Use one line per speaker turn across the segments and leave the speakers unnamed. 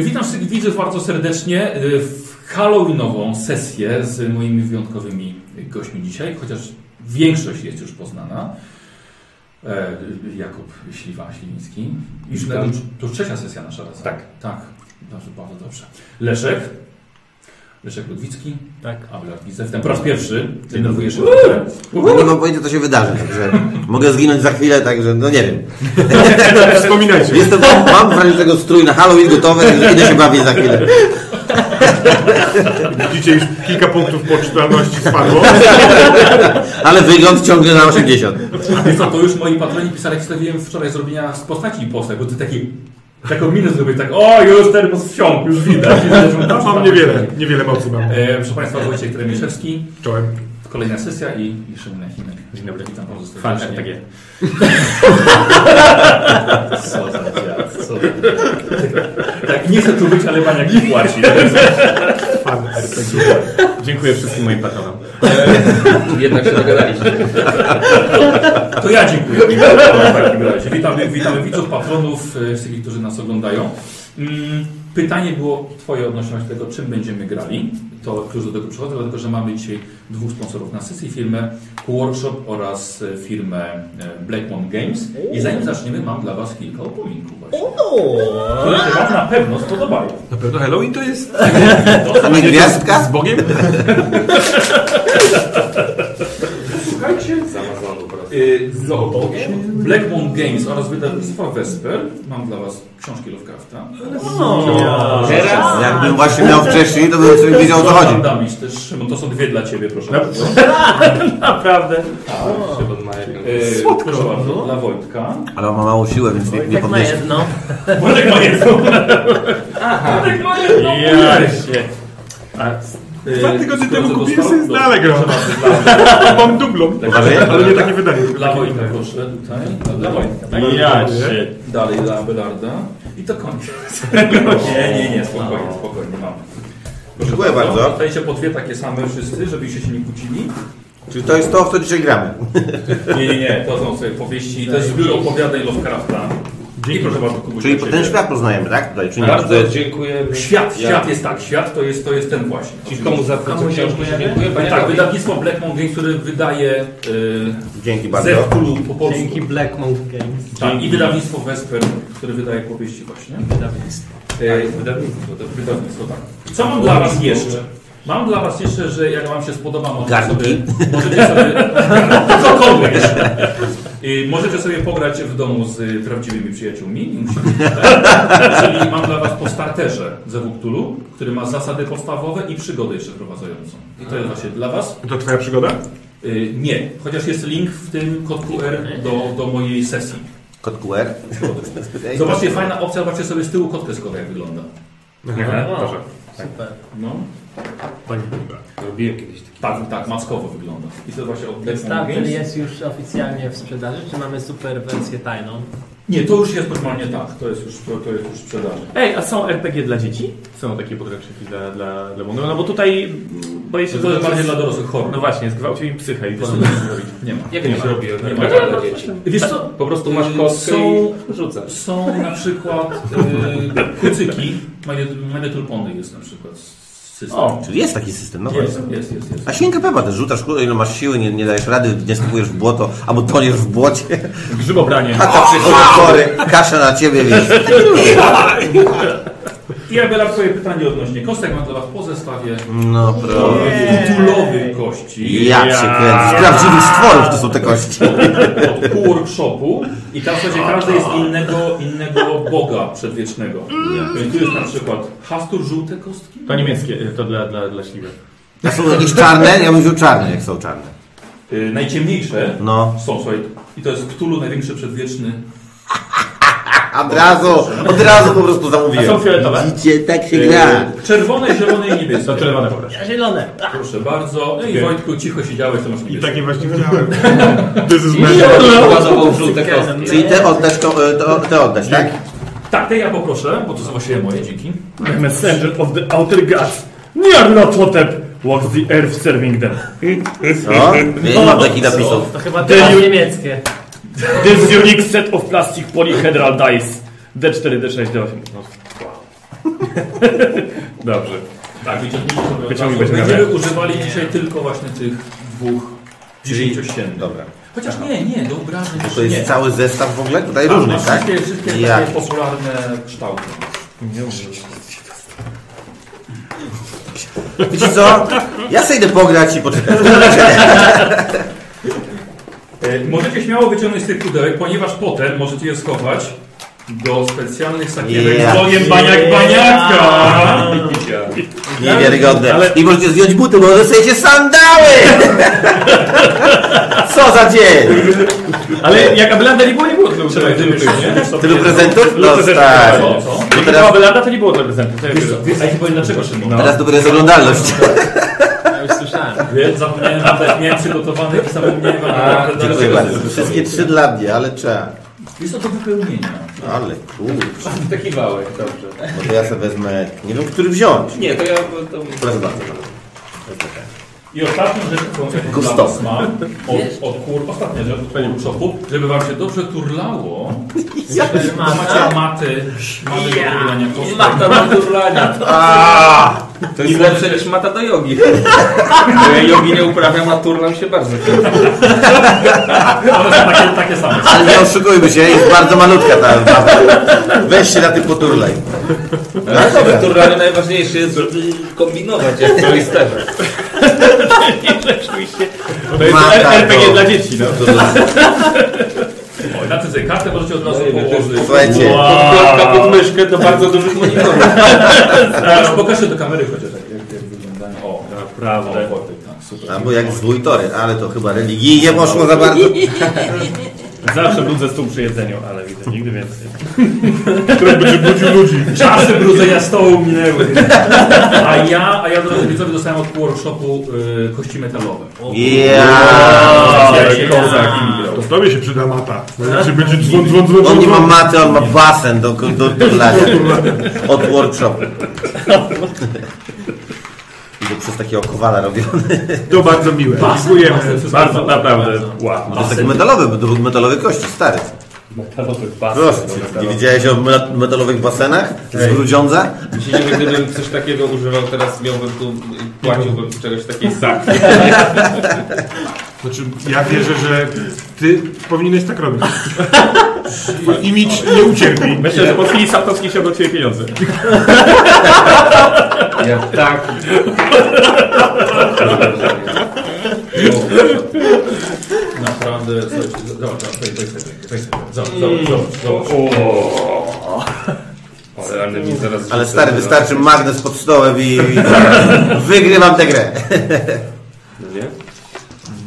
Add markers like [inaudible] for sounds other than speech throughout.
Witam wszystkich widzów bardzo serdecznie y, w Halloweenową sesję z moimi wyjątkowymi gośćmi dzisiaj, chociaż większość jest już poznana. E, Jakub Śliwa Śliwiński. Już na,
Witam.
to już trzecia sesja nasza razem.
Tak.
Tak, dobrze, bardzo dobrze. Leszek. Leszek Ludwicki.
Tak.
Abelard Gizef. Ten po raz pierwszy trenowujesz.
No nie mam pojęcia, co się wydarzy, także mogę zginąć za chwilę, także no nie wiem.
Tak, Wspominajcie.
Jestem, mam wrażenie tego strój na Halloween gotowy, także idę się bawić za chwilę.
Widzicie, już kilka punktów poczytalności spadło.
Ale wygląd ciągle na 80.
Wiesz co, to już moi patroni pisali, jak wstawiłem wczoraj zrobienia z postaci i postać, bo ty taki, taką minę zrobiłeś, tak o, już ten wsiąk, już widać.
No, mam niewiele, niewiele mocy mam.
E, proszę Państwa, Wojciech Tremiszewski,
Czołem.
kolejna sesja i, i Szymon Chinek. Dzień dobry. Witam bardzo
Fan
serdecznie.
RPG.
Co za dziad, co za dziad. Tak, nie chcę tu być, ale maniak nie
[laughs]
płaci.
Fan RPG.
Dziękuję wszystkim moim patronom.
Jednak się dogadaliśmy.
To ja dziękuję. W takim razie. Witamy, witamy widzów, patronów, e, wszystkich, którzy nas oglądają. Mm, Pytanie było Twoje odnośnie do tego, czym będziemy grali. To już do tego przychodzę, dlatego że mamy dzisiaj dwóch sponsorów na sesji. Firmę Workshop oraz e, firmę e, Blackmon Games. I zanim zaczniemy, mam dla Was kilka opominków właśnie. Które się Wam na pewno spodobają.
Na pewno Halloween to jest
Tam jest gwiazdka?
Bogiem?
Słuchajcie, y, Blackmon Games oraz wydawnictwa Vesper. Mam dla Was książki Lovecrafta.
Teraz?
Jakbym właśnie miał wcześniej, to bym sobie wiedział o co chodzi.
Damisz też, Szymon, to są dwie dla Ciebie, proszę
No.
bardzo.
Naprawdę.
Szymon ma jedną.
Y,
Słodko.
Proszę bardzo,
No.
dla Wojtka.
Ale on ma małą siłę, więc nie, nie
Tak na
podniesie.
jedno.
Wojtek ma jedną. Wojtek ma jedną.
Jaśnie.
Y,
Dwa tygodnie
skoro
temu
to
kupiłem
zostało,
sobie
to
znale gro.
proszę bardzo, dla-
Mam dublą.
Tak,
Ale tak nie takie wydanie. tylko
Dla
takie
Wojtka,
wydanie.
proszę, tutaj. A Dla Wojtka. tak.
Jaśnie.
Dalej dla Abelarda. I to koniec. nie, nie, nie, spokojnie, spokojnie, mam. Proszę
Dziękuję bardzo.
Dostajecie po dwie takie same wszyscy, żebyście się nie kłócili.
Czyli to jest to, w co dzisiaj gramy.
Nie, nie, nie, to są sobie powieści, to jest zbiór opowiadań Lovecrafta. I proszę bardzo, Kubuś,
Czyli
dla
ten
ciebie.
świat poznajemy, tak? Tutaj, czy nie? To
Bardzo
jest-
dziękujemy.
Świat,
Ja-
świat jest tak, świat to jest, to jest ten właśnie.
Ci komu za pracę książki się dziękuję, panie
Tak,
Dawid.
wydawnictwo Blackmon Games, które wydaje
Dzięki
yy,
bardzo.
Zewkulu po polsku.
Black Mount Games.
Tak, i wydawnictwo Vesper, które wydaje powieści właśnie.
Wydawnictwo.
E, Wydawnictwo, to wydawnictwo, tak. Co mam dla Was jeszcze? Mam dla Was jeszcze, że jak Wam się spodoba, możecie
Garnki.
sobie, możecie sobie, [laughs] cokolwiek. Y, możecie sobie pograć w domu z y, prawdziwymi przyjaciółmi. Nie musicie, [laughs] Czyli mam dla Was po starterze ze Wuktulu, który ma zasady podstawowe i przygodę jeszcze prowadzącą. I to jest właśnie dla Was.
To twoja przygoda?
Y, nie, chociaż jest link w tym kod QR do, do mojej sesji.
Kod [laughs] QR.
Zobaczcie, fajna opcja, zobaczcie sobie z tyłu kod kreskowy jak wygląda.
Aha,
O.
proszę.
Super.
No.
Pani.
Robiłem kiedyś taki.
Tak, tak, maskowo wygląda. I to właśnie od
Tak,
Starter jest już oficjalnie w sprzedaży, czy mamy super wersję tajną?
Nie, to już jest normalnie tak, to jest już, to, to jest już w sprzedaży.
Ej, a są RPG dla dzieci? Są takie podręczniki dla, dla, dla młodych? No bo tutaj mm, boję się,
To
że...
jest bardziej dla dorosłych chorych.
No właśnie, zgwałcił im psychę i to [laughs] sobie zrobić.
Nie ma.
Jak kiedyś robiłem,
Nie
tak
ma.
dla dzieci.
Wiesz co, Mm,
Po prostu masz kostkę
Są-
i rzucasz.
są na przykład yy, kucyki, My Little Pony jest na przykład system.
O.
Czyli jest taki system, no
Jest,
właśnie.
jest, jest, jest.
A sięga pepa też rzucasz, kurde, ile masz siły, nie, nie dajesz rady, nie skupujesz w błoto, albo toniesz w błocie.
Grzybobranie.
A to przychodzi chory, kasza na ciebie, wiesz.
I Abela, twoje pytanie odnośnie kostek, mam dla was po zestawie
No proszę.
tulowych kości.
Ja cię kręcę. Z prawdziwych stworów to są te kości.
od pół workshopu i tam w zasadzie każdy jest innego, innego boga przedwiecznego.
Mhm.
Więc tu jest na przykład Hastur żółte kostki.
To niemieckie, y, to dla, dla, dla śliwy.
A są jakieś czarne? Ja bym wziął czarne, jak są czarne.
Y, najciemniejsze
No.
są, słuchaj, i to jest Cthulhu największy przedwieczny.
A Od razu, od razu po prostu
A są
zamówiłem.
fioletowe?
Widzicie, tak się
Y,
gra.
czerwone, zielone i niebieskie.
To czerwone poproszę.
Ja zielone.
Proszę bardzo. Ej Wojtku, cicho siedziałeś, to masz
I
niebieskie.
[laughs]
takie właśnie no. chciałem. This is magic.
Ładował żółte
no
kostki.
Czyli te oddać, to, e, to, te oddać, tak?
Tak, te ja poproszę, bo to są właściwie moje, dzięki.
Messenger of the Outer Gods. Nyarlathotep walks the earth serving them.
No. Nie mam takich napisów.
To chyba
Ty-
teraz niemieckie.
This unique set of plastic polyhedral dice. D4, D6, D8. No. [laughs] Dobrze.
Tak, wyciągnijcie sobie. od
Wyciągnij
razu.
będzie
Będziemy używali dzisiaj tylko właśnie tych dwóch dziesięciościennych.
Dobra.
Chociaż nie, nie, do obrażeń
To
jeszcze
jest
nie.
cały zestaw w ogóle tutaj
Tak,
różnych,
masz
tak?
Wszystkie, wszystkie
Jak?
takie popularne kształty.
Wiecie co? Ja sobie idę pograć i poczekać.
E, Możecie śmiało wyciągnąć z tych pudełek, ponieważ potem możecie je schować do specjalnych sakiewek
Ja
z logiem baniak baniaka.
Niewiarygodne.
Ale-
I możecie zdjąć buty, bo dostajecie [laughs] sandały! Co za dzień!
Ale jak Abelanda nie było, nie było tylu prezentów.
Tylu prezentów?
Tylu prezentów.
Dostali.
Tak. Co, co?
Bo
Teraz...
teraz,
Abelanda to nie było tylu prezentów. to ja
Wiesz,
wiem.
wiesz, a ja ci powiem dlaczego, Szymon.
teraz dopiero jest oglądalność.
Ja już słyszałem.
Wie- Zapomniałem, nawet miałem przygotowany i zapomniałem. ale-
Dziękuję bardzo. No, Wszystkie trzy dla mnie, ale trzeba.
Jest to do wypełnienia.
Ale kurczę.
Taki wałek, dobrze.
No to ja sobie wezmę... Nie wiem, który wziąć.
Nie, to ja... To...
Proszę bardzo.
I ostatnią rzecz, którą jaką dla
Gusto.
was mam, od, od kur... Ostatnia rzecz, od kur szopu, żeby wam się dobrze [laughs] turlało,
Ja
bo macie maty, maty do turlania kostek.
Mata do turlania.
Aaaa!
To jest lepsze niż mata do jogi. [laughs] Bo ja jogi nie uprawiam, a turlam się bardzo.
One są takie, takie same.
Ale nie oszukujmy się, jest bardzo malutka ta baba. Weź się na tym poturlaj. No,
Ale dobra. W turlaniu najważniejsze jest, żeby kombinować jak w Twisterze.
To jest
Mata,
R- RPG
to-
dla dzieci, no.
O, i Na tę sobie kartę możecie od razu położyć.
Słuchajcie,
Podkładka pod myszkę do bardzo dużych monitorów.
Teraz pokażę do kamery chociaż, jak, jak, jak wyglądają. O, tak.
Prawda.
o, tak, super.
albo jak z dwójtory, ale to chyba religii nie poszło za bardzo.
Zawsze budzę stół przy jedzeniu, ale widzę, nigdy więcej.
Który będzie budził ludzi.
Czasy brudzenia stołu minęły. [laughs] A ja, a ja drodzy widzowie, dostałem od workshopu y, kości metalowe.
Ja.
Specjalnie-
To tobie się przyda mata. Znaczy będzie dzwon, dzwon, dzwon,
On nie ma
dzwon.
maty, on ma basen do, do turlania. Od workshopu. I to przez takiego kowala robiony.
To bardzo miłe. Dziękujemy.
Bardzo, naprawdę, wow.
To jest taki metalowy, bo to był metalowy kości, stary.
Metalowy pas.
Proszę
No,
cię, No, nie widziałeś o me- metalowych basenach z Grudziądza?
Jeśli nie gdybym coś takiego używał, teraz miałbym tu, płaciłbym czegoś takiego.
Tak.
Znaczy, ja wierzę, że ty powinieneś tak robić.
No
Twój imidż nie ucierpi.
Myślę, że po chwili Sapkowski się od ciebie pieniądze.
Ja tak.
Naprawdę, słuchajcie, zobacz, weź weź sobie, weź sobie, zobacz, zobacz, zobacz, zobacz.
Ale, ale mi zaraz...
Ale stary, wystarczy magnes pod stołem i, i wygrywam tę grę.
No Nie?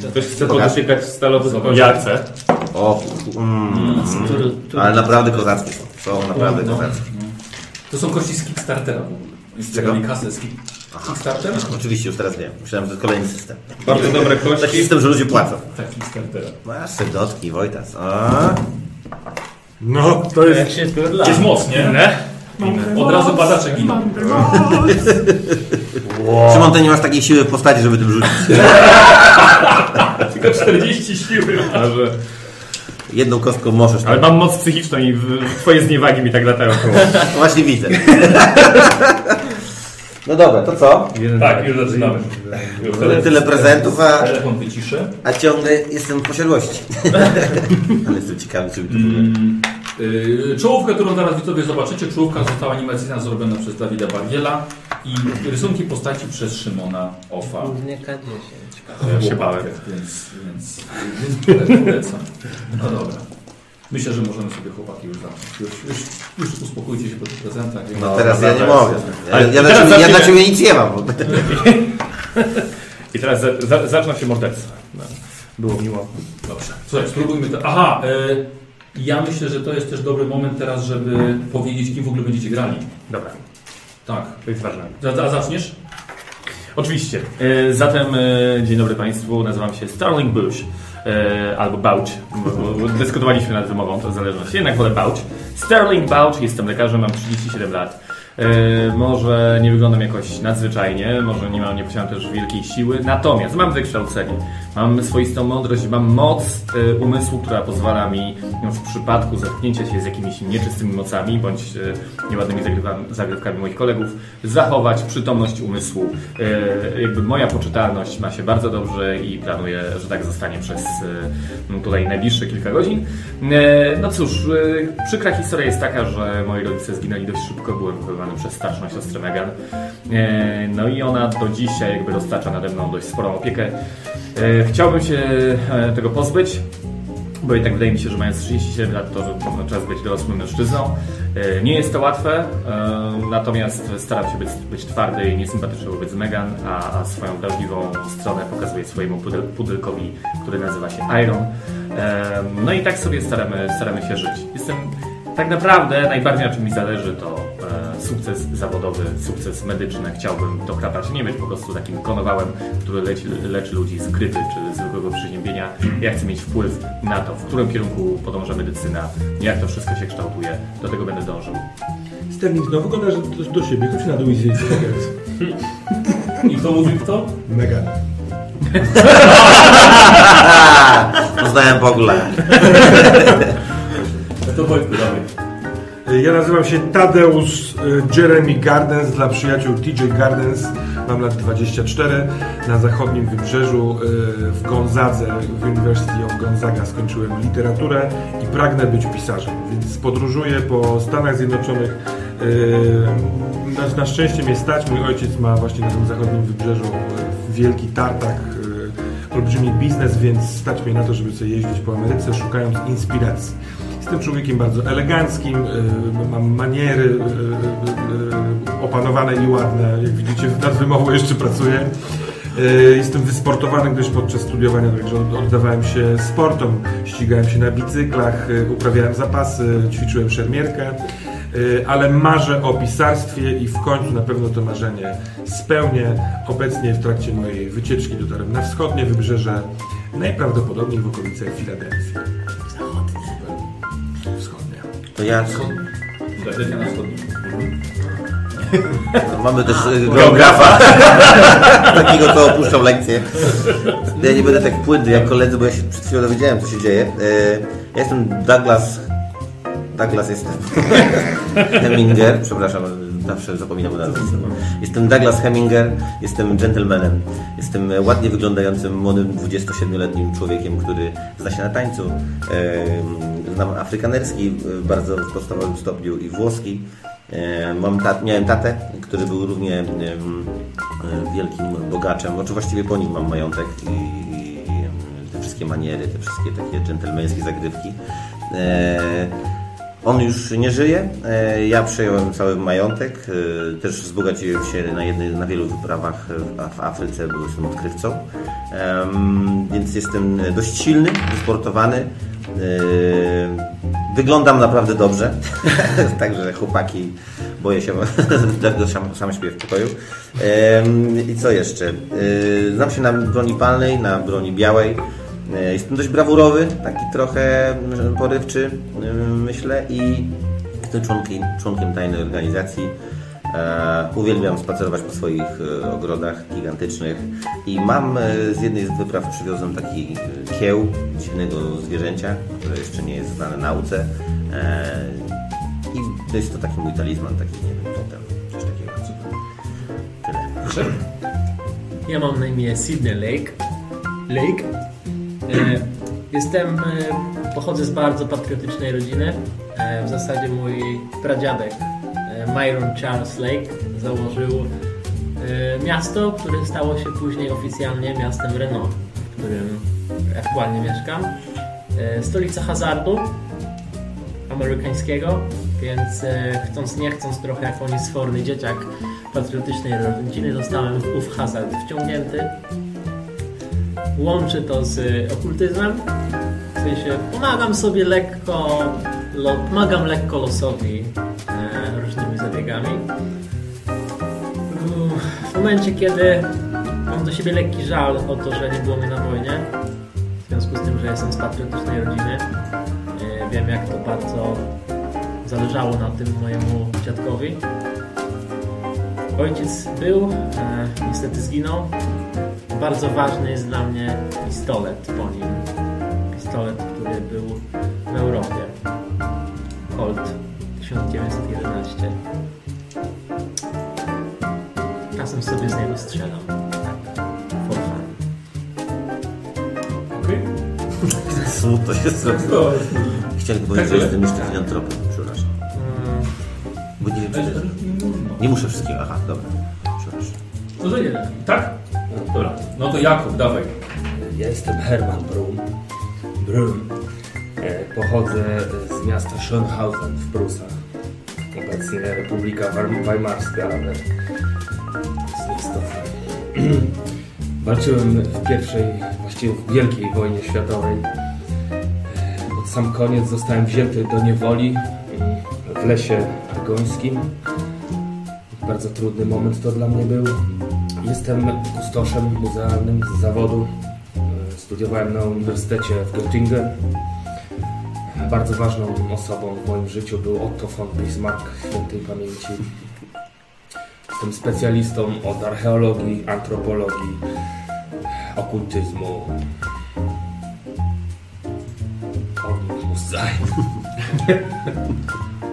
Ktoś chce podotykać stalowy zobacz.
Ja chcę.
O, mm, [laughs] ale naprawdę kozackie są. Są naprawdę
No.
kozackie.
To są kości z Kickstartera. w ogóle. Z
czego?
Kasę z Kick- Kickstartera?
Oczywiście już teraz wiem. Myślałem, że to jest kolejny system.
Bardzo dobre
Taki
kości.
system, że ludzie płacą.
Tak, Kickstartera.
Masz serdotki, Wojtas. O.
No, to jest...
Jest moc, nie? Od razu badacze giną.
Szymon, ty nie masz takiej siły w postaci, żeby tym rzucić.
Tylko 40 siły.
A że-
Jedną kostką możesz.
Ale
Tak.
mam moc psychiczną i w- twoje zniewagi mi tak latają koło.
Właśnie widzę. [laughs] No dobra, to co?
Tak, już zaczynamy.
Tyle, tyle prezentów, a,
Tak. Telefon wyciszę.
a ciągle jestem w [laughs] posiadłości. Ale jestem ciekawy, czy mi to mm.
Mm, y, Czołówkę, którą zaraz widzowie zobaczycie, czołówka została animacyjna zrobiona przez Dawida Bargiela i rysunki postaci przez Szymona Ofa.
Nie K10.
Ja się bałem. Więc, więc, więc polecam. No dobra. Myślę, że możemy sobie chłopaki już zacząć. Już, już, już uspokójcie się po tych prezentach.
No teraz ja nie mogę. Ja,
Ale
ja, dla,
teraz
ciebie,
zacznijmy.
ja dla ciebie nic nie mam. bo- [laughs]
I teraz za, za, zaczną się morderstwa. No. Było miło.
Dobrze. Słuchaj, spróbujmy to. Aha, y, ja myślę, że to jest też dobry moment teraz, żeby powiedzieć, kim w ogóle będziecie grali.
Dobra,
Tak.
to jest ważne.
A, a zaczniesz?
Oczywiście. E, Zatem e, dzień dobry Państwu, nazywam się Starling Bush. e, Albo Bouch. bo- bo- bo Dyskutowaliśmy nad wymową, to w zależności. Jednak wolę Bouch. Sterling Bouch, jestem lekarzem, mam 37 lat. E, może nie wyglądam jakoś nadzwyczajnie, może nie, mam, nie posiadam też wielkiej siły, natomiast mam wykształcenie, mam swoistą mądrość, mam moc e, umysłu, która pozwala mi w przypadku zetknięcia się z jakimiś nieczystymi mocami bądź e, nieładnymi zagrywami- zagrywkami moich kolegów zachować przytomność umysłu. E, jakby moja poczytalność ma się bardzo dobrze i planuję, że tak zostanie przez e, tutaj najbliższe kilka godzin. E, No cóż, e, przykra historia jest taka, że moi rodzice zginęli dość szybko, byłem wychowywany przez starszą siostrę Megan. E, No i ona do dzisiaj jakby roztacza nade mną dość sporą opiekę. E, Chciałbym się e, tego pozbyć. Bo jednak wydaje mi się, że mając 37 lat, to no, czas być dorosłym mężczyzną. E, Nie jest to łatwe, e, natomiast staram się być, być twardy i niesympatyczny wobec Megan, a, a swoją wrażliwą stronę pokazuję swojemu pudel, pudelkowi, który nazywa się Iron. E, No i tak sobie staramy, staramy się żyć. Jestem tak naprawdę, najbardziej na czym mi zależy, to e, sukces zawodowy, sukces medyczny. Chciałbym dokrapać, nie być po prostu takim konowałem, który leci, leczy ludzi z grypy czy zwykłego przeziębienia. Ja chcę mieć wpływ na to, w którym kierunku podąża medycyna, jak to wszystko się kształtuje. Do tego będę dążył.
Sterling, no wygląda, że do, do siebie, chodź na dół i zjedz.
I kto mówił kto?
Mega.
Poznałem pogląd.
To Wojtku, dawaj.
Y, Ja nazywam się Tadeusz y, Jeremy Gardens, dla przyjaciół TJ Gardens. Mam lat 24. Na zachodnim wybrzeżu y, w Gonzadze, w University of Gonzaga skończyłem literaturę i pragnę być pisarzem, więc podróżuję po Stanach Zjednoczonych. Y, Na, na szczęście mnie stać, mój ojciec ma właśnie na tym zachodnim wybrzeżu y, wielki tartak, y, olbrzymi biznes, więc stać mnie na to, żeby sobie jeździć po Ameryce, szukając inspiracji. Jestem człowiekiem bardzo eleganckim, y, mam maniery y, y, y, opanowane i ładne. Jak widzicie, nad wymową jeszcze pracuję. Y, Jestem wysportowany, gdyż podczas studiowania także od- oddawałem się sportom. Ścigałem się na bicyklach, y, uprawiałem zapasy, ćwiczyłem szermierkę. Y, Ale marzę o pisarstwie i w końcu na pewno to marzenie spełnię. Obecnie w trakcie mojej wycieczki dotarłem na wschodnie wybrzeże, najprawdopodobniej w okolice Filadelfii. Wschodnie.
To ja.
Zgadza na wschodnim.
No, mamy też y, geografa. [laughs] Takiego, co opuszczał lekcję. Ja nie będę tak płynny jak koledzy, bo ja się przed chwilą dowiedziałem, co się dzieje. Y, Ja jestem Douglas... Douglas jestem. Heminger, przepraszam, zawsze zapominam o nazwisku. Jestem Douglas Heminger, jestem gentlemanem. Jestem e, ładnie wyglądającym, młodym, 27-letnim człowiekiem, który zna się na tańcu. Em, Znam afrykanerski e, bardzo w podstawowym stopniu i włoski. E, Mam tat, miałem tatę, który był równie em, e, wielkim bogaczem. Znaczy właściwie po nim mam majątek i i te wszystkie maniery, te wszystkie takie dżentelmeńskie zagrywki. E, on już nie żyje, e, ja przejąłem cały majątek, e, też wzbogaciłem się na, jednej, na wielu wyprawach w, w Afryce, bo jestem odkrywcą, Em, więc jestem dość silny, E, sportowany, e, wyglądam naprawdę dobrze, [laughs] także chłopaki, boję [laughs] się, dlatego sam, sam śpię w pokoju. Em, I co jeszcze? E, znam się na broni palnej, na broni białej, E, Jestem dość brawurowy, taki trochę m, porywczy, m, myślę, i jestem członkiem, członkiem tajnej organizacji. E, Uwielbiam spacerować po swoich e, ogrodach gigantycznych i mam e, z jednej z wypraw przywiozłem taki e, kieł dziwnego zwierzęcia, które jeszcze nie jest znane nauce. E, I to jest to taki mój talizman, taki nie wiem, totem, coś takiego. Tyle.
Ja mam na imię Sydney Lake. Lake. E, jestem, e, pochodzę z bardzo patriotycznej rodziny. E, w zasadzie mój pradziadek, e, Myron Charles Lake, założył e, miasto, które stało się później oficjalnie miastem Renault, w którym aktualnie mieszkam. E, stolica hazardu amerykańskiego, więc e, chcąc nie chcąc trochę jak oni sforny dzieciak patriotycznej rodziny zostałem w ów hazard wciągnięty. Łączy to z y, okultyzmem, w sensie pomagam sobie lekko, lo, pomagam lekko losowi e, różnymi zabiegami. Uff, W momencie, kiedy mam do siebie lekki żal o to, że nie było mnie na wojnie, w związku z tym, że jestem z patriotycznej rodziny, e, wiem jak to bardzo zależało na tym mojemu dziadkowi. Ojciec był, e, niestety zginął. Bardzo ważny jest dla mnie pistolet po nim. Pistolet, który był w Europie. Colt 1911. Czasem sobie z niego strzelam. Tak. For fun.
Okej.
Smutno się zrobiło. Chciałem powiedzieć, że jestem jeszcze filantropem, przepraszam.
Mm,
Bo nie wiem, czy to jest... Nie muszę wszystkiego, aha, dobra. Przepraszam.
To za jeden. Tak? Dobra. No to Jakub, dawaj.
Ja jestem Herman Brum. Brum. E, Pochodzę z miasta Schönhausen w Prusach. Obecnie Republika Weim- Weimarska, ale to jest nieistotne. [clears throat] Walczyłem w pierwszej, właściwie w wielkiej wojnie światowej. E, Pod sam koniec zostałem wzięty do niewoli mm, w lesie argońskim. Bardzo trudny moment to dla mnie był. Jestem kustoszem muzealnym z zawodu. E, Studiowałem na Uniwersytecie w Göttingen. Bardzo ważną osobą w moim życiu był Otto von Bismarck, świętej pamięci. Jestem specjalistą od archeologii, antropologii, okultyzmu. Ornów Muzaj.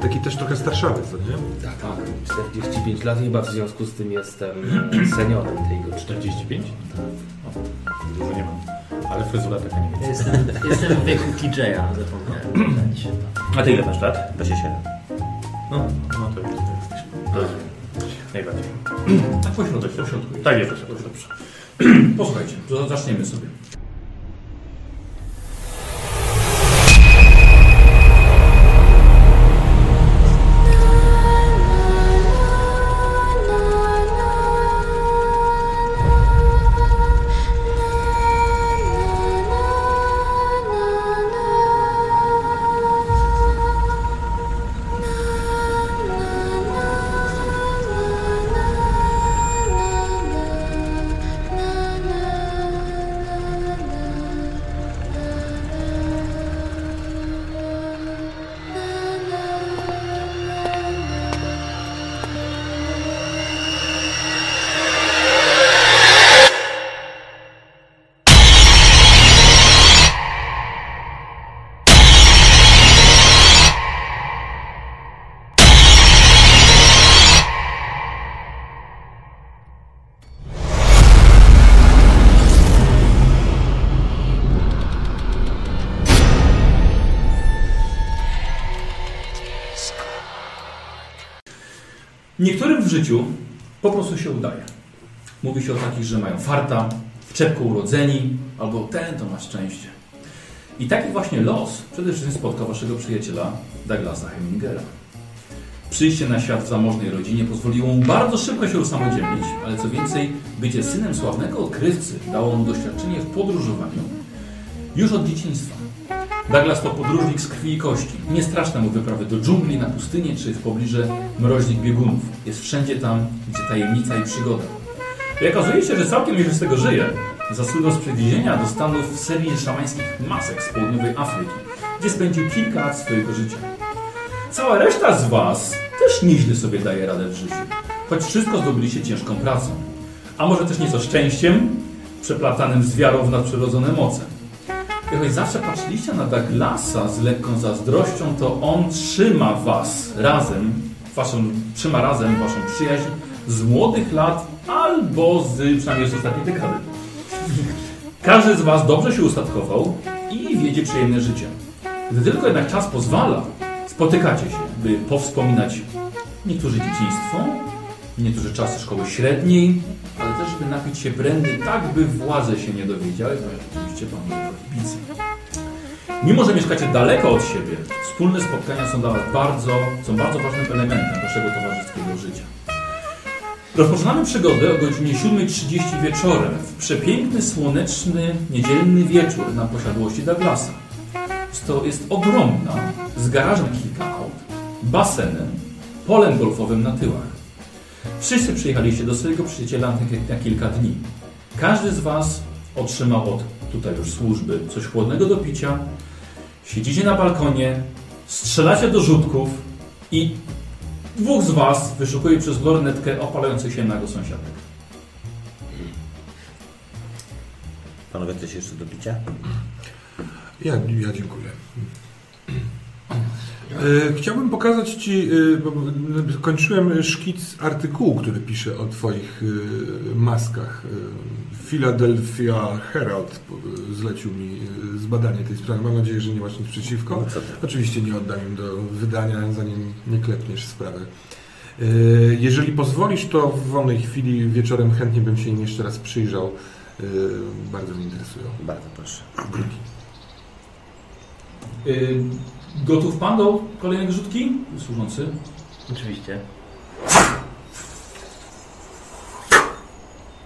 Taki też trochę starszawy, co nie?
Tak, tak. 45 lat chyba w związku z tym jestem e, seniorem tej grupy.
45? O, Dużo nie mam. Ale fryzura taka nie
ja
jest.
Jestem, jestem w wieku TJ-a, zapomniałem. dodać.
A ty ile masz lat?
27.
No, no to jest. Najbardziej.
Tak pośrodek, po środku.
Tak jest, proszę.
Dobrze, dobrze. Posłuchajcie, to zaczniemy sobie. Niektórym w życiu po prostu się udaje. Mówi się o takich, że mają farta, w czepku urodzeni, albo ten to ma szczęście. I taki właśnie los przede wszystkim spotkał waszego przyjaciela Douglasa Hemingera. Przyjście na świat w zamożnej rodzinie pozwoliło mu bardzo szybko się usamodzielnić, ale co więcej, bycie synem sławnego odkrywcy dało mu doświadczenie w podróżowaniu już od dzieciństwa. Douglas to podróżnik z krwi i kości. Nie straszne mu wyprawy do dżungli, na pustynię czy w pobliże mroźnych biegunów. Jest wszędzie tam, gdzie tajemnica i przygoda. I okazuje się, że całkiem nieźle z tego żyje. Zasługą z przewiezienia do Stanów w serii szamańskich masek z południowej Afryki, gdzie spędził kilka lat swojego życia. Cała reszta z Was też nieźle sobie daje radę w życiu, choć wszystko zdobyliście ciężką pracą. A może też nieco szczęściem, przeplatanym z wiarą w nadprzyrodzone moce. I choć zawsze patrzyliście na Douglasa z lekką zazdrością, to on trzyma was razem, waszą, trzyma razem waszą przyjaźń z młodych lat albo z przynajmniej z ostatniej dekady. Każdy z was dobrze się ustatkował i wiedzie przyjemne życie. Gdy tylko jednak czas pozwala, spotykacie się, by powspominać niektórzy dzieciństwo, niektórzy czasy szkoły średniej, ale też by napić się brandy tak, by władze się nie dowiedziały, bo oczywiście mamy prohibicję. Mimo, że mieszkacie daleko od siebie, wspólne spotkania są dla Was bardzo, są bardzo ważnym elementem Waszego towarzyskiego życia. Rozpoczynamy przygodę o godzinie 7.30 wieczorem w przepiękny, słoneczny, niedzielny wieczór na posiadłości Douglasa. To jest ogromna, z garażem kilka aut, basenem, polem golfowym na tyłach. Wszyscy przyjechaliście do swojego przyjaciela na ki- na kilka dni. Każdy z Was otrzymał od tutaj już służby coś chłodnego do picia, siedzicie na balkonie, strzelacie do rzutków i Dwóch z was wyszukuje przez lornetkę opalających się nago sąsiadek.
Panowie, coś jeszcze do picia?
Ja, ja dziękuję. E, Chciałbym pokazać Ci, e, bo m, kończyłem szkic artykułu, który piszę o Twoich e, maskach. E, Philadelphia Herald e, zlecił mi e, zbadanie tej sprawy. Mam nadzieję, że nie masz nic przeciwko.
No co ty?
Oczywiście nie oddam im do wydania, zanim nie klepniesz sprawy. E, Jeżeli pozwolisz, to w wolnej chwili wieczorem chętnie bym się im jeszcze raz przyjrzał. E, Bardzo mnie interesują.
Bardzo proszę.
Y, gotów pan do kolejnej rzutki? Służący.
Oczywiście.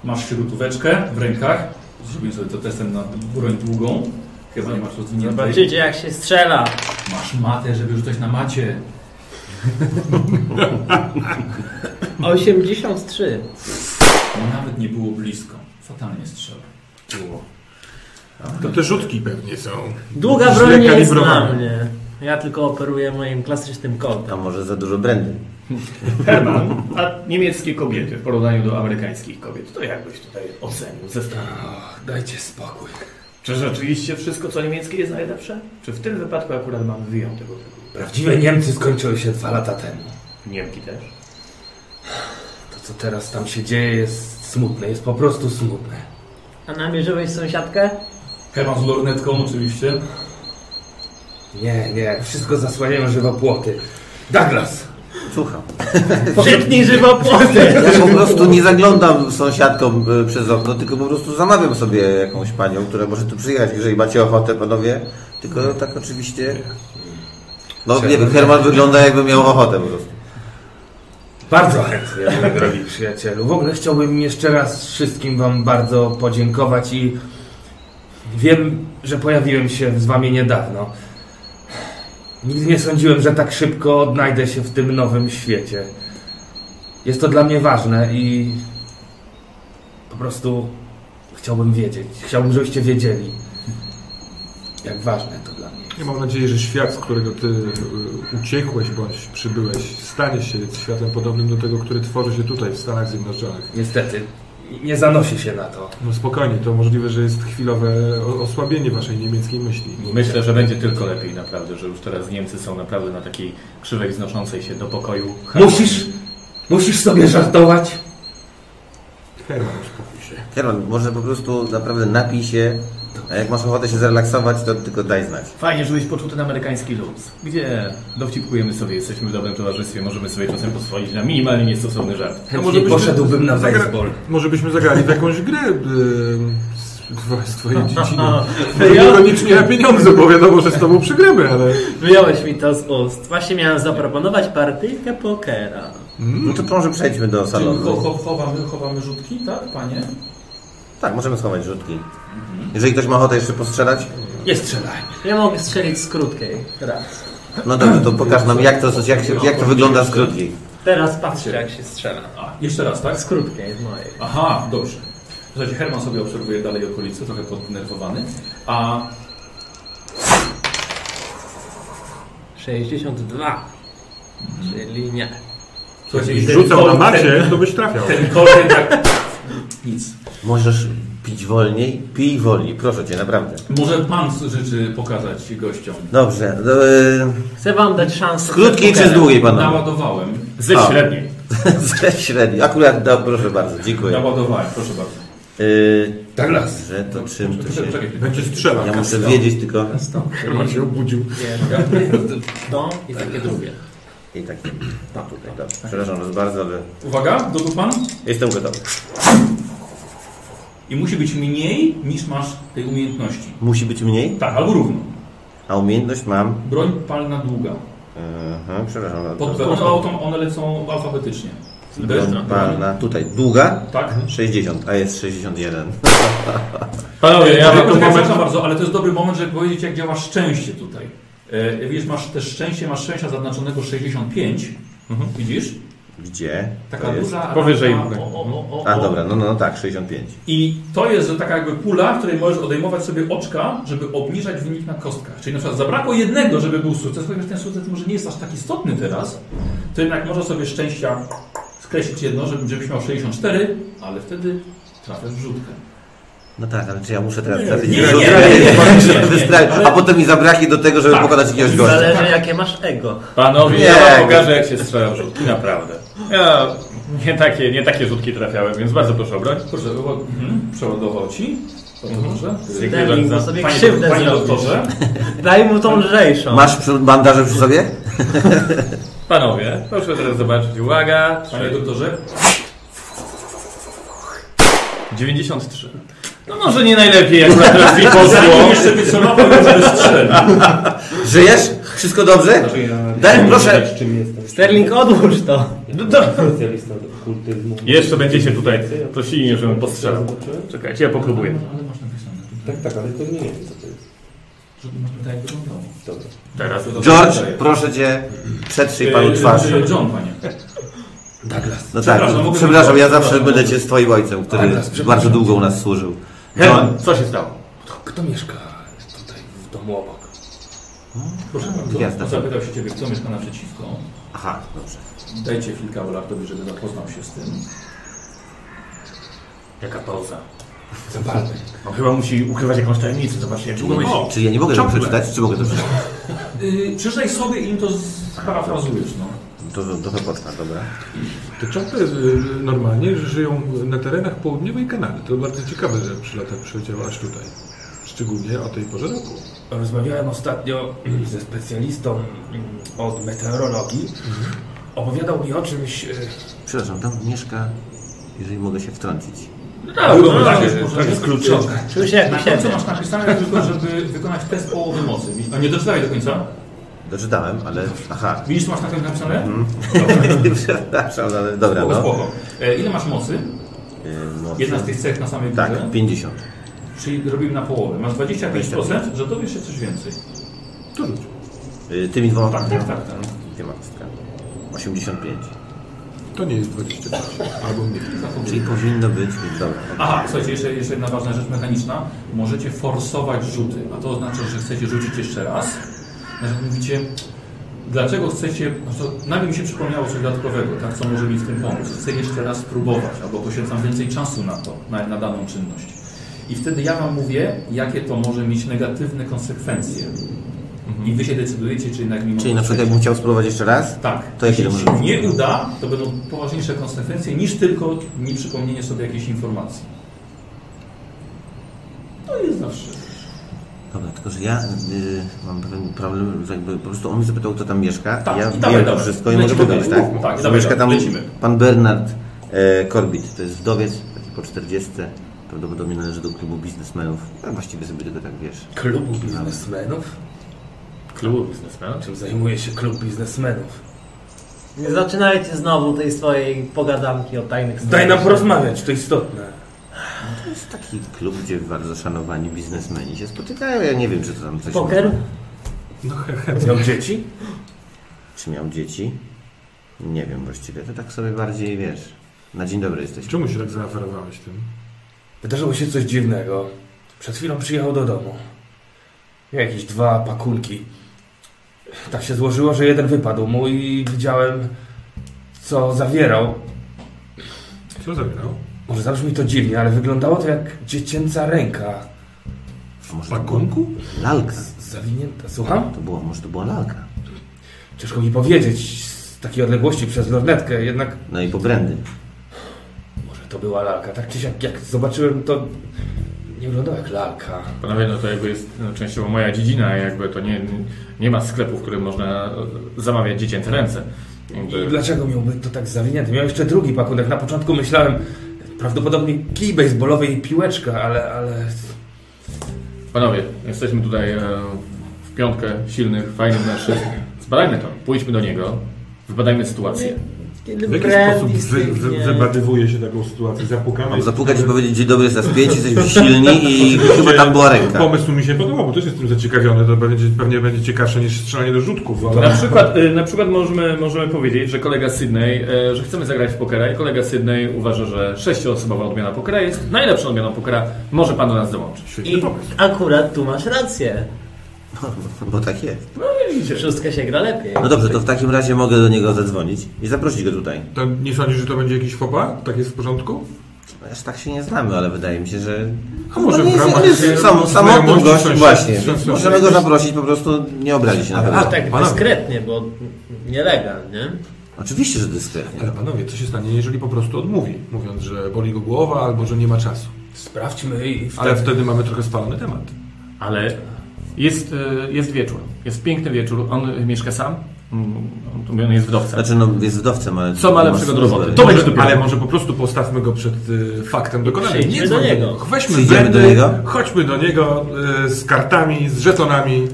Masz śrutóweczkę w rękach. Zrobimy sobie to testem na broń długą. Chyba nie masz rozwiniętej.
Zobaczycie jak się strzela.
Masz matę, żeby rzucać na macie.
83.
Nawet nie było blisko. Fatalnie strzela. Tak.
To te rzutki pewnie są.
Długa
Źle
broń nie jest
kalibrowana.
dla mnie. Ja tylko operuję moim klasycznym kątem.
A może za dużo brandy?
Herman, a niemieckie kobiety w porównaniu do amerykańskich kobiet, to jakbyś tutaj ocenił, zestawił?
Dajcie spokój.
Czy rzeczywiście wszystko, co niemieckie jest najlepsze? Czy w tym wypadku akurat mamy wyjątek od reguły?
Prawdziwe Niemcy skończyły się dwa lata temu.
Niemki też?
To, co teraz tam się dzieje, jest smutne. Jest po prostu smutne.
A namierzyłeś sąsiadkę?
Herman z lornetką oczywiście.
Nie, nie. Wszystko zasłaniają żywopłoty. Douglas!
Słucham.
Przetnij żywopłoty!
Ja po prostu nie zaglądam sąsiadkom y, przez okno, tylko po prostu zamawiam sobie jakąś panią, która może tu przyjechać, jeżeli macie ochotę, panowie. Tylko tak oczywiście... No nie wiem, Herman wygląda jakby miał ochotę po prostu.
Bardzo chętnie, mój drogi przyjacielu. W ogóle chciałbym jeszcze raz wszystkim Wam bardzo podziękować i wiem, że pojawiłem się z Wami niedawno. Nigdy nie sądziłem, że tak szybko odnajdę się w tym nowym świecie. Jest to dla mnie ważne i po prostu chciałbym wiedzieć. Chciałbym, żebyście wiedzieli, jak ważne to dla mnie.
Ja mam nadzieję, że świat, z którego ty y, uciekłeś bądź przybyłeś, stanie się światem podobnym do tego, który tworzy się tutaj w Stanach Zjednoczonych.
Niestety, nie zanosi się na to.
No spokojnie, to możliwe, że jest chwilowe o- osłabienie waszej niemieckiej myśli.
Myślę, że będzie tylko lepiej naprawdę, że już teraz Niemcy są naprawdę na takiej krzywej wznoszącej się do pokoju.
Musisz, musisz sobie żartować.
Herman, uspokój się.
Herman, może po prostu naprawdę napij się, a jak masz ochotę się zrelaksować, to tylko daj znać.
Fajnie, żebyś poczuł ten amerykański luz, gdzie dowcipkujemy sobie, jesteśmy w dobrym towarzystwie, możemy sobie czasem pozwolić na minimalnie niestosowny żart.
Chętnie
No, byśmy-
poszedłbym na
zagra-
baseball.
Może byśmy zagrali w jakąś grę y, z, z twojej dzieciny. Może niekoniecznie na pieniądze, bo wiadomo, że z tobą przegramy, ale...
Wyjąłeś mi to z ust. Właśnie miałem zaproponować partyjkę pokera.
No to może przejdźmy do
Czyli cho,
salonu.
cho, chowamy, chowamy rzutki, tak, panie?
Tak, możemy schować rzutki. Jeżeli ktoś ma ochotę jeszcze postrzelać,
Nie strzelaj.
Ja mogę strzelić z krótkiej. Teraz.
no dobrze, to pokaż nam jak to, jak, się, jak to wygląda z krótkiej.
Teraz patrzę jak się strzela.
A, jeszcze raz, tak?
Z krótkiej, z mojej.
Aha, dobrze. Słuchajcie, Herman sobie obserwuje dalej okolice, trochę poddenerwowany. A
62. Czyli nie.
słuchajcie,
I
ten
rzucał na
kolor-
macie, to byś trafiał.
Ten, ten kolor tak... [laughs] Nic.
Możesz pić wolniej? Pij wolniej, proszę Cię, naprawdę.
Może pan życzy pokazać gościom.
Dobrze, no, y,
Chcę wam dać szansę.
z krótkiej
przed
czy z
pokerem.
długiej panowie?
Naładowałem.
Ze
A.
średniej.
[laughs] Ze średniej, akurat, no, proszę bardzo, dziękuję.
Naładowałem, proszę bardzo.
Yy,
Douglas.
że to czym to się...
Czekaj,
Będzie strzelał.
Ja muszę wiedzieć tylko...
Herman się obudził.
No,
To i takie drugie.
I tak, no tutaj, dobrze. Przepraszam Was bardzo, ale
Uwaga, gotów pan?
jestem gotowy.
I musi być mniej niż masz tej umiejętności.
Musi być mniej,
Tak, albo równo.
a umiejętność mam...
Broń palna długa.
Aha, przepraszam no,
Pod
bardzo.
automatą one lecą alfabetycznie. Bez
Broń palna, tutaj długa,
Tak.
60, a jest 61.
Panowie,
ja mam
Przepraszam
moment-
bardzo, ale to jest dobry moment, żeby powiedzieć, jak działa szczęście tutaj. E, widzisz, masz też szczęście, masz szczęścia zaznaczonego 65. Widzisz?
Gdzie?
Taka
Mhm. to jest?
duża.
Powyżej.
ramka, O, o, o, o,
A
o.
dobra, no, no tak, 65.
I to jest że taka jakby pula, w której możesz odejmować sobie oczka, żeby obniżać wynik na kostkach. Czyli na przykład zabrakło jednego, żeby był sukces, chociaż ten sukces może nie jest aż tak istotny teraz, to jednak może sobie szczęścia skreślić jedno, żeby, żebyś miał 64, ale wtedy trafiasz w rzutkę.
No tak, ale czy ja muszę teraz
nie,
trafić
nie,
w rzut,
nie,
żeby-
nie, nie,
żeby
nie, Tak. nie,
sprawić-
ale-
a potem mi zabraknie do tego, żeby pokonać jakiegoś gościa.
Zależy jakie masz ego.
Panowie,
Nie.
ja wam pokażę jak się strzela w rzutki, naprawdę. Ja nie takie, nie takie rzutki trafiałem, więc bardzo proszę o broń.
Proszę, o- mhm, przeładował ci. To proszę.
Dziękuję
Daj mu
bardzo.
sobie
Panie,
krzywdę
panie
zrobisz.
doktorze,
Daj mu tą lżejszą.
Masz przy- bandaże przy sobie?
Panowie, proszę teraz zobaczyć, uwaga,
panie doktorze,
93. No może nie najlepiej, [laughs] jak na teraz mi poszło.
zanim jeszcze wycelował, żeby strzelił.
Żyjesz? Wszystko dobrze? Daj, proszę.
Wiesz, czym jestem
Sterling, odłóż to.
specjalistą od okultyzmu.
Jeszcze będziecie tutaj prosili mnie, żebym postrzelał. Czekajcie, ja popróbuję.
Ale masz napisane tutaj,
Tak, tak, ale to nie wiem, co to jest.
żeby masz tutaj jak wyglądało.
Dobra.
Teraz.
George, proszę cię, przetrzyj panu
Y,
twarz.
y, John, panie.
No tak,
Przepraszam, mogę-
przepraszam, ja zawsze będę cię z twoim ojcem, który bardzo długo u nas służył.
Herman, co się stało?
Kto mieszka tutaj w domu obok?
Proszę bardzo.
Gwiazda.
Zapytał się ciebie, kto mieszka naprzeciwko.
Aha, dobrze.
Dajcie chwilkę Olaftowi, żeby zapoznał się z tym.
Jaka pauza.
Zapalny.
On chyba musi ukrywać jakąś tajemnicę, zobaczcie, jak
No,
długo myśli.
Czy ja nie mogę tego przeczytać? Czy mogę to przeczytać?
Yy, przeczytaj sobie i im to sparafrazujesz, no.
To, to wypoczna, dobra.
Te czapy y, normalnie żyją na terenach południowej Kanady. To bardzo ciekawe, że przy latach przyleciały aż tutaj. Szczególnie o tej porze roku.
Rozmawiałem ostatnio ze specjalistą mm, od meteorologii. Opowiadał mi o czymś. e,
Przepraszam, tam mieszka, jeżeli mogę się wtrącić.
Tak,
tak,
no, tak,
jest,
tak jest kluczowe.
Czuję się jak
Na
u
końcu
siebie.
masz napisane tylko, żeby wykonać test połowy mocy. A nie doczytałeś do końca?
Doczytałem, ale... Aha. [laughs]
Widzisz, co masz na końcu napisane?
No.
Przepraszam, ale dobra,
Spoko,
no.
spoko. E, ile masz mocy?
Y, moc-
Jedna z tych cech na samej górze.
Tak, 50.
Czyli robimy na połowę. Masz 25%, że dowiesz się coś więcej.
Y, Tymi dwoma...
Tak, tak, tak. tak.
Dwiema kostkami. 85.
To nie jest 23, albo mniej.
Czyli powinno być... Dobra.
Aha, słuchajcie, jeszcze, jeszcze jedna ważna rzecz mechaniczna. Możecie forsować rzuty, a to oznacza, że chcecie rzucić jeszcze raz. Na przykład mówicie, dlaczego chcecie, no to nagle mi się przypomniało coś dodatkowego, tak, co może mi w tym pomóc. Chcę jeszcze raz spróbować, albo poświęcam więcej czasu na to, na, na daną czynność. I wtedy ja Wam mówię, jakie to może mieć negatywne konsekwencje. I Wy się decydujecie, czy jednak mimo
Czyli na przykład
chcecie.
jakbym chciał spróbować jeszcze raz?
Tak.
To jakie
Jeśli
to
ci
może być?
nie uda, to będą poważniejsze konsekwencje niż tylko nieprzypomnienie sobie jakiejś informacji. To jest zawsze.
Dobra, tylko że ja y, mam pewien problem, że jakby po prostu on mnie zapytał, kto tam mieszka,
Tak,
ja
i
wiem
dawaj, dawaj.
wszystko i mogę
Lecimy
powiedzieć,
dalej.
tak?
Mów, tak,
Że
dawaj,
mieszka tam
lecimy.
pan Bernard e, Corbett, to jest wdowiec, taki po 40, prawdopodobnie należy do klubu biznesmenów, a właściwie sobie tego tak wiesz.
Klubu biznesmenów?
Klubu biznesmena?
Czym zajmuje się klub biznesmenów?
Nie zaczynajcie znowu tej swojej pogadanki o tajnych
Daj nam
sprawach.
porozmawiać, to istotne.
To jest taki klub, gdzie bardzo szanowani biznesmeni się spotykają, ja nie wiem, czy to tam coś...
Poker?
Miał dzieci?
Czy miał dzieci? Nie wiem właściwie, to tak sobie bardziej, wiesz, na dzień dobry jesteś.
Czemu się tak zaaferowałeś tym?
Wydarzyło się coś dziwnego. Przed chwilą przyjechał do domu. Miał jakieś dwa pakunki. Tak się złożyło, że jeden wypadł mu i widziałem, co zawierał.
Co zabierał?
Może zabrzmi to dziwnie, ale wyglądało to jak dziecięca ręka.
A Może
W
to
pakunku?
była Lalka.
Zawinięta. Słucham?
To było, może to była lalka.
Ciężko mi powiedzieć z takiej odległości przez lornetkę, jednak
No i po brandy.
może to była lalka. Tak czy siak, jak zobaczyłem to, nie wyglądało jak lalka.
Panowie, no to jakby jest no, częściowo moja dziedzina, jakby to nie, nie ma sklepu, w którym można e, zamawiać dziecięce ręce.
I
Jakby,
dlaczego miałby to tak zawinięte? Miał jeszcze drugi pakunek. Na początku myślałem prawdopodobnie kij baseballowy i piłeczka, ale, ale
panowie, jesteśmy tutaj e, w piątkę silnych, fajnych mężczyzn. Zbadajmy to, pójdźmy do niego, wybadajmy sytuację.
Kiedy
W jaki sposób wy, wy, wybadywuje się taką sytuację? Zapukamy.
Mam No, zapukać i powiedzieć, dzień dobry, jesteś pięć, jesteśmy silni i
Oczywiście
chyba tam była ręka.
Pomysł mi się podobał, bo też jestem zaciekawiony. To będzie, pewnie będzie ciekawsze niż strzelanie do rzutków.
Na
Ale... [laughs]
przykład, y, na przykład możemy, możemy powiedzieć, że kolega Sydney, e, że chcemy zagrać w pokera i kolega Sydney uważa, że sześcioosobowa odmiana pokera jest najlepszą odmianą pokera. Może pan do nas dołączyć.
Świetny
I
pomysł.
akurat tu masz rację.
Bo tak jest.
Szóstka się gra lepiej.
No dobrze, to w takim razie mogę do niego zadzwonić i zaprosić go tutaj.
To nie sądzisz, że to będzie jakiś fopa? Tak jest w porządku?
Aż tak się nie znamy, ale wydaje mi się, że...
A może
No nie
w
jest-
ramach
on jest sam,
znajomości,
samotny gość,
sąsiedztwa,
właśnie.
sąsiedztwa.
Możemy go zaprosić, po prostu nie obrazi się na
A
pewno.
tak
panowie.
dyskretnie, bo nielegal, nie?
Oczywiście, że dyskretnie.
Ale panowie, co się stanie, jeżeli po prostu odmówi, mówiąc, że boli go głowa albo że nie ma czasu?
Sprawdźmy i wtedy...
Ale wtedy mamy trochę spalony temat.
Ale jest, y, jest wieczór. Jest piękny wieczór. On y, mieszka sam. Mm, on- On jest wdowcem.
Znaczy, no jest wdowcem, ale...
Co ma lepszego do roboty?
To
To
Może,
będzie dopiero.
ale może po prostu postawmy go przed y, faktem dokonanym.
Przyjdźmy do
dzwoń
niego.
Weźmy
Przyjdziemy
wędy,
do niego?
chodźmy do niego y, z kartami, z żetonami.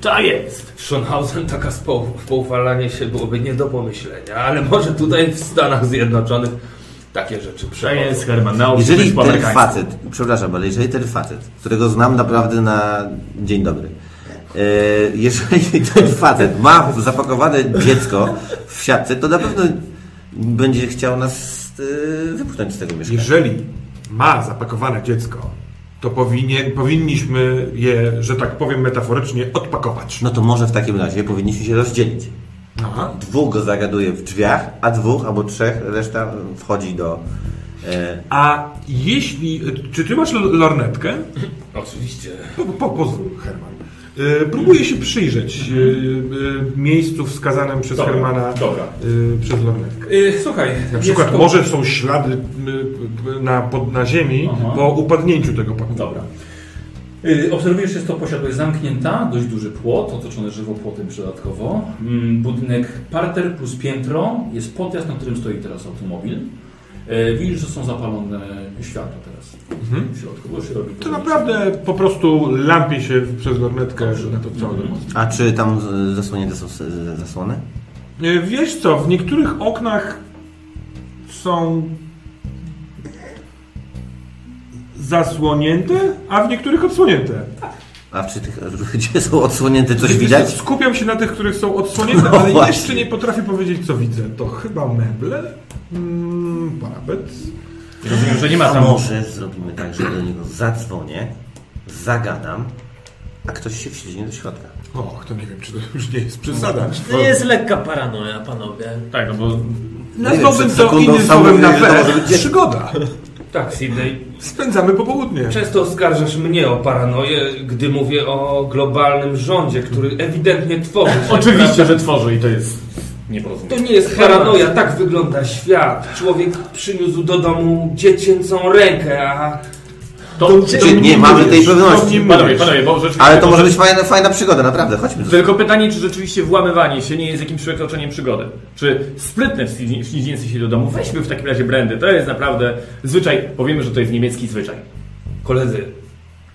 To jest!
Schonhausen taka spo- spoufalanie się byłoby nie do pomyślenia, ale może tutaj w Stanach Zjednoczonych takie rzeczy
To
przechodzą.
jest Herman. Nauczyć
Jeżeli
po
ten
amerykańsku.
facet, przepraszam, ale jeżeli ten facet, którego znam naprawdę na dzień dobry, e, jeżeli [laughs] ten facet ma zapakowane dziecko w siatce, to na pewno będzie chciał nas e, wypchnąć z tego mieszkania.
Jeżeli ma zapakowane dziecko, to powinien, powinniśmy je, że tak powiem metaforycznie, odpakować.
No to może w takim razie powinniśmy się rozdzielić.
Aha.
Dwóch go zagaduje w drzwiach, a dwóch albo trzech reszta wchodzi do... E,
A jeśli... Czy ty masz l-
[laughs]
lornetkę?
Oczywiście.
Po, po, pozwól, Herman. Y, próbuję się przyjrzeć y, y, miejscu wskazanym przez
Dobra,
Hermana
dobra.
y, przez lornetkę.
Y, słuchaj,
Na
jest
przykład
to-
może są ślady y, y, na, pod, na ziemi
Aha.
po upadnięciu tego paku.
Dobra. Y, Obserwujesz, jest to posiadłość zamknięta, dość duży płot, otoczony żywopłotem dodatkowo. Mm, Budynek parter plus piętro, jest podjazd, na którym stoi teraz automobil. Y, Widzisz, że są zapalone światła teraz w środku, bo się robi
Mhm. To naprawdę po prostu lampie się przez lornetkę
no
na to całe domostwo.
a czy tam e, zasłonięte są e, zasłony?
Y, Wiesz co, w niektórych oknach są zasłonięte, a w niektórych odsłonięte.
A przy tych, [laughs] gdzie są odsłonięte, coś
Wiesz
widać?
co, Skupiam się na tych, których są odsłonięte,
No
ale
właśnie.
jeszcze nie potrafię powiedzieć, co widzę. To chyba meble, mm, parapet.
Rozumiem, że nie ma
A
tam...
może zrobimy tak, że do niego zadzwonię, zagadam, a ktoś się wsiedzi do środka.
Och, to nie wiem, czy to już nie jest przesada.
To jest lekka paranoja, panowie.
Tak, no bo
Nie wiem,
Nazwałbym
przed
to
sekundą sam
innym słowem na
mówiłeś, że to
P.
może być-
Przygoda.
Tak, Sydney,
Spędzamy popołudnie.
Często oskarżasz mnie o paranoję, gdy mówię o globalnym rządzie, który ewidentnie tworzy. się,
oczywiście,
prawda?
że tworzy i to jest nieporozumienie.
To nie jest paranoja, tak wygląda świat. Człowiek przyniósł do domu dziecięcą rękę, a
To,
Czy Znaczy, nie mamy tej pewności?
Panowie, panowie, bo rzeczywiście...
Ale to może być fajna, fajna przygoda, naprawdę, chodźmy. Do...
Tylko pytanie, czy rzeczywiście włamywanie się nie jest jakimś przekroczeniem przygody? Czy sprytne wślizgnie- wślizgnięcie się do domu? Weźmy w takim razie brandy. To jest naprawdę zwyczaj. Powiemy, że to jest niemiecki zwyczaj.
koledzy,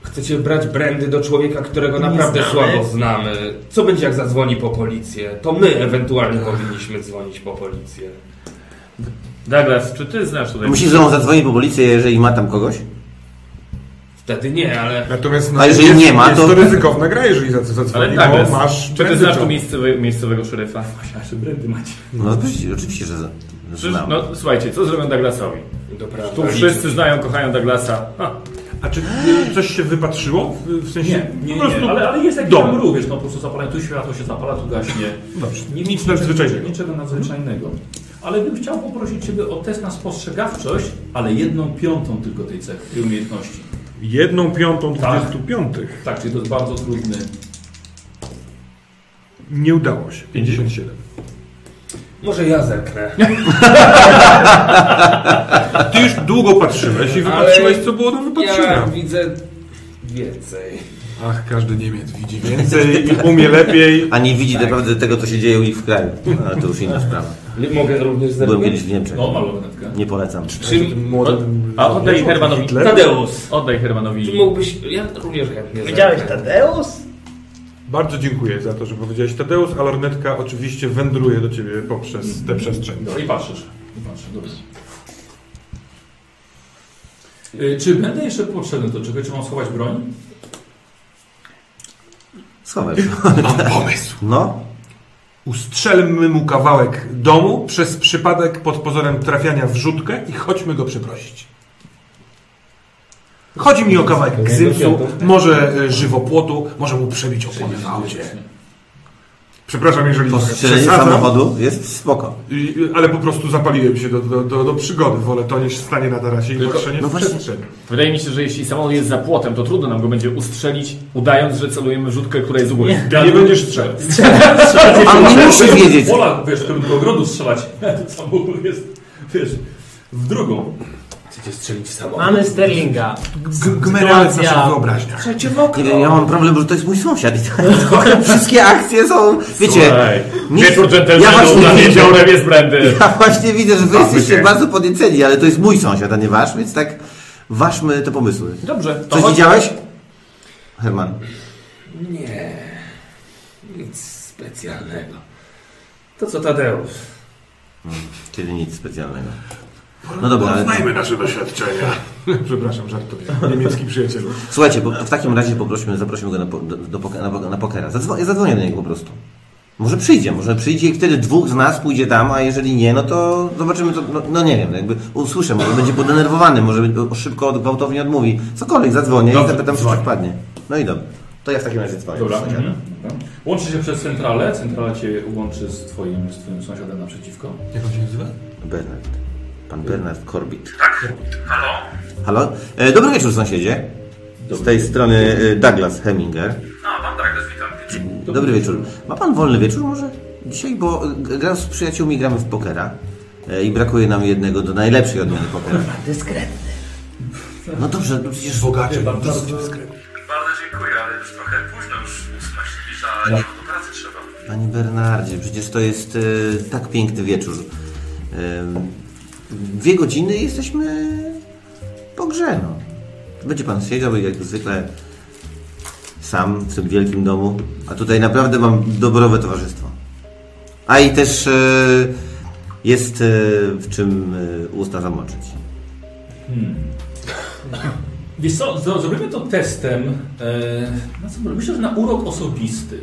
chcecie brać brandy do człowieka, którego naprawdę
znamy.
słabo znamy. Co będzie, jak zadzwoni po policję? To my ewentualnie powinniśmy dzwonić po policję.
Douglas, czy ty znasz tutaj...
Musisz znowu zadzwonić po policję, jeżeli ma tam kogoś?
Wtedy nie, ale
Natomiast
A jeżeli nie ma,
jest
to-
to ryzykowna gra, jeżeli za-
Ale
zadzwoni,
Douglas,
bo masz
czy ty
prędzej
znasz tu
czas.
miejscowe, miejscowego szeryfa?
Aż brandy macie.
No oczywiście- oczywiście, że z-
Przecież,
znam.
no słuchajcie, co zrobią Douglasowi?
doprawdy.
Tu wszyscy znają, kochają Douglasa. Ha,
A czy y, coś się wypatrzyło? W- W sensie
Nie, nie,
po prostu
nie, ale, ale jest jakiś
dom.
tam ruch, wiesz, no po prostu zapala, tu światło się zapala, tu gaśnie.
Dobrze.
Nie-
Nic nadzwyczajnego.
Niczego nadzwyczajnego. Ale bym chciał poprosić Ciebie o test na spostrzegawczość, ale jedną piątą tylko tej cechy, tej umiejętności.
Jedną piątą
Tak.
25.
Tak, czyli to jest bardzo trudny.
Nie udało się. 57.
Może ja zerknę.
Ty już długo patrzyłeś i wypatrzyłeś, co było do wypatrzenia.
Ja widzę więcej.
Ach, każdy Niemiec widzi więcej i umie lepiej.
A nie widzi tak naprawdę tego, co się dzieje u nich w kraju. No, ale to już inna sprawa.
Nie Mogę również
Byłem
zerknąć?
kiedyś w Niemczech.
No, malowetkę.
Nie polecam.
Czym
Młodym
A oddaj Hermanowi.
Hitler?
Tadeusz,
Oddaj
czy
Hermanowi.
mógłbyś... Ja również chętnie
Widziałeś
zerknę.
Tadeus?
Bardzo dziękuję za to, że powiedziałeś Tadeusz, a lornetka oczywiście wędruje do ciebie poprzez tę przestrzeń.
[laughs] Dobra, No i patrzysz. I patrzysz, dobra. Y, Czy będę jeszcze potrzebny do czego? Czy mam schować broń?
Schowaj.
Mam pomysł.
No,
Ustrzelmy mu kawałek domu przez przypadek pod pozorem trafiania w rzutkę i chodźmy go przeprosić. Chodzi mi o kawałek gzymsu, może e, żywopłotu, może mu przebić opony w aucie. Przepraszam, jeżeli
po strzeleniu
przesadzam.
samochodu jest spoko.
I- Ale po prostu zapaliłem się do, do, do, do przygody. Wolę to niż stanie na tarasie i
Tylko-
patrzenie
no
w
właśnie.
przestrzeń.
Wydaje mi się, że jeśli samolot jest za płotem, to trudno nam go będzie ustrzelić, udając, że celujemy rzutkę, która jest u góry.
Ty nie będziesz strzelał.
A nie musisz wiedzieć.
Pola, wiesz, którym do ogrodu strzelać. [laughs] Samochód jest, wiesz, w drugą.
Chcecie strzelić
Tak,
samo.
Mamy Sterlinga.
Gmeralec w naszych wyobraźniach.
Nie wiem, ja mam problem, że to jest mój sąsiad i [laughs] trochę wszystkie akcje są, wiecie,
Słuchaj,
nie-
wieczór
ja właśnie
dżentelmenów na
nie
niedziałem jest brandy.
[laughs]
Tak,
ja właśnie widzę, że wy jesteście
wiecie.
bardzo podnieceni, ale to jest mój sąsiad, a nie wasz, więc tak ważmy te pomysły.
Dobrze, to
Coś
chodź.
widziałeś? Herman.
Nie. Nic specjalnego. To co Tadeusz?
Czyli nic specjalnego. No dobra, ale
Znajmy nasze doświadczenia. [laughs] Przepraszam, żartuję. Niemiecki przyjacielu.
słuchajcie, po, w takim razie poprośmy, zaprosimy go na, po, do, do, poke- na, po- na pokera. Zadzwo, ja zadzwonię do niego po prostu. Może przyjdzie, może przyjdzie i wtedy dwóch z nas pójdzie tam, a jeżeli nie, no to zobaczymy to, no, no nie wiem, jakby usłyszę, może będzie podenerwowany, może szybko, gwałtownie odmówi. Cokolwiek, zadzwonię i
Dobrze,
zapytam, czy coś
dzwoń.
wpadnie. No i dobra. To ja w takim razie dzwonię.
Dobra.
do sąsiada.
Mhm. Dobra. Łączy się przez centralę. Centrala cię łączy z twoim, z twoim sąsiadem naprzeciwko.
Jak on się nazywa?
Bernard. Pan Bernard Corbett. Tak. Halo. Halo. E, dobry wieczór, sąsiedzie. Z tej strony e, Douglas Heminger. No, pan Douglas, witam. Dobry wieczór. Ma pan wolny wieczór może? Dzisiaj, bo e, gram z przyjaciółmi, gramy w pokera. E, I brakuje nam jednego do najlepszej odmiany pokera. Dyskretny. No dobrze, no przecież...
Bogaczy.
bardzo-
Bardzo dziękuję, ale już trochę późno już ósma śliza, a nie do pracy trzeba.
Panie Bernardzie, przecież to jest e, tak piękny wieczór. Em, dwie godziny i jesteśmy po grze. No. Będzie pan siedział jak zwykle sam w tym wielkim domu, a tutaj naprawdę mam dobrowe towarzystwo. A i też e, jest e, w czym e, usta zamoczyć.
Wiesz co, zro- zrobimy to testem. E, na co, myślę, że na urok osobisty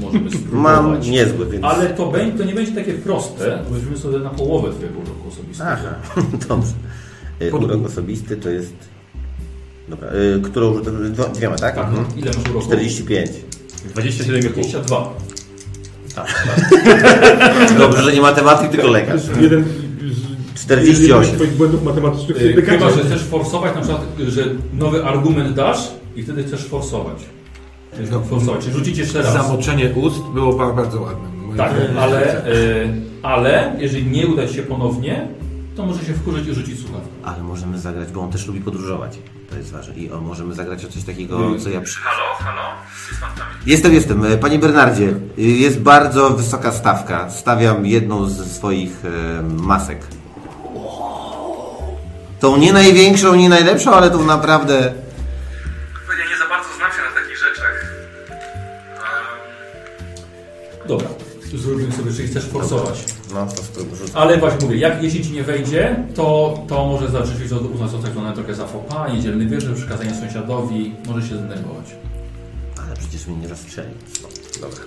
możemy spróbować.
Mam niezły, więc...
Ale to, będzie, to nie będzie takie proste. bo Tak. Weźmiemy sobie na połowę twojego uroku osobistego.
Aha, [laughs] dobrze. E, Urok osobisty to jest... Dobra, e, którą... dwo- Dwiema, tak?
Tak,
Mhm.
ile masz uroku?
45.
27,5.
22.
Dobrze, że nie matematyk, tylko lekarz.
Jeden z
48.
jeden z twoich błędów matematycznych
Y,
jest
Chyba, że
lekarza.
chcesz forsować, na przykład, y, że nowy argument dasz i wtedy chcesz forsować. No, forsować, czyli rzucić jeszcze raz.
Zamoczenie ust było ba- bardzo ładne. Moje
Tak,
zdanie.
ale, y, ale jeżeli nie uda ci się ponownie, to może się wkurzyć i rzucić słuchawkę.
Ale możemy zagrać, bo on też lubi podróżować. To jest ważne. I o, możemy zagrać o coś takiego, co ja... przy-
Halo, halo? Jest pan tam?
Jestem, jestem. E, Panie Bernardzie, y, jest bardzo wysoka stawka. Stawiam jedną z swoich e, masek. Tą nie największą, nie najlepszą, ale tą naprawdę...
Pewnie nie za bardzo znam się na takich rzeczach.
Dobra, zrobimy sobie, jeżeli chcesz forsować.
No, to spróbuj rzucę.
Ale właśnie mówię, jak, jeśli ci nie wejdzie, to, to może zacząć od uznać to tak zwane trochę za fopa, niedzielny wierzy, przekazanie sąsiadowi, może się zdenerwować.
Ale przecież mnie nie rozstrzeli. Dobra.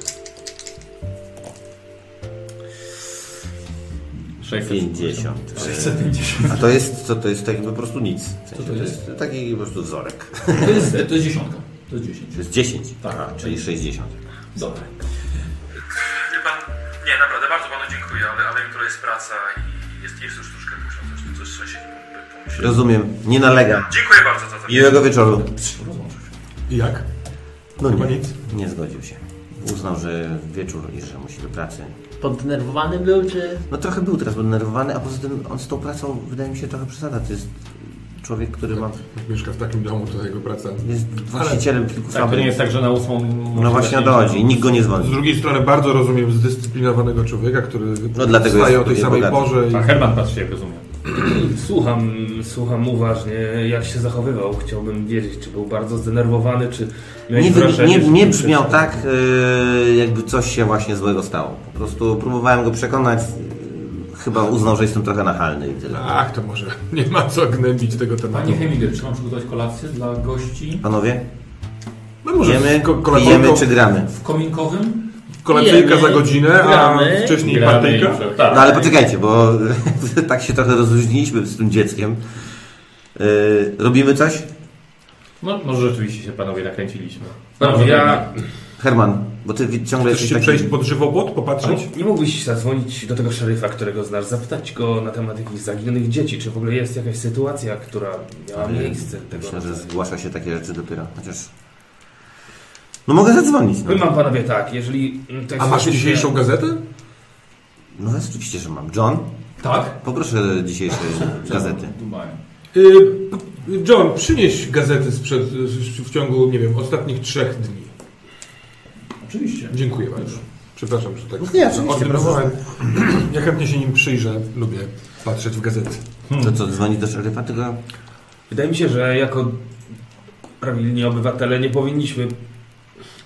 650.
50.
650.
A to jest, co to jest tak po prostu nic. W sensie,
to
to
jest?
jest taki po prostu wzorek.
To jest, to jest dziesiątka. To jest dziesięć.
To jest 10.
Tak.
Aha, czyli 60.
Dobra.
Wie pan, nie, naprawdę bardzo panu dziękuję, ale, ale jutro jest praca i jest, jest już troszkę późno, zresztą coś trzeba się pomyśleć.
Rozumiem, nie nalegam.
Dziękuję bardzo za to.
Miłego wieczoru.
I jak?
No
Chyba
nie,
nic.
nie zgodził się. Uznał, że wieczór i że musi do pracy.
Poddenerwowany był, czy...
No trochę był teraz poddenerwowany, a poza tym on z tą pracą wydaje mi się trochę przesada. To jest człowiek, który ma,
Jak Mieszka w takim domu, to jego praca.
jest właścicielem kilku
Tak, to nie
fabryk.
jest tak, że na ósmą...
No właśnie o to chodzi, nikt go nie
Z
dzwoni.
drugiej strony bardzo rozumiem zdyscyplinowanego człowieka, który
No, dlatego
wstaje
jest
o tej
nie
samej
bogaty.
porze.
A
I...
Herman patrzy, jak rozumiem.
[clears throat] Słucham, słucham uważnie, jak się zachowywał. Chciałbym wiedzieć, czy był bardzo zdenerwowany, czy miałeś
Nie, wy-
wrażenie,
nie,
że-
nie brzmiał tak, e, jakby coś się właśnie złego stało. Po prostu próbowałem go przekonać. e, Chyba uznał, że jestem trochę nachalny i tyle.
Ach, to może [laughs] nie ma co gnębić tego tematu.
Panie Heminger, czy mam przygotować kolację dla gości
Panowie,
No może
jemy,
ko- kolacyjką-
pijemy czy gramy?
w kominkowym?
Kolacyjka
Jemy,
za godzinę, a
gramy.
wcześniej
Gramy
partyjka.
i-
No
Tak.
ale poczekajcie, bo [laughs] tak się trochę rozluźniliśmy z tym dzieckiem. E, Robimy coś?
No, może rzeczywiście się panowie nakręciliśmy.
No,
Dobrze, ja...
Herman, bo ty wi- ciągle
Chcesz
jesteś
się
taki...
przejść pod żywobłot, popatrzeć?
Nie mógłbyś zadzwonić do tego szeryfa, którego znasz, zapytać go na temat jakichś zaginionych dzieci, czy w ogóle jest jakaś sytuacja, która miała
Ale
miejsce tego
Myślę, że
rodzaju.
zgłasza się takie rzeczy dopiero. Chociaż... No mogę zadzwonić. No,
Powiem wam panowie tak, jeżeli... mm, to jest
A masz
faktycznie-
dzisiejszą gazetę?
no oczywiście, że mam. John,
Tak?
poproszę dzisiejsze
[laughs]
gazety.
Tu mają.
Y, John, przynieś gazety sprzed, w- w ciągu, nie wiem, ostatnich trzech dni.
Oczywiście.
Dziękuję bardzo. Przepraszam, że tak.
Nie, oczywiście,
odrywałem. Ja chętnie się nim przyjrzę. Lubię patrzeć w gazety.
To co, dzwoni do szeryfa? Tylko...
Wydaje mi się, że jako prawilni obywatele nie powinniśmy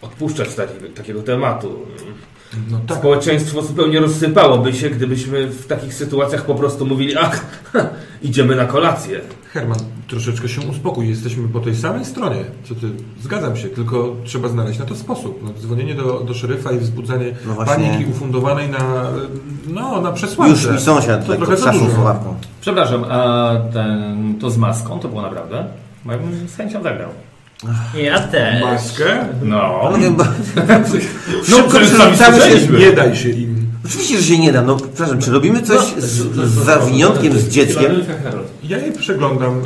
odpuszczać takiego, takiego tematu.
No tak.
Społeczeństwo zupełnie rozsypałoby się, gdybyśmy w takich sytuacjach po prostu mówili, ach, ha, idziemy na kolację.
Herman, troszeczkę się uspokój. Jesteśmy po tej samej stronie, co ty. Zgadzam się, tylko trzeba znaleźć na to sposób. No, dzwonienie do, do szeryfa i wzbudzanie
No właśnie.
paniki ufundowanej na, no, na przesłance.
Już mi sąsiad
To
tak
trochę za
trzasnął
dużo.
sławką.
Przepraszam, a ten, to z maską to było naprawdę? Bo ja bym z chęcią zagrał.
Ja też.
Maskę?
No.
No, nie,
[laughs]
bo...
No,
Szybko przerzucamy się...
nie daj się im.
Oczywiście, że się nie da. No, przepraszam, czy robimy
No,
coś z, z zawiniątkiem z dzieckiem?
Ja je przeglądam y,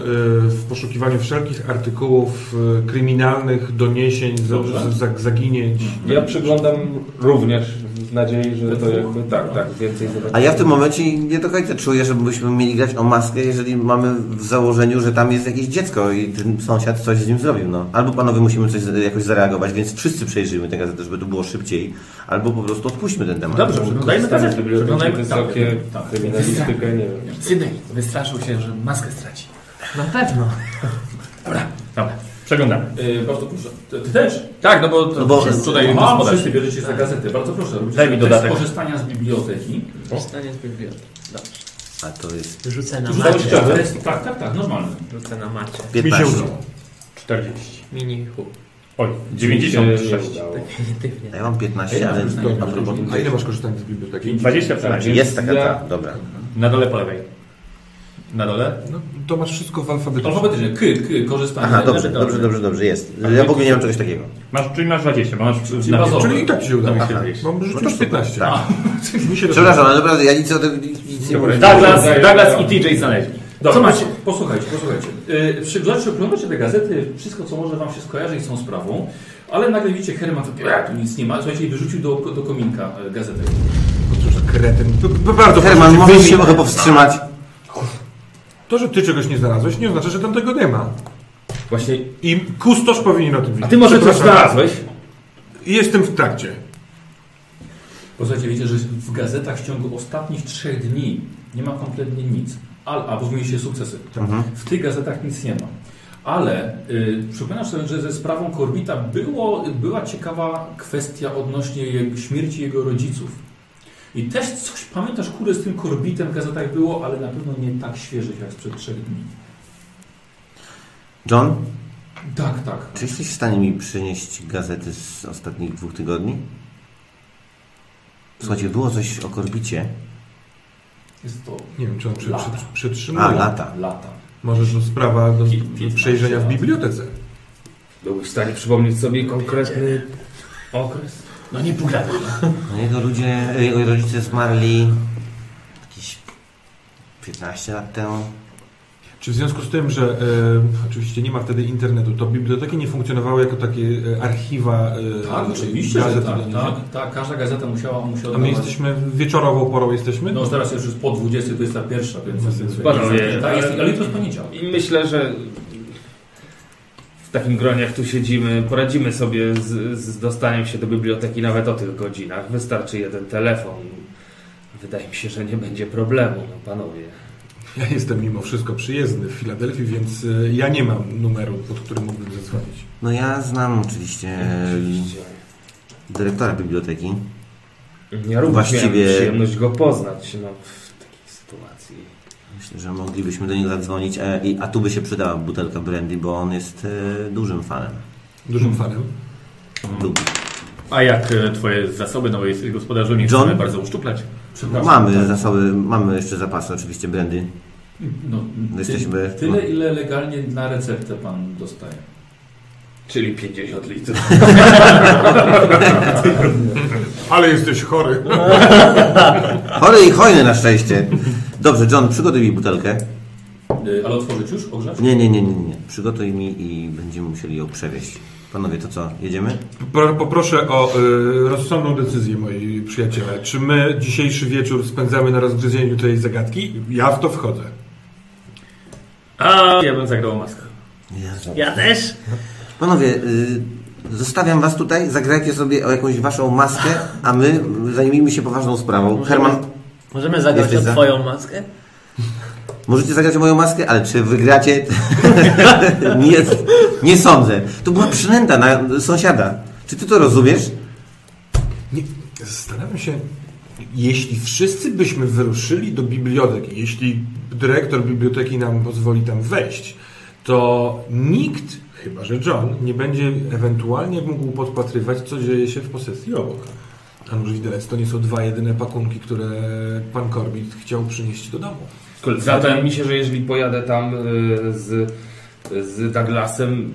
w poszukiwaniu wszelkich artykułów y, kryminalnych, doniesień, za,
Dobrze.
za, zaginięć.
Ja przeglądam również w nadziei, że to jakby tak, tak, więcej
no.
zobaczymy.
A ja w tym momencie nie do końca czuję, żebyśmy mieli grać o maskę, jeżeli mamy w założeniu, że tam jest jakieś dziecko i ten sąsiad coś z nim zrobił. No. Albo panowie musimy coś jakoś zareagować, więc wszyscy przejrzyjmy tę gazetę, żeby to było szybciej, albo po prostu odpuśćmy ten temat.
Dobrze, przeglądajmy gazety. Przeglądajmy
wysokie
tak, tak.
kryminalistykę, nie wiem.
Sydney wystraszył się, że maskę straci. Na pewno.
Dobra, przeglądamy.
E, bardzo proszę. Ty, ty też?
Tak, no bo, to,
No bo-
tutaj
Mam, Tak.
gospodarz.
wszyscy bierzecie za gazetę. Bardzo proszę. robicie
Daj mi
test
dodatek.
korzystania z biblioteki.
Stanie z biblioteki. Dobrze.
A to jest
Rzucę na
Rzucałeś
macie.
tak, test- tak, tak, tak, normalny.
Rzucę na macie.
Mi się
15.
udało.
40.
Mini hu.
Oj, 96.
A
Definitywnie.
ja mam 15, ale a propos
A
tutaj...
ile masz korzystanie z biblioteki?
20 przynajmniej.
Jest taka
Tak, Ja-
ta, dobra.
Na dole po lewej. Na dole?
No, to masz wszystko w alfabecie.
Alfabetycznie. K, k, korzystanie.
Aha, dobrze, dobrze, dobrze, dobrze, jest. Ja w ogóle nie mam czegoś takiego.
Masz, czyli masz 20, bo masz
Czyli
na
bazowy.
Czyli i tak ci się udało.
Aha.
Mam
No
rzucić
to
15.
tak.
Mi się
Przepraszam, ale naprawdę ja nic o tym nic nie mówię.
Douglas, Douglas i TJ znaleźli.
Co macie? Posłuchajcie, posłuchajcie. Yy, Przyglądajcie, oglądacie te gazety, wszystko co może wam się skojarzyć z tą sprawą, ale nagle widzicie Herman, to tu nic nie ma, słuchajcie, i wyrzucił do, do kominka e, gazetę.
Przepraszam, kretyn. B- b- Bardzo
Herman,
proszę cię,
możesz
wyjmij-
się trochę powstrzymać.
To, że ty czegoś nie znalazłeś, nie oznacza, że tam tego nie ma.
Właśnie,
I kustosz powinien o tym wiedzieć.
a ty może coś
Przepraszam.
znalazłeś?
Jestem w trakcie.
Posłuchajcie, wiecie, że w gazetach w ciągu ostatnich trzech dni nie ma kompletnie nic, Al, a bo zmieniliście sukcesy.
Mhm.
W tych gazetach nic nie ma. Ale yy, przypominam sobie, że ze sprawą Korbita było, była ciekawa kwestia odnośnie jego, śmierci jego rodziców. I też coś, pamiętasz, kurde, z tym Korbitem w gazetach było, ale na pewno nie tak świeżych jak sprzed trzech dni.
John,
Tak, tak.
czy jesteś w stanie mi przynieść gazety z ostatnich dwóch tygodni? Słuchajcie, było coś o Korbicie.
Jest to
Nie wiem, czy on przy, przy, przytrzymuje.
A, lata.
lata.
Może to sprawa do
Pi- piętnaście
przejrzenia w
lat.
bibliotece.
Byłbyś w stanie przypomnieć sobie konkretny okres?
No nie pogadam.
No jego ludzie, jego rodzice zmarli jakieś 15 lat temu.
Czy w związku z tym, że e, oczywiście nie ma wtedy internetu, to biblioteki nie funkcjonowały jako takie e, archiwa e,
Tak, oczywiście, że
gazet i
tak,
innych rzeczy?
tak, tak. Każda gazeta musiała, musiała
A my
dawać-
jesteśmy, wieczorową porą jesteśmy?
No już teraz jest już po 20, to jest ta pierwsza, więc...
Panowie,
tak, jest,
ale-
ale jutro jest poniedziałek.
I myślę, że w takim gronie, jak tu siedzimy, poradzimy sobie z, z dostaniem się do biblioteki nawet o tych godzinach. Wystarczy jeden telefon. Wydaje mi się, że nie będzie problemu, no panowie.
Ja jestem mimo wszystko przyjezdny w Filadelfii, więc y, ja nie mam numeru, pod którym mógłbym zadzwonić.
No ja znam oczywiście e, dyrektora biblioteki.
Ja również
No Właściwie-
miałem przyjemność go poznać no, w takiej sytuacji.
Myślę, że moglibyśmy do niego zadzwonić, e, i- a tu by się przydała butelka brandy, bo on jest e, dużym fanem.
Dużym fanem.
Lubi.
A jak e, twoje zasoby, no bo jesteś gospodarzem, nie
John?
chcemy bardzo uszczuplać.
Przepraszam. tak.
Mamy zasoby, mamy jeszcze zapasy oczywiście brandy.
No, ty,
Jesteśmy-
Tyle, ile legalnie na receptę pan dostaje.
Czyli 50 litrów.
Ale jesteś [laughs] chory.
Chory i hojny na szczęście. Dobrze, John, przygotuj mi
Y,
butelkę.
Ale otworzyć już? Ogrzać?
Nie, nie, nie, nie, nie. Przygotuj mi i będziemy musieli ją przewieźć. Panowie, to co, jedziemy?
Pro- Poproszę o y, rozsądną decyzję, moi przyjaciele. Czy my dzisiejszy wieczór spędzamy na rozgryzieniu tej zagadki? Ja w to wchodzę.
A ja bym zagrał maskę.
Ja też?
Panowie, y, zostawiam was tutaj, zagrajcie sobie o jakąś waszą maskę, a my zajmijmy się poważną sprawą. Herman,
Możemy zagrać
Jesteś
o
za?
twoją maskę?
możecie zagrać o moją maskę, ale czy wygracie? [laughs] nie, nie sądzę. To była przynęta na sąsiada. Czy ty to rozumiesz?
Nie, zastanawiam się, jeśli wszyscy byśmy wyruszyli do biblioteki, jeśli dyrektor biblioteki nam pozwoli tam wejść, to nikt, chyba że John, nie będzie ewentualnie mógł podpatrywać, co dzieje się w posesji obok. A może widelec, to nie są dwa jedyne pakunki, które pan Corbett chciał przynieść do domu.
Zatem mi się, że jeżeli pojadę tam y, z, z Douglasem,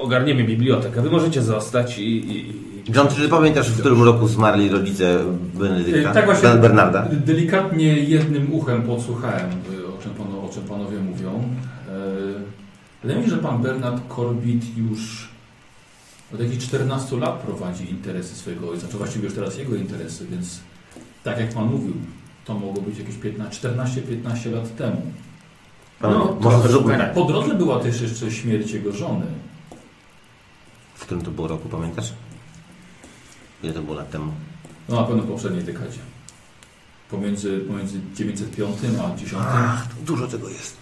ogarniemy bibliotekę. Wy możecie zostać i... i, i...
John, czy pamiętasz, w którym roku zmarli rodzice Benedykta?
Y, Tak właśnie.
Ben- Bernarda?
d- Delikatnie jednym uchem podsłuchałem, y, o czym, panu, o czym panowie mówią. Y, Wydaje mi się, że pan Bernard Corbett już od jakichś 14 lat prowadzi interesy swojego ojca, czy właściwie już teraz jego interesy, więc tak jak pan mówił, to mogło być jakieś 14-15 lat temu.
Panowie,
No,
może zróbmy
Tak, po drodze była też jeszcze śmierć jego żony.
W którym to było roku, pamiętasz? Ile to było lat temu?
No na pewno w poprzedniej dekadzie. Pomiędzy, pomiędzy 905 a 10.
Dużo tego jest.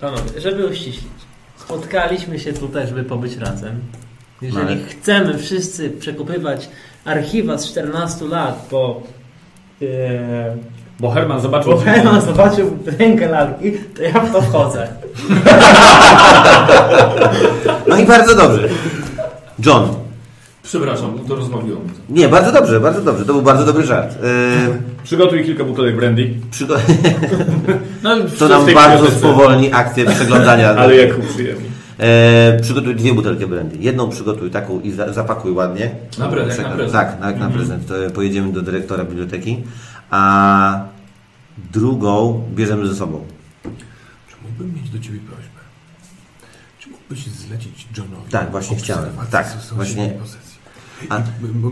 Panowie, żeby uściślić. Spotkaliśmy się tutaj, żeby pobyć razem. Jeżeli
Ale-
chcemy wszyscy przekopywać archiwa z 14 lat, bo... e,
Bo Herman zobaczył...
Bo Herman zobaczył rękę lalki, to ja w to wchodzę.
No i bardzo dobrze. John.
Przepraszam, to rozmawiło mi to.
Nie, bardzo dobrze, bardzo dobrze. To był bardzo dobry żart. Yy,
Przygotuj kilka butelek brandy.
przygo- [laughs]
No,
to nam bardzo spowolni akcję przeglądania.
Ale jak uprzyjemnie.
E, przygotuj dwie butelki brandy. Jedną przygotuj taką i za, zapakuj ładnie.
Na prezent,
Przekro-
na prezent. Mhm.
Tak, na, na prezent. To pojedziemy do dyrektora biblioteki. A drugą bierzemy ze sobą.
Czy mógłbym mieć do ciebie prośbę? Czy mógłbyś zlecić Johnowi?
Tak, właśnie chciałem.
obserwację
Tak,
sąsiedniej
właśnie.
Pozycji?
A-
A...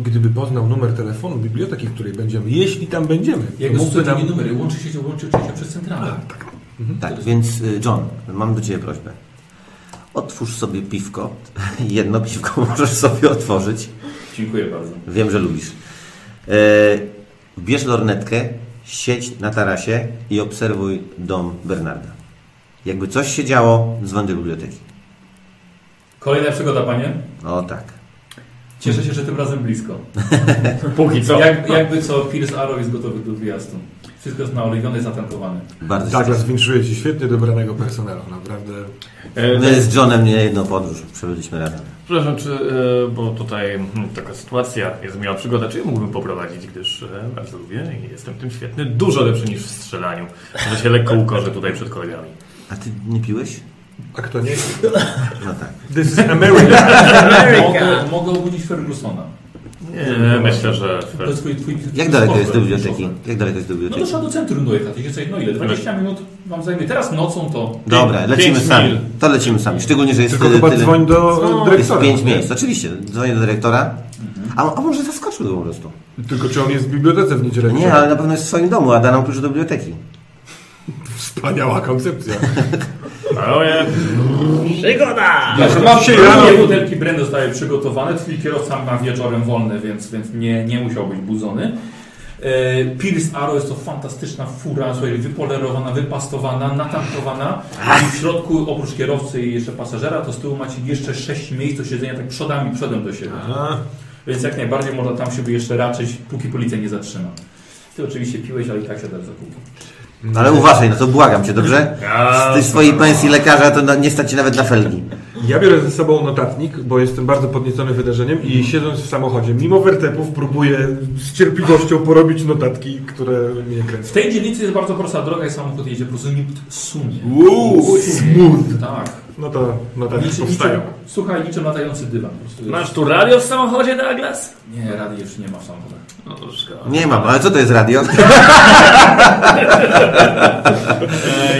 Gdyby poznał numer telefonu biblioteki, w której będziemy, jeśli tam będziemy,
Jego
mógłby nam...
codziennie numery łączy się, łączy się przez centralę.
Tak, więc y, John, mam do Ciebie prośbę. Otwórz sobie piwko. [laughs] Jedno piwko [laughs] możesz sobie otworzyć.
Dziękuję bardzo.
Wiem, że lubisz. E, bierz lornetkę, siedź na tarasie i obserwuj dom Bernarda. Jakby coś się działo, dzwoń do biblioteki.
Kolejna przygoda, panie.
O tak.
Cieszę się, że tym razem blisko.
[laughs] Póki co.
Jak, jakby co, Pierce Arrow jest gotowy do wyjazdu. Wszystko jest naoliwione i zatankowane.
Bardzo się
Douglas winszuje ci świetnie dobranego personelu, naprawdę.
E,
My z Johnem nie jedną podróż przebyliśmy razem.
Przepraszam, czy, e, bo tutaj hmm, taka sytuacja jest miła przygoda, czy ja mógłbym poprowadzić, gdyż e, bardzo lubię i jestem w tym świetny, dużo lepszy niż w strzelaniu. Może się lekko ukorzę tutaj przed kolegami.
A ty nie piłeś?
A kto nie?
No tak.
This
[laughs]
is America.
Mogę, mogę obudzić Fergusona.
E, myślę, że
To jest twój, twój
Jak daleko
twój
jest do
szofer.
biblioteki? Jak daleko jest do
No to
biblioteki?
trzeba do centrum dojechać. Jeszcze no ile? 20 minut wam zajmie. Teraz nocą to...
Dobra,
pięć
lecimy
mil.
sami. To lecimy sami. Szczególnie, że jest
Tylko
tyle-
chyba
tyle...
dzwoń do e,
Jest
dyrektora.
pięć miejsc, oczywiście. Dzwonię do dyrektora. A, a może zaskoczył go po prostu.
Tylko czy on jest w bibliotece w niedzielę?
Nie, ale na pewno jest w swoim domu, a da nam klucz do biblioteki.
Wspaniała
[laughs]
koncepcja.
Ale
Przygoda!
Ja
mam
mam się
się rano-
butelki Bren zostały przygotowane, twój kierowca ma wieczorem wolny, więc, więc nie, nie musiał być budzony. E, Pierce Arrow jest to fantastyczna fura, słuchaj, wypolerowana, wypastowana, natankowana i w środku oprócz kierowcy i jeszcze pasażera, to z tyłu macie jeszcze sześć miejsc do siedzenia tak przodami, przodem do siebie. Więc jak najbardziej można tam się by jeszcze raczyć, póki policja nie zatrzyma. Ty oczywiście piłeś, ale i tak siadasz za kółko.
Ale uważaj, no to błagam cię, dobrze? Z tej swojej pensji lekarza to na, nie stać ci nawet na felgi.
Ja biorę ze sobą notatnik, bo jestem bardzo podniecony wydarzeniem i siedząc w samochodzie, mimo wertepów, próbuję z cierpliwością porobić notatki, które mnie
W
kręcą.
tej dzielnicy jest bardzo prosta droga, jak samochód jedzie, po prostu nikt sunie.
Uuu, smooth.
Tak.
No to notatki
Niczym, niczym,
powstają.
słuchaj, niczym latający dywan. Po prostu jest-
Masz tu radio w samochodzie, Douglas?
Nie, rady już nie ma w samochodach.
No to szkoda.
Nie mam, ale co to jest radio?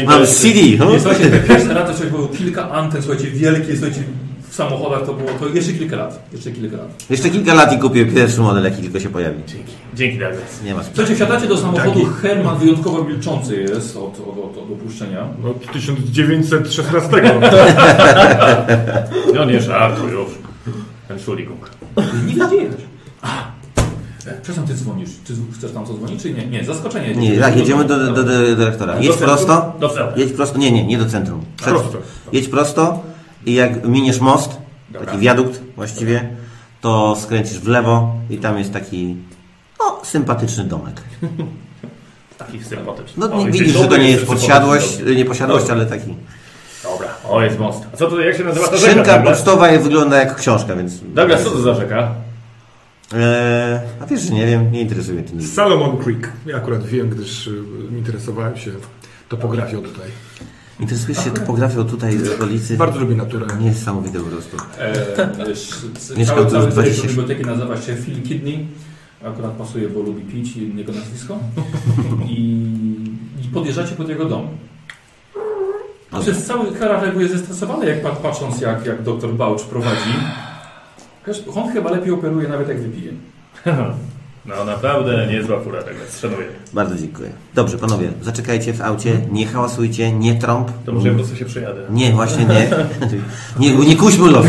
Mam CD,
Nie,
huh?
słuchajcie, te pierwsze lata słuchajcie, było kilka anten, słuchajcie, wielkie, słuchajcie, w samochodach to było to jeszcze kilka lat, jeszcze kilka lat.
Jeszcze kilka lat i kupię pierwszy model, jaki tylko się pojawi.
Dzięki, Douglas.
Nie ma sprawy.
Słuchajcie, wsiadacie do samochodu, Herman wyjątkowo milczący jest od, od, od, od opuszczenia.
Od 1916.
No nie żartuj już. Entschuldigung.
Nie wiecie jechać. A, e, Przepraszam, ty dzwonisz. Czy chcesz tam co dzwonić, czy nie? Nie, zaskoczenie.
Nie, tak, jedziemy do, do, do, do dyrektora. Jedź prosto,
Do celu.
jedź prosto, nie, nie, nie do centrum. Przed,
Prosto.
jedź prosto i jak miniesz most, taki wiadukt właściwie, to skręcisz w lewo i tam jest taki, no, sympatyczny domek.
Takich sympatycznych.
No
O,
nie,
i
widzisz,
dzień
że to
dobry,
nie jest
sympatyczny
posiadłość,
dobry.
nie posiadłość, ale taki.
Dobra, o jest most. A co to, jak się nazywa ta rzeka?
Skrzynka
Douglas?
pocztowa je- wygląda jak książka, więc...
Douglas, co to za rzeka?
Eee, a wiesz, że nie wiem, nie interesuje mnie tym.
Salomon Creek. Ja akurat wiem, gdyż y, interesowałem się topografią tutaj.
Interesujesz się topografią tutaj z okolicy?
Bardzo lubię naturę.
Niesamowite po prostu.
E,
[laughs]
Eee,
Mieszkał
cały cały
tu
projekt
już 20.
biblioteki nazywa się Phil Kidney. Akurat pasuje, bo lubi pić i jego nazwisko. I, I podjeżdżacie pod jego dom. Przez cały karawan jest zestresowany, jak pat- patrząc jak, jak doktor Baucz prowadzi. Chociaż On chyba lepiej operuje nawet jak wypije.
No naprawdę niezła fura, Douglas, szanuję.
Bardzo dziękuję. Dobrze, panowie, zaczekajcie w aucie, nie hałasujcie, nie trąb.
To może ja po prostu się przejadę.
Nie, właśnie
[laughs]
nie. Nie, nie kuśmy losu.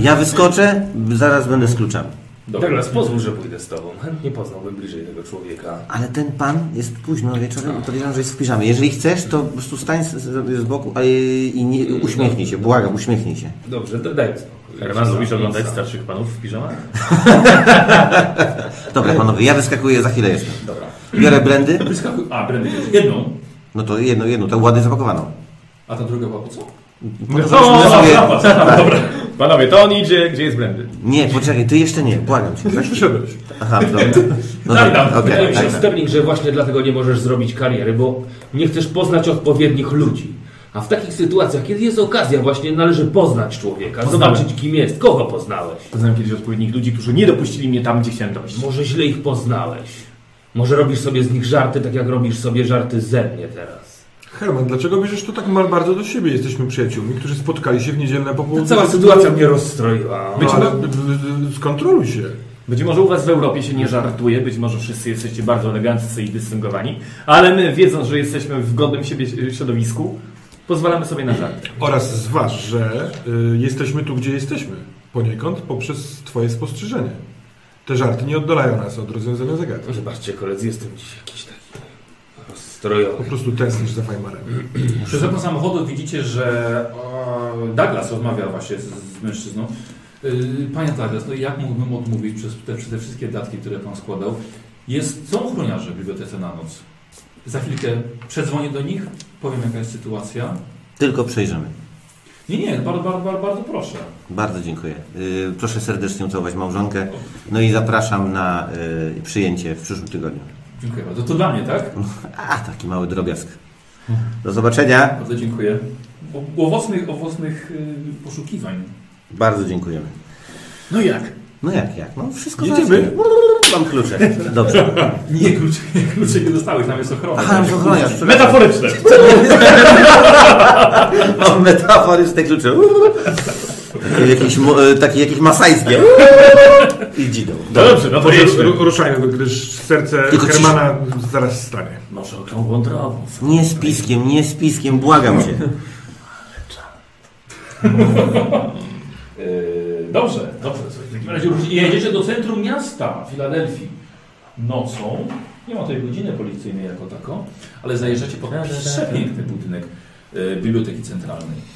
Ja wyskoczę, zaraz będę z kluczami.
Douglas, pozwól, że pójdę z tobą. Chętnie poznałbym bliżej tego człowieka.
Ale ten pan jest późno wieczorem, podejrzewam, że jest w piżamie. Jeżeli chcesz, to po prostu stań z, z, z boku a, i nie, uśmiechnij się, błagam, uśmiechnij się.
Dobrze, da- daj mi spokój.
Herman, lubisz oglądać starszych panów w piżamach?
Dobra, panowie, ja wyskakuję, za chwilę jestem. Biorę brandy,
Wyskakuj. A, Brandy, jedną.
no to jedną, jedną, tą ładnie zapakowaną.
A ta druga była po co?
No,
Zasuję-
Panowie, to on idzie, gdzie jest Brandy?
Nie, poczekaj, ty jeszcze nie, błagam cię. Już
wyszedłeś.
Aha,
[laughs]
dobra. No dobra, okej,
Wydaje mi
tak,
się,
tak.
Sterling, że właśnie dlatego nie możesz zrobić kariery, bo nie chcesz poznać odpowiednich ludzi. A w takich sytuacjach, kiedy jest okazja, właśnie należy poznać człowieka,
Poznałem.
zobaczyć kim jest, kogo poznałeś.
Poznałem kiedyś odpowiednich ludzi, którzy nie dopuścili mnie tam, gdzie chciałem dojść.
Może źle ich poznałeś. Może robisz sobie z nich żarty, tak jak robisz sobie żarty ze mnie teraz.
Herman, dlaczego bierzesz to tak mal bardzo do siebie? Jesteśmy przyjaciółmi, którzy spotkali się w niedzielne popołudnie.
Cała sytuacja mnie rozstroiła.
No, ale b- b- skontroluj się.
Być może u Was w Europie się nie żartuje, być może wszyscy jesteście bardzo eleganccy i dystyngowani, ale my, wiedząc, że jesteśmy w godnym siebie y, środowisku, pozwalamy sobie na żarty.
Oraz zważ, że y, jesteśmy tu, gdzie jesteśmy. Poniekąd poprzez Twoje spostrzeżenie. Te żarty nie oddalają nas od rozwiązania zagadki.
Zobaczcie koledzy, jestem dziś jakiś taki
Po
rozstrojony.
prostu tęsknisz za Fajmarem.
Przez okno samochodu widzicie, że e, Douglas rozmawia właśnie z, z mężczyzną. Y, Panie Douglas, no jak mógłbym odmówić przez te, przez te wszystkie datki, które Pan składał? Jest, są ochroniarze w bibliotece na noc. Za chwilkę przedzwonię do nich, powiem jaka jest sytuacja.
Tylko przejrzymy.
Nie, nie, bardzo, bardzo, bardzo, bardzo proszę.
Bardzo dziękuję. Y, Proszę serdecznie ucałować małżonkę. No i zapraszam na y, przyjęcie w przyszłym tygodniu.
Dziękuję bardzo. To dla mnie, tak?
A, taki mały drobiazg. Do zobaczenia.
Bardzo dziękuję. O- Owocnych, owocnych y, poszukiwań.
Bardzo dziękujemy.
No jak?
No jak, jak? No wszystko
Jedziemy.
załatwione. Mam klucze. Dobrze.
Nie klucze, nie klucze nie dostałeś, tam jest ochrona.
Aha, już ochroniarz.
no, Metaforyczne!
[laughs] Mam metaforyczne klucze. Takie jakieś, mo- y, takie jakieś masajskie. I dzidą.
No dobrze, no to
Może
jedźmy.
ru- ruszajmy, gdyż serce
Tylko cisz-
Hermana zaraz stanie.
Może okrągłą drogą.
Nie z piskiem, nie z piskiem, błagam cię.
Yy, dobrze, dobrze. słuchaj, W takim razie już jedziecie do centrum miasta Filadelfii. nocą. Nie ma tutaj godziny policyjnej jako tako, ale zajeżdżacie pod przepiękny budynek e, Biblioteki Centralnej.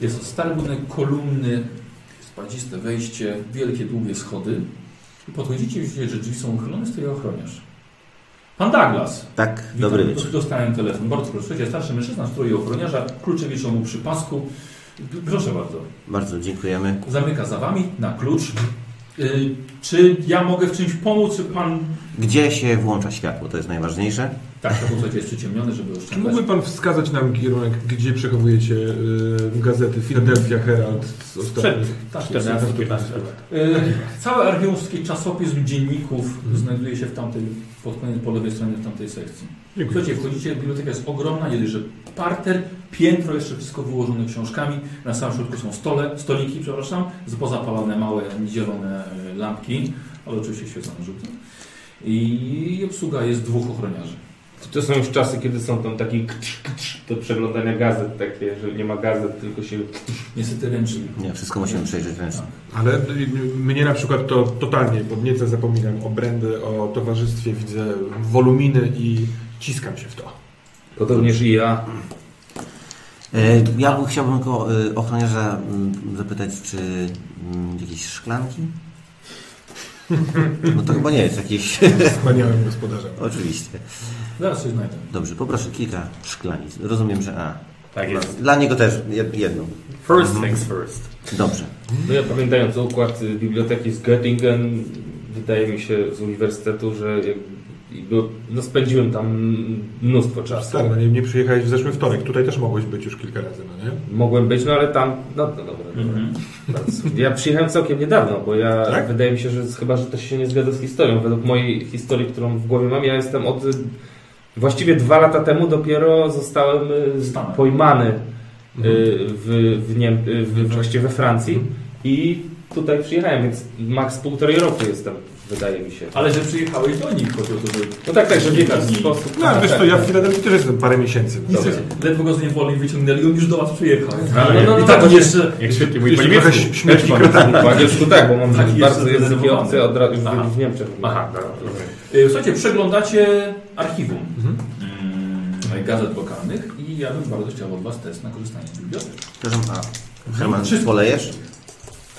Jest to stary budynek, kolumny, spadziste wejście, wielkie, długie schody. I podchodzicie i widzicie, że drzwi są uchylone, stoi ochroniarz. Pan Douglas.
Tak,
Witam,
dobry
do-
wieczór.
Dostałem telefon. Bardzo proszę. Słuchajcie, starszy mężczyzna w stroju ochroniarza, klucze wiszą mu przy pasku. D- Proszę bardzo.
Bardzo dziękujemy.
Zamyka za wami na klucz. Y, czy ja mogę w czymś pomóc? Czy pan...
Gdzie się włącza światło? To jest najważniejsze.
Tak, to słuchajcie, jest przyciemniony, żeby
Czy
oszczędzać.
mógłby pan wskazać nam kierunek, gdzie przechowujecie y, gazety Philadelphia Herald z ostatnich...
tak,
14, 15 lat.
Y, cały archiwowski czasopism dzienników
Mhm.
znajduje się w tamtej, pod koniec, po lewej stronie w tamtej sekcji.
Dziękuję.
Słuchajcie, wchodzicie, biblioteka jest ogromna, nie dość, że parter, piętro, jeszcze wszystko wyłożone książkami. Na samym środku są stole, stoliki, przepraszam, z pozapalane małe, zielone e, lampki, ale oczywiście świecą żółte. I obsługa jest dwóch ochroniarzy.
To, to są już czasy, kiedy są tam takie kcz, kcz, do przeglądania gazet takie, że nie ma gazet, tylko się...
Niestety ręcznie.
Nie, wszystko musimy przejrzeć ręcznie.
Ale y, mnie na przykład to totalnie podnieca, zapominam o brandy, o towarzystwie, widzę woluminy i ciskam się w to.
Podobnież i ja.
E, Ja bym- chciałbym go, e, ochroniarza m, zapytać, czy m, jakieś szklanki? No to chyba nie jest jakieś. [laughs]
Wspaniałym gospodarzem.
Oczywiście.
Zaraz coś znajdę.
Dobrze, poproszę kilka szklanic. Rozumiem, że A.
Tak jest.
Dla niego też jed- jedną.
First things first.
Dobrze.
No ja pamiętając układ y, biblioteki z Göttingen, wydaje mi się z uniwersytetu, że jakby, no, no spędziłem tam mnóstwo czasu.
Stary, no nie, nie przyjechałeś w zeszły wtorek, tutaj też mogłeś być już kilka razy, no nie?
Mogłem być, no ale tam, no, no dobra, dobra.
Mhm.
Bardzo. Ja przyjechałem całkiem niedawno, bo ja,
Tak?
wydaje mi się, że chyba, że też się nie zgadza z historią. Według mojej historii, którą w głowie mam, ja jestem od, y, właściwie dwa lata temu dopiero zostałem y,
Stanach.
pojmany y, w, w, Niem y, w, właściwie we Francji i tutaj przyjechałem, więc maks półtorej roku jestem, wydaje mi się.
Ale że przyjechałeś do nich, chodzi o to, że
No tak, tak, że w
Kilka
jakiś
dni.
sposób... tak.
No, ale wiesz co, ja w Filadelfii też jestem parę miesięcy.
Nic nie- ledwo go z niewoli wyciągnęli, on już do was przyjechał.
Ale
No,
I tak on jeszcze...
Jak świetnie mój
Jeśli trochę
poliwiec.
śmieci kretami.
Po angielsku tak, bo mam
Taki
bardzo
jest
języki
zdenerwowany.
obce od razu
Aha.
w, w Niemczech.
Aha, dobra.
Y, Słuchajcie, przeglądacie archiwum mm, gazet lokalnych i ja bym bardzo chciał od was test na korzystanie z bibliotek.
Proszę A. Herman, czy polejesz?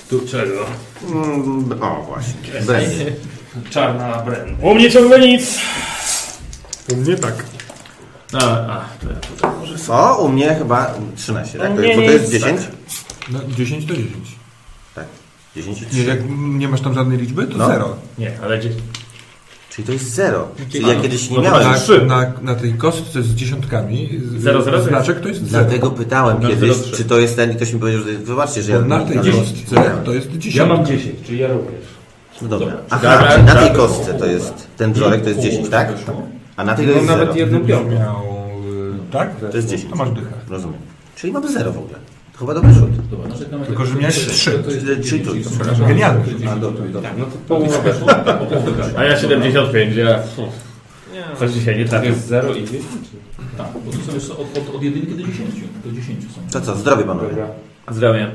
Tu czego?
Mm, O, właśnie. Brandy.
Czarna brand.
U mnie ciągle nic.
To mnie tak.
A, a,
Co? U mnie chyba 13, tak?
U
To
mnie
jest, bo to jest
nic,
10?
No 10 to 10.
10 i
Nie,
3.
jak nie masz tam żadnej liczby, to
No.
zero.
Nie, ale gdzieś.
Czyli to jest 0. Czyli
Dzień-
ja kiedyś nie
No to
miałem.
Na,
masz trzy.
na, na tej kostce z dziesiątkami z-
Zero, zero,
znaczek to jest zero.
Dlatego pytałem
Na
kiedyś,
03.
czy to jest ten i ktoś mi powiedział, że zobaczcie, że
Bo
ja...
na tej
ale-
kostce to jest
Ja
dziesiątka.
mam 10, czyli ja również.
No dobra. Aha, czyli na tej kostce to jest ten wzorek, to jest 10, tak? A na tej to
No
jest
nawet
0.
jedną piątą.
miał... y, Tak?
To jest 10.
To masz dychę.
Rozumiem. Czyli mamy 0 w ogóle. To chyba dobry rzut.
Dobra, no, narzekamy
Tylko, że miałeś trzy.
Czyli trójka.
Genialny.
A, dobra, dobra.
No to połowa weszła.
A ja 75, ja... pff, Coś dzisiaj nie
Tak
trafił.
jest 0 i 10?
Tak, bo tu są jeszcze od, od, od 1 do 10. Do 10 są.
To co, zdrowie panowie.
Dobra.
Zdrowie.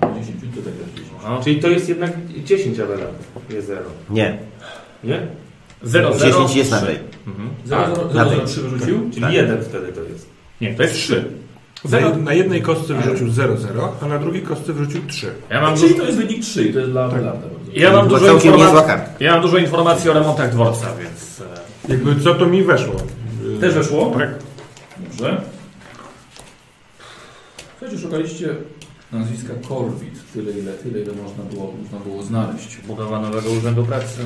Tak, do 10 tutaj też 10.
No, Czyli to jest jednak 10 Abela, nie 0.
Nie,
Nie?
0, 0.
10 jest na tej.
Mhm.
Zero, zero,
na
zero,
tej.
trzy wyrzucił.
Tak.
Czyli 1 wtedy to jest.
Nie, to jest 3.
Na, jed- na jednej kostce wyrzucił 0,0, a na drugiej kostce wyrzucił 3.
Ja mam,
Czyli
dużo,
to jest wynik Tak. 3 i to jest dla Belarda bardzo.
ja mam
To
dużo
całkiem niezła
informacji.
karta.
Ja mam dużo informacji o remontach dworca, więc. e,
Jakby co to mi weszło? Y,
Też weszło?
Tak.
Dobrze. Słuchajcie, szukaliście nazwiska Corvid. Tyle, ile, tyle, ile można było, można było znaleźć.
Mhm.
Budowa nowego urzędu pracy.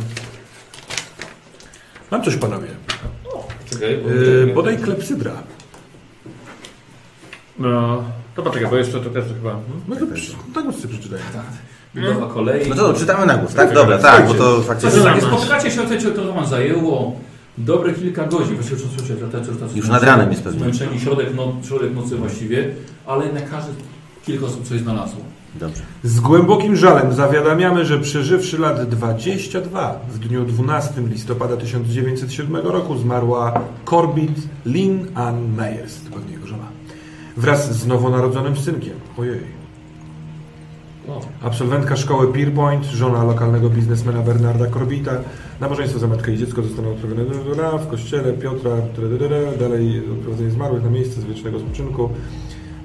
Mam coś panowie.
Czekaj, bo...
Yy, bodaj klepsydra.
No. To poczekaj, bo jeszcze to też chyba. mhm.
No to przy, tak sobie przeczytaj.
Budowa kolei.
No to czytamy na głos, tak? Dobra, tak, bo to
Co
faktycznie...
się tak, spotykacie się, słuchajcie, to wam zajęło dobre kilka godzin. Właściwie czasu się latacie, czasu
Już nad ranem jest pewnie.
Zmęczeni środek, no, środek nocy właściwie, ale na każdy kilka osób coś znalazło.
Dobrze.
Z głębokim żalem zawiadamiamy, że przeżywszy lat 22 w dniu 12 listopada 1907 roku zmarła Corbett Lynn Ann Meyers, to pewnie jego żona, wraz z nowonarodzonym synkiem. Ojej. Absolwentka szkoły Pierpoint, żona lokalnego biznesmena Bernarda Korbita. Nabożeństwo za matkę i dziecko zostaną odprawione do Dura, w kościele Piotra, trydydydy, dalej odprowadzenie zmarłych na miejsce z wiecznego spoczynku,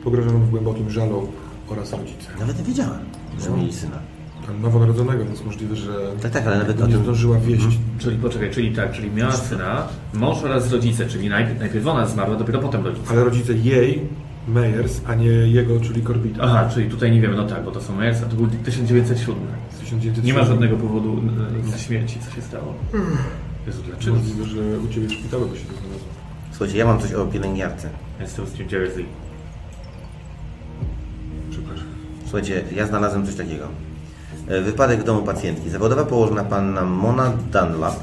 pogrążonym w głębokim żalu oraz rodzice.
Nawet nie wiedziałem, że mieli syna.
Tam Nowonarodzonego, więc możliwe, że
Tak, tak, ale nawet o
nie
tym...
zdążyła wieść.
Czyli poczekaj, czyli tak, czyli miała syna, mąż oraz rodzice, czyli najpierw, najpierw ona zmarła, dopiero potem rodzice.
Ale rodzice jej, Meyers, a nie jego, czyli Korbita.
Aha, czyli tutaj nie wiemy, no tak, bo to są Meyers, a to był 1907. Nie ma żadnego powodu e, śmierci, co się stało. Jezu, dlaczego?
Możliwe, że u Ciebie w szpitalu by się to znalazło.
Słuchajcie, ja mam coś o pielęgniarce.
Jestem z New Jersey.
Przepraszam.
Słuchajcie, ja znalazłem coś takiego. E, Wypadek w domu pacjentki. Zawodowa położna panna Mona Dunlap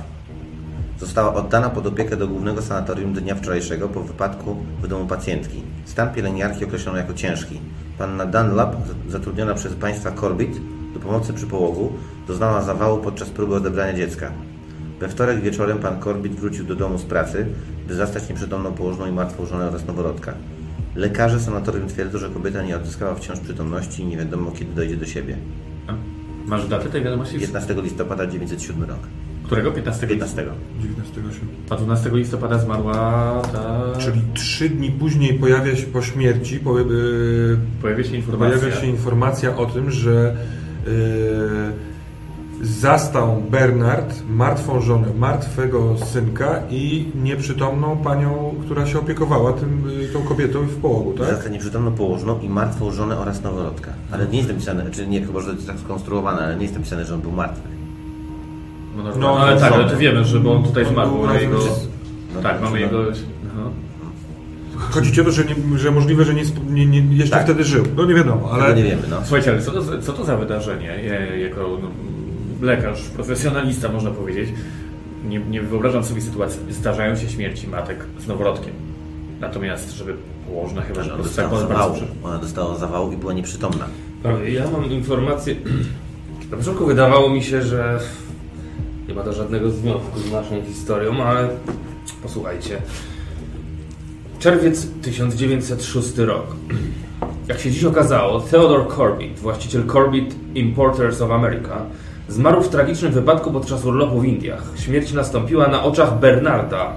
została oddana pod opiekę do głównego sanatorium dnia wczorajszego po wypadku w domu pacjentki. Stan pielęgniarki określono jako ciężki. Panna Dunlap, za- zatrudniona przez państwa Corbett do pomocy przy połogu, doznała zawału podczas próby odebrania dziecka. We wtorek wieczorem pan Corbett wrócił do domu z pracy, by zastać nieprzytomną położną i martwą żonę oraz noworodka. Lekarze sanatorium twierdzą, że kobieta nie odzyskała wciąż przytomności i nie wiadomo kiedy dojdzie do siebie.
Masz datę tej wiadomości?
15 listopada 907 rok.
Którego? 15?
15.
Tak?
19 sierpnia.
A 12 listopada zmarła ta...
Czyli trzy dni później pojawia się po śmierci, po, y,
Pojawia się informacja.
pojawia się informacja o tym, że y, zastał Bernard martwą żonę, martwego synka i nieprzytomną panią, która się opiekowała tym, y, tą kobietą w połogu, tak?
Została nieprzytomną położną i martwą żonę oraz noworodka. Ale nie jest napisane, czy nie, chyba że to jest tak skonstruowane, ale nie jest napisane, że on był martwy.
No, no,
No,
ale tak,
są.
ale to wiemy, że bo on tutaj
On
zmarł.
był
mamy
razem
jego...
z-
No,
Tak,
no,
mamy jego... Aha.
Chodzi ci o to, że, nie, że możliwe, że nie, sp- nie, nie, jeszcze
Tak.
wtedy żył. No nie wiadomo,
Ale
ale
nie wiemy, no.
Słuchajcie, ale co to, za- co to za wydarzenie? E, Jako no, lekarz, profesjonalista można powiedzieć, nie, nie wyobrażam sobie sytuacji, zdarzają się śmierci matek z noworodkiem. Natomiast, żeby położna chyba, że to
Ona
jest tak
dostała
bardzo bardzo
zawału.
przy...
Ona dostała zawału i była nieprzytomna.
Panowie, Tak. ja mam informację. [clears throat] Na początku wydawało mi się, że nie ma to żadnego związku z naszą historią, ale posłuchajcie. Czerwiec 1906 rok. Jak się dziś okazało, Theodore Corbett, właściciel Corbett Importers of America, zmarł w tragicznym wypadku podczas urlopu w Indiach. Śmierć nastąpiła na oczach Bernarda,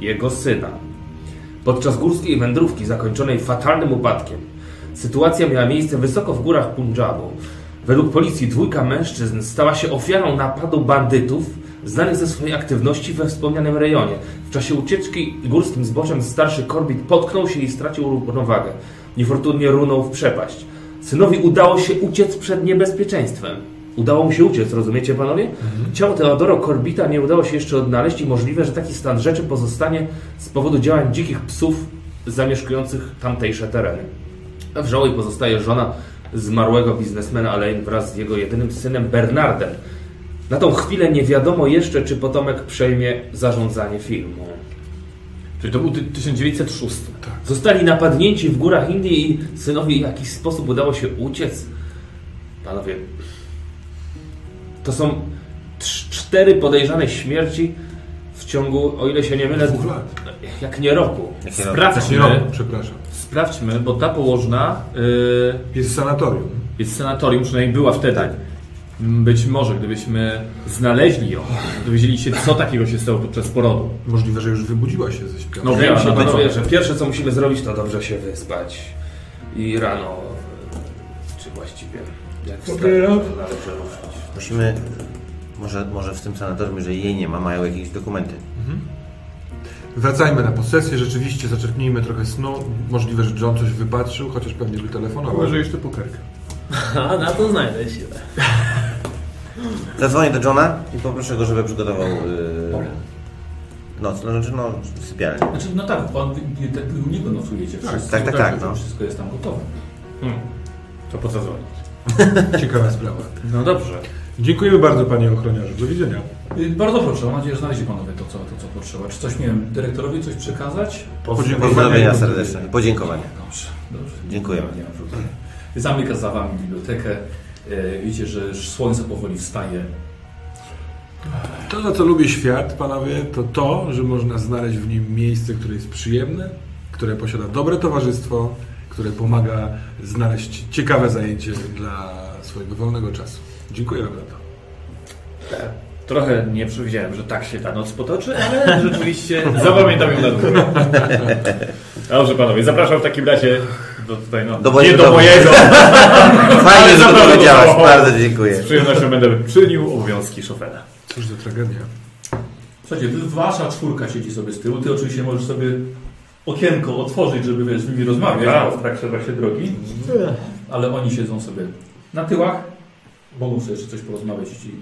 jego syna. Podczas górskiej wędrówki zakończonej fatalnym upadkiem. Sytuacja miała miejsce wysoko w górach Punjabu. Według policji dwójka mężczyzn stała się ofiarą napadu bandytów znanych ze swojej aktywności we wspomnianym rejonie. W czasie ucieczki górskim zboczem starszy Corbett potknął się i stracił równowagę. Niefortunnie runął w przepaść. Synowi udało się uciec przed niebezpieczeństwem. Udało mu się uciec, rozumiecie panowie? Ciało Teodoro Korbita nie udało się jeszcze odnaleźć i możliwe, że taki stan rzeczy pozostanie z powodu działań dzikich psów zamieszkujących tamtejsze tereny. W żołej pozostaje żona zmarłego biznesmena Alain wraz z jego jedynym synem Bernardem. Na tą chwilę nie wiadomo jeszcze, czy potomek przejmie zarządzanie firmą.
Czyli to był ty- 1906.
Zostali napadnięci w górach Indii i synowi w jakiś sposób udało się uciec. Panowie, to są trz- cztery podejrzane śmierci w ciągu, o ile się nie mylę,
dwóch lat.
jak nie roku.
Jak nie robi.
Nie
Sprawdźmy,
roku, przepraszam.
sprawdźmy, bo ta położna y,
Jest w sanatorium.
jest sanatorium, przynajmniej była wtedy. Być może, gdybyśmy znaleźli ją, dowiedzieli się, co takiego się stało podczas porodu.
Możliwe, że już wybudziła się ze śpiochu.
No
Wydaje
wiem,
mi się,
no, no,
panowie, że pierwsze co musimy zrobić, to dobrze się wyspać. I rano, czy właściwie, jak wstać, to należy ruszyć.
Musimy... Może, może w tym sanatorium, jeżeli jej nie ma, mają jakieś dokumenty.
Wracajmy na posesję, rzeczywiście zaczerpnijmy trochę snu. Możliwe, że John coś wypatrzył, chociaż pewnie by telefonował.
Chyba, że jeszcze pokerka.
A na to znajdę siłę.
Zadzwonię do Johna i poproszę go, żeby przygotował... Yy, noc, no, znaczy no, sypialnię.
Znaczy, no tak, on, wy- te- wy u niego nocujecie wszyscy.
tak, tak, tak,
że
no.
Wszystko jest tam gotowe.
To po co dzwonić?
Ciekawa sprawa.
No dobrze.
Dziękujemy bardzo, panie ochroniarzu. Do widzenia.
Y, Bardzo proszę, mam nadzieję, że znaleźli panowie to co, to, co potrzeba. Czy coś, nie wiem, dyrektorowi coś przekazać?
Pozdrowienia serdeczne. Podziękowania.
Dobrze, dobrze.
Dziękujemy. [laughs]
Nie ma problemu. Zamyka za wami bibliotekę. E, Widzicie, że już słońce powoli wstaje.
To, za co lubię świat, panowie, to to, że można znaleźć w nim miejsce, które jest przyjemne, które posiada dobre towarzystwo które pomaga znaleźć ciekawe zajęcie dla swojego wolnego czasu. Dziękuję Wam za to.
Trochę nie przewidziałem, że tak się ta noc potoczy, [laughs] ale rzeczywiście zapamiętam ją na długo. Dobrze panowie, zapraszam w takim razie do tutaj, no,
Do
nie
mojego
do
domu.
mojego.
Fajnie, że to
zapraszam do
powiedziałaś.
domu.
Bardzo
Z
dziękuję.
przyjemnością będę czynił obowiązki szofera.
Cóż za tragedia.
Słuchajcie, wy- wasza czwórka siedzi sobie z tyłu. Ty oczywiście możesz sobie okienko otworzyć, żeby wiesz, z nimi
No,
rozmawiać
Tak.
bo w trakcie właśnie drogi. Ale oni siedzą sobie na tyłach. Mogą sobie jeszcze coś porozmawiać, jeśli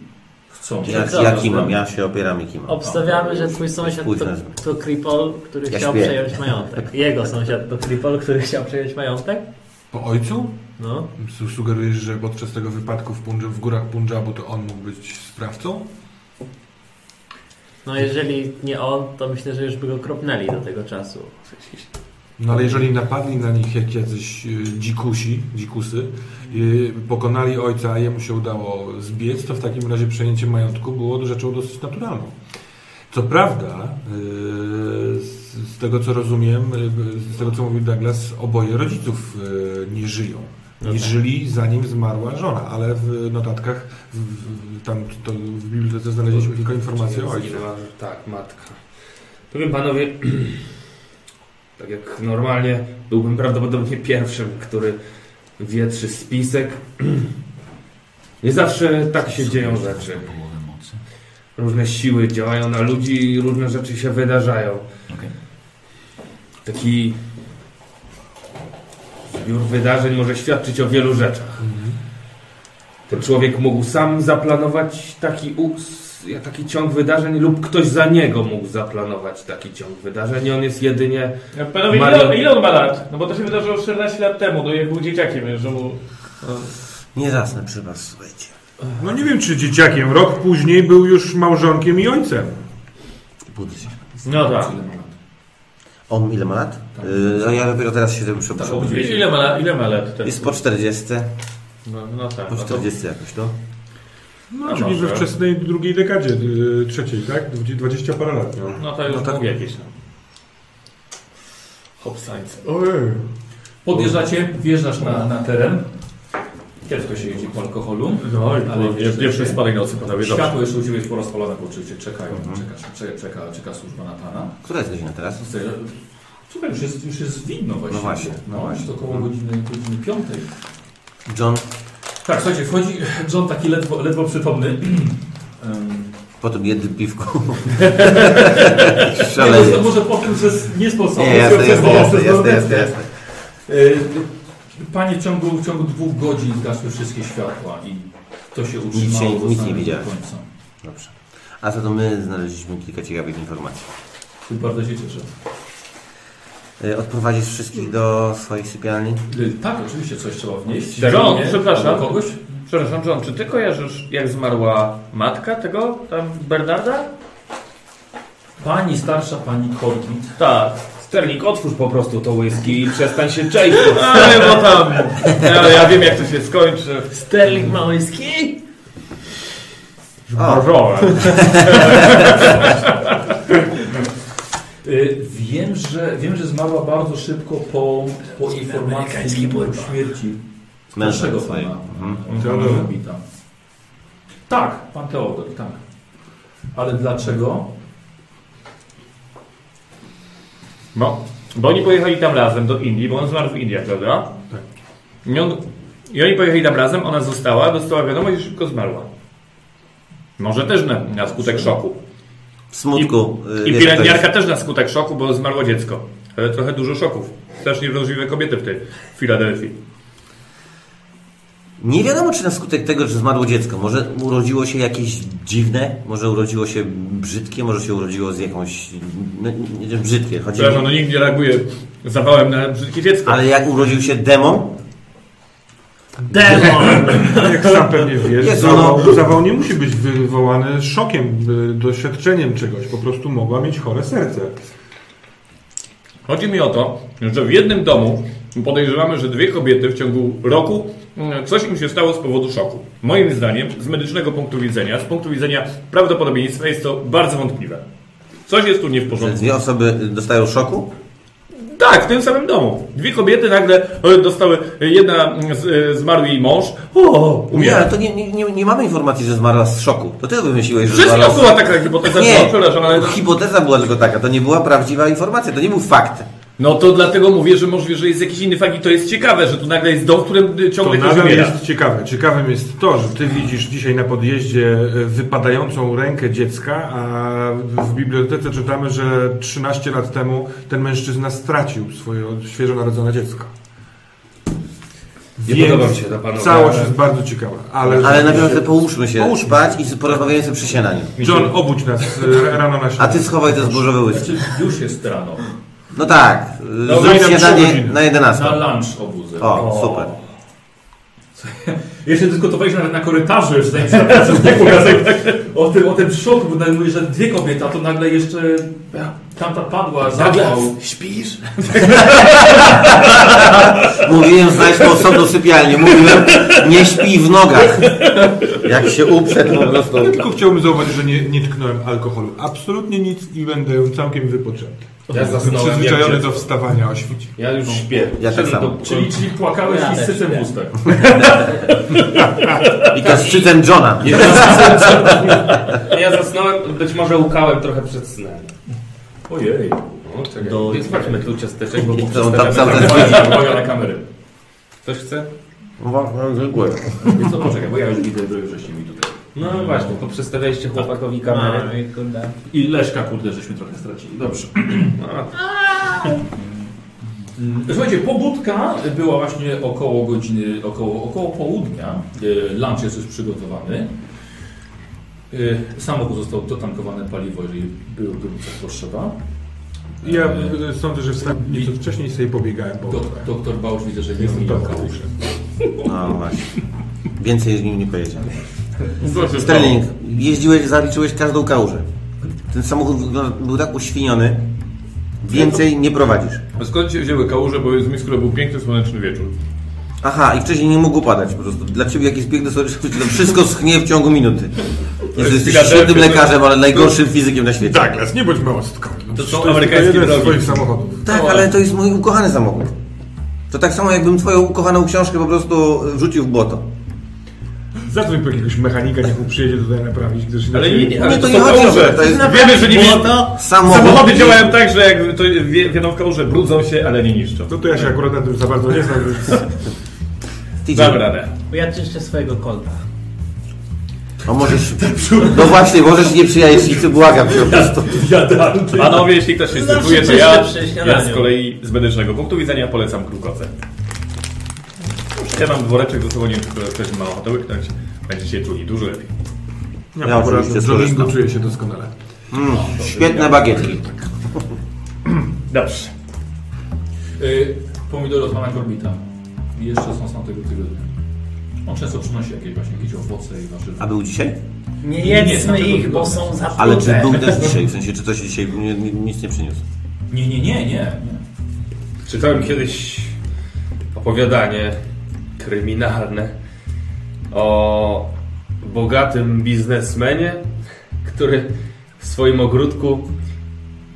chcą.
Ja, ja kimam, ja się opieram i kimam.
Obstawiamy, że twój sąsiad to,
Późno.
to Kripol, który
Ja
chciał
śpię.
przejąć majątek. Jego sąsiad to Kripol, który chciał przejąć majątek.
Po ojcu?
No.
Su- Sugerujesz, że podczas tego wypadku w, Punj- w górach Punjabu to on mógł być sprawcą?
no jeżeli nie on, to myślę, że już by go kropnęli do tego czasu.
No ale jeżeli napadli na nich jak jacyś y, dzikusi, dzikusy, y, pokonali ojca, a jemu się udało zbiec, to w takim razie przejęcie majątku było rzeczą dosyć naturalną. Co prawda, y, z, z tego co rozumiem, y, z tego co mówił Douglas, oboje rodziców y, nie żyją. Nie żyli zanim zmarła żona, ale w notatkach, w, w, tam to w bibliotece znaleźliśmy tylko informacje o ojcu.
Zginęła, tak, matka. Powiem panowie, [clears throat] tak jak normalnie, byłbym prawdopodobnie pierwszym, który wietrzy spisek. [clears throat] Nie zawsze tak się dzieją rzeczy. Różne siły działają na ludzi i różne rzeczy się wydarzają. Taki zbiór wydarzeń może świadczyć o wielu rzeczach.
Mhm.
Ten człowiek mógł sam zaplanować taki, us- taki ciąg wydarzeń lub ktoś za niego mógł zaplanować taki ciąg wydarzeń i on jest jedynie...
Panowie,
Mario-
ile, ile on ma lat? No bo to się wydarzyło 14 lat temu, no jak był dzieciakiem, że mu...
Nie zasnę przy was, słuchajcie.
No nie wiem czy dzieciakiem, rok później był już małżonkiem i ojcem.
Budzę się.
No tak.
On ile ma lat? Y, a ja dopiero teraz się tym
Tak,
przepraszam.
obudziłeś się.
Ile ma lat, ile ma lat ten?
Jest po 40,
No, no tak.
po
No to...
40 jakoś, no.
No,
No
czyli
może.
we wczesnej drugiej dekadzie, yy, trzeciej, tak? Dwudzie- 20 parę lat miał.
No to już
No tak.
mówi jakieś tam. Hop science.
Ojej.
Podjeżdżacie, wjeżdżasz na, na teren. Ciężko się jeździ po alkoholu.
No i
Ale
ale nie, nie przez parę nocy panowie, dobrze.
Światło jeszcze u Ciebie jest porozpalone, bo oczywiście czekają, czeka, czeka, czeka, czeka służba na Pana.
Która jest godzina teraz?
Słuchaj, już jest, już jest widno właśnie.
No właśnie,
No, właśnie. To około godziny, godziny piątej.
John,
Tak, słuchajcie, wchodzi John taki ledwo, ledwo przytomny. [clears throat] Em,
po tym jednym piwku. [laughs]
Nie, to, to
Szaleję.
może po tym, że z- nie sposób. [laughs]
Nie, jasne, jasne, jasne, jasne, jasne, jasne.
E, Panie, w ciągu, w ciągu dwóch godzin zgasły wszystkie światła i to się utrzymało.
się-
do
nic nie
samego
widziałeś.
końca.
Dobrze. A za to my znaleźliśmy kilka ciekawych informacji.
Tu Bardzo się cieszę.
Y, Odprowadzisz wszystkich do swojej sypialni?
Y, Tak, oczywiście coś trzeba wnieść.
John,
Żonie,
przepraszam.
do Kogoś?
Przepraszam, John, czy ty kojarzysz jak zmarła matka tego, tam Bernarda?
Pani starsza, pani Corbett.
Tak. Sterling, otwórz po prostu to whisky i przestań się czaić.
Ale bo tam. Ale ja wiem jak to się skończy.
Sterling Małyski?
O,
Y, Wiem że, wiem, że zmarła bardzo szybko po, po informacji o śmierci
męża
naszego
swojego.
pana.
Mhm.
Teodora Hobbita. Tak, pan Teodor, tak. Ale dlaczego?
No, bo oni pojechali tam razem do Indii, bo on zmarł w Indiach, prawda? Tak. I, on, I oni pojechali tam razem, ona została, dostała wiadomość i szybko zmarła. Może też na, na skutek szoku.
W smutku. y,
I
wiesz, kto
pielęgniarka też na skutek szoku, bo zmarło dziecko. Ale trochę dużo szoków. Strasznie wrażliwe kobiety w tej w Filadelfii.
Nie wiadomo, czy na skutek tego, że zmarło dziecko, może urodziło się jakieś dziwne, może urodziło się brzydkie, może się urodziło z jakąś. No, nie, nie, brzydkie, chodzi
Przepraszam, no nikt nie reaguje zawałem na brzydkie dziecko.
Ale jak urodził się demon,
Demon!
No.
Jak sam pewnie wiesz,
Jezu,
zawał, zawał nie musi być wywołany szokiem, y, doświadczeniem czegoś. Po prostu mogła mieć chore serce.
Chodzi mi o to, że w jednym domu podejrzewamy, że dwie kobiety w ciągu roku mm, coś im się stało z powodu szoku. Moim zdaniem, z medycznego punktu widzenia, z punktu widzenia prawdopodobieństwa jest to bardzo wątpliwe. Coś jest tu nie w
że
porządku.
dwie osoby dostają szoku,
Tak, w tym samym domu. Dwie kobiety nagle e, dostały, e, jedna mm, z, e, zmarł jej mąż, o,
Nie, ale
umiera.
to nie, nie, nie, nie mamy informacji, że zmarła z szoku. To ty wymyśliłeś, że zmarła
Wszystko
z
była taka hipoteza,
Nie,
no, przepraszam, ale...
hipoteza była tylko taka, to nie była prawdziwa informacja, to nie był fakt.
No to dlatego mówię, że możliwe, że jest jakiś inny fakt i to jest ciekawe, że tu nagle jest dom, w którym y,
To
ciągle ktoś
nadal
umiera.
jest ciekawe. Ciekawym jest to, że ty widzisz dzisiaj na podjeździe e, wypadającą rękę dziecka, a w bibliotece czytamy, że 13 lat temu ten mężczyzna stracił swoje świeżo narodzone dziecko.
Nie
Więc
podoba mi się ta panowie.
Całość jest bardzo ciekawa, ale,
Ale naprawdę połóżmy się,
Połóżmy.
spać i porozmawiajmy sobie przy śniadaniu.
John, obudź nas e, rano na
A
śniadanie.
ty schowaj te zbożowe łyski.
Znaczy, już jest rano.
No tak,
daj
zrób
nam trzy
śniadanie
godziny.
na 11.
Na lunch obudzę.
Tak, O, super.
[laughs] Jeszcze dyskutowaliśmy nawet na korytarzu już zanim zabrałem znowu gazet. o tym, o tym szoku, bo nagle mówię, że dwie kobiety, a to nagle jeszcze tamta padła, zawał.
Śpisz?
Mówiłem, znajdźmy osobną sypialnię. Mówiłem, nie śpi w nogach. Jak się uprze, to po prostu... tak.
Ja tylko chciałbym zauważyć, że nie, nie tknąłem alkoholu. Absolutnie nic i będę całkiem wypoczęty.
Ja zasnąłem,
Przyzwyczajony
jak
do wstawania o świcie.
Ja już śpię.
Ja tak samo.
Czyli, czyli płakałeś
Ja
i z
też,
sycem w
tak.
ustach.
I kastrzycem Johna.
No Ja zasnąłem, być może łkałem trochę przed snem.
Ojej.
No, czekaj. Do... Więc patrzmy tu ciasteczek,
No,
bo
To on tam cały czas
Uwaga, uwaga na kamerę.
Ktoś chce?
Dziękuję.
Więc co, poczekaj, bo ja już widzę, że żeście mi tutaj.
No właśnie, poprzestawialiście chłopakowi kamerę.
Ej, kurde.
I Leszka, kurde, żeśmy trochę stracili. Dobrze. Mm, [clears throat] Słuchajcie, pobudka była właśnie około godziny, około, około południa. Y, Lunch jest już przygotowany. Y, Samochód został dotankowane paliwo, jeżeli był gorąca potrzeba.
Ja
Y,
e, sądzę, że wstałem nieco wcześniej sobie pobiegałem, bo
dok- Doktor Bałcz widzę, że nie
jestem
zmienił
dobry.
kałuży.
No właśnie. Więcej z nim nie pojedziemy.
Znaczy,
Sterling, jeździłeś, zaliczyłeś każdą kałużę. Ten samochód wygląda- był tak uświniony. Więcej nie prowadzisz.
Skąd się wzięły kałuże, bo jest mi, skoro był piękny, słoneczny wieczór.
Aha, i wcześniej nie mógł padać po prostu. Dla ciebie jakiś piękny soryczek, [laughs] to wszystko schnie w ciągu minuty. Jezu, jesteś
Filadelfia,
świetnym
to- Tak.
lekarzem, ale najgorszym fizykiem na świecie.
Douglas, nie bądź małostką.
To są
tylko
amerykańskie
jeden z
drogi.
swoich samochodów.
Tak, ale to jest mój ukochany samochód. To tak samo jakbym twoją ukochaną książkę po prostu wrzucił w błoto.
Zadzwoń po jakiegoś mechanika, niech mu przyjedzie tutaj naprawić, gdyż
Ale
inaczej-
nie, nie, Znaczy, ale
Nie, to
Tak, to
nie
są
chodzi o
kałuże.
to, to jest
Wiemy, że nie
Bo
wi-
Samochód.
Samochody działają tak, że jak to wie, wiadomo w kałuże, brudzą się, ale nie niszczą.
No to ja się akurat na tym za bardzo nie znam,
[laughs]
więc...
Tydzień.
Dam radę.
Bo ja czyszczę swojego kolba.
No możesz... No właśnie, możesz nie przyjaźnić, ty błagam cię po prostu.
E,
Panowie, jeśli ktoś się
Zawsze
zdecyduje, to
coś
ja,
lepsze
ja
śniadanie.
z kolei z medycznego punktu widzenia polecam krukoce. Ja mam dworeczek ze sobą, nie wiem, czy ktoś ma ochotę
tak
łyknąć. Będziecie się czuli dużo lepiej.
Ja oczywiście
w joggingu
skorzystam.
czuję się doskonale.
Świetne bagietki.
Dobrze.
Y, Pomidory od pana Korbita. I Jeszcze są z tamtego tygodnia. On często przynosi jakieś właśnie jakieś owoce i warzywa.
A był dzisiaj?
Nie no
nie, na
jedzmy
to
ich,
wygląda.
bo są za
Ale czy
trudne.
był też dzisiaj? W sensie, czy coś dzisiaj nie, nie, nic nie przyniósł?
Nie, nie, nie, nie. nie.
Czytałem kiedyś opowiadanie kryminalne o bogatym biznesmenie, który w swoim ogródku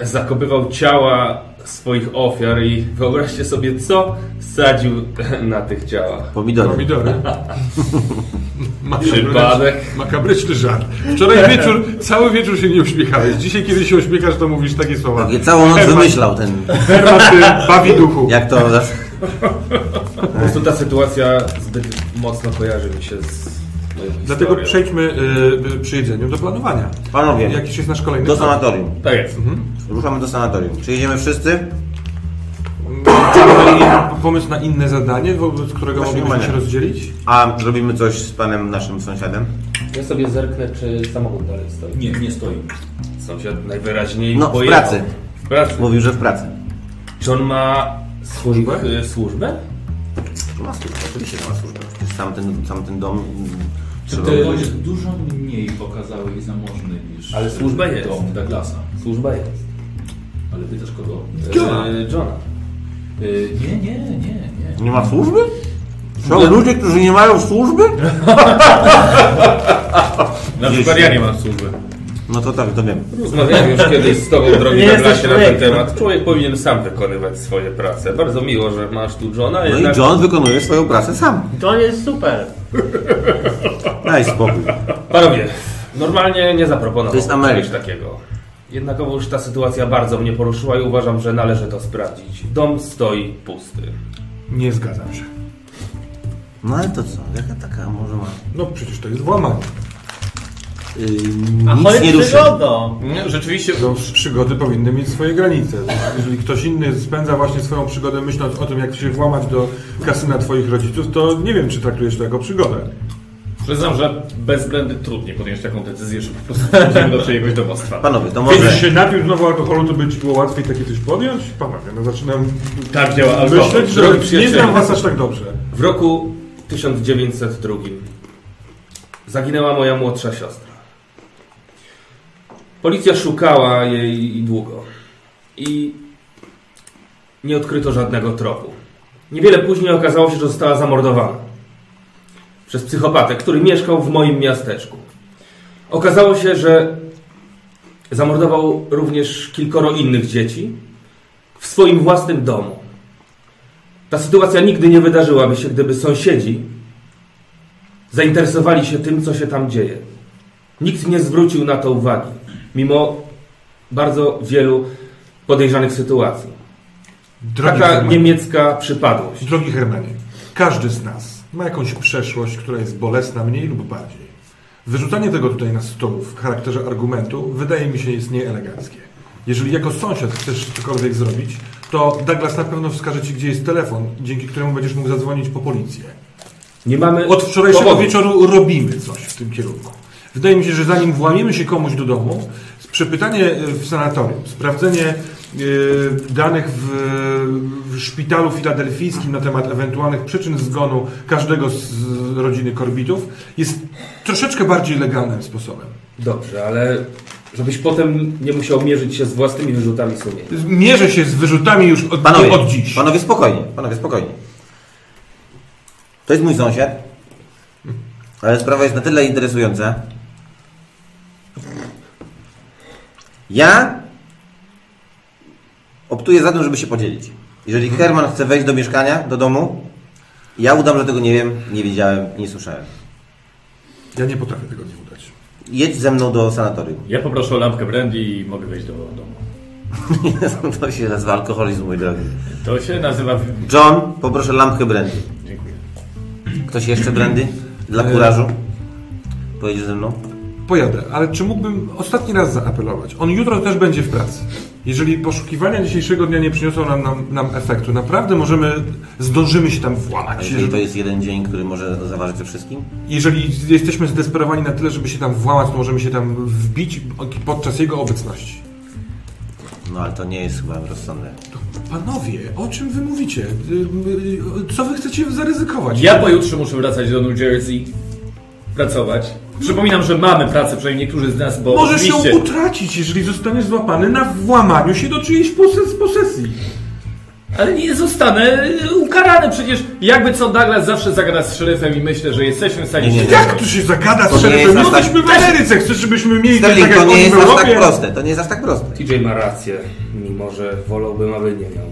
zakopywał ciała swoich ofiar i wyobraźcie sobie, co sadził na tych ciałach.
Pomidory.
Pomidory.
Przypadek.
Makabryczny żart. Wczoraj wieczór, cały wieczór się nie uśmiechałeś. Dzisiaj, kiedy się uśmiechasz, to mówisz takie słowa.
Tak, je całą noc
Herman-
wymyślał ten,
Hermaty bawi duchu.
jak to...
Po prostu ta sytuacja zbyt mocno kojarzy mi się z moją
Dlatego
historią.
przejdźmy y, przy jedzeniu do planowania.
Panowie,
Jakiś jest nasz kolejny
do
plan?
sanatorium.
Tak jest.
Ruszamy do sanatorium. Czy jedziemy wszyscy?
Mamy in- pomysł na inne zadanie, wobec którego
Właśnie
moglibyśmy się
mamy.
rozdzielić?
A robimy coś z panem naszym sąsiadem?
Ja sobie zerknę, czy samochód dalej stoi.
Nie, nie stoi.
Sąsiad najwyraźniej
No, w
pojechał.
pracy.
W pracy.
Mówił, że w pracy.
Czy on ma
Służbę?
y, służbę?
Ma służbę, oczywiście że ma służbę. Przecież Sam ten, sam ten dom... mm,
Czy
trzeba
to
było-
jest dużo mniej okazały i zamożny niż
Ale służba jest.
dom Douglasa.
Służba jest.
Ale pytasz kogo?
Johna.
Y, Johna.
Y, nie, nie, nie, nie.
Nie ma służby? Są ludzie, którzy nie mają służby?
Na przykład ja nie mam służby.
No to tak, to wiem.
Rozmawiałem już kiedyś z tobą, drogi
Nie
Douglasie,
jesteś
na ten
lekki.
temat. Człowiek powinien sam wykonywać swoje prace. Bardzo miło, że masz tu Johna,
No i
jednak...
John wykonuje swoją pracę sam.
To jest super.
Daj spokój.
Panowie, normalnie nie
To jest
zaproponowałbym
Ameryka.
czegoś takiego. Jednakowo już ta sytuacja bardzo mnie poruszyła i uważam, że należy to sprawdzić. Dom stoi pusty.
Nie zgadzam się.
No ale to co, jaka taka może ma...
No przecież to jest włamanie.
Yy,
A
nic nie
chodź
ruszy.
przygodą.
Nie, Rzeczywiście
To No, przygody powinny mieć swoje granice. Jeżeli ktoś inny spędza właśnie swoją przygodę myśląc o tym, jak się włamać do kasyna twoich rodziców, to nie wiem, czy traktujesz to jako przygodę.
przyznam, że bez blendy trudniej podjąć taką decyzję, że po prostu
[laughs]
wrócimy do czyjegoś domostwa.
Panowie, to
Kiedyś
może...
się napił znowu alkoholu, to by ci było łatwiej takie coś podjąć? Panowie, no zaczynam
Tak działa alkohol.
myśleć, że
drogi
nie
przyjacielu.
znam was aż tak dobrze.
W roku 1902 zaginęła moja młodsza siostra. Policja szukała jej długo i nie odkryto żadnego tropu. Niewiele później okazało się, że została zamordowana przez psychopatę, który mieszkał w moim miasteczku. Okazało się, że zamordował również kilkoro innych dzieci w swoim własnym domu. Ta sytuacja nigdy nie wydarzyłaby się, gdyby sąsiedzi zainteresowali się tym, co się tam dzieje. Nikt nie zwrócił na to uwagi, mimo bardzo wielu podejrzanych sytuacji.
Drogi
Taka
Hermanie,
niemiecka przypadłość.
drogi Hermanie, każdy z nas ma jakąś przeszłość, która jest bolesna mniej lub bardziej. Wyrzucanie tego tutaj na stół w charakterze argumentu wydaje mi się jest nieeleganckie. Jeżeli jako sąsiad chcesz cokolwiek zrobić, to Douglas na pewno wskaże ci, gdzie jest telefon, dzięki któremu będziesz mógł zadzwonić po policję.
Nie mamy
Od wczorajszego
powodu.
wieczoru robimy coś w tym kierunku. Wydaje mi się, że zanim włamiemy się komuś do domu, przepytanie y, w sanatorium, sprawdzenie y, danych w, w szpitalu filadelfijskim na temat ewentualnych przyczyn zgonu każdego z rodziny Korbitów jest troszeczkę bardziej legalnym sposobem.
Dobrze, ale żebyś potem nie musiał mierzyć się z własnymi wyrzutami sumienia.
Mierzę się z wyrzutami już od,
Panowie,
od dziś.
panowie spokojnie, panowie spokojnie. To jest mój sąsiad, ale sprawa jest na tyle interesująca. Ja optuję za tym, żeby się podzielić. Jeżeli Herman chce wejść do mieszkania, do domu, ja udam, że tego nie wiem, nie wiedziałem, nie słyszałem.
Ja nie potrafię tego nie udać.
Jedź ze mną do sanatorium. [laughs]
Ja poproszę o lampkę brandy i mogę wejść do domu.
no to się nazywa alkoholizm, mój drogi.
To się nazywa... w-
John, poproszę lampkę brandy.
Dziękuję.
Ktoś jeszcze brandy? Dla
E,
kurażu? Pojedziesz ze mną?
Pojadę, ale czy mógłbym ostatni raz zaapelować? On jutro też będzie w pracy. Jeżeli poszukiwania dzisiejszego dnia nie przyniosą nam, nam, nam efektu, naprawdę możemy, zdążymy się tam
A
włamać.
jeżeli to
Jeżeli,
jest jeden dzień, który może zaważyć o wszystkim?
jeżeli jesteśmy zdesperowani na tyle, żeby się tam włamać, to możemy się tam wbić podczas jego obecności.
No ale to nie jest chyba rozsądne.
Tak, Panowie, o czym wy mówicie? Y, y, Co wy chcecie zaryzykować?
Ja pojutrze muszę wracać do New Jersey, pracować. Przypominam, że mamy pracę, przynajmniej niektórzy z nas, bo
Możesz ją
oczywiście...
utracić, jeżeli zostaniesz złapany na włamaniu się do czyjejś poses- posesji.
Ale nie zostanę e, ukarany przecież. Jakby co Douglas zawsze zagada z szeryfem i myślę, że jesteśmy w stanie
Nie, nie,
się-
nie.
Jak tu się zagada
To
z
nie jest
szeryfem?
aż tak-
Jesteśmy w Ameryce, chcesz, żebyśmy mieli tak
Sterling,
jak
to nie
oni w
jest aż tak
Europie?
proste, to nie jest aż tak proste.
TJ ma rację, mimo że wolałbym, aby nie miał.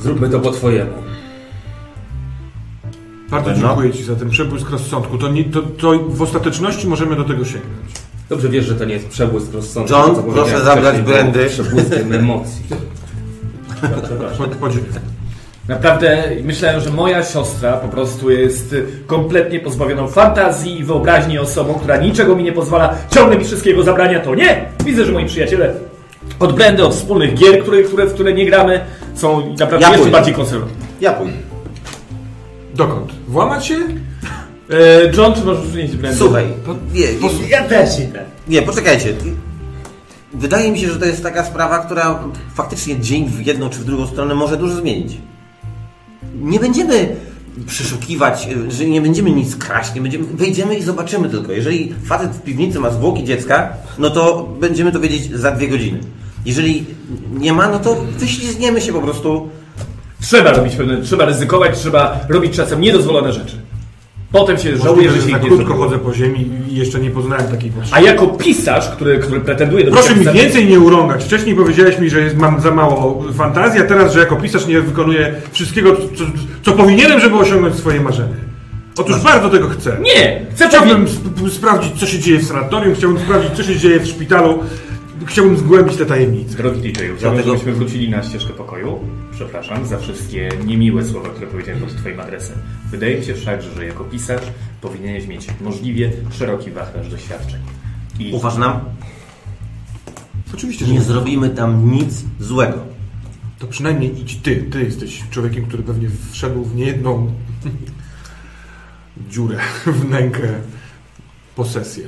Zróbmy to po twojemu.
Bardzo
Pewno?
dziękuję Ci za ten przebłysk rozsądku. To, nie, to, to w ostateczności możemy do tego sięgnąć.
Dobrze wiesz, że to nie jest przebłysk rozsądku.
John,
to, co powiedziałem
proszę zabrać
wcześniej, było
brandy.
Przebłyskiem emocji.
Po, podziw-
Naprawdę myślałem, że moja siostra po prostu jest y, kompletnie pozbawioną fantazji i wyobraźni osobą, która niczego mi nie pozwala, ciągle mi wszystkiego zabrania, to nie! Widzę, że moi przyjaciele od brandy, od wspólnych gier, które, które, w które nie gramy, są naprawdę
Ja
jeszcze
pójdę.
bardziej konserwatywne.
Ja pójdę.
Dokąd? Włamać się?
E, John, czy możesz przynieść brandy?
Słuchaj, nie, nie,
Ja też idę.
nie, poczekajcie. Wydaje mi się, że to jest taka sprawa, która faktycznie dzień w jedną czy w drugą stronę może dużo zmienić. Nie będziemy przeszukiwać, y, że nie będziemy nic kraść, nie będziemy, wejdziemy i zobaczymy tylko. Jeżeli facet w piwnicy ma zwłoki dziecka, no to będziemy to wiedzieć za dwie godziny. Jeżeli nie ma, no to wyślizgniemy się po prostu
Trzeba robić pewne, trzeba ryzykować, trzeba robić czasem niedozwolone rzeczy. Potem się żałuję,
Żałuję,
że
że
się
za
ich nie
krótko
zrobiło.
chodzę po ziemi i jeszcze nie poznałem takiej potrzeby.
A jako pisarz, który, który pretenduje do
Proszę mi
pisarza-
więcej nie urągać. Wcześniej powiedziałeś mi, że jest, mam za mało fantazji, a teraz, że jako pisarz nie wykonuję wszystkiego, co, co powinienem, żeby osiągnąć swoje marzenie. Otóż bardzo tego chcę.
No. Nie! Chcę
Chciałbym sp- p- sprawdzić, co się dzieje w sanatorium, chciałbym sprawdzić, co się dzieje w szpitalu, chciałbym zgłębić te tajemnice.
Drogi DJ, chciałbym, żebyśmy wrócili na ścieżkę pokoju. Przepraszam za wszystkie niemiłe słowa, które powiedziałem pod Twoim adresem. Wydaje mi się wszakże, że jako pisarz powinieneś mieć możliwie szeroki wachlarz doświadczeń. I
Ufasz nam?
Oczywiście, że
Nie
nie.
zrobimy tam nic złego.
To przynajmniej idź ty. Ty jesteś człowiekiem, który pewnie wszedł w niejedną [laughs] dziurę, w nękę, posesję.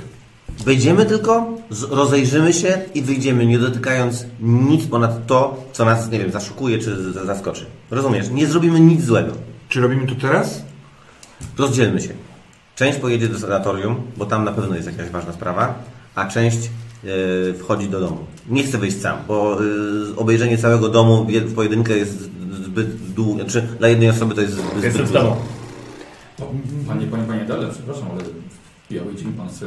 Wejdziemy tylko, z- rozejrzymy się i wyjdziemy, nie dotykając nic ponad to, co nas, nie wiem, zaszokuje czy z- zaskoczy. Rozumiesz? Nie zrobimy nic złego.
Czy robimy to teraz?
Rozdzielmy się. Część pojedzie do sanatorium, bo tam na pewno jest jakaś ważna sprawa, a część yy, wchodzi do domu. Nie chcę wyjść sam, bo yy, obejrzenie całego domu w jed- w pojedynkę jest zbyt długie. Znaczy, dla jednej osoby to jest zbyt, zbyt
jestem z
dużo.
tobą.
Panie, panie, panie Dale, przepraszam, ale w biały dzień pan chce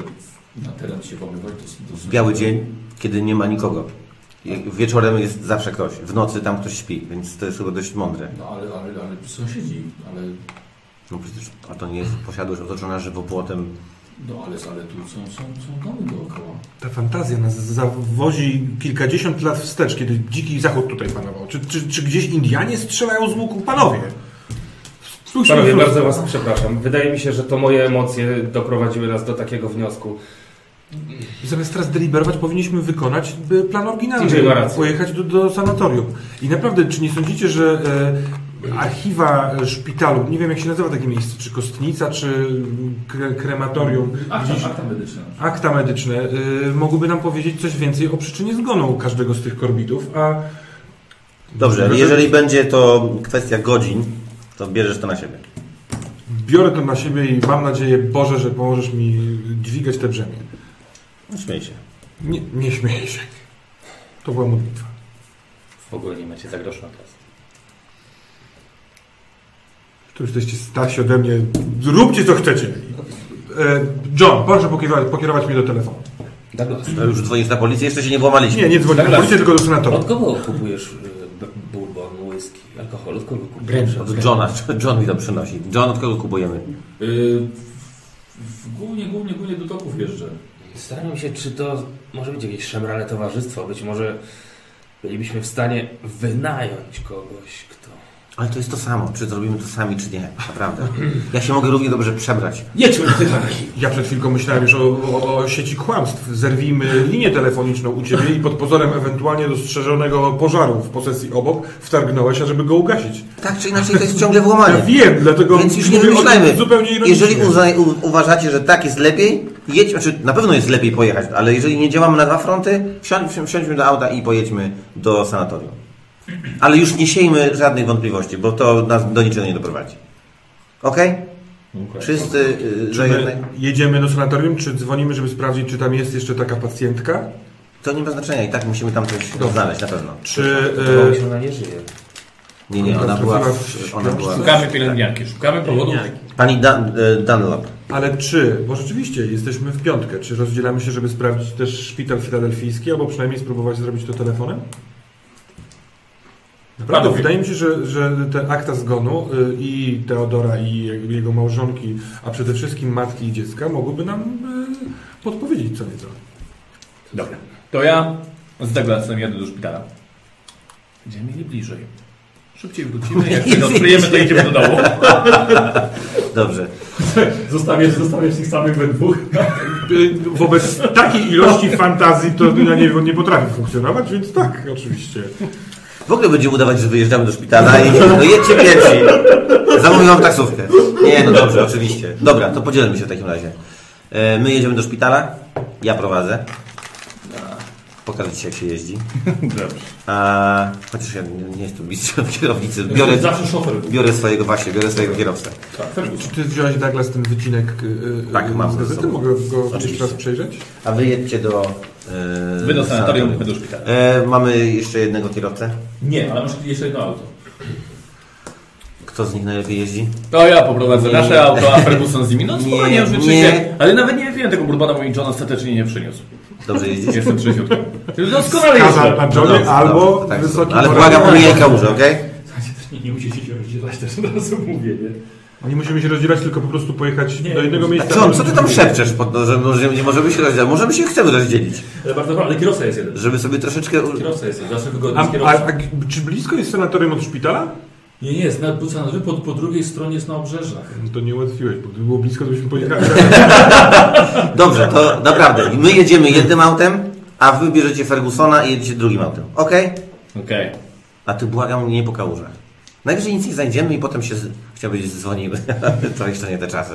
na teren się pomywać.
Biały dzień, kiedy nie ma nikogo. I Wieczorem jest zawsze ktoś. W nocy tam ktoś śpi, więc to jest chyba dość mądre.
No ale, ale, ale sąsiedzi, ale,
No przecież, a to nie
[clears throat]
jest posiadłość otoczona żywopłotem.
no, ale, ale tu są, są, są domy dookoła.
Ta fantazja nas zawozi kilkadziesiąt lat wstecz, kiedy dziki zachód tutaj panował. Czy, czy, czy gdzieś Indianie strzelają z łuku? Panowie!
[laughs]
Spójrzmy
Panowie,
w lustro.
bardzo was przepraszam. Wydaje mi się, że to moje emocje doprowadziły nas do takiego wniosku.
Zamiast teraz deliberować, powinniśmy wykonać y, plan oryginalny.
DJ ma rację.
Pojechać do, do sanatorium. I naprawdę, czy nie sądzicie, że e, archiwa e, szpitalu, nie wiem jak się nazywa takie miejsce, czy kostnica, czy kre, krematorium,
Akta, akta medyczne.
akta medyczne, y, mogłyby nam powiedzieć coś więcej o przyczynie zgonu każdego z tych korbitów, a
Dobrze, jeżeli będzie to kwestia godzin, to bierzesz to na siebie.
biorę to na siebie i mam nadzieję, Boże, że pomożesz mi dźwigać te brzemię.
No, Śmiej się.
Nie, nie śmieję się. To była modlitwa.
W ogóle nie macie za grosza teraz.
Tu jesteście starsi ode mnie. Róbcie co chcecie. E, John, proszę pokierować, pokierować mnie do telefonu.
Douglas,
To już dzwonisz na policję, jeszcze się nie włamaliśmy.
Nie, nie dzwonię na policję, tylko do senatora.
od kogo kupujesz y, b- bourbon, whisky, alkohol? Od kogo kupujesz?
Od Johna, [laughs] John mi to przynosi. John, od kogo kupujemy?
Yy, w- głównie, głównie, głównie do toków jeżdżę.
Zastanawiam się, czy to może być jakieś szemrane towarzystwo. Być może bylibyśmy w stanie wynająć kogoś, kto...
Ale to jest to samo, czy zrobimy to sami, czy nie. Naprawdę. Ja się mogę równie dobrze przebrać.
Jedźmy do tych anarchii.
Ja przed chwilką myślałem już o, o, o sieci kłamstw. Zerwijmy linię telefoniczną u Ciebie i pod pozorem ewentualnie dostrzeżonego pożaru w posesji obok wtargnąłeś, ażeby go ugasić.
Tak czy inaczej, to jest ciągle
Ja
włamanie.
wiem, dlatego
Więc już nie
mówię o tym
wymyślajmy.
zupełnie ironicznie.
Jeżeli uzna- u- uważacie, że tak jest lepiej, jedź, znaczy na pewno jest lepiej pojechać, ale jeżeli nie działamy na dwa fronty, wsiądź, wsi- wsiądźmy do auta i pojedźmy do sanatorium. Ale już nie siejmy żadnych wątpliwości, bo to nas do niczego nie doprowadzi. Okej? Wszyscy y, do jednej.
My jedziemy do sanatorium, czy dzwonimy, żeby sprawdzić, czy tam jest jeszcze taka pacjentka?
To nie ma znaczenia i tak musimy tam coś
Dobrze.
znaleźć na pewno.
Czy...
Bo
E,
się ona nie żyje.
Nie, nie, ona była. w- Ona była.
Szukamy pielęgniarki, szukamy powodów.
Pani Dan, y, Dunlop.
ale czy, bo rzeczywiście jesteśmy w piątkę, czy rozdzielamy się, żeby sprawdzić też szpital filadelfijski, albo przynajmniej spróbować zrobić to telefonem? Naprawdę,
Panowie.
wydaje mi się, że, że te akta zgonu y, i Teodora, i jego- jego małżonki, a przede wszystkim matki i dziecka mogłyby nam y, podpowiedzieć co nieco.
Dobra. To ja z Douglasem jadę do szpitala. Będziemy mieli bliżej. Szybciej wrócimy, jak się odkryjemy, to idziemy do domu.
Dobrze.
Zostawiasz, zostawiasz tych samych we dwóch.
Y, Wobec takiej [laughs] ilości fantazji to ja nie, nie potrafi funkcjonować, więc tak, oczywiście.
W ogóle będziemy udawać, że wyjeżdżamy do szpitala i no jedźcie pierwsi. Zamówiłam taksówkę. Nie, no dobrze, oczywiście. Dobra, to podzielmy się w takim razie. E, My jedziemy do szpitala, ja prowadzę. No, Pokażę Ci, jak się jeździ.
Dobrze.
A, chociaż ja nie, nie jestem mistrzem kierownicy. Biorę,
Zawsze szofer.
biorę swojego, właśnie, biorę swojego kierowcę.
Tak,
Czy ty wziąłeś Douglas ten wycinek y,
Tak,
y,
mam
z
ze
gazety?
sobą.
Mogę go
Oczywiście.
jeszcze raz przejrzeć?
A wy jedźcie do... e,
Wy do sanatorium, my do szpitala.
E, mamy jeszcze jednego kierowcę.
Nie, ale masz jeszcze jedno auto.
Kto z nich najlepiej jeździ?
To No, ja poprowadzę
Nie.
nasze auto, a Ferguson z nimi. No
[laughs] Nie,
spokojnie, już
nie.
wyczycie. Ale nawet nie wiem tego Bourbona, bo mi John ostatecznie nie przyniósł.
Dobrze jeździsz?
Jestem 60. Doskonale
Kazał
jeżdżę.
pan Johnny
Dobrze,
albo
dobrze, tak,
wysoki
Ale
moralny-
błagam, pomijaj kałużę, okej?
Nie, nie musicie się rozdzielać też od razu mówię, nie?
Nie musimy się rozdzierać, tylko po prostu pojechać
Nie,
do jednego
nie.
miejsca.
Tak, Co, co ty tam szepczesz, pod, to, że może, nie możemy się rozdzielić? Możemy się chcemy rozdzielić,
Ale E, bardzo dobra, ale kierowca jest jeden.
żeby sobie troszeczkę... u-
Kierowca jest jeden, zawsze
A,
wygodny z
a,
kierowcą.
a, czy blisko jest sanatorium od szpitala?
Nie, nie, jest na, po, po, po drugiej stronie jest na obrzeżach.
No to nie ułatwiłeś, bo gdyby było blisko, to
[laughs]
byśmy pojechali.
Dobrze, to naprawdę. My jedziemy jednym autem, a wy bierzecie Fergusona i jedziecie drugim autem. Okej?
Okej.
A ty błagam mnie nie po kałużach. Najwyżej nic nie znajdziemy i potem się, z- chciałbym powiedzieć, dzwonimy. [laughs] to jeszcze nie te czasy.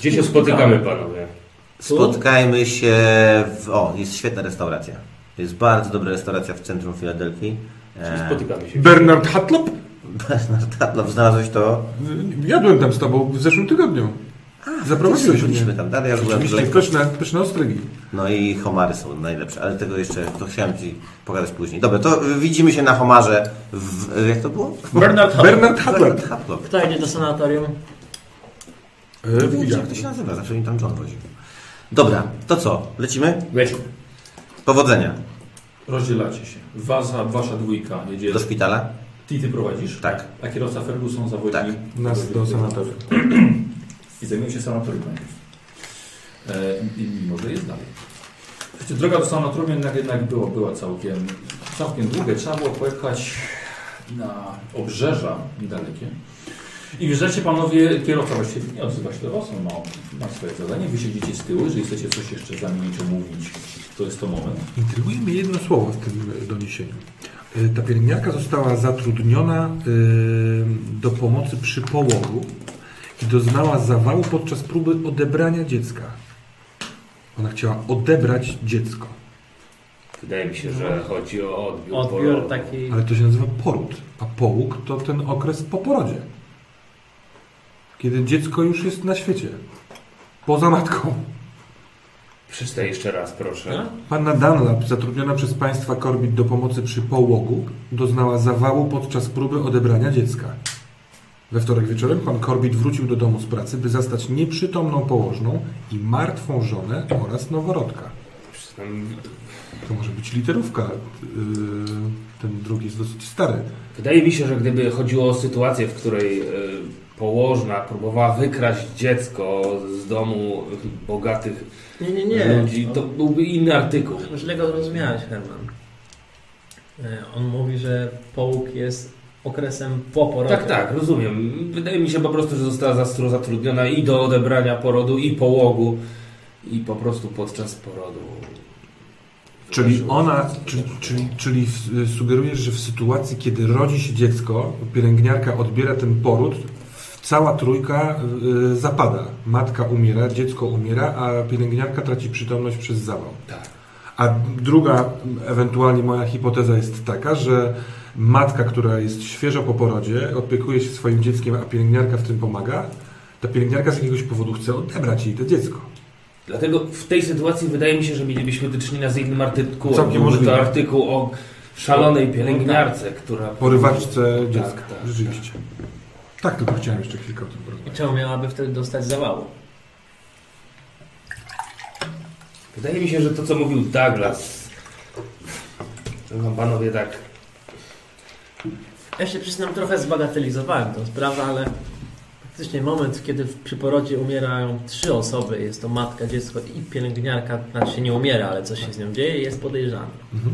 Gdzie się spotykamy, panowie?
Spotkajmy się w... O, jest świetna restauracja. Jest bardzo dobra restauracja w centrum Filadelfii.
Czyli
E,
spotykamy się.
Bernard Hatlop?
[laughs] Tatlow, znalazłeś to?
Jadłem tam z tobą w zeszłym tygodniu. Zaprowadziłeś mnie.
Byliśmy tam dalej, ja już byłem
Oczywiście,
lekko.
pyszne, pyszne ostrygi.
No i homary są najlepsze, ale tego jeszcze, to chciałem Ci pogadać później. Dobra, to widzimy się na homarze w... Jak to było?
Bernard Hall.
Bernard Hatlop.
Tatlow.
Kto jedzie do sanatorium?
E,
Nie wiem,
widziałem.
jak to się nazywa, zawsze mi tam John woził. Dobra, to co? Lecimy?
Weźmy.
Powodzenia.
Rozdzielacie się. Wasza, wasza dwójka jedzie.
Do szpitala?
Ty, ty prowadzisz?
Tak.
A kierowca Ferguson zawodzi.
Tak.
Nas do sanatorium.
I zajmuję się sanatorium najpierw. E, i- I może jest dalej. Słuchajcie, droga do sanatorium jednak, jednak była, była całkiem, całkiem długa. Trzeba było pojechać na obrzeża niedalekie. I wjeżdżacie panowie, kierowca właściwie nie odzywa się do was, on ma, ma swoje zadanie. Wy siedzicie z tyłu, jeżeli chcecie coś jeszcze zamienić, omówić, to jest to moment.
Intryguje mnie jedno słowo w tym e, doniesieniu. E, Ta pielęgniarka została zatrudniona e, do pomocy przy połogu i doznała zawału podczas próby odebrania dziecka. Ona chciała odebrać dziecko,
Wydaje mi się, że chodzi o odbiór.
Odbiór tak taki...
ale to się nazywa poród, a połóg to ten okres po porodzie. Kiedy dziecko już jest na świecie, poza matką.
Przeczytaj jeszcze raz, proszę.
Panna Dunlap, zatrudniona przez państwa Korbit do pomocy przy połogu, doznała zawału podczas próby odebrania dziecka. We wtorek wieczorem pan Korbit wrócił do domu z pracy, by zastać nieprzytomną położną i martwą żonę oraz noworodka.
Tam-
To może być literówka. Yy, ten drugi jest dosyć stary.
Wydaje mi się, że gdyby chodziło o sytuację, w której y, położna próbowała wykraść dziecko z domu bogatych
Nie, nie, nie. No.
ludzi, to byłby inny artykuł.
Źle go zrozumiałeś, Herman. E, On mówi, że połóg jest okresem po porodzie.
Tak, tak, rozumiem. Wydaje mi się po prostu, że została zastru- zatrudniona i do odebrania porodu, i połogu, i po prostu podczas porodu.
Czyli
Wydarzyło
ona,
się-
czyli, czyli, czyli w- sugerujesz, że w sytuacji, kiedy rodzi się dziecko, pielęgniarka odbiera ten poród, w- cała trójka y, zapada. Matka umiera, dziecko umiera, a pielęgniarka traci przytomność przez zawał.
Tak.
A druga, ewentualnie moja hipoteza jest taka, że matka, która jest świeżo po porodzie, opiekuje się swoim dzieckiem, a pielęgniarka w tym pomaga, ta pielęgniarka z jakiegoś powodu chce odebrać jej to dziecko.
Dlatego w tej sytuacji wydaje mi się, że mielibyśmy do czynienia z innym artykułem.
Całkiem
Byłby
możliwe.
to artykuł o szalonej pielęgniarce, która...
Porywaczce dziecka.
tak,
Rzeczywiście. Tak, tylko chciałem jeszcze chwilkę o tym
I
porozmawiać.
czemu miałaby wtedy dostać zawału?
Wydaje mi się, że to co mówił Douglas, że wam panowie tak,
Ja się przyznam, trochę zbagatelizowałem tę sprawę, ale faktycznie moment, kiedy w- przy porodzie umierają trzy osoby, jest to matka, dziecko i pielęgniarka, znaczy się nie umiera, ale coś się z nią dzieje, jest podejrzany.
Mhm.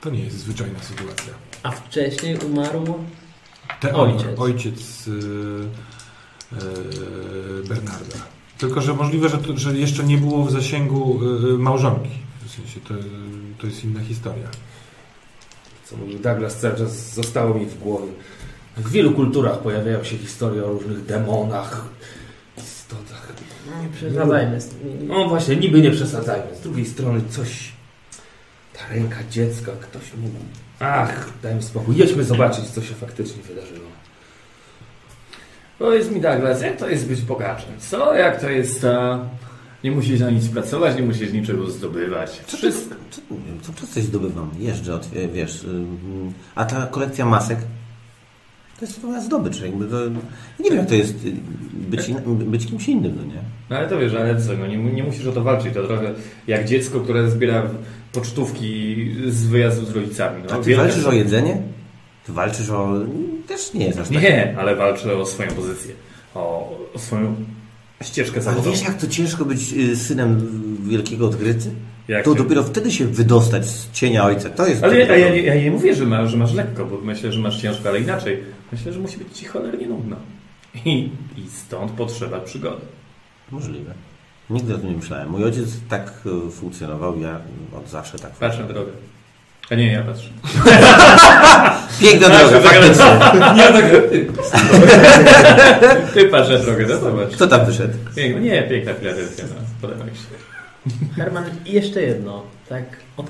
To nie jest zwyczajna sytuacja.
A wcześniej umarł
Teodor, ojciec,
Ojciec.
ojciec yy, yy, Bernarda. Tylko, że możliwe, że, to, że jeszcze nie było w zasięgu yy, małżonki. W sensie to, to jest inna historia.
co mówił Douglas, cały czas zostało mi w głowie. W wielu kulturach pojawiają się historie o różnych demonach, istotach.
Nie przesadzajmy. z-
No właśnie, niby nie przesadzajmy. Z drugiej strony coś... Ta ręka dziecka, ktoś mógł... Ach, dajmy spokój. Jedźmy zobaczyć, co się faktycznie wydarzyło.
Powiedz mi Douglas, jak to jest być bogaczem? Co? Jak to jest ta... Nie musisz na nic pracować, nie musisz niczego zdobywać.
Co ty, co, nie e, wiem, co czas coś zdobywam. Jeżdżę, od, wiesz. ym, A ta kolekcja masek? To jest pewna zdobycz. Jakby to, ja nie wiem, jak to jest y, być, in, być kimś innym, no nie?
No ale to wiesz, ale co, no nie, nie musisz o to walczyć. To trochę jak dziecko, które zbiera pocztówki z wyjazdu z rodzicami. No,
A ty
wielka-
walczysz o jedzenie? Ty walczysz o... Też nie jest aż tak.
Nie, ale walczę o swoją pozycję. O, o swoją ścieżkę
Ale
zawodową.
wiesz, jak to ciężko być y, synem wielkiego odkrycy?
Jak
to
się-
dopiero wtedy się wydostać z cienia ojca. To jest...
Ale ja, ja, nie- ja nie mówię, że, ma, że masz lekko, bo myślę, że masz ciężko, ale inaczej. Myślę, że musi być ci cholernie nudno. I, I stąd potrzeba przygody.
Możliwe. Nigdy o tym nie myślałem. Mój ojciec tak y, funkcjonował, ja od zawsze tak
Patrz na drogę. A nie, ja
[laughs]
patrzę.
Piękna
Patrz
droga,
na drogę.
faktycznie.
Ja tak... Ty, ty patrz na drogę, no zobacz.
Kto tam wyszedł?
Piękna, nie, piękna Filadelfia. No, podoba mi się.
Herman, i jeszcze jedno. Tak, od...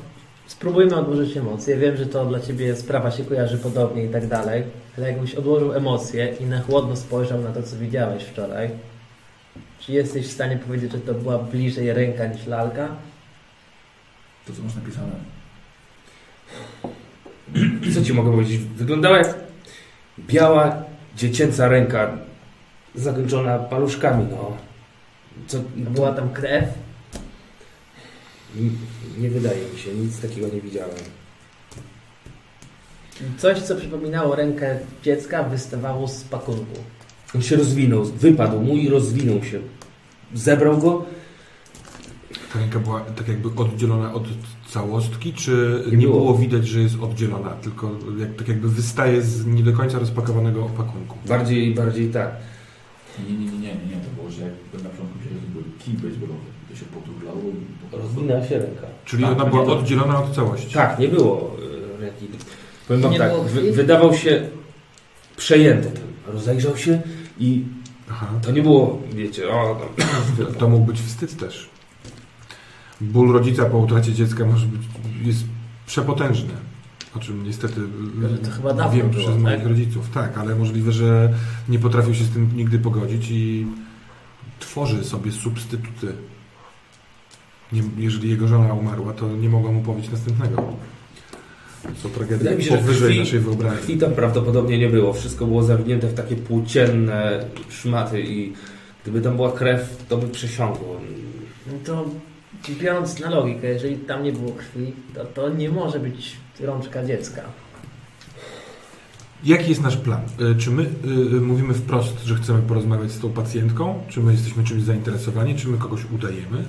spróbujmy odłożyć emocje. Wiem, że to dla ciebie sprawa się kojarzy podobnie i tak dalej, ale jakbyś odłożył emocje i na chłodno spojrzał na to, co widziałeś wczoraj, czy jesteś w stanie powiedzieć, że to była bliżej ręka niż lalka?
To, co masz napisane.
Co ci mogę powiedzieć? Wyglądała jak biała, dziecięca ręka zakończona paluszkami, no. Co, no,
Była tam krew?
N- Nie wydaje mi się, nic takiego nie widziałem.
Coś, co przypominało rękę dziecka, wystawało z pakunku.
On się rozwinął, wypadł mu i rozwinął się. Zebrał go.
Ta ręka była tak jakby oddzielona od całostki, czy
Nie
nie,
było.
było. widać, że jest oddzielona, tylko jak, tak jakby wystaje z nie do końca rozpakowanego opakunku.
Bardziej, bardziej tak.
Nie, nie, nie, nie, nie, nie. To było, że jakby na początku myślałem, że to był kij baseballowy. To się poturlało i...
Rozwinęła się ręka.
Czyli
Tak,
ona
to
była
nie-
oddzielona od całości.
Tak, nie było e, ręki. Powiem wam
Nie
tak,
było
wy,
krwi?
wydawał się przejęty tym. Rozejrzał się i
Aha.
to nie było, wiecie, o, no,
To [clears throat] mógł być wstyd też. Ból rodzica po utracie dziecka może być, jest przepotężny. O czym niestety y,
Ale to chyba dawno
wiem
było,
przez moich rodziców. Tak, ale możliwe, że nie potrafił się z tym nigdy pogodzić i tworzy sobie substytuty. Nie, jeżeli jego żona umarła, to nie mogła mu powiedzieć następnego. Co tragedia
Wydaje mi się, że
powyżej
krwi-
naszej wyobraźni.
krwi tam prawdopodobnie nie było. Wszystko było zawinięte w takie płócienne szmaty i gdyby tam była krew, to by przesiąkło.
No to biorąc na logikę, jeżeli tam nie było krwi, to, to nie może być rączka dziecka.
Jaki jest nasz plan? Y, Czy my y, y, mówimy wprost, że chcemy porozmawiać z tą pacjentką? Czy my jesteśmy czymś zainteresowani? Czy my kogoś udajemy?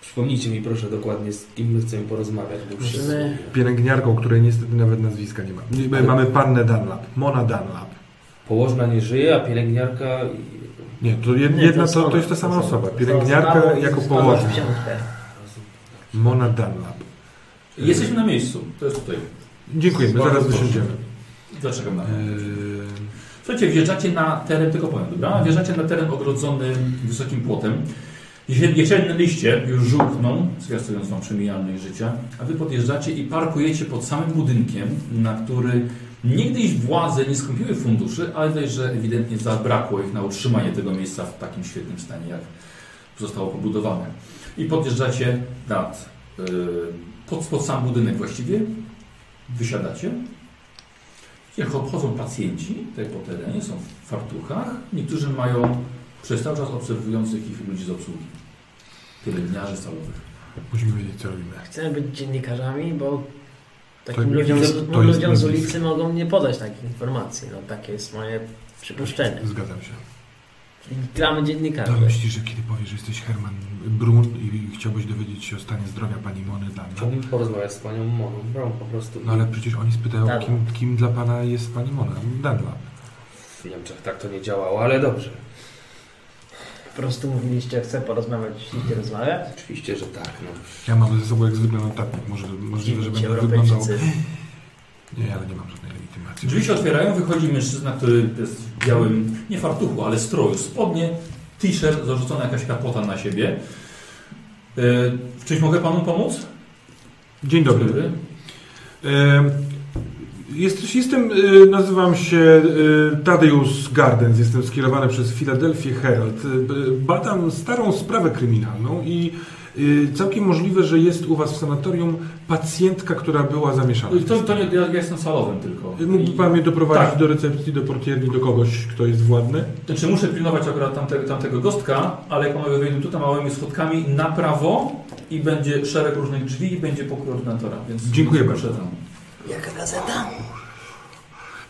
Przypomnijcie mi proszę dokładnie, z kim my chcemy porozmawiać. Bo już się
Możemy-
Pielęgniarką, której niestety nawet nazwiska nie ma. Nie, my
Ale-
Mamy pannę Dunlap, Mona Dunlap.
Położna nie żyje, a pielęgniarka...
Nie, to jed,
Nie,
jedna
to
to,
są-
to jest ta sama
to są-
osoba.
to
Pielęgniarka
zostało-
jako
zostało
położna.
wzięte.
Mona Dunlap.
Jesteśmy na miejscu. To jest tutaj.
Dziękujemy,
Bardzo
zaraz
proszę.
wysiądziemy.
Zaczekam na
Yy,
to. Słuchajcie, wjeżdżacie na teren, tylko powiem, dobra? Wjeżdżacie na teren ogrodzony wysokim płotem. Jesienne- Jesienne liście już żółkną, zwiastując wam przemijalność życia, a wy podjeżdżacie i parkujecie pod samym budynkiem, na który niegdyś władze nie skąpiły funduszy, ale też, że ewidentnie zabrakło ich na utrzymanie tego miejsca w takim świetnym stanie, jak zostało pobudowane. I podjeżdżacie nad, yy, pod, pod sam budynek właściwie, wysiadacie, jak obchodzą pacjenci tutaj po terenie, są w fartuchach, niektórzy mają przez cały czas obserwujących ich ludzi z obsługi. Pielęgniarzy salowych.
musimy wiedzieć, co robimy.
Chcemy być dziennikarzami, bo takim
To
ludziom,
jest-
z- no,
to jest
ludziom z
nazwisko.
ulicy mogą nie podać takich informacji. No, takie jest moje przypuszczenie.
Zgadzam się.
Gramy dziennikarzy.
To myślisz, że kiedy powiesz, że jesteś Herman Brun i chciałbyś dowiedzieć się o stanie zdrowia pani Mony Dunlap?
Chciałbym porozmawiać z panią Moną Brown po prostu.
No ale przecież oni spytają,
Dunlap.
kim, kim dla pana jest pani Mona Dunlap.
W Niemczech tak to nie działało, ale dobrze.
Po prostu mówiliście, chcę porozmawiać, nie rozmawiać.
Oczywiście, że tak. No.
Ja mam ze sobą jak zwykle notatnik, może możliwe, że
Dziwić
będę wyglądał...
Europejczycy.
Nie, ale nie mam żadnej legitymacji.
Drzwi się otwierają, wychodzi mężczyzna, który jest w białym, nie fartuchu, ale stroju, spodnie, t-shirt, zarzucona jakaś kapota na siebie. Yy, w czymś mogę panu pomóc?
Dzień dobry.
Dobry.
E, Jest, jestem, e, nazywam się e, Tadeusz Gardens, jestem skierowany przez Philadelphia Herald. E, b- Badam starą sprawę kryminalną i Y, Całkiem możliwe, że jest u Was w sanatorium pacjentka, która była zamieszana.
To, to nie, ja ja jestem salowym tylko.
Y, Mógłby Pan mnie doprowadzić
Tak.
do recepcji, do portierni, do kogoś, kto jest władny?
Znaczy muszę pilnować akurat tamte, tamtego gostka, ale jak panowie wyjdą tutaj małymi schodkami na prawo i będzie szereg różnych drzwi i będzie pokój ordynatora. Więc
Dziękuję
proszę tam.
Jaka gazeta?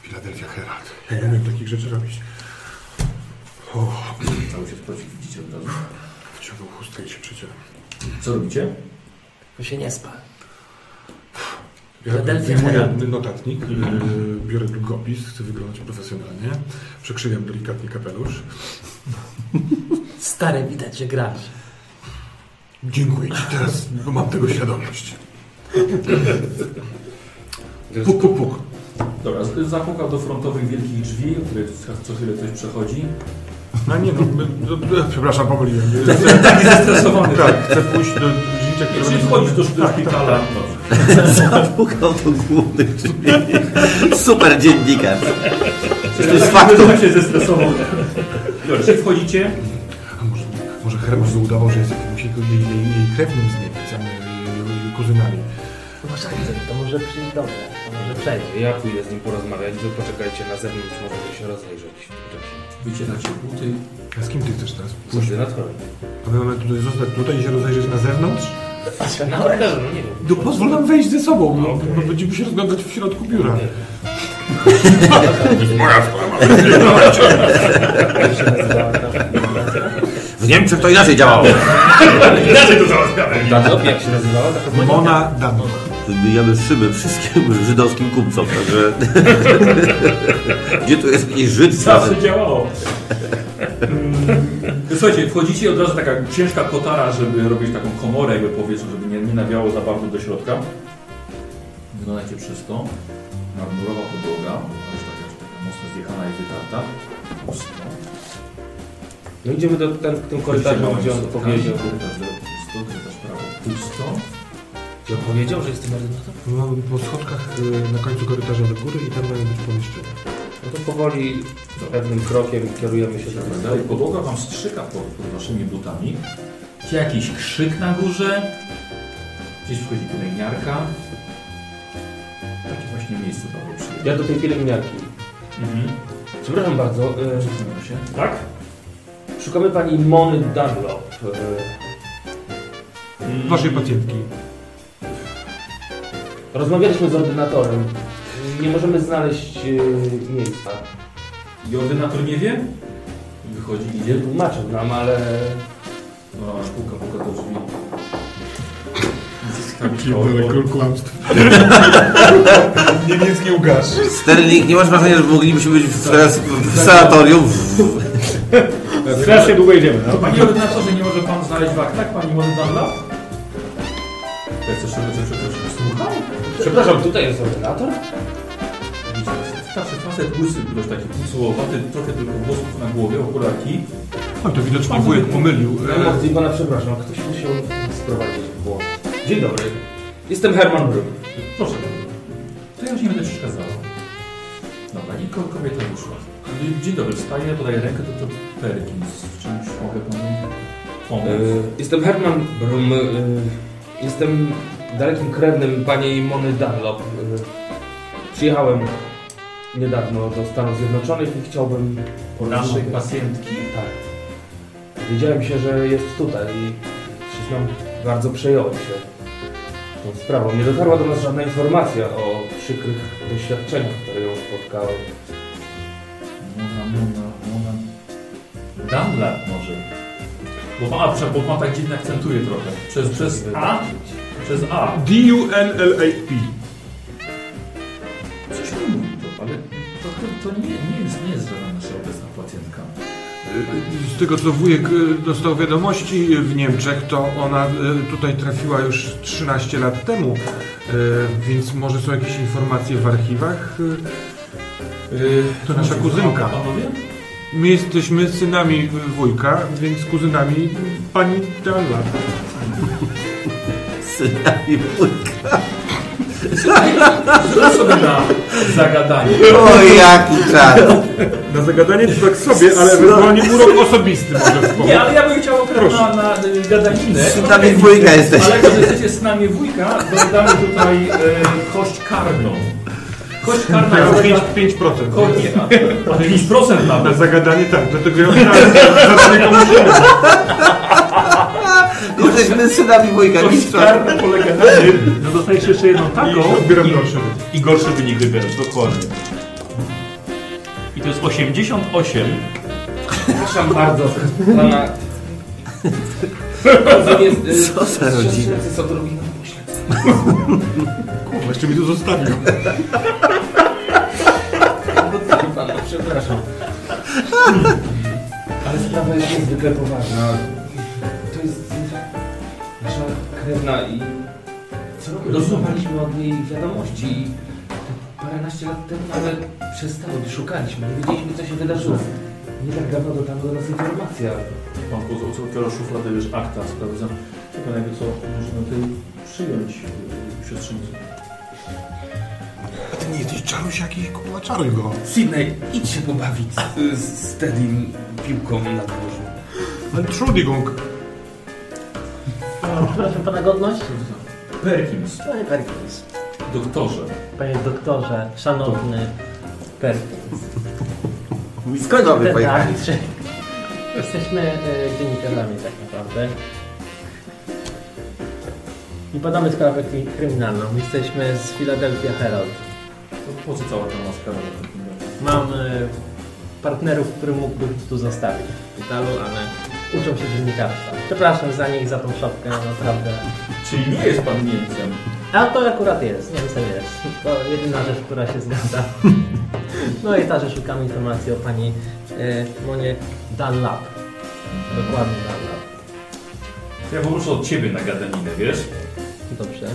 Philadelphia Herald. Ja nie umiem takich rzeczy robić. O,
Cały się spłaci, widzicie od razu.
wciągnął chustkę i się przecieram.
Co robicie?
To się nie spa.
Ja
Philadelphia
wyjmuję
Herald.
notatnik, yy, biorę długopis, chcę wyglądać profesjonalnie, przekrzywiam delikatnie kapelusz.
Stary, widać, że grasz.
Dziękuję Ci teraz, bo mam tego świadomość. Puk, puk, puk.
Dobra, z- zapukał do frontowych wielkich drzwi, o których co- co chwilę ktoś przechodzi.
No nie no, my, do, do, przepraszam, pomyliłem.
Taki zestresowany.
Tak, chcę pójść do życia, które...
Czyli wchodzisz do, do szpitala.
Zapukał do głównych drzwi.
[laughs]
Super dziennikarz.
To
jest faktum.
się zestresował. Dobra, czyli wchodzicie.
A może, może Hermes udawał, że jest jakimś jego- jej, jej, jej krewnym z Niemiec, a nie jej- jej kuzynami.
Masz akcent, to może przyjść do mnie. To może przejść.
Ja pójdę z nim porozmawiać, wy poczekajcie na zewnątrz, możecie się rozejrzeć.
Wycieracie buty.
A z kim Ty chcesz teraz pójść?
Ordynatorem.
A my mamy tutaj zostać tutaj i się rozejrzeć na zewnątrz?
Patrzę na oręż.
No pozwól nam wejść ze sobą, no, bo będziemy się rozglądać w środku biura.
W Niemczech to inaczej
No.
działało.
Ta lobby, jak się nazywała? Taka
Mona Dano.
Wybijamy szyby wszystkim [laughs] żydowskim kupcom, także... [laughs] Gdzie tu jest jakiś Żyd?
Zawsze działało. Mm, Słuchajcie, wchodzicie i od razu taka ciężka kotara, żeby robić taką komorę jakby powietrzu, żeby nie, nie nawiało za bardzo do środka. Wyglądacie przez to. Marmurowa podłoga, ale już taka, taka mocno zjechana i wytarta. Pusto.
No idziemy do ten, tym korytarzem, tak gdzie on powiedział.
Pusto, korytarz prawo pusto.
Gdzie on powiedział, że jestem ordynatorem?
No, po schodkach y, na końcu korytarza do góry i tam mają być pomieszczenia.
No to powoli, no, pewnym krokiem kierujemy się do
Dalej podłoga wam strzyka pod, pod waszymi butami. Czy jakiś krzyk na górze? Gdzieś wchodzi pielęgniarka. Takie właśnie miejsce to przyjemne.
Ja do tej pielęgniarki.
Mhm.
Przepraszam bardzo, e,
Przesunę się. Tak?
szukamy pani Mony Dunlop. E,
Waszej pacjentki.
Rozmawialiśmy z ordynatorem. Nie możemy znaleźć e, miejsca.
I ordynator nie wie? Wychodzi, idzie.
Tłumaczył nam, ale
No, aż puka, puka do drzwi.
kłamstw. Niemiecki ugasz.
Sterling, nie masz wrażenia, że moglibyśmy być w, teraz w sanatorium?
Strasznie długo idziemy, no.
Panie ordynatorze, nie może pan znaleźć w aktach pani Mody Dunlap? Ja chcę szczerze, przepraszam, słucham?
przepraszam, tutaj jest ordynator?
Starszy facet, łysy, dość taki pucułowaty, trochę tylko włosów na głowie, okulaki.
No to widocznie wujek pomylił. E,
Emocji pana przepraszam, ktoś musiał sprowadzić w błąd. Dzień dobry, jestem Herman Brum.
Proszę bardzo. To ja już nie będę przeszkadzała. Dobra, i ko- kobieta wyszła. Dzień dobry, wstaję, podaję rękę, to, to Perkins. W czymś mogę panu pomóc?
E, Jestem Herman Brum. e, Jestem dalekim krewnym pani Mony Dunlop. E, Przyjechałem niedawno do Stanów Zjednoczonych i chciałbym
Po naszej pacjentki?
Tak. Wiedziałem się, że jest tutaj i przyznam, bardzo przejąłem się tą sprawą. Nie dotarła do nas żadna informacja o przykrych doświadczeniach, które ją spotkały.
Mona, Mona, Mona. Dunlap może. Bo ma, a, prze- bo ma tak dziwnie akcentuje trochę. Przez, przez A? Przez A.
D-U-N-L-A-P.
Coś mi mówi to, ale to, to, to nie, nie jest, nie jest żadna nasza obecna pacjentka.
E, Z tego co wujek e, dostał wiadomości y, w Niemczech, to ona e, tutaj trafiła już 13 lat temu, E, więc może są jakieś informacje w archiwach. E, To nasza kuzynka.
Panowie?
My jesteśmy synami wujka, więc kuzynami pani Dalla.
Synami wujka.
Rzuć sobie na zagadanie.
O, jaki czas.
Na zagadanie to tak sobie, ale ewentualnie [laughs] urok osobisty może wspomóc.
Nie, ale ja bym chciał akurat
Proszę.
na, na y, gadaninę.
Z nami dwójka jesteś.
Ale jak jesteście z nami wujka, dodamy tutaj e, kość karną. Kość karna
Tak,
jest...
5%. 5%.
Kość, nie, a 5%
Na
nawet.
zagadanie tak, dlatego ja [laughs] oddałem zadanie komuś
No, Jesteśmy synami wujka, mistrza.
Karta polega na tym,
No
że dostajesz jeszcze jedną taką
i odbieram dalszy.
i gorszy wynik wybierasz, dokładnie. I to jest 88.
Przepraszam bardzo pana... Bardzo nie-
Co za rodzina?
Co to robi na myśl?
[laughs] Kurwa, jeszcze mi tu zostawił.
Pana, No tak, przepraszam. Ale sprawa jest niezwykle poważna. To jest nasza krewna i co roku dostawaliśmy od niej wiadomości i paręnaście lat temu ale przestały, szukaliśmy, nie wiedzieliśmy co się wydarzyło. Nie tak dawno dotarła do nas informacja.
Pan poseł, co otwiera szufladę, wiesz, akta, sprawdzam. Czekaj, jakby co można tutaj przyjąć y, siostrzeńcu.
A ty nie jesteś czarusiak i kupowa czaruj go.
Sydney, idź się pobawić z, z Teddym piłką na dworzu.
Ale Entschuldigung.
Proszę pana godność?
Perkins,
Panie Perkins.
doktorze.
Panie doktorze, szanowny Perkins.
Skąd mamy
Ten
pojechać?
tak?
akt, że [laughs] Jesteśmy e, dziennikarzami tak naprawdę. I badamy sprawę kri- kryminalną. Jesteśmy z Philadelphia Herald.
To Po co cała ta maskara? na takim razie?
Mam e, partnerów, którym mógłbym tu zostawić w szpitalu, ale uczą się dziennikarstwa. Przepraszam za nich, za tą szopkę, naprawdę.
Czyli nie jest pan Niemcem.
A to akurat jest, nie wiem co jest. To jedyna rzecz, która się zgadza. No i ta, że szukamy informacji o pani e, Monie Dunlap. Dokładnie Dunlap.
To Ja poproszę od ciebie na gadaninę, wiesz?
Dobrze.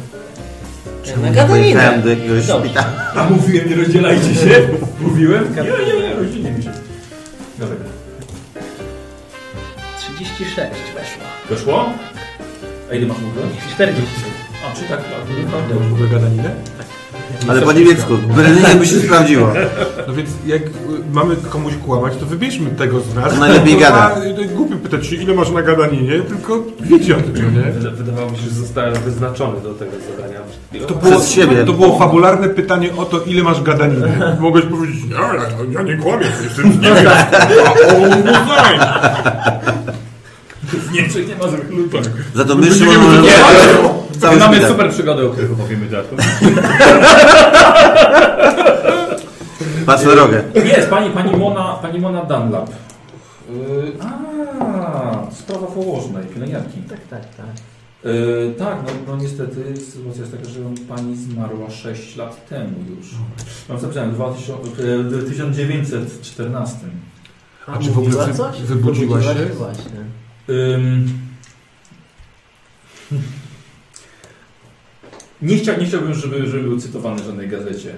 nie pojechałem do jakiegoś
Dobrze.
szpitala?
A mówiłem, nie rozdzielajcie się. Mówiłem? Nie, nie, nie, rozdzielimy się. Dobra.
36 weszło.
Doszło? A ile masz mówić?
40.
A, czy tak? tak.
Ja już w ogóle gadaninę.
Ale po niemiecku. Berlinie by się sprawdziło.
No więc jak y, mamy komuś kłamać, to wybierzmy tego z nas.
To najlepiej
[laughs] To
gada.
ma- y, Głupio pytać się, ile masz na gadaninie, tylko wiecie o tym, no nie?
Wydawało mi się, że zostałem wyznaczony do tego zadania. przed chwilą.
To było,
Przez siebie.
to było fabularne pytanie o to, ile masz gadaniny.
[laughs]
Mogłeś powiedzieć, nie, ja, ja nie kłamię, jestem z Niemiec. A on design.
W Niemczech nie ma złych ludzi.
Za to my Szymon
będziemy
możemy... Cały
Mamy
szpital.
super przygodę, o których opowiemy dodatkowo.
[laughs]
Patrz na drogę.
Nie, z pani, pani Mona, pani Mona Dunlap. Yy, a, sprawa położnej, pielęgniarki.
Tak, tak, tak.
Yy, tak, no, no niestety sytuacja jest taka, że pani zmarła 6 lat temu już. No, Mam zapisane, w 2000 yy, 1914.
A czy w ogóle
mówiła
wy-
coś?
wybudziła się?
Właśnie.
Ym... Nie, chciał, nie chciałbym, żeby, żeby był cytowany w żadnej gazecie,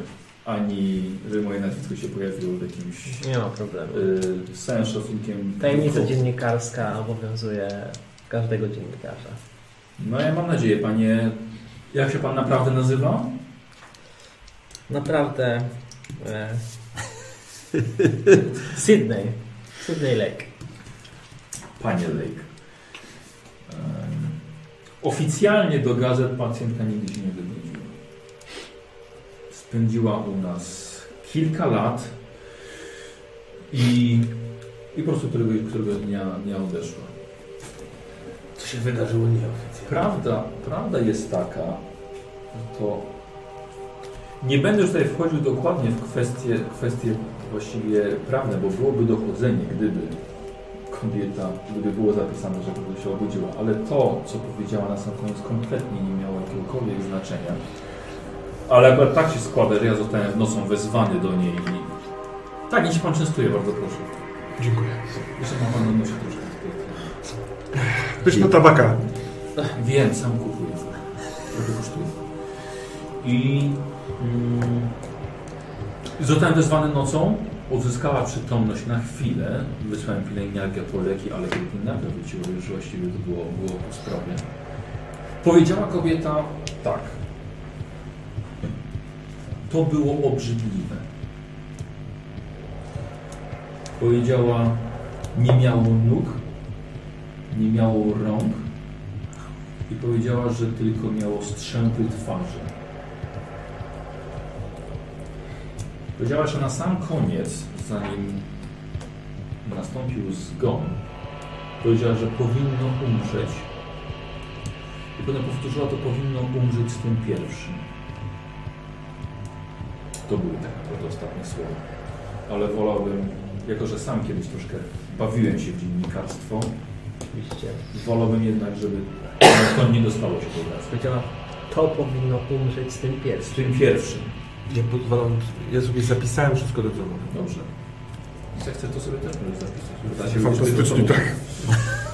ani żeby moje nazwisko się pojawiło w jakimś
Nie ma problemu.
y, z całym szacunkiem.
Tajemnica
No,
dziennikarska obowiązuje każdego dziennikarza.
No ja mam nadzieję, panie. Jak się pan naprawdę nazywa?
Naprawdę. E... [laughs] Sydney. Sydney Lake.
Panie Lake. Em, Oficjalnie do gazet pacjentka nigdy się nie wygodziła. Spędziła u nas kilka lat i, i po prostu któregoś, któregoś dnia, dnia odeszła.
Co się wydarzyło nieoficjalnie?
Prawda, prawda jest taka, że to nie będę już tutaj wchodził dokładnie w kwestie, kwestie właściwie prawne, bo byłoby dochodzenie, gdyby kobieta, gdyby było zapisane, że kobieta się obudziła, ale to, co powiedziała na sam koniec, kompletnie nie miało jakiegokolwiek znaczenia. Ale akurat tak się składa, że ja zostałem nocą wezwany do niej i... Tak, niech się pan częstuje, bardzo proszę.
Dziękuję.
Jeszcze ma pan nosi troszkę.
Pyszna tabaka.
Wiem, sam kupuję. Trochę kosztuje. I mm, zostałem wezwany nocą. Odzyskała przytomność na chwilę. Wysłałem pielęgniarkę po leki, ale pielęgniarka wróciła już właściwie to było, było po sprawie. Powiedziała kobieta tak. To było obrzydliwe. Powiedziała, nie miało nóg, nie miało rąk i powiedziała, że tylko miało strzępy twarzy. Powiedziała, że na sam koniec, zanim nastąpił zgon, powiedziała, że powinno umrzeć. I potem powtórzyła to powinno umrzeć z tym pierwszym. To były tak naprawdę ostatnie słowa. Ale wolałbym, jako że sam kiedyś troszkę bawiłem się w dziennikarstwo,
Oczywiście.
wolałbym jednak, żeby to nie dostało się do nas.
Powiedziała, to powinno umrzeć z tym pierwszym.
Z tym pierwszym.
Ja, pozwalam, ja sobie zapisałem wszystko do tego.
Dobrze. Jeśli chcesz, to sobie też możesz zapisać. Da
się fantastycznie,
będzie-
tak.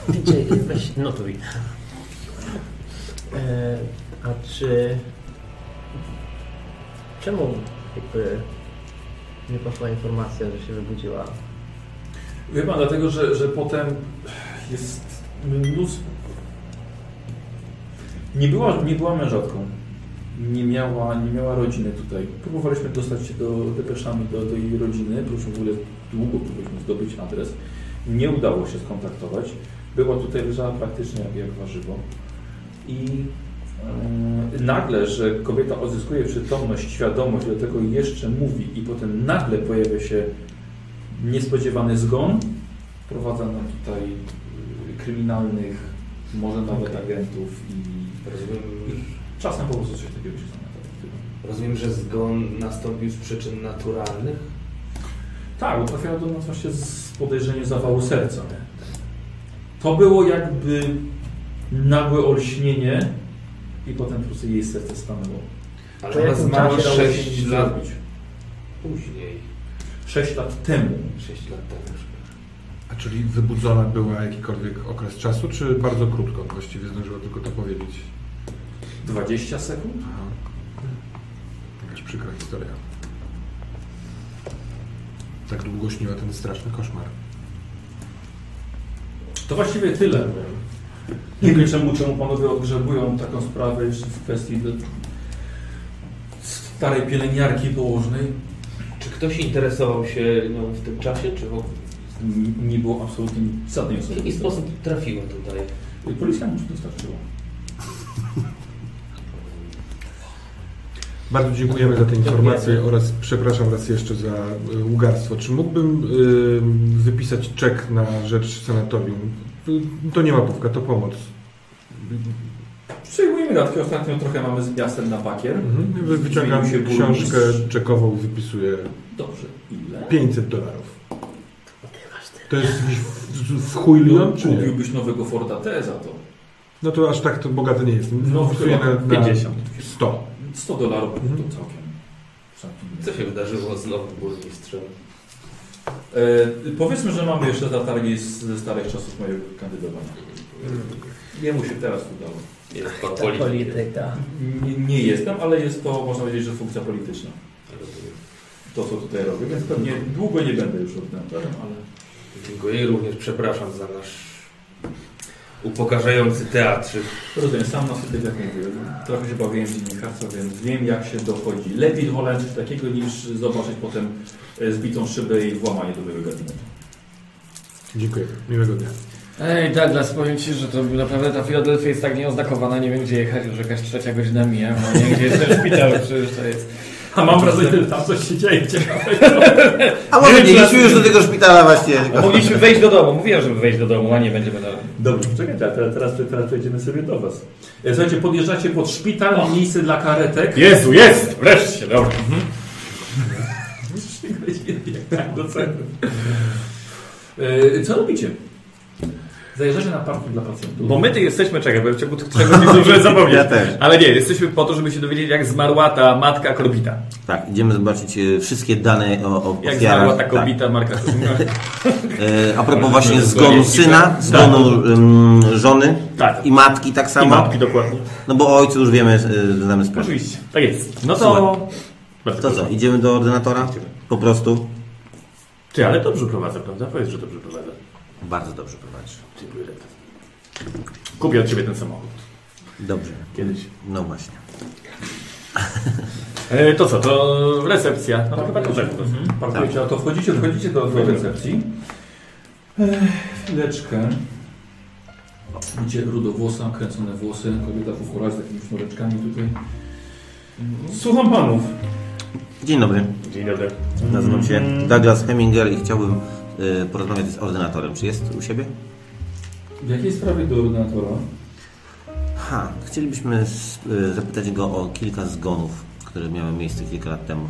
DJ, weź notuj. E, a czy... Czemu jakby nie poszła informacja, że się wybudziła?
Wie pan, dlatego, że, że potem jest mnóstwo... Nie była, nie była mężatką. Nie miała, nie miała rodziny tutaj. Próbowaliśmy dostać się do depeszami do, do jej rodziny. Próbowaliśmy w ogóle długo próbowaliśmy zdobyć adres. Nie udało się skontaktować. Była tutaj, leżała praktycznie jak, jak warzywo. I Yy, nagle, że kobieta odzyskuje przytomność, świadomość, do tego jeszcze mówi i potem nagle pojawia się niespodziewany zgon, prowadza nam tutaj yy, kryminalnych, może nawet agentów i,
Rozumiem,
i czasem po prostu coś takiego się zamiata.
Rozumiem, że zgon nastąpił z przyczyn naturalnych?
Tak, bo trafiła do nas właśnie z podejrzeniem zawału serca. To było jakby nagłe olśnienie i potem po prostu jej serce stanęło.
Ale
To
ona
jakim
zmarła
czasie dało się
6
nic
lat
zrobić?
później.
6 lat temu.
6 lat temu.
tak. A czyli wybudzona była jakikolwiek okres czasu, czy bardzo krótko właściwie zdążyła tylko to powiedzieć?
20 sekund?
Aha. Jakaś przykra historia. Tak długo śniła ten straszny koszmar.
To właściwie tyle. Nie wiem czemu, czemu panowie odgrzebują taką sprawę jeszcze w kwestii do starej pielęgniarki położnej.
Czy ktoś interesował się nią w tym czasie, czy w ogóle?
N- Nie było absolutnie nic- żadnej
W
osoby.
jaki sposób trafiła tutaj?
Policja mu się dostarczyła.
Bardzo dziękujemy za te informacje oraz przepraszam raz jeszcze za y, ugarstwo. Czy mógłbym y, wypisać czek na rzecz sanatorium? Y, To nie łapówka, to pomoc.
Przyjmujemy datki. Ostatnio trochę mamy z miastem na pakier.
Mhm. Wy- Wyciągam
Zmienił się
książkę
burmistrz.
czekową, wypisuję
Dobrze. Ile?
500 dolarów. To jest jakiś w- w chuj milion, czy nie?
Kupiłbyś nowego Forda T za to.
No to aż tak to bogate nie jest.
No,
Wpisuję
chyba
na, na
50.
100.
100 dolarów
Mhm.
to całkiem. całkiem
Co się wydarzyło z nowym burmistrzem?
E, powiedzmy, że mamy jeszcze zatargi z, ze starych czasów mojego kandydowania. Nie mu się teraz udało.
Jest pan
Ta
polityk.
polityka.
Nie, nie jestem, ale jest to, można powiedzieć, że funkcja polityczna. To, co tutaj robię, więc pewnie długo nie będę już ordynatorem, ale...
Dziękuję i również przepraszam za nasz upokarzający teatr.
Rozumiem, sam na sobie jak mówię. Trochę się bawiłem w dziennikarstwo, więc wiem, jak się dochodzi. Lepiej wolę coś takiego, niż zobaczyć potem e, zbitą szybę i włamanie do mojego gabinetu.
Dziękuję. Miłego dnia.
Ej, Douglas, powiem Ci, że to naprawdę ta Filadelfia jest tak nieoznakowana, nie wiem gdzie jechać, już jakaś trzecia godzina mija, no nie wiem, gdzie jest ten szpital, przecież to jest...
A mam wrażenie, że tam coś się dzieje ciekawego.
A może nie, idźmy już do tego szpitala właśnie.
A mogliśmy wejść do domu, mówiłem, żeby wejść do domu, a nie będziemy dalej.
Dobrze, czekaj, teraz, teraz, teraz przejdziemy sobie do Was.
E, Słuchajcie, podjeżdżacie pod szpital, miejsce dla karetek. Mhm.
Jezu, jest! Wreszcie, dobra.
Jak tak do centrum. E, Co robicie? Zajeżdżacie na parking dla pacjentów.
Bo my ty jesteśmy, czekaj, bo ja w ciągu tych trzech godzin zdążyłem zapomnieć.
Ja też.
Ale nie, jesteśmy po to, żeby się dowiedzieć, jak zmarła ta matka Korbita.
Tak, idziemy zobaczyć e, wszystkie dane o, o
Jak
ofiarach. Tak.
zmarła ta Korbita Marka [laughs] Korbita.
E, A propos właśnie zgonu syna, zgonu em, żony
Tak.
i matki tak
I
samo.
matki dokładnie.
No bo o ojcu już wiemy, e, znamy sprawę.
Oczywiście, tak jest. No
Słuchaj.
to... Bardzo
To
proszę.
co, idziemy do ordynatora? Po prostu?
Ty, ale dobrze prowadzę, prawda? Powiedz, że dobrze prowadzę.
Bardzo dobrze prowadzisz.
Dziękuję. Kupię od Ciebie ten samochód.
Dobrze.
Kiedyś.
No właśnie.
E, to co, to recepcja. No to chyba to
Parkujecie, a Tak. no to wchodzicie, wchodzicie do, do recepcji. Ech, chwileczkę. Widzicie rudowłosa, kręcone włosy, kobieta fufura z takimi sznureczkami tutaj.
Mhm.
Słucham panów.
Dzień dobry.
Dzień dobry.
Nazywam się Douglas Heminger i chciałbym y, porozmawiać z ordynatorem. Czy jest u siebie?
W jakiej sprawie do ordynatora?
Ha, chcielibyśmy s- y, zapytać go o kilka zgonów, które miały miejsce kilka lat temu.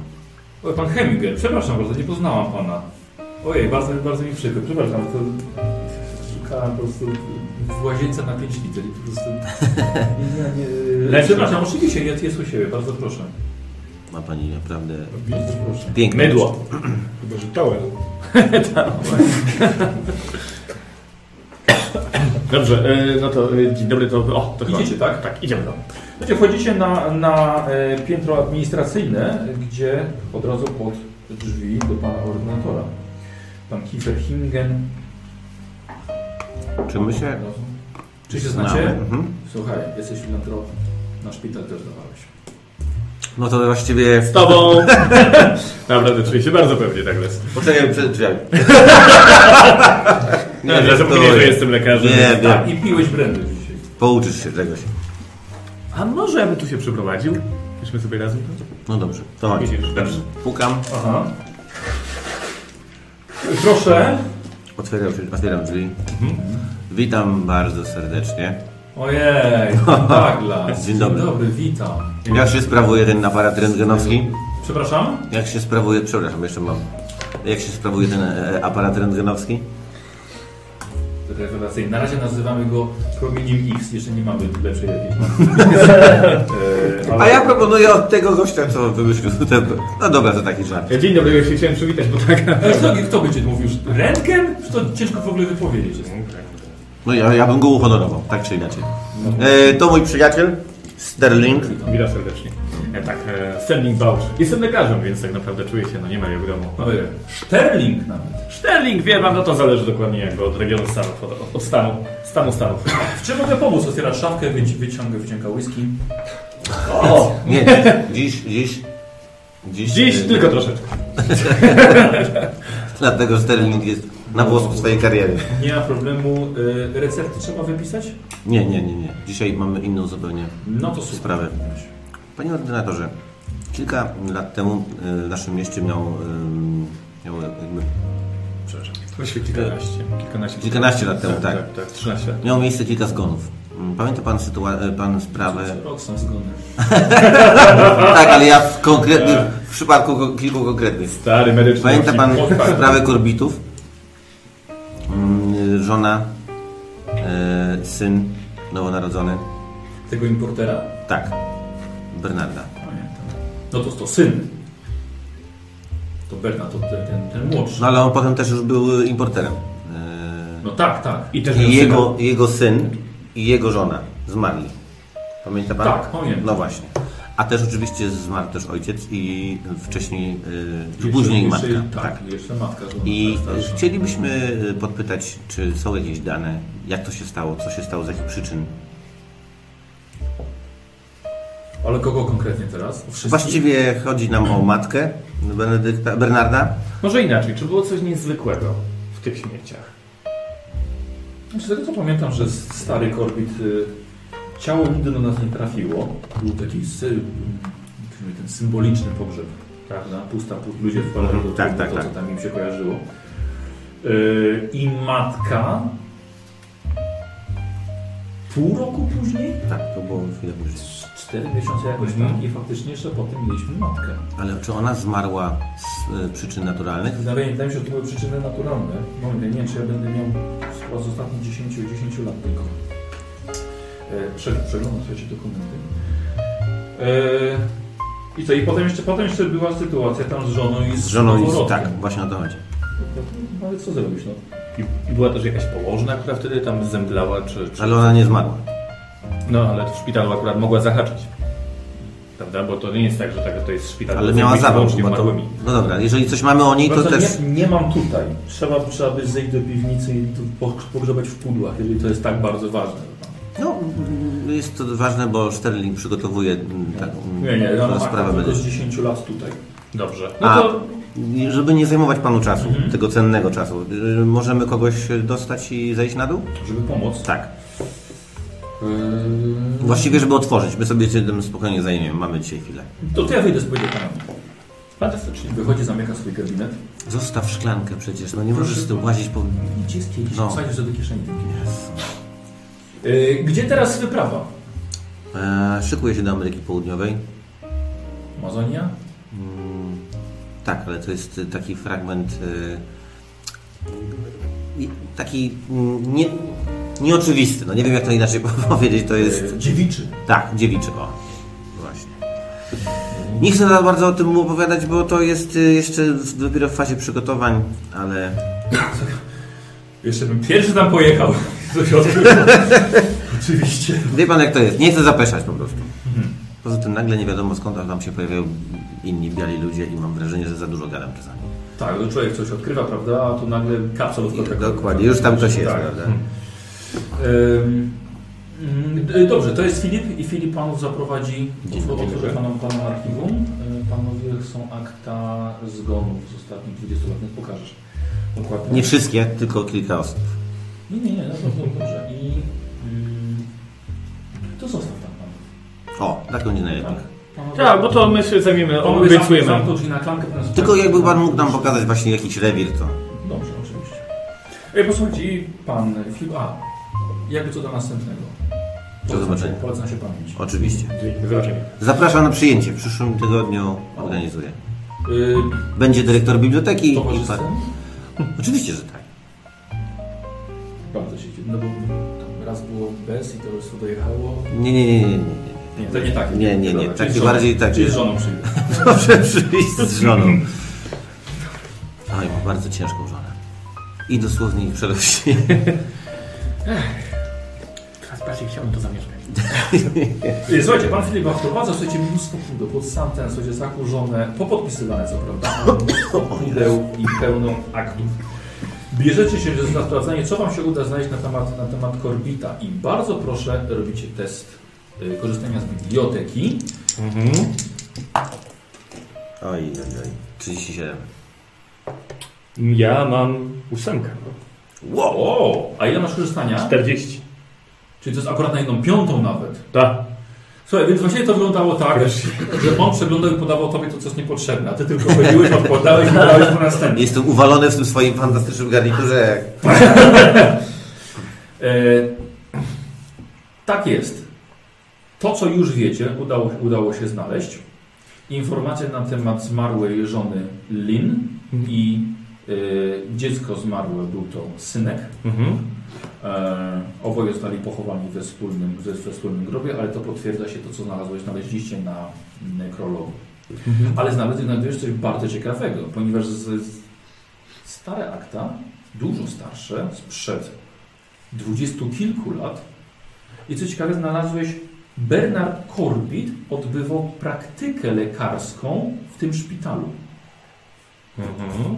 O, pan Heminger, przepraszam bardzo, nie poznałam pana. Ojej, bardzo, bardzo mi przykro, przepraszam, to szukałam po prostu w łazience na 5 litrów. Po prostu... [laughs] nie, nie, nie.
Lepsza.
Przepraszam, oczywiście jest, jest u siebie, bardzo proszę.
Ma pani naprawdę
Bardzo proszę.
piękne
Mydło.
Chyba, że towel.
Dobrze, e, no to e, dzień dobry, to... O, to chyba-
Idziecie, tak?
Tak, idziemy tam.
Słuchajcie, wchodzicie na, na e, piętro administracyjne, gdzie od razu pod drzwi do pana ordynatora. Pan Kiefer Hingen.
Czy my się
Czy się
znamy?
znacie?
Mhm.
Słuchaj, jesteś filantropem. Na szpital też dawałeś.
No to właściwie...
Z tobą! [laughs] Naprawdę czuję się bardzo pewnie, tak jest.
Poczekaj przed [laughs] drzwiami.
Ja zapomniałem,
żartuję.
że jestem lekarzem.
Nie,
Tak,
wiem.
i piłeś brandy dzisiaj.
Pouczysz się czegoś.
A może ja bym tu się przeprowadził? Byśmy sobie razem.
No dobrze, to chodź. Mhm.
Idziesz, dobrze.
Pukam.
Aha. Proszę.
Otwieram, otwieram drzwi.
Mhm.
Witam bardzo serdecznie. [laughs]
Ojej, Douglas.
Dzień dobry.
Dzień dobry, witam.
Jak się sprawuje ten aparat rentgenowski?
Przepraszam?
Jak się sprawuje, przepraszam, jeszcze mam. Jak się sprawuje ten e, aparat rentgenowski?
Rewelacyjnie. Na razie nazywamy go promieniem X, jeszcze nie mamy lepszej jakiejś
[laughs]
E, ale-
A ja proponuję od tego gościa, co wymyślił. ten- No dobra, to taki żart.
E, Dzień dobry, ja się chciałem przywitać, bo tak. [laughs]
Ale kto, kto będzie mówił? Rentgen? To ciężko w ogóle wypowiedzieć. Jest.
No ja, ja bym go uhonorował, tak czy inaczej. E, to mój przyjaciel, Sterling.
Witam serdecznie. E, tak, e, Sterling Bouch. Jestem lekarzem, więc tak naprawdę czuję się, no nie ma jego domu.
Ojej. Sterling nawet.
Sterling, wie pan, no to zależy dokładnie jakby od regionu Stanów, od, od stanu, stanu Stanów.
W czym mogę pomóc? Otwiera szafkę, wyci- wyciąga, wyciąga whisky.
O! Nie, dziś, dziś. Dziś,
Dziś
e,
tylko troszeczkę.
Dlatego Sterling jest na włosku swojej kariery.
Nie ma problemu. E, recepty trzeba wypisać?
Nie, nie, nie, nie. Dzisiaj mamy inną zupełnie
No to super.
sprawę. Panie ordynatorze, kilka lat temu e, w naszym mieście miał, em, miał jakby, przepraszam,
Kilkanaście. Kilkanaście.
Kilkanaście lat temu, tak.
Tak, tak, 13 lat.
miało miejsce kilka zgonów. Mm, Pamięta pan, sytua- e, pan sprawę?
Rok są zgony.
Tak, ale ja w konkretnych, w przypadku ko- kilku konkretnych.
Stary medyczny.
Pamięta pan
odcinek.
sprawę korbitów? Mm, Żona, e, syn nowonarodzony.
Tego importera.
Tak, Bernarda.
Pamiętam. No to to syn. To Bernard, to ten, ten, ten młodszy.
No ale on potem też już był importerem.
No tak, tak.
I też
E,
miał
I
syna.
jego, jego syn i jego żona zmarli. Pamięta pan?
Tak, pamiętam.
No właśnie. A też oczywiście zmarł też ojciec i wcześniej, e, i później
jeszcze,
matka.
Tak,
tak.
jeszcze matka. że ona
I
była starsza.
chcielibyśmy e, podpytać, czy są jakieś dane, jak to się stało, co się stało, z jakich przyczyn.
Ale kogo konkretnie teraz? Wszystkich?
Właściwie chodzi nam o matkę Benedykta, Bernarda.
Może inaczej, czy było coś niezwykłego w tych śmieciach?
Znaczy, z tego co pamiętam, że stary korbit, y, ciało nigdy do nas nie trafiło. Był taki sy, czyli ten symboliczny pogrzeb, prawda? Pusta, pu- ludzie wpalali do tak,
Tak, tak,
to,
tak.
co tam im się kojarzyło. Y, I matka pół roku później,
Tak, to było chwilę później.
cztery miesiące jakoś
Mhm.
tam i faktycznie jeszcze potem mieliśmy matkę.
Ale czy ona zmarła z e, przyczyn naturalnych?
Wydaje mi się, że to były przyczyny naturalne. Moment, ja nie wiem, czy ja będę miał sporo z ostatnich 10, 10 lat tylko. E, prze- Przeglądam słuchajcie dokumenty. E, I co, i potem jeszcze, potem jeszcze była sytuacja tam z żoną i z,
Z żoną i
noworodkiem.
tak, właśnie o to chodzi.
No, ale co zrobić, no?
I, I była też jakaś położna, która wtedy tam zemdlała, czy... czy...
Ale ona nie zmarła.
No, ale w szpitalu akurat mogła zahaczyć. Prawda? Bo to nie jest tak, że tak, to jest szpital...
Ale
z
miała
jakimiś
zawał
wyłącznie
chyba to.
umarłymi.
No dobra, jeżeli coś mamy o niej, to
Bardzo
też...
nie, nie mam tutaj. Trzeba, trzeba by zejść do piwnicy i tu po- pogrzebać w pudłach, jeżeli to jest tak bardzo ważne.
No, jest to ważne, bo Sterling przygotowuje mm, taką
Nie, nie, ja mam tak, No
sprawę.
tylko
medyczną.
z 10 lat tutaj. No
Dobrze.
A, i żeby nie zajmować panu czasu,
Mhm.
tego cennego czasu, y, możemy kogoś dostać i zejść na dół?
Żeby pomóc?
Tak. Właściwie, żeby otworzyć. My sobie się tym spokojnie zajmiemy. Mamy dzisiaj chwilę.
To, to ja wyjdę z pojedynkiem. Fantastycznie. Wychodzi, zamyka swój gabinet.
Zostaw szklankę przecież, no nie możesz z tym łazić po...
Gdzie jest kielich?
No.
Wsadzisz to do kieszeni. Y, Gdzie teraz wyprawa?
E, szykuję się do Ameryki Południowej.
Amazonia?
Mm, tak, ale to jest y, taki fragment... y, i- taki mm, nie, nieoczywisty. No nie wiem, jak to inaczej [laughs] powiedzieć. To jest...
Y, Dziewiczy.
Tak, dziewiczy, o. Właśnie. Nie chcę za bardzo o tym opowiadać, bo to jest y, jeszcze w- dopiero w fazie przygotowań, ale...
Jeszcze bym pierwszy tam pojechał. [laughs] To się
[laughs]
odbyło. Oczywiście.
Wie pan jak to jest, nie chcę zapeszać po prostu. Poza tym nagle nie wiadomo skąd tam się pojawiają inni biali ludzie i mam wrażenie, że za dużo gadam czasami.
Tak, to człowiek coś odkrywa, prawda? A tu nagle kapsel od
Dokładnie, już tam coś jest,
No Tak.
prawda?
Ym, mm, d- Dobrze, to jest Filip i Filip panów zaprowadzi
Dzień
otw-
dobry.
otworzę panom, panom archiwum. Y, Panowie są akta zgonów z ostatnich 20 lat, więc pokażesz. Dokładnie.
Nie wszystkie, tylko kilka osób.
Nie, nie, nie, no to, to dobrze. I mm, to zostaw tam panów.
O, tak będzie najlepiej.
Panowie-
Tak, bo to my się zajmiemy,
Panowie
obiecujemy.
zamk- zamknął drzwi na klamkę. teraz-
Tylko jakby
tak
pan mógł nam pokazać właśnie jakiś rewir, to...
Dobrze, oczywiście. Ej, posłuchajcie, i pan Filip, a jakby co do następnego.
Do zobaczenia.
Polecam się pamięć.
Oczywiście.
Zobaczymy.
Zapraszam na przyjęcie, w przyszłym tygodniu organizuję.
Y,
Będzie dyrektor biblioteki i
Towarzystwo?
Oczywiście, że tak.
Bardzo się dziwię, no bo tam raz było bez i to już dojechało.
Nie, nie, nie, nie, [laughs] nie.
Nie, to nie tak.
Nie, nie, nie.
Dobra, czyli
Taki
z żoną-
bardziej tak.
czyli
że-
z żoną przyjdzie.
Dobrze przyjść z żoną. Oj, ma bardzo ciężką żonę. I dosłownie i przerośnie.
Teraz bardziej chciałbym to
[laughs]
zamieszkać.
Y, Słuchajcie, pan Filipa wprowadza, słuchajcie, mnóstwo pudeł pod sam ten, słuchajcie, zakurzone, popodpisywane co prawda,
[laughs]
ale mnóstwo pudeł i pełno aktów. Bierzecie się za sprawdzanie, co wam się uda znaleźć na temat, na temat Korbita i bardzo proszę, robicie test y, korzystania z biblioteki.
[laughs]
Mhm.
Oj, oj, oj. 37.
Ja mam ósemkę.
Wow!
O, a ile masz korzystania?
40.
Czyli to jest akurat na jedną piątą nawet.
Tak.
Słuchaj, więc właśnie to wyglądało tak, że on przeglądał i podawał tobie to, co jest niepotrzebne, a ty tylko chodziłeś, odkładałeś i brałeś po następny.
Jestem uwalony w tym swoim fantastycznym garniturze.
E, tak jest. To, co już wiecie, udało, udało się znaleźć. Informacje na temat zmarłej żony Lin i e, dziecko zmarłe był to synek. E, oboje zostali pochowani we wspólnym, we, we wspólnym grobie, ale to potwierdza się to, co znalazłeś, znaleźliście na nekrologu. Ale znalazłeś znajdujesz coś bardzo ciekawego, ponieważ z, z stare akta, dużo starsze, sprzed dwudziestu kilku lat. I co ciekawe, znalazłeś Bernard Corbett odbywał praktykę lekarską w tym szpitalu.
Mhm.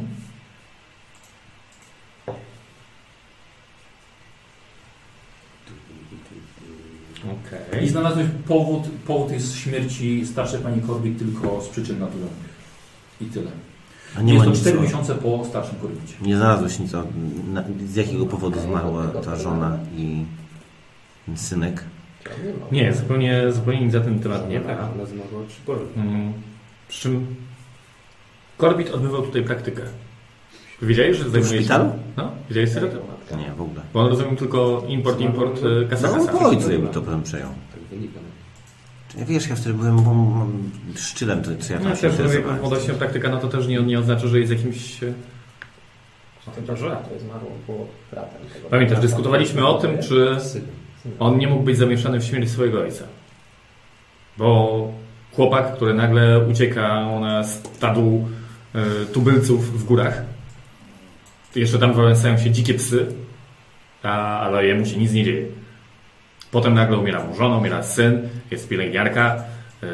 I znalazłeś powód, powód jest śmierci starszej pani Corbett tylko z przyczyn naturalnych. I tyle.
A nie
jest
ma
to
nic.
4
o-
miesiące po starszym Corbetcie.
Nie znalazłeś nic o, na, z jakiego powodu zmarła ta żona i synek.
Nie, zupełnie, zupełnie nic za ten temat nie ma.
Ona zmarła przy porodzie.
Mm. Przy czym Korbit odbywał tutaj praktykę. Wiedziałeś, że zajmuje
szpitalu?
się... No, wiedziałeś sobie to?
Nie, w ogóle.
Bo on rozumiem tylko import, import, y, kasa,
No,
kasa.
po ojcu jakby to potem przejął.
Tak wynika.
Czy nie wiesz, ja wtedy byłem bo, bo, szczylem, to co ja tam
No,
się
też mówię,
interesowałem.
młodością praktyka, no to też nie, nie oznacza, że jest jakimś... y,
Tym, że to jest zmarło było bratem. tego-
Pamiętasz, dyskutowaliśmy o tym, czy
Synem. Synem.
on nie mógł być zamieszany w śmierć swojego ojca. Bo chłopak, który nagle ucieka na stadu y, tubylców w górach, jeszcze tam wałęsają się dzikie psy, a, ale jemu się nic nie dzieje. Potem nagle umiera mu żona, umiera syn, jest pielęgniarka. y,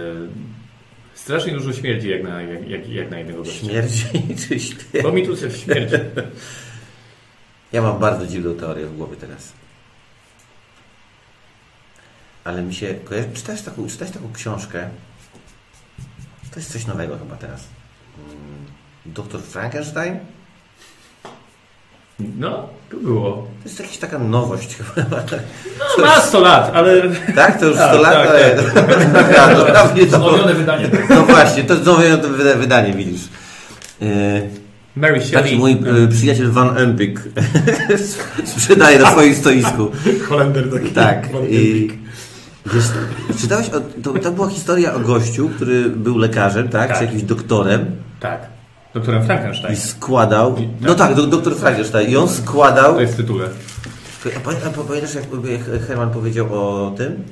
strasznie dużo śmierdzi jak na, jak, jak, jak na jednego gościa.
[laughs] Śmierdzi czy śpiew?
Bo mi tu coś śmierdzi.
Ja mam bardzo dziwną teorię w głowie teraz. Ale mi się kojarzy... Czytałeś taką, czytałeś taką książkę? To jest coś nowego chyba teraz. Mm, Doktor Frankenstein?
No, to było.
To jest jakaś taka nowość chyba.
No, ma 100 lat, ale...
Tak, to już 100 lat.
Tak, tak.
ale- [laughs] Ja, to prawie to-
Znowione wydanie.
No właśnie, to znowione to wyda- wydanie, widzisz. Yy,
Mary
Taki
Shelley.
mój y, przyjaciel Van Empik [laughs] sprzedaje na swoim stoisku.
Holender taki.
Tak.
Van
I, wiesz, czytałeś, o, to, to była historia o gościu, który był lekarzem, tak? Czy jakimś doktorem.
Tak. Doktorem
I
Frankenstein.
składał. No tak, do, doktor Frankenstein. I on składał.
To jest tytule.
A pamię- A pa- pamiętasz, jak jak Herman powiedział o tym?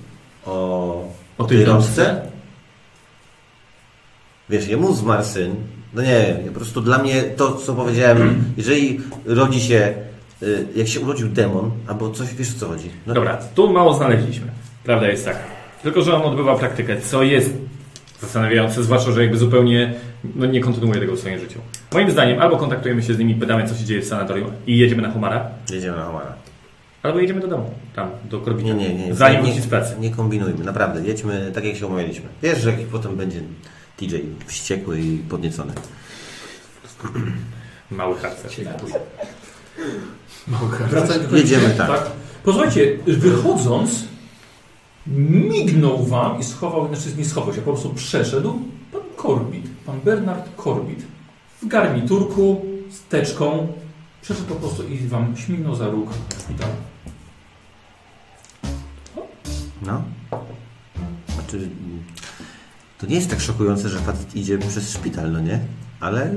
O,
O tej rączce?
Wiesz, jemu zmarł syn. No nie wiem, po prostu dla mnie to, co
[clears throat]
powiedziałem, jeżeli rodzi się, y, jak się urodził demon, albo coś, wiesz o co chodzi. No,
Dobra, tu mało znaleźliśmy. Prawda jest taka. Tylko, że on odbywa praktykę, co jest zastanawiające, zwłaszcza, że jakby zupełnie no, nie kontynuuje tego w swoim życiu. Moim zdaniem albo kontaktujemy się z nimi, pytamy, co się dzieje w sanatorium i jedziemy na Homara,
Jedziemy na Homara.
albo jedziemy do domu, tam, do Korbicia.
Nie, nie, nie.
Zanim
nie,
wróci z pracy.
nie kombinujmy, naprawdę. Jedźmy tak, jak się umawialiśmy. Wiesz, że jak potem będzie TJ wściekły i podniecony.
Mały harcer.
Wracając do
Jedziemy,
końca,
tak.
Posłuchajcie, wychodząc, mignął wam i schował, znaczy nie schował się, po prostu przeszedł pan Korbit, pan Bernard Korbit w garniturku z teczką. Przeszedł po prostu i wam śmignął za róg i tam.
No. Znaczy, mm, to nie jest tak szokujące, że facet idzie przez szpital, no nie? Ale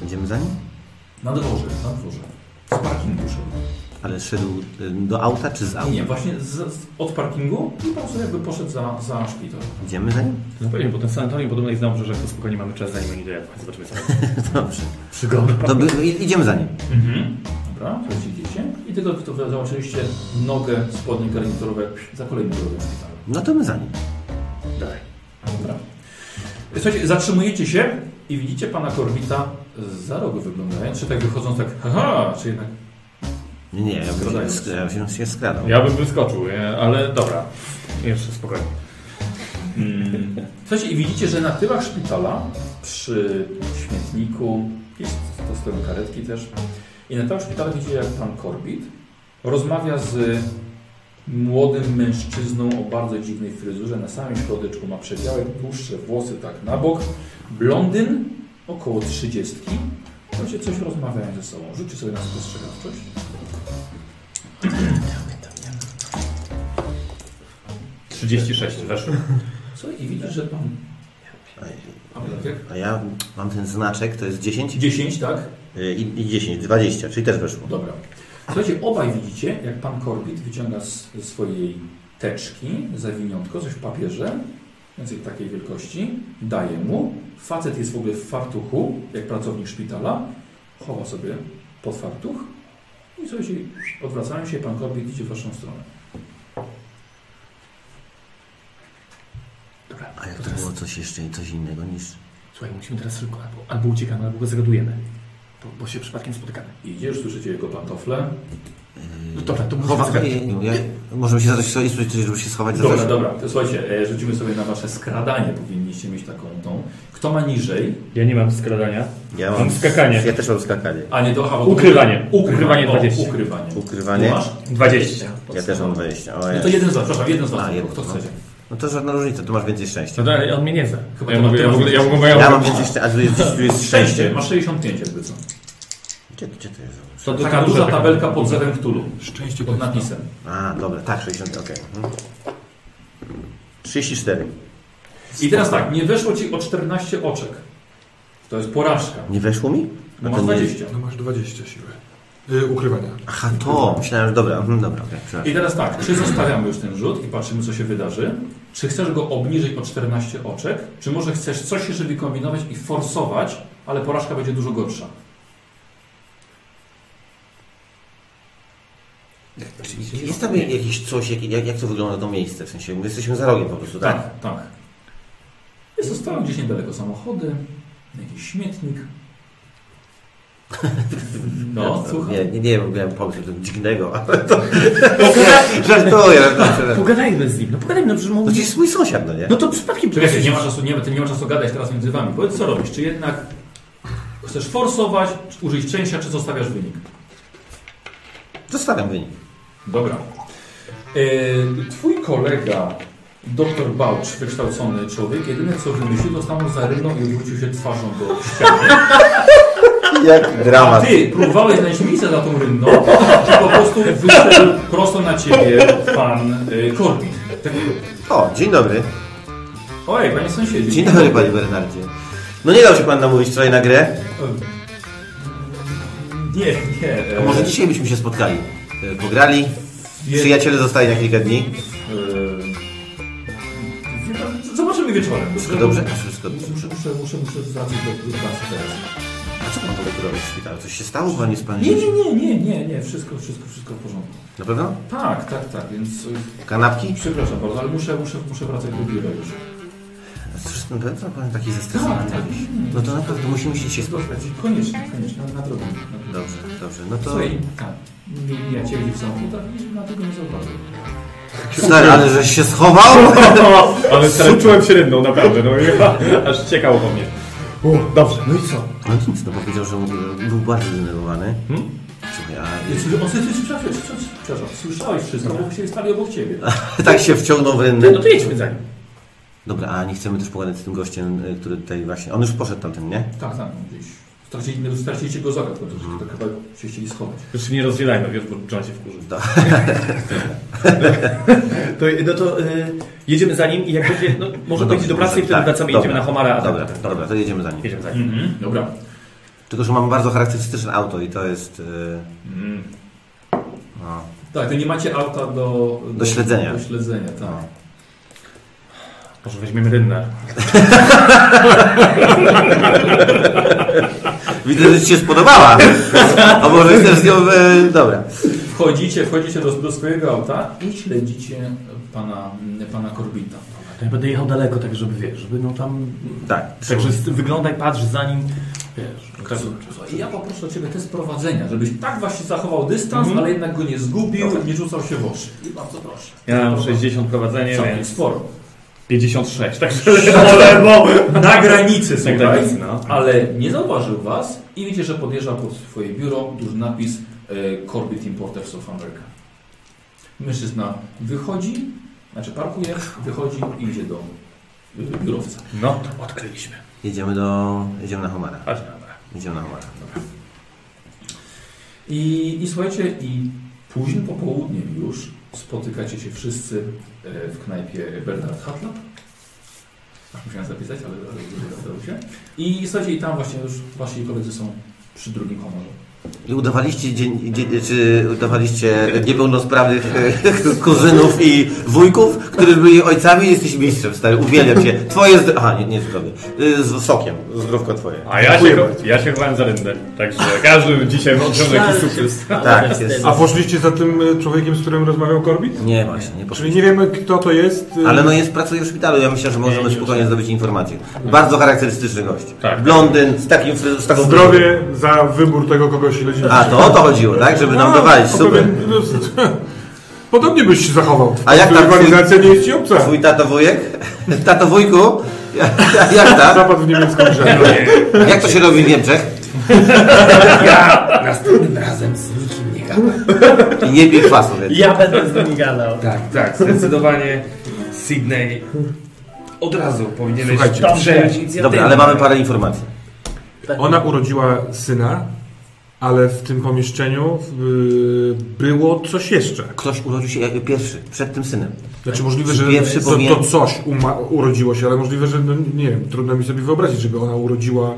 będziemy za nim?
Na dworze, na dworze. Z parkingu szedł.
Ale szedł y, do auta czy z auta?
Nie, właśnie z, z, od parkingu i po prostu jakby poszedł za, za szpital.
Idziemy za nim?
No pewnie, bo ten sanatorium podobno jest na obrzeżach, to spokojnie mamy czas, zanim oni dojadą. Zobaczymy
[laughs]
co.
Dobrze.
Przygoda.
To by, no, i- idziemy za nim.
Mhm. Dobra, to jest idziecie. I tylko to wy zobaczyliście nogę, spodnie garniturowe za kolejnym drogiem szpitala.
No to my za nim.
Dalej.
Dobra. Słuchajcie, zatrzymujecie się i widzicie pana Korbita za rogu wyglądając, czy tak wychodząc tak, haha, czy jednak...
Nie, nie, ja bym, się,
Skradając.
sk- ja bym się skradał.
Ja bym wyskoczył, e, ale dobra. Jeszcze spokojnie.
Mm. Słuchajcie, i widzicie, że na tyłach szpitala, przy śmietniku, jest to stoją karetki też, i na tyłach szpitala widzicie, jak pan Korbit rozmawia z młodym mężczyzną o bardzo dziwnej fryzurze. Na samym środeczku ma przedziałek, dłuższe włosy tak na bok. Blondyn, około trzydziestki. Słuchajcie, coś rozmawiają ze sobą. Rzućcie sobie na spostrzegawczość. Słuchaj, i widzisz, że pan... Pan Lewiak?
A ja mam ten znaczek, to jest 10
10, tak?
y, i, i 10, 20, czyli też weszło.
Dobra. Słuchajcie, obaj widzicie, jak pan Korbit wyciąga z ze swojej teczki zawiniątko, coś w papierze, więcej takiej wielkości, daje mu. Facet jest w ogóle w fartuchu, jak pracownik szpitala, chowa sobie pod fartuch No i słuchajcie, odwracają się, pan Korbit idzie w waszą stronę.
Dobra,
A jak
to
to
teraz,
było coś jeszcze, coś innego niż...
słuchaj, musimy teraz szybko, albo, albo uciekamy, albo go zagadujemy. Bo, bo się przypadkiem spotykamy.
Idziesz, słyszycie jego pantofle.
No dobra, to musimy
Chowa...
zagadać.
Nie, nie, ja, możemy się za coś, coś, żeby się schować za
Dobra,
coś?
dobra, to słuchajcie, e, rzucimy sobie na wasze skradanie, powinniście mieć taką tą. Kto ma niżej?
Ja nie mam skradania.
Ja
Mam skakanie.
Ja też mam skakanie.
A nie do hawa.
Ukrywanie.
Ukrywanie,
Ukrywanie
o,
20.
Ukrywanie.
Ukrywanie.
Tu masz?
20.
Ja też mam 20. O,
No to jeden z was, przepraszam, jeden z was,
A,
tylko
jeden,
kto
no.
chcecie.
No to żadna różnica, tu masz więcej szczęścia.
No dalej, on mnie nie zna.
Chyba
ja
to-
mogę,
to
ja
masz
mogę, ja
więcej.
mogę, [laughs]
Ja mam więcej szczęścia, a tu jest, tu jest
Szczęście,
szczęście.
masz 65 jakby co.
Gdzie, gdzie to jest?
To
Taka
taka
duża
taka-
tabelka pod zerem Cthulhu,
Szczęście
pod napisem.
A, dobra, tak, 60, okej. Mhm. 34.
I teraz tak, nie weszło ci o 14 oczek. To jest porażka.
Nie weszło mi?
Bo
A
masz
to nie jest-
20.
No masz 20 siły. Y, ukrywania.
Aha, to. Myślałem, że dobra, mhm, dobra, okej, przepraszam.
I teraz tak, czy zostawiamy już ten rzut i patrzymy co się wydarzy? Czy chcesz go obniżyć o 14 oczek? Czy może chcesz coś jeszcze wykombinować i forsować, ale porażka będzie dużo gorsza?
Jest tam jakieś coś, jak, jak, jak to wygląda to miejsce? W sensie, my jesteśmy za rogiem po prostu, tak?
Tak, tak. [laughs] Jest zostały gdzieś niedaleko samochody, jakiś śmietnik. No, słucham.
Nie, nie, nie wiem, miałem pomysł, że dziwnego, ale
[laughs]
to... Żartuję.
Pogadajmy z nim, no pogadajmy, no przecież
To jest mój sąsiad, no nie?
No to przypadkiem
Czekajcie, nie ma czasu, nie, ma- ty nie ma czasu gadać teraz między wami. Powiedz co robisz, czy jednak chcesz forsować, czy użyć szczęścia, czy zostawiasz wynik?
Zostawiam wynik.
Dobra. E, twój kolega, doktor Bałcz, wykształcony człowiek, jedyne co wymyślił, to stanął za rynną i odwrócił się twarzą do ściany.
Jak
A
dramat.
ty próbowałeś znaleźć miejsce za tą [laughs] rynną i po prostu wyszedł prosto na ciebie pan y, Korbin. Tak,
O, dzień dobry.
Ojej, panie sąsiedzie. Y,
Dzień dobry, panie Bernardzie. No nie dał się pan namówić wczoraj na grę?
Nie, nie. y,
A może dzisiaj byśmy się spotkali? E, Pograli?
Je-
Przyjaciele zostali na kilka dni?
Wie pan, y, Zobaczymy wieczorem.
Wszystko dobrze?
Muszę,
Wszystko dobrze.
muszę, muszę, muszę, muszę wracać do, do pracy teraz.
A co pan w ogóle tu robi w szpitalu? Coś się stało? Pan jest pan
Nie, nie, nie, nie, nie, nie, wszystko, wszystko, wszystko w porządku.
Na pewno?
Tak, tak, tak, więc... y,
Kanapki?
Przepraszam bardzo, ale muszę, muszę, muszę wracać do biura już.
Cóż, na pewno pan taki zestresowany.
Tak, tak.
No to naprawdę musimy się dzisiaj spotkać.
Koniecznie, koniecznie, na, na drogę. Na drogę.
Dobrze, dobrze. No to...
Słuchaj, tak, nie- ja cię widzę w samochodach i na tego nie zauważyłem.
Stary, ale żeś się schował?
No, [laughs] Ale czułem się rynną, naprawdę, no [laughs] i- aż ciekało po mnie. U, dobrze, no i co?
No nic, no powiedział, że mógł- był bardzo zdenerwowany.
Hmm?
Słuchaj, a... [laughs]
Więc on sobie słyszałeś, słyszałeś, przepraszam, słyszałeś wszystko, bo się stali obok ciebie.
tak się wciągnął w rynny.
No to jedźmy za nim.
Dobra, a nie chcemy też pogadać z tym gościem, y, który tutaj właśnie... On już poszedł tamten, nie?
Tak, tak, gdzieś. Stracili, no, straciliście go z oka, tylko że tak chyba się chcieli schować.
Zresztą nie rozdzielajmy, wiesz, bo John się wkurzy.
Tak.
To, no to y, jedziemy za nim i jak będzie, no, może
No
dojdzie do
dobrze,
pracy i wtedy
tak,
wracamy,
dobra,
jedziemy na Homara. a tak,
Dobra,
tak, tak.
dobra, to jedziemy za nim.
Jedziemy za nim.
Mhm, dobra.
Tylko, że mam bardzo charakterystyczne auto i to jest... y,
Mhm.
[laughs]
No,
Tak, to nie macie auta do...
Do śledzenia.
Do śledzenia, tak.
Może weźmiemy rynnę.
Widzę, że Ci się
[laughs]
spodobała. A może chcesz z nią... E, dobra.
Wchodzicie, wchodzicie do, do swojego auta i śledzicie pana, pana Korbita.
To ja będę jechał daleko, tak żeby wiesz, żeby no tam...
Tak.
Także z- wyglądaj, patrz za nim, wiesz. Tak,
Słuchaj, ja poproszę Ciebie te sprowadzenia, żebyś tak właśnie zachował dystans, ale jednak go nie zgubił, nie rzucał się w oczy. I bardzo proszę.
Ja mam 60 prowadzenie,
Całkiem
więc
sporo.
56, [laughs] także...
Na granicy,
Tak,
słuchaj.
tak, no.
Ale nie zauważył Was i widzicie, że podjeżdża pod swoje biuro duży napis e, Corbett Importers of America. Mężczyzna wychodzi, znaczy parkuje, wychodzi i idzie do y, biurowca.
No to odkryliśmy.
Jedziemy do... Jedziemy na Homara.
Chodź, dobra.
Jedziemy na Homara.
I, I słuchajcie, i późnym popołudniem już spotykacie się wszyscy e, w knajpie Bernard Hatlap. Musiałem zapisać, ale ale udało się. I słuchajcie, i tam właśnie już wasi koledzy są przy drugim honorze.
I udawaliście, dzień, dzie, czy udawaliście niepełnosprawnych e, [laughs] kuzynów i wujków, którzy byli ojcami jesteś mistrzem, stary, uwielbiam cię. Twoje zdrowie... Aha, nie, nie zdrowie. Y, Z sokiem. Zdrówko twoje.
No, A ja się, ja się chowałem za ryndę, także każdy dzisiaj odciągnął jakiś sukces.
Tak, jest.
A poszliście za tym e, człowiekiem, z którym rozmawiał Korbit?
Nie, właśnie, nie
Czyli
poszliśmy.
nie wiemy, kto to jest. e,
Ale no jest, pracuje w szpitalu, ja myślę, że możemy spokojnie zdobyć informację. Bardzo charakterystyczny gość.
Tak.
Blondyn, z takim... fryz- Z taką
Zdrowie za wybór tego, kogo śledziliście.
A, to o to chodziło, tak? Żeby nam dowalić,
to
super.
pewien- no, [laughs] z- Podobnie byś się zachował.
A jak tam
Rywalizacja nie jest ci obca.
Twój tato wujek? [laughs] Tato wujku? [laughs] Ja- ja- Jak tam?
Zapadł w niemiecką grze.
Jak to się robi w Niemczech?
Następnym razem z nikim nie gadam.
I nie pij kwasu, więc.
Ja będę z nimi gadał.
Tak, tak, zdecydowanie Sydney od razu powinieneś
Słuchajcie,
przejąć inicjatywę.
Dobra, ale mamy parę informacji. Tak.
Ona urodziła syna, ale w tym pomieszczeniu y, było coś jeszcze.
Ktoś urodził się jako pierwszy, przed tym synem.
Znaczy możliwe, że
Pierwszy
to,
powinien-
to coś uma, urodziło się, ale możliwe, że no, nie wiem, trudno mi sobie wyobrazić, żeby ona urodziła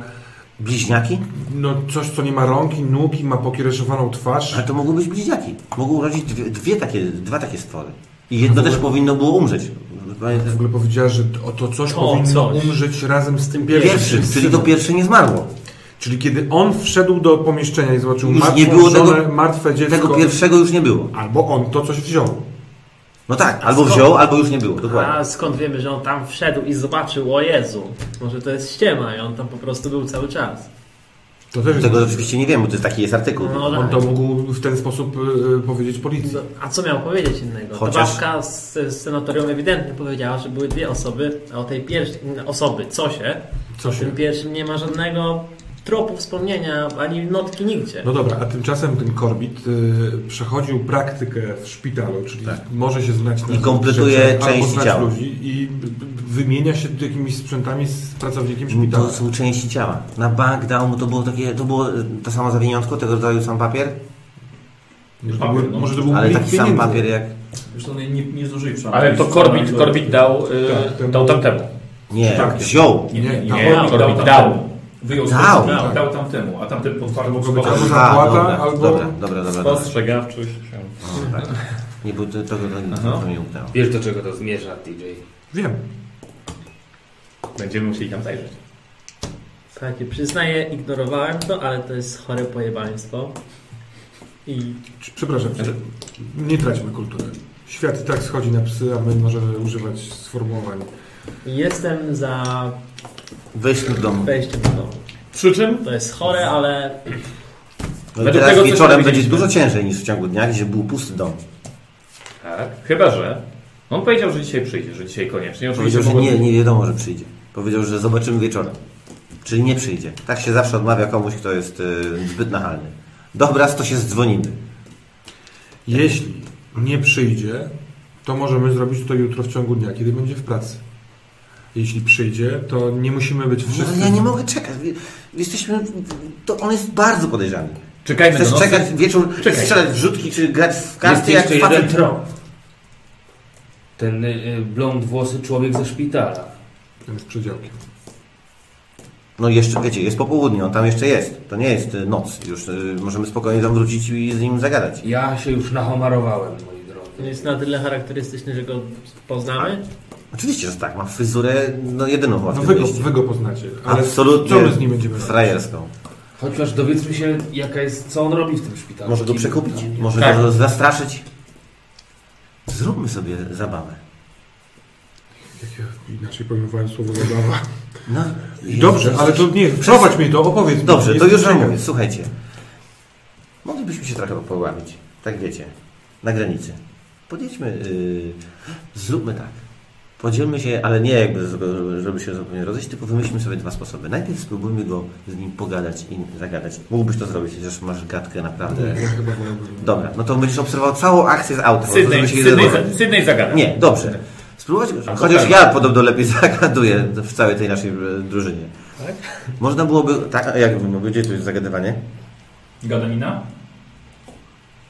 Bliźniaki?
no, coś, co nie ma rąk i nóg i ma pokiereszowaną twarz.
Ale to mogą być bliźniaki. Mogą urodzić dwie, dwie takie, dwa takie stwory. I jedno też powinno było umrzeć.
W ogóle powiedziała, że to, to coś
To
powinno
coś.
umrzeć razem z tym pierwszym.
Pierwszy,
synem.
czyli to pierwsze nie zmarło.
Czyli kiedy on wszedł do pomieszczenia i zobaczył
Już
martwą
nie było tego-
żonę, martwe dziecko,
Tego pierwszego już nie było.
albo on to coś wziął.
No tak, albo wziął, albo już nie było. Dokładnie.
A skąd wiemy, że on tam wszedł i zobaczył, o Jezu, może to jest ściema i on tam po prostu był cały czas.
To też
Tego
jest-
oczywiście nie wiem, bo to jest taki jest artykuł.
No,
On to mógł w ten sposób y, powiedzieć policji.
A co miał powiedzieć innego?
Chociaż-
Chociaż... Ta babka z z senatorium ewidentnie powiedziała, że były dwie osoby, a o tej pierwszej osoby, co się,
Co
o
się?
tym pierwszym nie ma żadnego tropu wspomnienia, ani notki nigdzie.
No dobra, a tymczasem ten Korbit y, przechodził praktykę w szpitalu, czyli może się znać na
Tak. I kompletuje
rzeczach, albo
część
znać
ciała.
ludzi i b- b- wymienia się jakimiś sprzętami z pracownikiem
No To
szpitala.
są części ciała. Na bank dał mu, to było takie, to było y, to samo zawiniątko, tego rodzaju sam papier?
Może to
No.
był- może to był
Ale
plik
taki sam
pieniędzy.
papier jak...
Zresztą nie, nie, nie zdążyli przeanalizować.
Ale to Corbit, Corbit dał, y,
Tak, temu-
dał tamtemu.
Nie,
Tak.
wziął.
Nie, nie,
dał.
nie,
Corbin
dał.
dał.
dał. Wyjął dał.
Dał.
Dał, dał tamtemu, a tamten potwarł.
albo
Aha,
zapłata,
dobra,
albo-
dobra, dobra, dobra, dobra.
Spostrzegawczość.
Tak. Nie, bo to, to, to, to,
Aha.
to mi udało.
Wiesz do czego to zmierza, DJ.
Wiem.
Będziemy musieli tam zajrzeć.
Słuchajcie, przyznaję, ignorowałem to, ale to jest chore pojebaństwo. I
Przepraszam cię, nie traćmy kultury. Świat i tak schodzi na psy, a my możemy używać sformułowań.
jestem za
Wyjdź do domu.
wejściem do domu.
Przy czym?
To jest chore, ale
Ale
Według
teraz
tego, co się
wieczorem będzie
dowiedzieliśmy.
dużo ciężej niż w ciągu dnia, gdzie był pusty dom.
Tak. Chyba, że on powiedział, że dzisiaj przyjdzie, że dzisiaj koniecznie. Oczywiście
Powiedział, że
mogło-
nie, nie wiadomo, że przyjdzie. Powiedział, że zobaczymy wieczorem. Czyli nie przyjdzie. Tak się zawsze odmawia komuś, kto jest y, zbyt nachalny. Dobra, to się zdzwonimy.
Jeśli nie przyjdzie, to możemy zrobić to jutro w ciągu dnia, kiedy będzie w pracy. Jeśli przyjdzie, to nie musimy być
No,
wszyscy.
ja nie mogę czekać. Jesteśmy... To on jest bardzo podejrzany.
Czekajmy
Chcesz
do nocy.
czekać wieczór,
no, Czekaj.
strzelać wrzutki, czy grać w
Jest
karty jak
jeszcze jeden
facet?
trop. Ten y, y, blond włosy człowiek ze szpitala.
Ten z przedziałkiem.
No jeszcze, wiecie, jest popołudnie, on tam jeszcze jest. To nie jest y, noc. Już y, możemy spokojnie tam wrócić i z nim zagadać.
Ja się już nahomarowałem, moi
on
drodzy.
jest na tyle charakterystyczny, że go poznamy.
Oczywiście, że tak. Ma fryzurę no, jedyną chyba w
No
tym
wy go,
mieście.
wy go poznacie. Ale
Absolutnie
Co my z nim będziemy robić?
frajerską.
Chociaż dowiedzmy się, jaka jest, co on robi w tym szpitalu.
Może go
Kim-
przekupić,
tam-
może
Tak.
go zastraszyć. Zróbmy sobie zabawę.
Jak ja inaczej pojmowałem słowo zabawa.
[laughs] No,
Dobrze, ale to nie, prowadź mnie to, opowiedz mi.
Dobrze, to
Jestem
już wam
ciekaw.
mówię. Słuchajcie, moglibyśmy się trochę połamić, tak wiecie, na granicy. Podjedźmy, yy, zróbmy tak. Podzielmy się, ale nie jakby, z- żeby się zupełnie rozejść, tylko wymyślmy sobie dwa sposoby. Najpierw spróbujmy go z nim pogadać i zagadać. Mógłbyś to zrobić, chociaż masz gadkę naprawdę.
Nie, ja chyba wolałbym.
Dobra, no to będziesz obserwował całą akcję z auta. po prostu,
Sydney,
żeby się nie
Sydney, No,
zdenerwować.
Sydney zagada.
Nie, dobrze. Spróbować go.
A,
Chociaż
dobra.
ja podobno lepiej [laughs] zagaduję w całej tej naszej e, drużynie. Można byłoby. Tak, a jak mówię, gdzie tu jest zagadywanie?
Gadanina?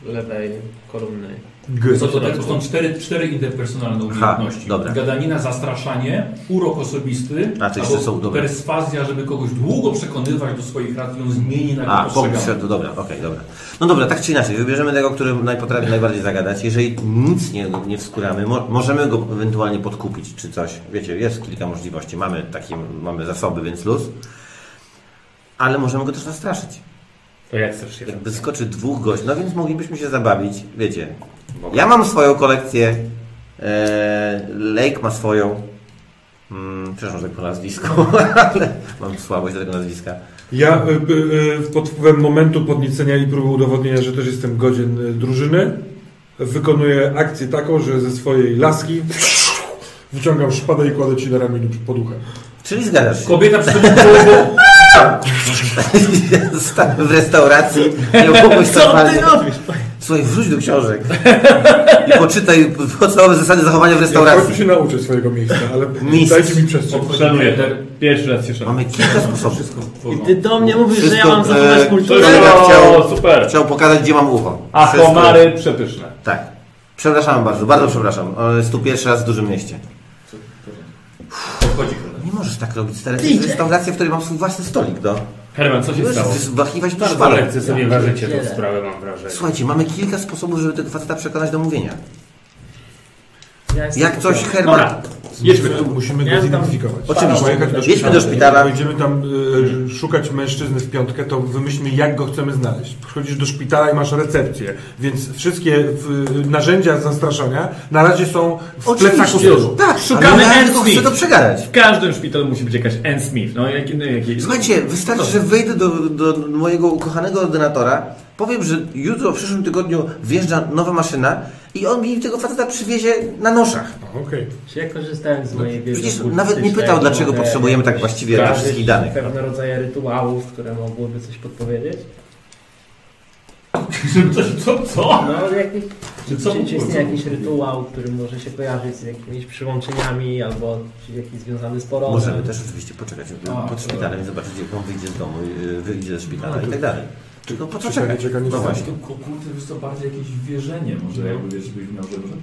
Lewej kolumny.
G.
Co to tak? To są cztery, cztery interpersonalne
Aha,
umiejętności.
dobra.
Gadanina, zastraszanie, urok osobisty,
A, czyli to są dobre.
perswazja, żeby kogoś długo przekonywać do swoich racji, on zmieni na
A,
kogo
pomysł,
postrzegamy.
to dobra, okej, dobra. No dobra, tak czy inaczej, wybierzemy tego, który najpotrafi najbardziej zagadać. Jeżeli nic nie, nie wskuramy, mo możemy go ewentualnie podkupić czy coś. Wiecie, jest kilka możliwości. Mamy takie, mamy zasoby, więc luz. Ale możemy go też zastraszyć.
To jak chcesz się
Jakby skoczy dwóch gości, no więc moglibyśmy się zabawić, wiecie. Ja mam swoją kolekcję, e, Lake ma swoją, mm, przepraszam, że tak po nazwisku, [laughs] ale mam słabość do tego nazwiska.
Ja y, y, y, pod wpływem momentu podniecenia i próby udowodnienia, że też jestem godzien y, drużyny, wykonuję akcję taką, że ze swojej laski wyciągam szpadę i kładę ci na ramieniu pod uchem.
Czyli zgadzasz się. [laughs]
Kobieta przyszła
Stałem w restauracji, nie mógłbyś Co
no-
ty robisz? Słuchaj, wróć do książek i poczytaj podstawowe zasady zachowania w
Ja w końcu
restauracji.
się nauczę swojego miejsca, ale
Mistrz.
dajcie mi przestrzeń.
Szanuję. Pierwszy raz się szanuję.
Mamy kilka sposobów.
I ty do mnie mówisz, że ja mam
Wszystko,
zachować
e,
kulturę.
to ja
O,
chciał,
super.
Chciał pokazać, gdzie mam ucho.
A
Wszystko.
komary przepyszne.
Tak. Przepraszam bardzo, bardzo przepraszam. Ale Jest tu pierwszy raz w dużym mieście.
Podchodzi
Nie możesz tak robić, stary. To jest restauracja, w której mam swój własny stolik, do.
Herman, co się
Możesz
stało?
wachiwać do
Bardzo
szpalu.
lekce sobie ważycie
pierdzielę.
tą sprawę, mam wrażenie.
Słuchajcie, mamy kilka sposobów, żeby tego faceta przekonać do mówienia.
Ja jestem
Jak coś
pokoju.
Herman...
Dobra.
Jedźmy tu. Musimy go zidentyfikować.
Oczywiście.
Pojechać do
Jedźmy
szpitala.
do szpitala.
Jak Będziemy tam y, szukać mężczyzny w piątkę, to wymyślmy jak go chcemy znaleźć. Przychodzisz do szpitala i masz recepcję, więc wszystkie y, narzędzia zastraszania na razie są w plecach
Oczywiście.
usłużu.
Tak,
Szukamy
Ale ja
Ann
tylko
Smith.
chcę to przegadać.
W każdym szpitalu musi być jakaś Ann Smith. No, jak, no, jak,
Słuchajcie, wystarczy, że wejdę do, do mojego ukochanego ordynatora, powiem, że jutro, w przyszłym tygodniu wjeżdża nowa maszyna i on mi tego faceta przywiezie na noszach.
Okej.
Czy ja korzystałem z mojej wiedzy
Przecież
okultystycznej,
nawet nie pytał, dlaczego
mogę
potrzebujemy tak właściwie tych
wdrażyć
wszystkich danych.
Pewne rodzaje rytuałów, które mogłyby coś podpowiedzieć.
Co? co?
No, jak,
Czy
czy, czy,
co w
czy
ogóle?
istnieje jakiś rytuał, który może się kojarzyć z jakimiś przyłączeniami albo jakiś związany z porodem?
Możemy też oczywiście poczekać
No,
A,
pod szpitalem
tak.
i zobaczyć, jak on wyjdzie z domu, y, wyjdzie ze szpitala i tak dalej. Tylko po co
czekanie,
czekać?
czekanie
No
czekanie.
właśnie.
Kulty jest to bardziej jakieś wierzenie,
No.
może jakby wiesz, byś miał, że może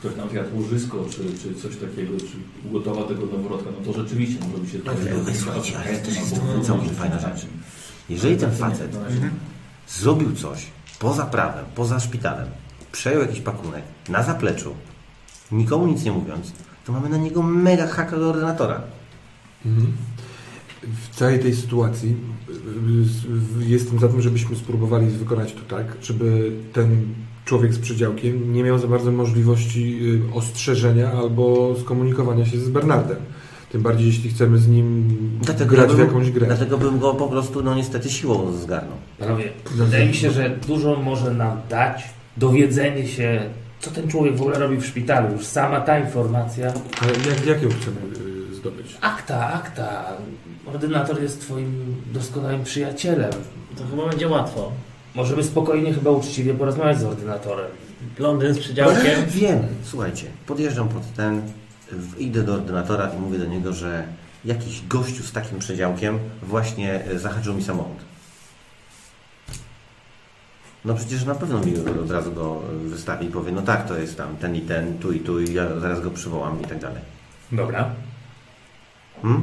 ktoś tam zjadł łożysko, czy, czy coś takiego, czy ugotował tego noworodka, no to rzeczywiście może by się to...
Ale słuchajcie, ale też jest to całkiem fajna rzecz. Jeżeli ten facet
No
zrobił coś poza prawem, poza szpitalem, przejął jakiś pakunek na zapleczu, nikomu nic nie mówiąc, to mamy na niego mega haka do ordynatora.
Mhm. W całej tej sytuacji y, y, s- w- jestem za tym, żebyśmy spróbowali wykonać to tak, żeby ten człowiek z przydziałkiem nie miał za bardzo możliwości y, ostrzeżenia albo skomunikowania się z Bernardem. Tym bardziej, jeśli chcemy z nim grać w jakąś grę.
Dlatego bym go po prostu, no niestety, siłą zgarnął.
Panowie, wydaje mi się, że dużo może nam dać dowiedzenie się, co ten człowiek w ogóle robi w szpitalu. Już sama ta informacja.
Ale jak, jak ją chcemy y, zdobyć?
Akta, akta. Ordynator jest twoim doskonałym przyjacielem.
To chyba będzie łatwo.
Możemy spokojnie chyba uczciwie porozmawiać z ordynatorem.
Londyn z przydziałkiem.
Wiem, słuchajcie, podjeżdżam pod ten, w- idę do ordynatora i mówię do niego, że jakiś gościu z takim przedziałkiem właśnie e, zahaczył mi samochód. No przecież na pewno mi od razu go e, wystawi i powie, no tak, to jest tam ten i ten, tu i tu i ja zaraz go przywołam i tak dalej.
Dobra.
Hmm?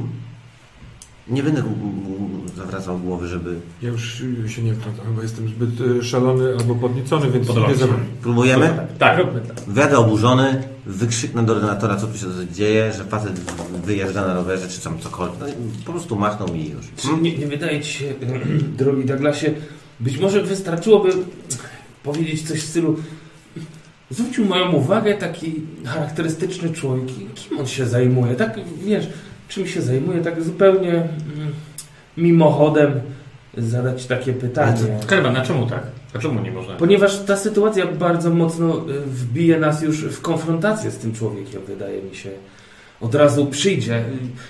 Nie będę m- m- zawracał głowy, żeby...
Ja już y, się nie wtrącam, bo jestem zbyt y, szalony albo podniecony, więc
Podoba
nie
mi się.
za-
Próbujemy?
Tak,
Wyjadę oburzony, wykrzyknę do ordynatora, co tu się dzieje, że facet wyjeżdża na rowerze, czy tam cokolwiek. No, i po prostu machnął mi i już.
Czy nie, nie wydaje ci się, [clears throat] drogi Douglasie, być może wystarczyłoby powiedzieć coś w stylu zwrócił moją uwagę taki charakterystyczny człowiek. Kim on się zajmuje? Tak, wiesz, czym się zajmuje? Tak zupełnie mm, mimochodem zadać takie pytanie.
Karwa, na czemu tak? A czemu nie można?
Ponieważ ta sytuacja bardzo mocno y, wbije nas już w konfrontację z tym człowiekiem, wydaje mi się. Od razu przyjdzie, y,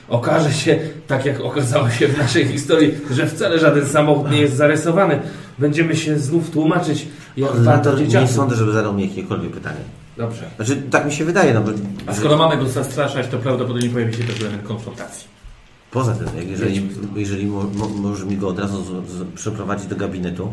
okaże się, tak jak okazało się w naszej historii, że wcale żaden samochód nie jest zarysowany. Będziemy się znów tłumaczyć, jak warto
Ordynator nie
dzieciaki.
sądzę, żeby zadał mi jakiekolwiek pytanie.
Dobrze.
Znaczy, tak mi się wydaje, no bo...
A skoro mamy go zastraszać, to prawdopodobnie pojawi się też element konfrontacji.
Poza tym, jak jeżeli, jeżeli mo, mo, może mi go od razu z, z, przeprowadzić do gabinetu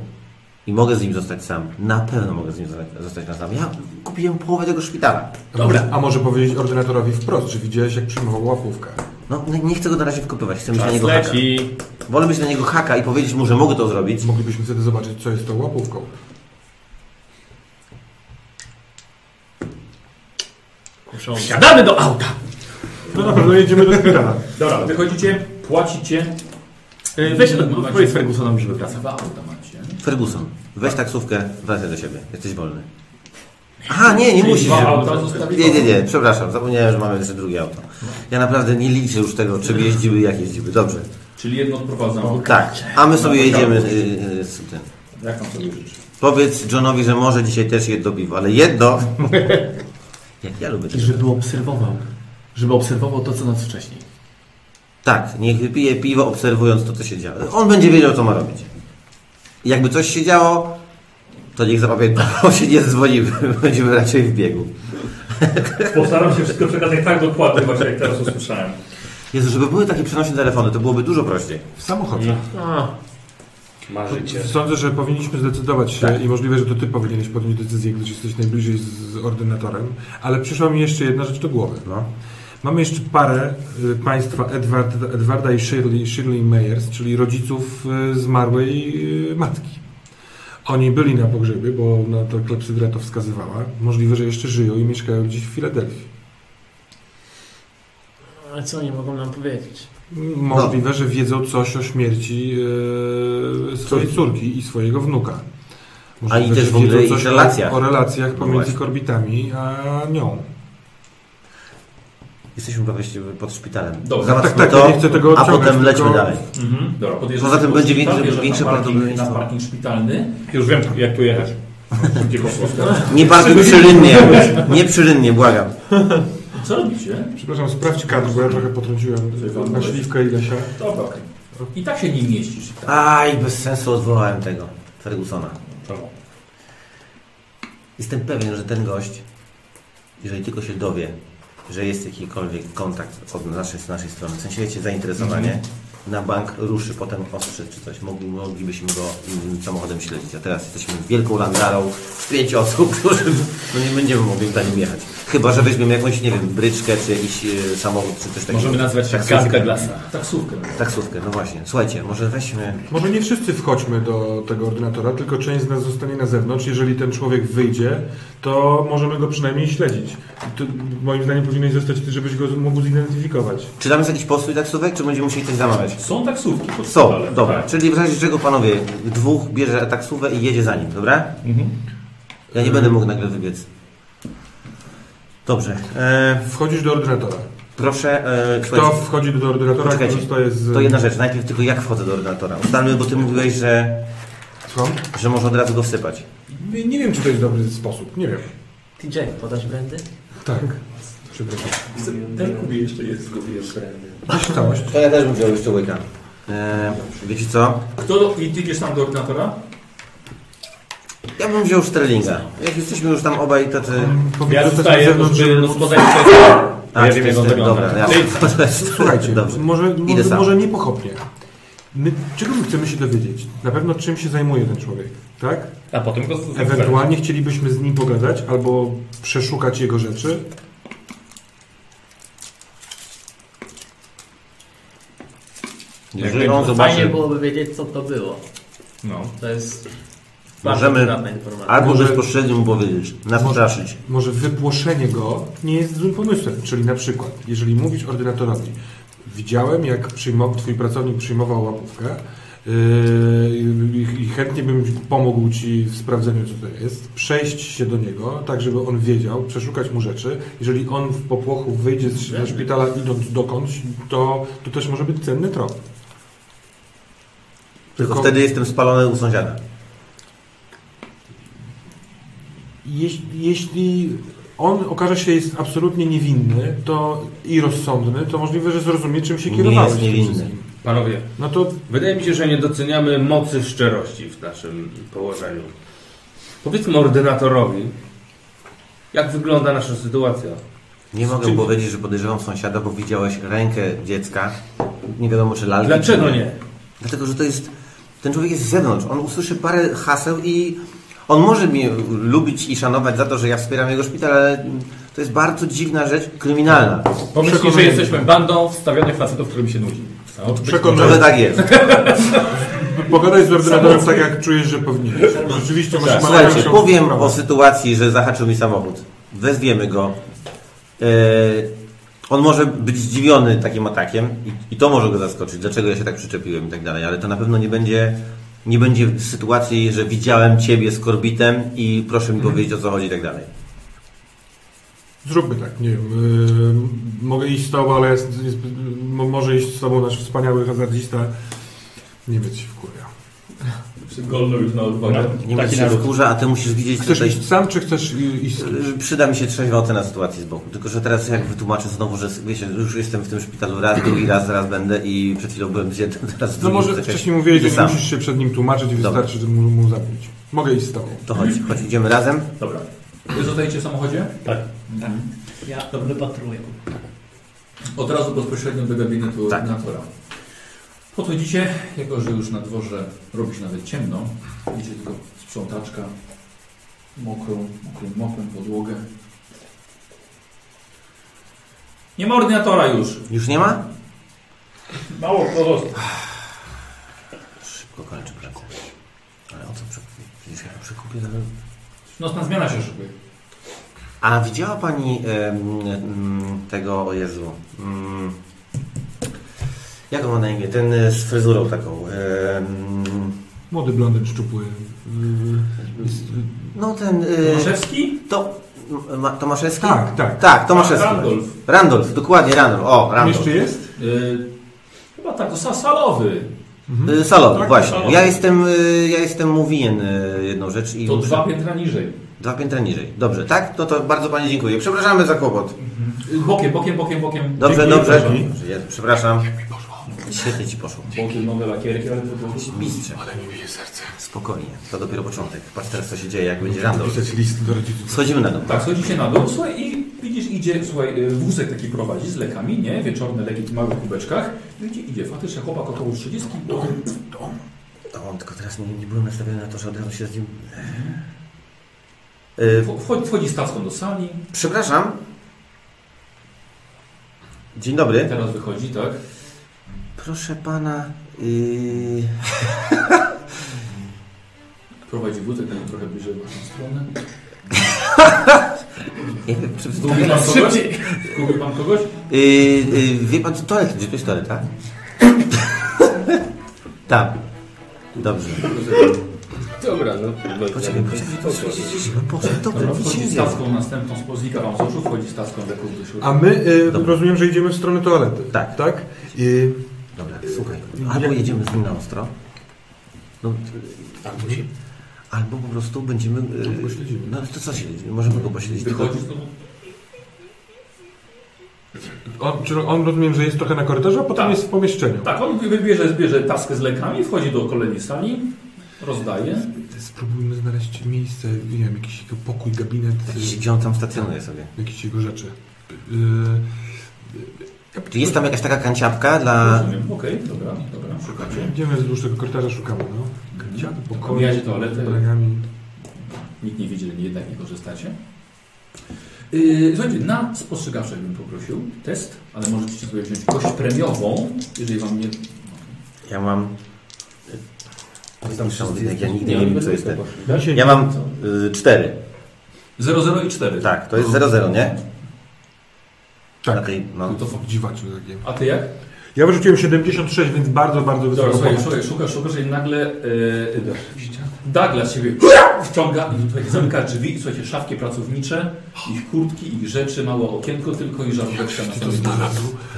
i mogę z nim zostać sam, na pewno mogę z nim zosta- zostać na sam. Ja kupiłem połowę tego szpitala.
A może- A może powiedzieć ordynatorowi wprost, że widziałeś jak przyjmował łapówkę.
No, nie- nie chcę go na razie wkopywać, chcę mieć na
Czas
niego haka.
leci.
Wolę mieć na niego haka i powiedzieć mu, że mogę to zrobić.
Moglibyśmy wtedy zobaczyć, co jest tą łapówką.
Wsiadamy do auta!
No na pewno jedziemy do szpitala.
Dobra, wychodzicie, płacicie.
Yy, Weź, powiedz Fergusonowi, żeby wracał.
Dwa auta macie.
Ferguson, weź taksówkę, wracaj do siebie. Jesteś wolny. Aha, nie, nie musisz.
Dwa auta zostawić.
Nie, nie, nie, przepraszam, zapomniałem, że mamy jeszcze drugie auto. Ja naprawdę nie liczę już tego, czym jeździły, jak jeździły. Dobrze.
Czyli jedno odprowadzam.
Tak, a my sobie jedziemy y, y, z tym.
Jak tam sobie życzy?
Powiedz Johnowi, że może dzisiaj też jedno piwo, ale
[laughs]
jedno... Jak ja lubię to.
I żeby obserwował. Żeby obserwował to, co nas wcześniej.
Tak, niech wypije piwo, obserwując to, co się dzieje. On będzie wiedział, co ma robić. Jakby coś się działo, [laughs] to niech zapamięta, bo się nie dzwonimy. Będziemy raczej w biegu.
Postaram się wszystko przekazać tak dokładnie, właśnie jak teraz usłyszałem.
Jezu, żeby były takie przenośne telefony, to byłoby dużo prościej.
W samochodzie.
Marzycie.
Sądzę, że powinniśmy zdecydować się i możliwe, że to ty powinieneś podjąć decyzję, gdyż jesteś najbliżej z, z ordynatorem, ale przyszła mi jeszcze jedna rzecz do głowy.
No.
Mamy jeszcze parę y, państwa Edward, Edwarda i Shirley, Shirley Meyers, czyli rodziców y, zmarłej y, matki. Oni byli na pogrzebie, bo na to klepsydra to wskazywała. Możliwe, że jeszcze żyją i mieszkają gdzieś w Filadelfii.
Ale co oni mogą nam powiedzieć?
Możliwe, że wiedzą coś o śmierci e, swojej córki i swojego wnuka.
A i też
że
w ogóle
wiedzą
ich
coś o-
relacjach.
O relacjach
No
pomiędzy
właśnie.
korbitami a nią.
Jesteśmy chyba właściwie pod szpitalem.
Dobrze.
Załatwmy
Tak, tak,
no to,
ja nie chcę tego
a
obciągać,
potem
tylko-
lećmy dalej.
Mhm. Dobra, podjeżdżasz
Poza tym
pod
będzie
szpital,
większe,
wjeżdżasz na
większe
parking-
prawdopodobieństwo.
Na parking szpitalny. No,
Już wiem, jak tu jechać. Szybciej po prostu.
Nie parkuj przyrynnie, nie przyrynnie, błagam.
Co robicie?
Przepraszam, sprawdź kadr, bo ja trochę potrąciłem na śliwkę i lesia.
Dobra, okej. I tak się nie mieścisz.
Aj, bez sensu odwołałem tego Fergusona.
Czemu?
Jestem pewien, że ten gość, jeżeli tylko się dowie, że jest jakikolwiek kontakt od naszej, z naszej strony, w sensie wiecie, zainteresowanie,
Mhm.
na bank ruszy potem ostrzec czy coś. Mogli, moglibyśmy go innym samochodem śledzić, a teraz jesteśmy wielką landarą z pięć osób, [laughs] którzy no nie będziemy mogli za nim jechać. Chyba, że weźmiemy jakąś, nie wiem, bryczkę czy jakiś e, samochód czy coś takiego.
Możemy nazwać się
Taksówkę.
Gazda Glasa.
tak.
Taksówkę.
Taksówkę, no właśnie. Słuchajcie, może weźmy...
Może nie wszyscy wchodźmy do tego ordynatora, tylko część z nas zostanie na zewnątrz. Jeżeli ten człowiek wyjdzie, to możemy go przynajmniej śledzić. To, moim zdaniem powinieneś zostać ty, żebyś go mógł zidentyfikować.
Czy tam jest jakiś postój taksówek, czy będziemy musieli coś zamawiać?
Są taksówki. pod
Są,
szpitalem,
dobra.
tak.
Czyli w razie czego panowie, dwóch bierze taksówkę i jedzie za nim, dobra?
Mhm.
Ja nie będę mógł nagle wybiec. Dobrze. E,
Wchodzisz do ordynatora.
proszę. E,
Kto
słuchajcie.
wchodzi do ordynatora,
Poczekajcie.
kto zostaje z-
To jedna rzecz. Najpierw tylko jak wchodzę do ordynatora. Ustalmy, bo ty mówiłeś, że.
Słucham?
Że może od razu go wsypać.
Nie, nie wiem, czy to jest dobry sposób. Nie wiem.
TJ, podasz brandy?
Tak.
E,
Przepraszam.
Ten kubie jeszcze jest, kubie jeszcze.
Całość.
To ja też bym wziął jeszcze łyka. E, wiecie co?
Tak. Kto do, i ty idziesz tam do ordynatora?
Ja bym wziął Sterlinga. Jak jesteśmy już tam obaj, to ty.
Mhm.
Ja zostaję, żeby spotkać
A,
Ja
czy
wiem, jak
to jest
on
ten,
wygląda.
dobra, ja
Słuchajcie,
[laughs] Dobrze.
może,
Idę
może,
sam.
może nie pochopnie. My, czego my chcemy się dowiedzieć? Na pewno czym się zajmuje ten człowiek, tak?
A potem go z-
Ewentualnie chcielibyśmy z nim pogadać albo przeszukać jego rzeczy.
Jeżeli on
Fajnie
zobaczy.
byłoby wiedzieć, co to było.
No.
To jest bardzo
Możemy
przydatna informacja.
albo
Może-
bezpośrednio mu powiedzieć, nastraszyć.
Może wypłoszenie go nie jest złym pomysłem. Czyli na przykład, jeżeli mówisz ordynatorowi, widziałem jak przyjmował, twój pracownik przyjmował łapówkę yy, i- i chętnie bym pomógł ci w sprawdzeniu, co to jest, przejść się do niego, tak żeby on wiedział, przeszukać mu rzeczy. Jeżeli on w popłochu wyjdzie z- ze szpitala idąc dokądś, to, to też może być cenny trop.
Tylko wtedy jestem spalony u sąsiada.
Jeśli, jeśli on okaże się jest absolutnie niewinny to i rozsądny, to możliwe, że zrozumie, czym się
Nie
kierowałeś.
jest
tym
niewinny.
wszystkim.
Panowie,
No to
wydaje mi się, że nie doceniamy mocy szczerości w naszym położeniu. Powiedzmy ordynatorowi, jak wygląda nasza sytuacja.
Nie mogę
czym-
powiedzieć, że podejrzewam sąsiada, bo widziałeś rękę dziecka. Nie wiadomo, czy lalki.
Dlaczego
czy
nie?
Dlatego, że to jest. Ten człowiek jest z zewnątrz. On usłyszy parę haseł i on może mnie lubić i szanować za to, że ja wspieram jego szpital, ale to jest bardzo dziwna rzecz kryminalna.
Pomyśli, że
Przekonujemy.
jesteśmy bandą wstawionych facetów, którym się nudzi. No,
Trochę
przekonaj,
tak jest.
pogadaj z ordynatorem tak, jak czujesz, że powinieneś. Rzeczywiście masz małą
Tak. Słuchajcie,
większą
powiem
sprawę.
o sytuacji, że zahaczył mi samochód. Wezwiemy go. E, on może być zdziwiony takim atakiem i, i to może go zaskoczyć, dlaczego ja się tak przyczepiłem i tak dalej, ale to na pewno nie będzie, nie będzie sytuacji, że widziałem Ciebie z korbitem i proszę mi powiedzieć o co chodzi i tak dalej.
Zróbmy tak, nie wiem. y, mogę iść z tobą, ale jest, jest, mo- może iść z tobą nasz wspaniały hazardista. Nie być się wkurwia.
Przy Golno już na odwagę.
Nie
Taki
będę się
naród.
wkurza, a Ty musisz widzieć
Chcesz
tutaj...
iść sam, czy chcesz y, iść z kimś?
y, Przyda mi się trzeźwa ocena sytuacji z boku. Tylko, że teraz jak wytłumaczę znowu, że wiecie, już jestem w tym szpitalu raz, drugi raz, zaraz będę i przed chwilą byłem z jednym, teraz z
No
drugim.
może
zaczęłaś-
wcześniej mówiłeś,
Idę
że nie
sam.
musisz się przed nim tłumaczyć,
Dobra.
wystarczy, że mu, mu zabić. Mogę iść z tobą.
To chodź, chodź, idziemy razem.
Dobra. Wy zostajecie w samochodzie? Mhm.
Tak.
Ja to wypatruję.
Od razu bezpośrednio do gabinetu
Tak.
ordynatora. Podchodzicie, jako że już na dworze robi się nawet ciemno, widzicie tylko sprzątaczka, mokrą, mokrym mopem podłogę. Nie ma ordynatora już.
Już nie ma?
Mało pozostało.
Szybko kończę pracę.
No,
Ale o co przekupię? Przecież ja to przekupię. ale- Y,
Nocna zmiana się szykuje.
A widziała Pani em, em, tego, o Jezu, em, jak on ma na imię, ten e, z fryzurą taką, em,
Młody blondyn szczupły. Y,
no ten... e,
Tomaszewski?
To, ma, Tomaszewski?
Tak, tak.
Tak, Tomaszewski.
Randolph.
Randolph, dokładnie Randolph. O, Randolph.
Jeszcze jest?
Y, chyba tak, to sa- salowy.
Y, Salon,
Tak,
właśnie.
salon.
Ja jestem, y, ja jestem mówien y, jedną rzecz i.
To dwa piętra niżej.
Dwa piętra niżej. Dobrze, tak? No to bardzo Pani dziękuję. Przepraszamy za kłopot.
Y, Bokiem, bokiem, bokiem, bokiem.
Dobrze,
Dziękuję,
dobrze.
proszę.
Dobrze, ja Przepraszam. Świetnie Ci poszło.
Bokiem nowe lakierki, ale to było...
Mistrze. Ale mi bije serce. Spokojnie, to dopiero początek. Patrz teraz co się dzieje, jak będzie Randolph.
Pisać list do rodziców.
Schodzimy na dół.
Tak, schodzi się na dół, słuchaj, i widzisz, idzie, słuchaj, y, wózek taki prowadzi z lekami, nie? Wieczorne leki w małych kubeczkach. Idzie, idzie, faktycznie chłopak około 30. bo-
To on, tylko teraz nie, nie byłem nastawiony na to, że od razu się z nim... Y,
Wcho- Wchodzi, wchodzi stawką do sali,
przepraszam. Dzień dobry.
teraz wychodzi, tak?
Proszę Pana... y,
Prowadzi wózek, tak trochę bliżej w naszą stronę.
Nie wiem, czy...
Zgubił pan kogoś? Zgubił pan kogoś?
Yy, yy, wie pan, co toalet, gdzie to jest toalet, tak? [laughs] Tam. Dobrze.
Dobra, no.
Poczekaj, poczekaj, poczekaj, poczekaj, poczekaj,
Dobra,
dobrze,
wchodzi
widzicie.
stawką następną, spo- znika wam z oczu, wchodzi stawką leków do środka.
A my y,
Dobra.
rozumiem, że idziemy w stronę toalety.
Tak.
Tak? Y,
Dobra, słuchaj, albo jedziemy z nim na ostro, no, t- albo, się, albo po prostu będziemy... Yy,
pośledzimy.
no to co się, możemy go pośledzić. tylko-
Wychodzi znowu.
on, czy on rozumiem, że jest trochę na korytarzu, a potem
Tak.
jest w pomieszczeniu.
Tak, on bierze, bierze taskę z lekami, wchodzi do kolejnej sali, rozdaje.
Spróbujmy znaleźć miejsce, nie wiem, jakiś jego pokój, gabinet,
Gdzieś-
y,
Gdzie on tam stacjonuje sobie.
jakieś jego rzeczy. Y,
Czy jest tam jakaś taka kanciapka dla...
Rozumiem, okej, dobra, dobra, szukacie.
Y, idziemy wzdłuż tego korytarza, szukamy, no. Gdzie pokoju,
Omijacie toaletę.
z kolegami.
Nikt nie widział, jednak nie korzystacie. Yy, słuchajcie, na spostrzegawczych bym poprosił test, ale możecie sobie wziąć kość premiową, jeżeli wam nie...
Ja mam... Tam jak ja nigdy
Nie,
nie
nie
wiem, co jest ten.
Dzisiaj
Ja mam y, cztery.
00 i 4.
Tak, to jest 0-0, nie? Na
Tak,
tej, no.
To,
dziwaczny takie.
a ty jak?
Ja wyrzuciłem 76, więc bardzo, bardzo
Dobra,
wysoko.
słuchaj, słuchaj, szukasz, szukasz i nagle yy, Douglas ciebie wciąga i tutaj zamyka drzwi i słuchajcie, szafki pracownicze, ich kurtki, ich rzeczy, małe okienko tylko i żaróweczka na samym dół.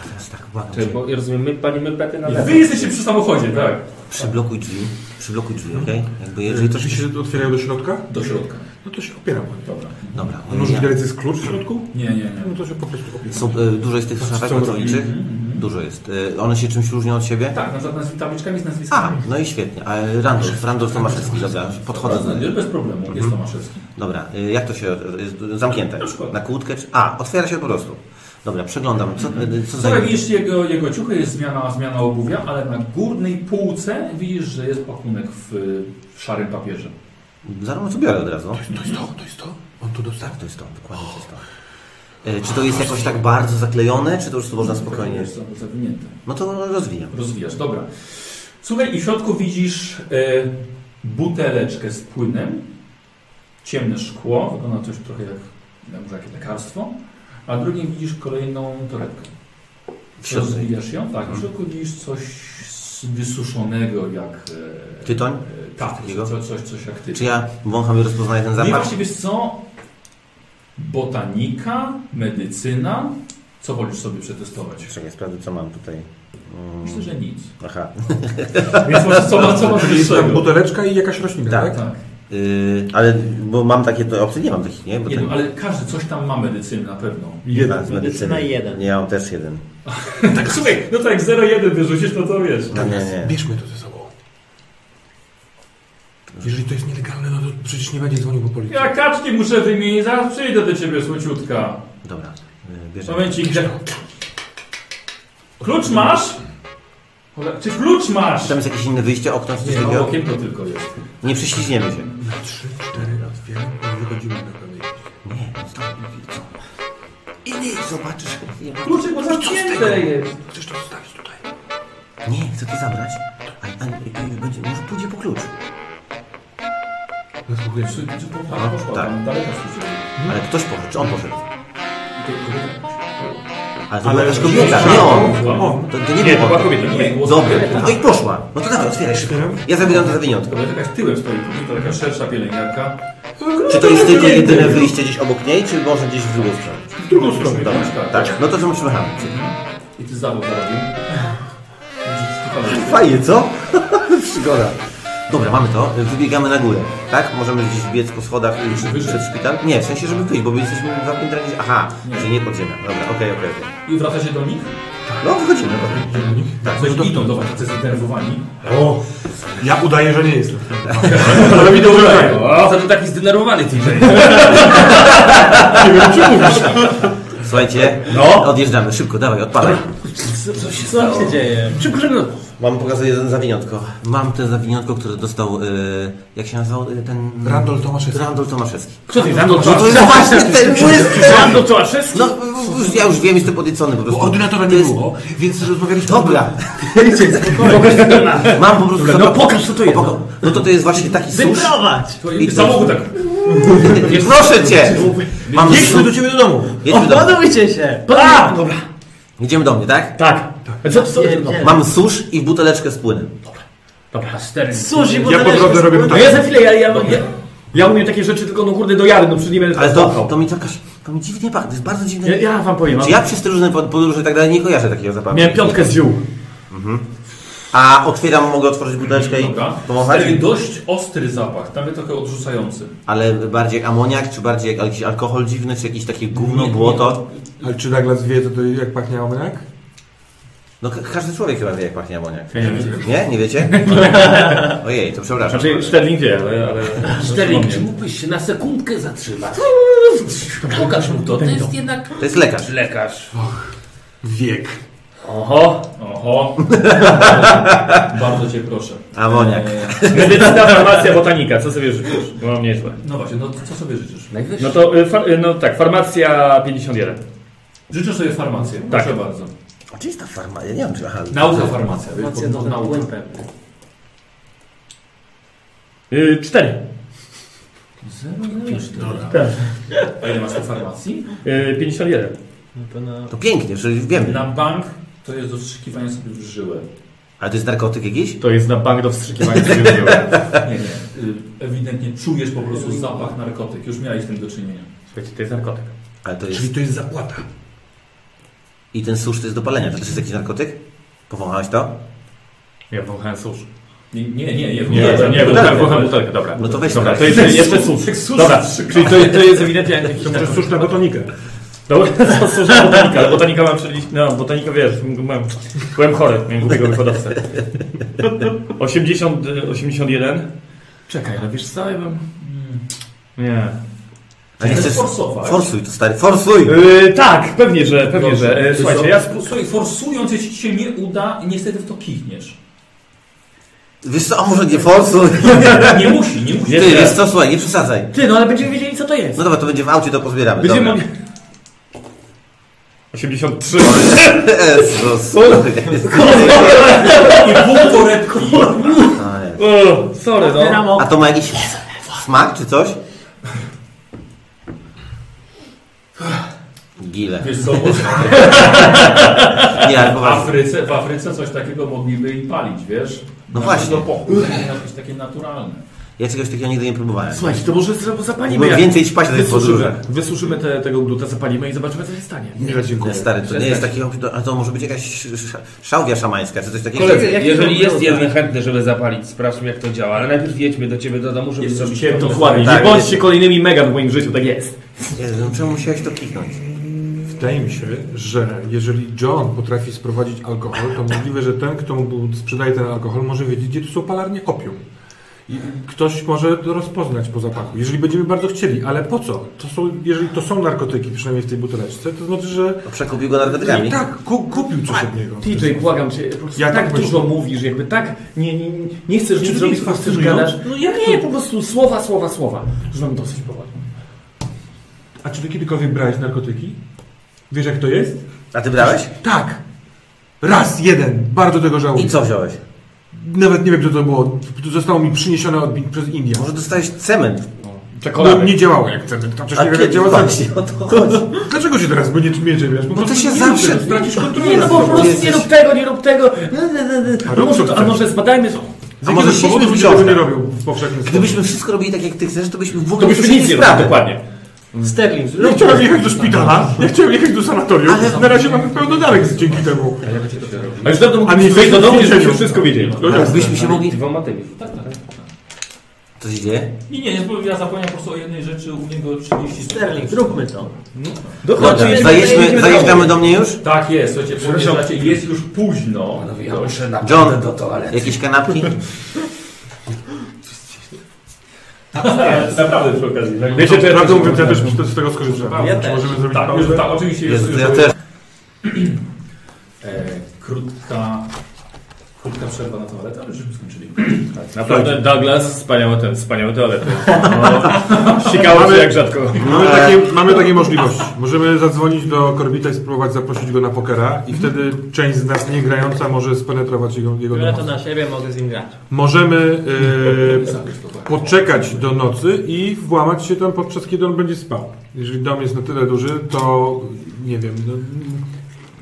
Teraz tak, błagam
Czy,
cię.
bo, ja rozumiem, my palimy pety na
I
lewo.
Wy jesteście przy samochodzie, tak?
Przyblokuj drzwi, przyblokuj drzwi, okej? Jakby
Jeżeli
jeżeli
Mhm. to
to...
się otwierają do środka,
Do środka.
no to się opieram.
Dobra.
Dobra.
A może widać, jest klucz w środku?
Nie, nie, nie. Mhm,
No to się po prostu opieram.
Są, y, dużo jest tych szafek
Co
pracowniczych? Dużo jest. Y, one się czymś różnią od siebie?
Tak, na przykład z tabliczkami z
A,
nazwiskami.
no i świetnie. A y, Randolph, Randolph Tomaszewski, dobra, podchodzę do niego.
No,
Mhm.
Bez problemu, jest Tomaszewski.
Dobra, y, jak to się... Jest zamknięte?
przykład.
Na kłódkę? Czy... A, otwiera się po prostu. Dobra, przeglądam. Co, y, co za...
Słuchaj, widzisz jego, jego ciuchy, jest zmiana, zmiana obuwia, ale na górnej półce widzisz, że jest pakunek w, w szarym papierze.
Zaraz co biorę od razu.
To jest to, to jest to? On tu dostał.
Tak, to jest to, dokładnie to jest to. Y, Czy to jest jakoś tak bardzo zaklejone, czy to już można spokojnie?
Jest albo zawinięte.
No to rozwijam.
Rozwijasz, dobra. Słuchaj, i w środku widzisz e, buteleczkę z płynem, ciemne szkło, wygląda coś trochę jak jak może jakieś lekarstwo, a drugie widzisz kolejną torebkę.
W środku.
Rozwijasz ją? Tak, w środku widzisz coś z- wysuszonego jak... E,
Tytoń?
E, tak,
Takiego?
coś, coś, coś jak tytoń.
Czy ja wącham i rozpoznaję ten
Nie
zapach?
właściwie wiesz co? Botanika, medycyna. Co wolisz sobie przetestować?
Czekaj, sprawdzę co mam tutaj. Mm,
Myślę, że nic.
Aha.
Więc może co, ma- co masz
Czyli jest tam
wyższego?
buteleczka i jakaś roślina, tak?
Tak.
Tak.
Yy, ale bo mam takie to opcje, nie mam takich, nie? Bo
Nie,
ten-
no, ale każdy coś tam ma medycyny na pewno.
Jedna z medycyny.
Medycyna jeden.
Nie, ja mam też jeden.
Tak, słuchaj, no to jak 0-1 wyrzucisz, no to wiesz.
No, nie, nie.
Bierzmy to ze sobą. Jeżeli to jest nielegalne, no to przecież nie będzie dzwonił po policję.
Ja kaczki muszę wymienić, zaraz przyjdę do ciebie, słociutka.
Dobra, yy, bierzemy.
Momencik, gdzie... Klucz masz? Cholera, Czy klucz masz?
Tam jest jakieś inne wyjście, okno, czy coś
Nie, no,
takiego?
okienko tylko jest.
Nie prześliźniemy się.
Na trzy, cztery otwieram i wychodzimy na pewno.
Nie, zostaw I nie, zobaczysz. ja mam-
Kluczyk, bo zamknięte jest.
Chcesz to zostawić tutaj?
Nie, chcę to zabrać. A, a, a, a, będzie, może pójdzie po klucz.
Aha, tak.
Ale ktoś poszedł, czy on poszedł? Ale to
Ale
była też
już
kobieta,
on.
nie on.
On.
To, to nie,
Nie,
było.
to była kobieta, nie.
Dobra, no i poszła. No to dawaj, otwieraj szybko. Ja zabieram to za pieniądze.
To jakaś tyłem stoi, to taka szersza pielęgniarka.
No,
Czy to jest tylko jedyne wyjście gdzieś obok niej, czy może gdzieś w drugą stronę?
W drugą stronę,
Dobra,
tak.
tak. No to co musimy hamać?
Mhm. I ty zawód zarobił.
Fajnie, co? [laughs] Przygoda. Dobra, mamy to. Wybiegamy na górę, tak? Możemy gdzieś biec po schodach i przed szpital? Nie, w sensie, żeby wyjść, bo my jesteśmy dwa piętra gdzieś... Aha,
Nie.
że nie podziemia. Dobra, okej, okej, okej.
I wracacie do nich?
No, wychodzimy.
Tak, coś idą do was, tacy zdenerwowani.
O, ja udaję, że nie jestem.
Ale mi dobrze
O, to ty taki zdenerwowany
[laughs]
TJ.
Nie wiem, czy mówisz.
Słuchajcie,
No.
odjeżdżamy. Szybko, dawaj, odpalaj.
Co, co, się, co się dzieje?
Mam pokazać jeden zawiniątko. Mam te zawiniątko, które dostał, y, jak się nazywał y, ten...
Randol Tomaszewski.
Randol Tomaszewski.
Kto to jest? Randol
No to jest
Tomaszewski?
właśnie ten błysk!
Randol Tomaszewski?
No, już, ja już wiem, jestem podniecony po prostu.
Ordynatora nie było, więc rozmawialiśmy...
Dobra. [laughs] Mam po prostu...
Dobra, no
zapro-
pokaż, co to jest.
Poka- No to to jest właśnie taki susz.
Wyprowadź!
I
Samochód tak.
Proszę cię! Mam
Jedźmy
susz.
do ciebie do domu.
Jedźmy do...
Podujcie się!
A, dobra.
Jedziemy do mnie, tak?
Tak. Co, co?
Pierdziele.
Mam susz i buteleczkę z płynem.
Dobra, cztery.
Sushi, bo
Ja po drodze robię
No
tak.
ja za chwilę, ja, ja, ja, ja umiem takie rzeczy tylko no kurde do jary, no przed nie będę
Ale
tak
to,
płakał.
to mi czekasz, to mi dziwnie pachnie, to jest bardzo dziwne.
Ja, ja wam powiem,
Czy
ja...
ja przez te różne pod- podróże i tak dalej nie kojarzę takiego zapachu?
miałem piątkę z ziół.
A otwieram, mogę otworzyć buteleczkę i
Dobra.
pomachać?
Stary, dość ostry zapach, nawet trochę odrzucający.
Ale bardziej amoniak, czy bardziej jak- jakiś alkohol dziwny, czy jakieś takie gówno,
Nie,
błoto?
Ale czy nagle wie, to, to jak pachnie amoniak?
No ka- każdy człowiek chyba wie, jak pachnie amoniak.
Ja nie wiem.
Nie? Nie wiecie? Ojej, to przepraszam.
Znaczy, Sterling wie, ale...
[laughs]
ale...
Sterling, czy mógłbyś się na sekundkę zatrzymać? Pokaż mu to, to jest jednak
To jest lekarz.
lekarz.
Wiek.
Oho.
[laughs] Oho. Bardzo cię proszę.
Amoniak.
E,
Medycyna, farmacja, botanika, co sobie życzysz? Bo mam nieźle.
No właśnie, no co sobie życzysz?
No to, y, fa- y, no tak, farmacja 51.
Życzę sobie farmację,
Tak.
proszę bardzo.
Gdzie jest ta farma? Ja nie wiem, czy... Aha,
Nauka farmacja, wiesz,
Pacjent
pod-
na
nauka.
łępem.
Y, 4.
A ile masz tej farmacji?
Y, 51.
No to na...
To pięknie, czyli wiemy.
Na bank to jest rozstrzykiwanie sobie w żyłę.
Ale to jest narkotyk jakiś?
To jest na bank do [laughs] wstrzykiwania sobie
Nie, nie. Y, Ewidentnie czujesz po prostu zapach narkotyk. Już miałeś z tym do czynienia.
Słuchajcie, to jest narkotyk.
Ale to jest...
Czyli to jest zapłata.
I ten susz to jest do palenia. To też jest jakiś narkotyk? Powąchałeś to?
Ja wąchałem susz.
Nie, nie, nie. Nie,
Nie, nie, tak,
butelkę.
nie, wąchałem wąchałem butelkę, dobra.
No to weź
Dobra,
teraz.
to jeszcze, jeszcze susz. Dobra, czyli to, to jest ewidentnie jakiś
To przez
narkotyk.
susz na botonikę.
Dobra, [laughs] to susz na botanika, ale botanika mam przelić. No, botanika wiesz, byłem, byłem chory, miałem głupiego [laughs] wykładowcę. 80, y, 81. Czekaj, ale wiesz co, ja bym... Nie.
Ale nie
Chcesz
chcesz...
forsować.
Forsuj to, stary, forsuj!
Yy, tak, pewnie, że, pewnie,
Dobrze.
że. Yy,
Wiesz
słuchajcie,
co?
ja sp-
Słuchaj, forsując, jeśli ci się nie uda, niestety w to kichniesz.
Wiesz co, a może nie forsuj?
Nie musi, nie musi.
Ty, wiesz co, słuchaj, nie przesadzaj.
Ty, no ale będziemy wiedzieli co to jest.
No dobra, to będzie w aucie, to pozbieramy.
będziemy
dobra.
mogli... 83.
Jezus, no,
I pół torebki.
O, sorry, no.
Otwieram
No,
o...
A to ma jakiś smak czy coś? Gile.
Wiesz co, bo
Nie, ale
w
poważnie.
Afryce, w Afryce coś takiego mogliby i palić, wiesz?
No
Na-
właśnie.
Do pochód, jakieś takie naturalne.
Ja czegoś takiego nigdy nie próbowałem.
Słuchajcie, to może za- zapalimy
Im
jak...
No więcej ćpać na tych podróżach.
Wysuszymy, wysuszymy te, tego gluta, zapalimy i zobaczymy co się stanie.
Nie,
Nie,
dziękuję.
stary, to nie jest taki, a to może być jakaś sz- sz- szałwia szamańska, czy coś takiego.
Koledzy,
Jaki
jeżeli
to
jest
był
jeden chętny, żeby zapalić, sprawdźmy jak to działa, ale najpierw jedźmy do ciebie do domu, żeby
Jest
zrobić
ciemno.
Dokładnie,
Tak,
nie bądźcie kolejnymi mega w moim życiu, tak jest.
Jezu, no czemu musiałeś to kliknąć?
Wydaje mi się, że jeżeli John potrafi sprowadzić alkohol, to możliwe, że ten, kto mu był- sprzedaje ten alkohol, może wiedzieć, gdzie tu są palarnie opium. I ktoś może to rozpoznać po zapachu, jeżeli będziemy bardzo chcieli, ale po co? To są, jeżeli to są narkotyki, przynajmniej w tej buteleczce, to znaczy, że
No, Przekupił go narkotykami.
tak, ku, kupił coś od niego.
TJ, błagam cię, po prostu
Ja
tak
tak
dużo mówisz, jakby tak nie, nie, nie- nie chcesz nic
Czy
zrobić,
to
po
jest
prostu
fascynujące?
gadasz. No ja nie, po prostu słowa, słowa, słowa. Już mam dosyć powoli.
A czy ty kiedykolwiek brałeś narkotyki? Wiesz jak to jest?
A ty brałeś?
Tak! Raz, jeden, bardzo tego żałuję.
I co wziąłeś?
Nawet nie wiem, co to było. Zostało mi przyniesione od, przez Indię.
Może dostałeś cement.
No, nie działało jak cement. Chociaż
A
nie wiem, jak
kiedy
działa
właśnie o to chodzi?
Dlaczego się teraz będzie mierzy, wiesz? Po
Bo ty
prostu
się
nie
zawsze-
lubię, Stracisz kontrolę.
Nie, no
nad
po
sobą.
prostu nie rób tego, nie rób tego.
A
A
rób,
może,
co
a
chcesz.
może zbadajmy co.
Z
A
jakiegoś
może siedźmy
powodu
w
ludzie tego nie
ciągle.
robią w powszechnym
Gdybyśmy wszystko robili tak, jak ty chcesz, to byśmy w ogóle
To byśmy nic nie robili,
sprawy.
dokładnie.
Sterling,
Nie
zrób
chciałem jechać do szpitala, nie chciałem jechać do sanatorium. Na razie mamy pełno danych z- dzięki temu.
A już dawno mógłbyś
nie
wyjść do
jesteśmy
domu,
w
żebyśmy
więzieniu.
wszystko wiedzieli.
No tak.
Byśmy się mogli...
Dwoma tymi.
Co się dzieje?
I nie, nie, bo ja zapomniałem po prostu o jednej rzeczy, u niego 30
Sterling, zróbmy to.
Dobra, zajeżdżamy, zajeżdżamy do mnie już?
Tak jest, słuchajcie, przepraszam, jest już późno.
Ja muszę na
John,
do toalety.
jakieś kanapki?
Naprawdę przy okazji. tak?
Wiecie, ja prawdę mówiąc, ja też z tego skorzystałem.
Ja
Czy
też.
możemy zrobić
Tak, już,
pauzę?
tak, oczywiście jest
Jezu,
już
ja też.
e, krótka, krótka przerwa na toaletę, ale żeśmy skończyli.
Naprawdę Douglas, wspaniały ten, wspaniały toalet. No, Sikało się jak rzadko.
Mamy takie, mamy takie możliwości. Możemy zadzwonić do Korbita i spróbować zaprosić go na pokera i wtedy część z nas nie grająca może spenetrować jego, jego
Biorę to
domostwo.
na siebie, mogę z nim grać.
Możemy e, poczekać do nocy i włamać się tam podczas kiedy on będzie spał. Jeżeli dom jest na tyle duży, to nie wiem. No,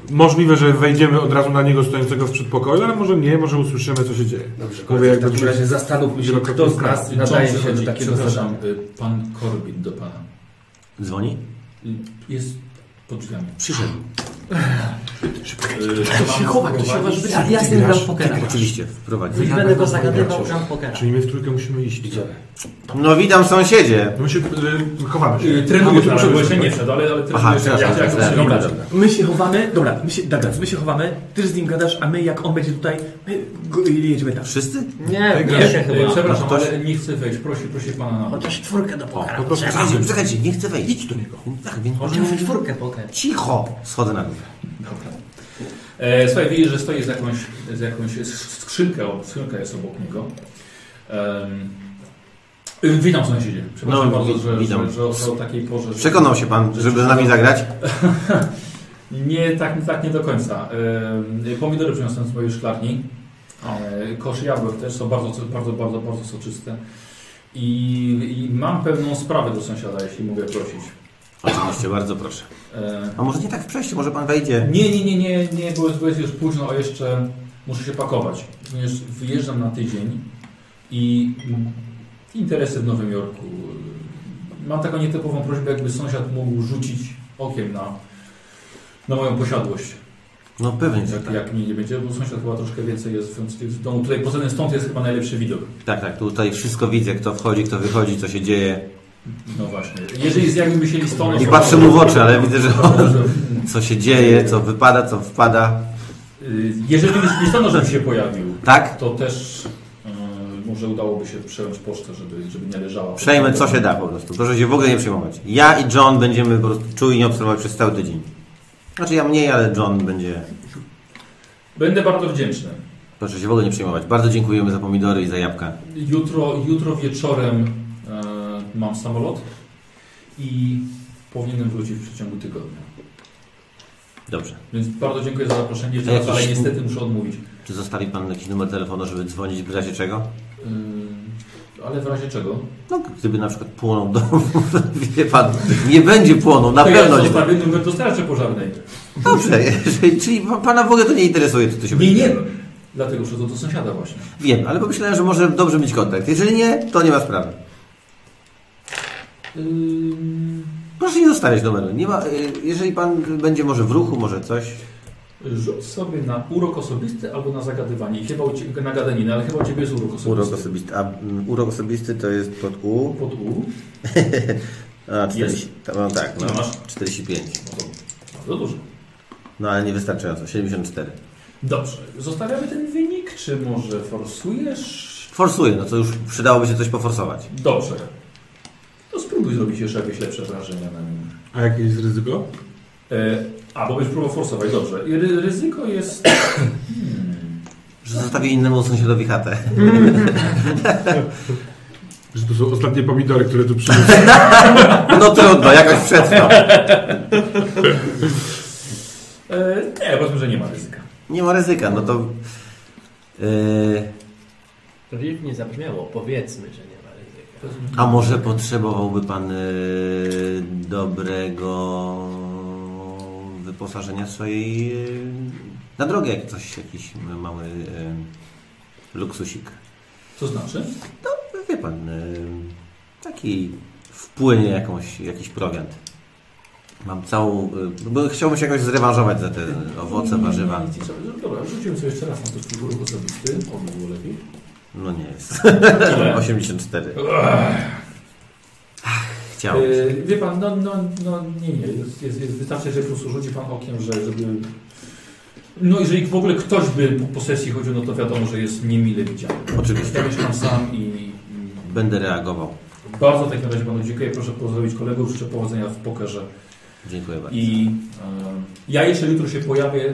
możliwe, że wejdziemy od razu na niego stojącego w przedpokoju, ale może nie, może usłyszymy co się dzieje.
Dobrze,
Mówię,
koledzy, w
jakby
takim
przy-
razie zastanówmy się,
wielokrotnie
kto z nas nadaje się do takiego zadania.
Przepraszam, y, pan Corbin do pana.
Dzwoni?
Y, Jest pod drzwiami. Y,
Przyszedł.
Chłopak, to się uważa, ja, ja z nim gram w pokera.
Oczywiście, wprowadzi.
Więc będę go zagadywał, gram w pokera.
Czyli my w trójkę musimy iść.
No witam sąsiedzie.
My się y, chowamy się.
Trenuję
Chowamy
się, bo jeszcze
się.
nie wszedł, ale, ale trenuję
Aha,
się. Ja
przepraszam,
chciałem go
tak, dobra,
przywitać.
dobra.
My się chowamy, dobra, my się, Douglas, my się chowamy, ty z nim gadasz, a my jak on będzie tutaj, my go, jedziemy tam.
Wszyscy?
Nie, nie
Nie,
się
y,
chyba.
Przepraszam,
No to-
ale nie chcę wejść. Prosi, prosi pana na
Chociaż czwórkę do pokera.
Po prostu
Czekajcie, czekajcie, nie chcę wejść. Idź do niego. Tak, więc może
Chociaż czwórkę pokera.
Cicho! Schodzę na górę.
Dobra. E, słuchaj, widzisz, że stoi z jakąś, z jakąś skrzynką, skrzynka jest obok niego. Em, y, witam sąsiedzie. Przepraszam
No,
bardzo,
wi-
że,
witam.
że, że, że o takiej porze... że-
Przekonał się pan, żeby z nami zagrać?
Nie, tak, tak nie do końca. Em, Pomidory przyniosłem z mojej szklarni. E, Kosz jabłek też są bardzo, bardzo, bardzo, bardzo soczyste. I, I mam pewną sprawę do sąsiada, jeśli mogę prosić.
Oczywiście, bardzo proszę.
E,
A może nie tak w przejściu, może pan wejdzie.
Nie, nie, nie, nie, nie, bo jest, bo jest już późno, a jeszcze muszę się pakować. Ponieważ wyjeżdżam na tydzień i mm, interesy w Nowym Jorku. Mam taką nietypową prośbę, jakby sąsiad mógł rzucić okiem na, na moją posiadłość.
No pewnie, że
Jak,
tak.
jak mnie nie będzie, bo sąsiad chyba troszkę więcej jest w, w domu. Tutaj poza tym stąd jest chyba najlepszy widok.
Tak, tak, tutaj wszystko widzę, kto wchodzi, kto wychodzi, co się dzieje.
No właśnie. Jeżeli zjawimy się listonosz...
Nie patrzę mu w oczy, ale widzę, że on, co się dzieje, co wypada, co wpada.
Y, Jeżeli listonosz by się pojawił,
Tak?
To też y, może udałoby się przejąć pocztę, żeby, żeby nie leżała.
Przejmę co się da po prostu. Proszę się w ogóle nie przejmować. Ja i John będziemy po prostu czujnie obserwować przez cały tydzień. Znaczy ja mniej, ale John będzie...
Będę bardzo wdzięczny.
Proszę się w ogóle nie przejmować. Bardzo dziękujemy za pomidory i za jabłka.
Jutro, jutro wieczorem y, mam samolot i powinienem wrócić w przeciągu tygodnia.
Dobrze.
Więc bardzo dziękuję za zaproszenie,
A jakiś-
ale niestety muszę odmówić.
Czy zostawi Pan jakiś numer telefonu, żeby dzwonić w razie czego?
Y, E, ale w razie czego?
No, gdyby na przykład płonął dom, to [laughs] wie Pan, nie będzie płonął, na
to
pewno
ja
nie.
zostawię numer do straży pożarnej.
Dobrze, jeżeli- czyli pa- Pana w ogóle to nie interesuje, to, to się
Nie,
będzie
nie.
działo.
Dlatego, że to do sąsiada właśnie.
Wiem, ale pomyślałem, że może dobrze mieć kontakt. Jeżeli nie, to nie ma sprawy. Proszę nie zostawiać numeru. Nie ma, y, jeżeli Pan będzie może w ruchu, może coś.
Rzuć sobie na urok osobisty albo na zagadywanie. I Chyba u cie, na gadaninę, ale chyba u Ciebie jest urok osobisty.
Urok osobisty. A mm, urok osobisty to jest pod U.
Pod U.
A, 40, no tak, no,
Ile masz?
45.
No Bardzo dużo.
No ale niewystarczająco, 74.
Dobrze, zostawiamy ten wynik, czy może forsujesz?
Forsuję, no to już przydałoby się coś poforsować.
Dobrze. To spróbuj zrobić jeszcze jakieś lepsze wrażenie na nim.
A jakie jest ryzyko?
E, a, bo byś próbował forsować, dobrze. I ry- ryzyko jest... Hmm.
Że zostawię innemu sąsiadowi chatę. [laughs]
Że to są ostatnie pomidory, które tu przyniosłem.
No trudno, jakoś przetrwa.
E, nie, powiedzmy, że nie ma ryzyka.
Nie ma ryzyka, no to... Yy,
To nie zabrzmiało, powiedzmy, że nie ma ryzyka.
A może potrzebowałby pan y, dobrego wyposażenia swojej y, na drogę, jak coś, jakiś mały y, luksusik.
Co znaczy?
No, wie pan, y, taki wpłynie jakąś, jakiś prowiant. Mam całą... Y, bo chciałbym się jakoś zrewanżować za te owoce, warzywa.
Dobra, rzuciłem sobie jeszcze raz na to swój ruch osobisty. O, by było lepiej.
No nie jest. [laughs]
Ile?
84. Ach, Chciałem.
Yy, wie pan, no, no, no nie, nie, jest, jest, jest, wystarczy, że po prostu rzuci pan okiem, że, żeby... No jeżeli w ogóle ktoś by po, po sesji chodził, no to wiadomo, że jest niemile widziany.
Oczywiście.
Ja mieszkam sam i
Będę reagował.
bardzo w takim razie panu dziękuję. Proszę pozdrowić kolegów, życzę powodzenia w pokerze.
Dziękuję bardzo.
I e, ja jeszcze jutro się pojawię,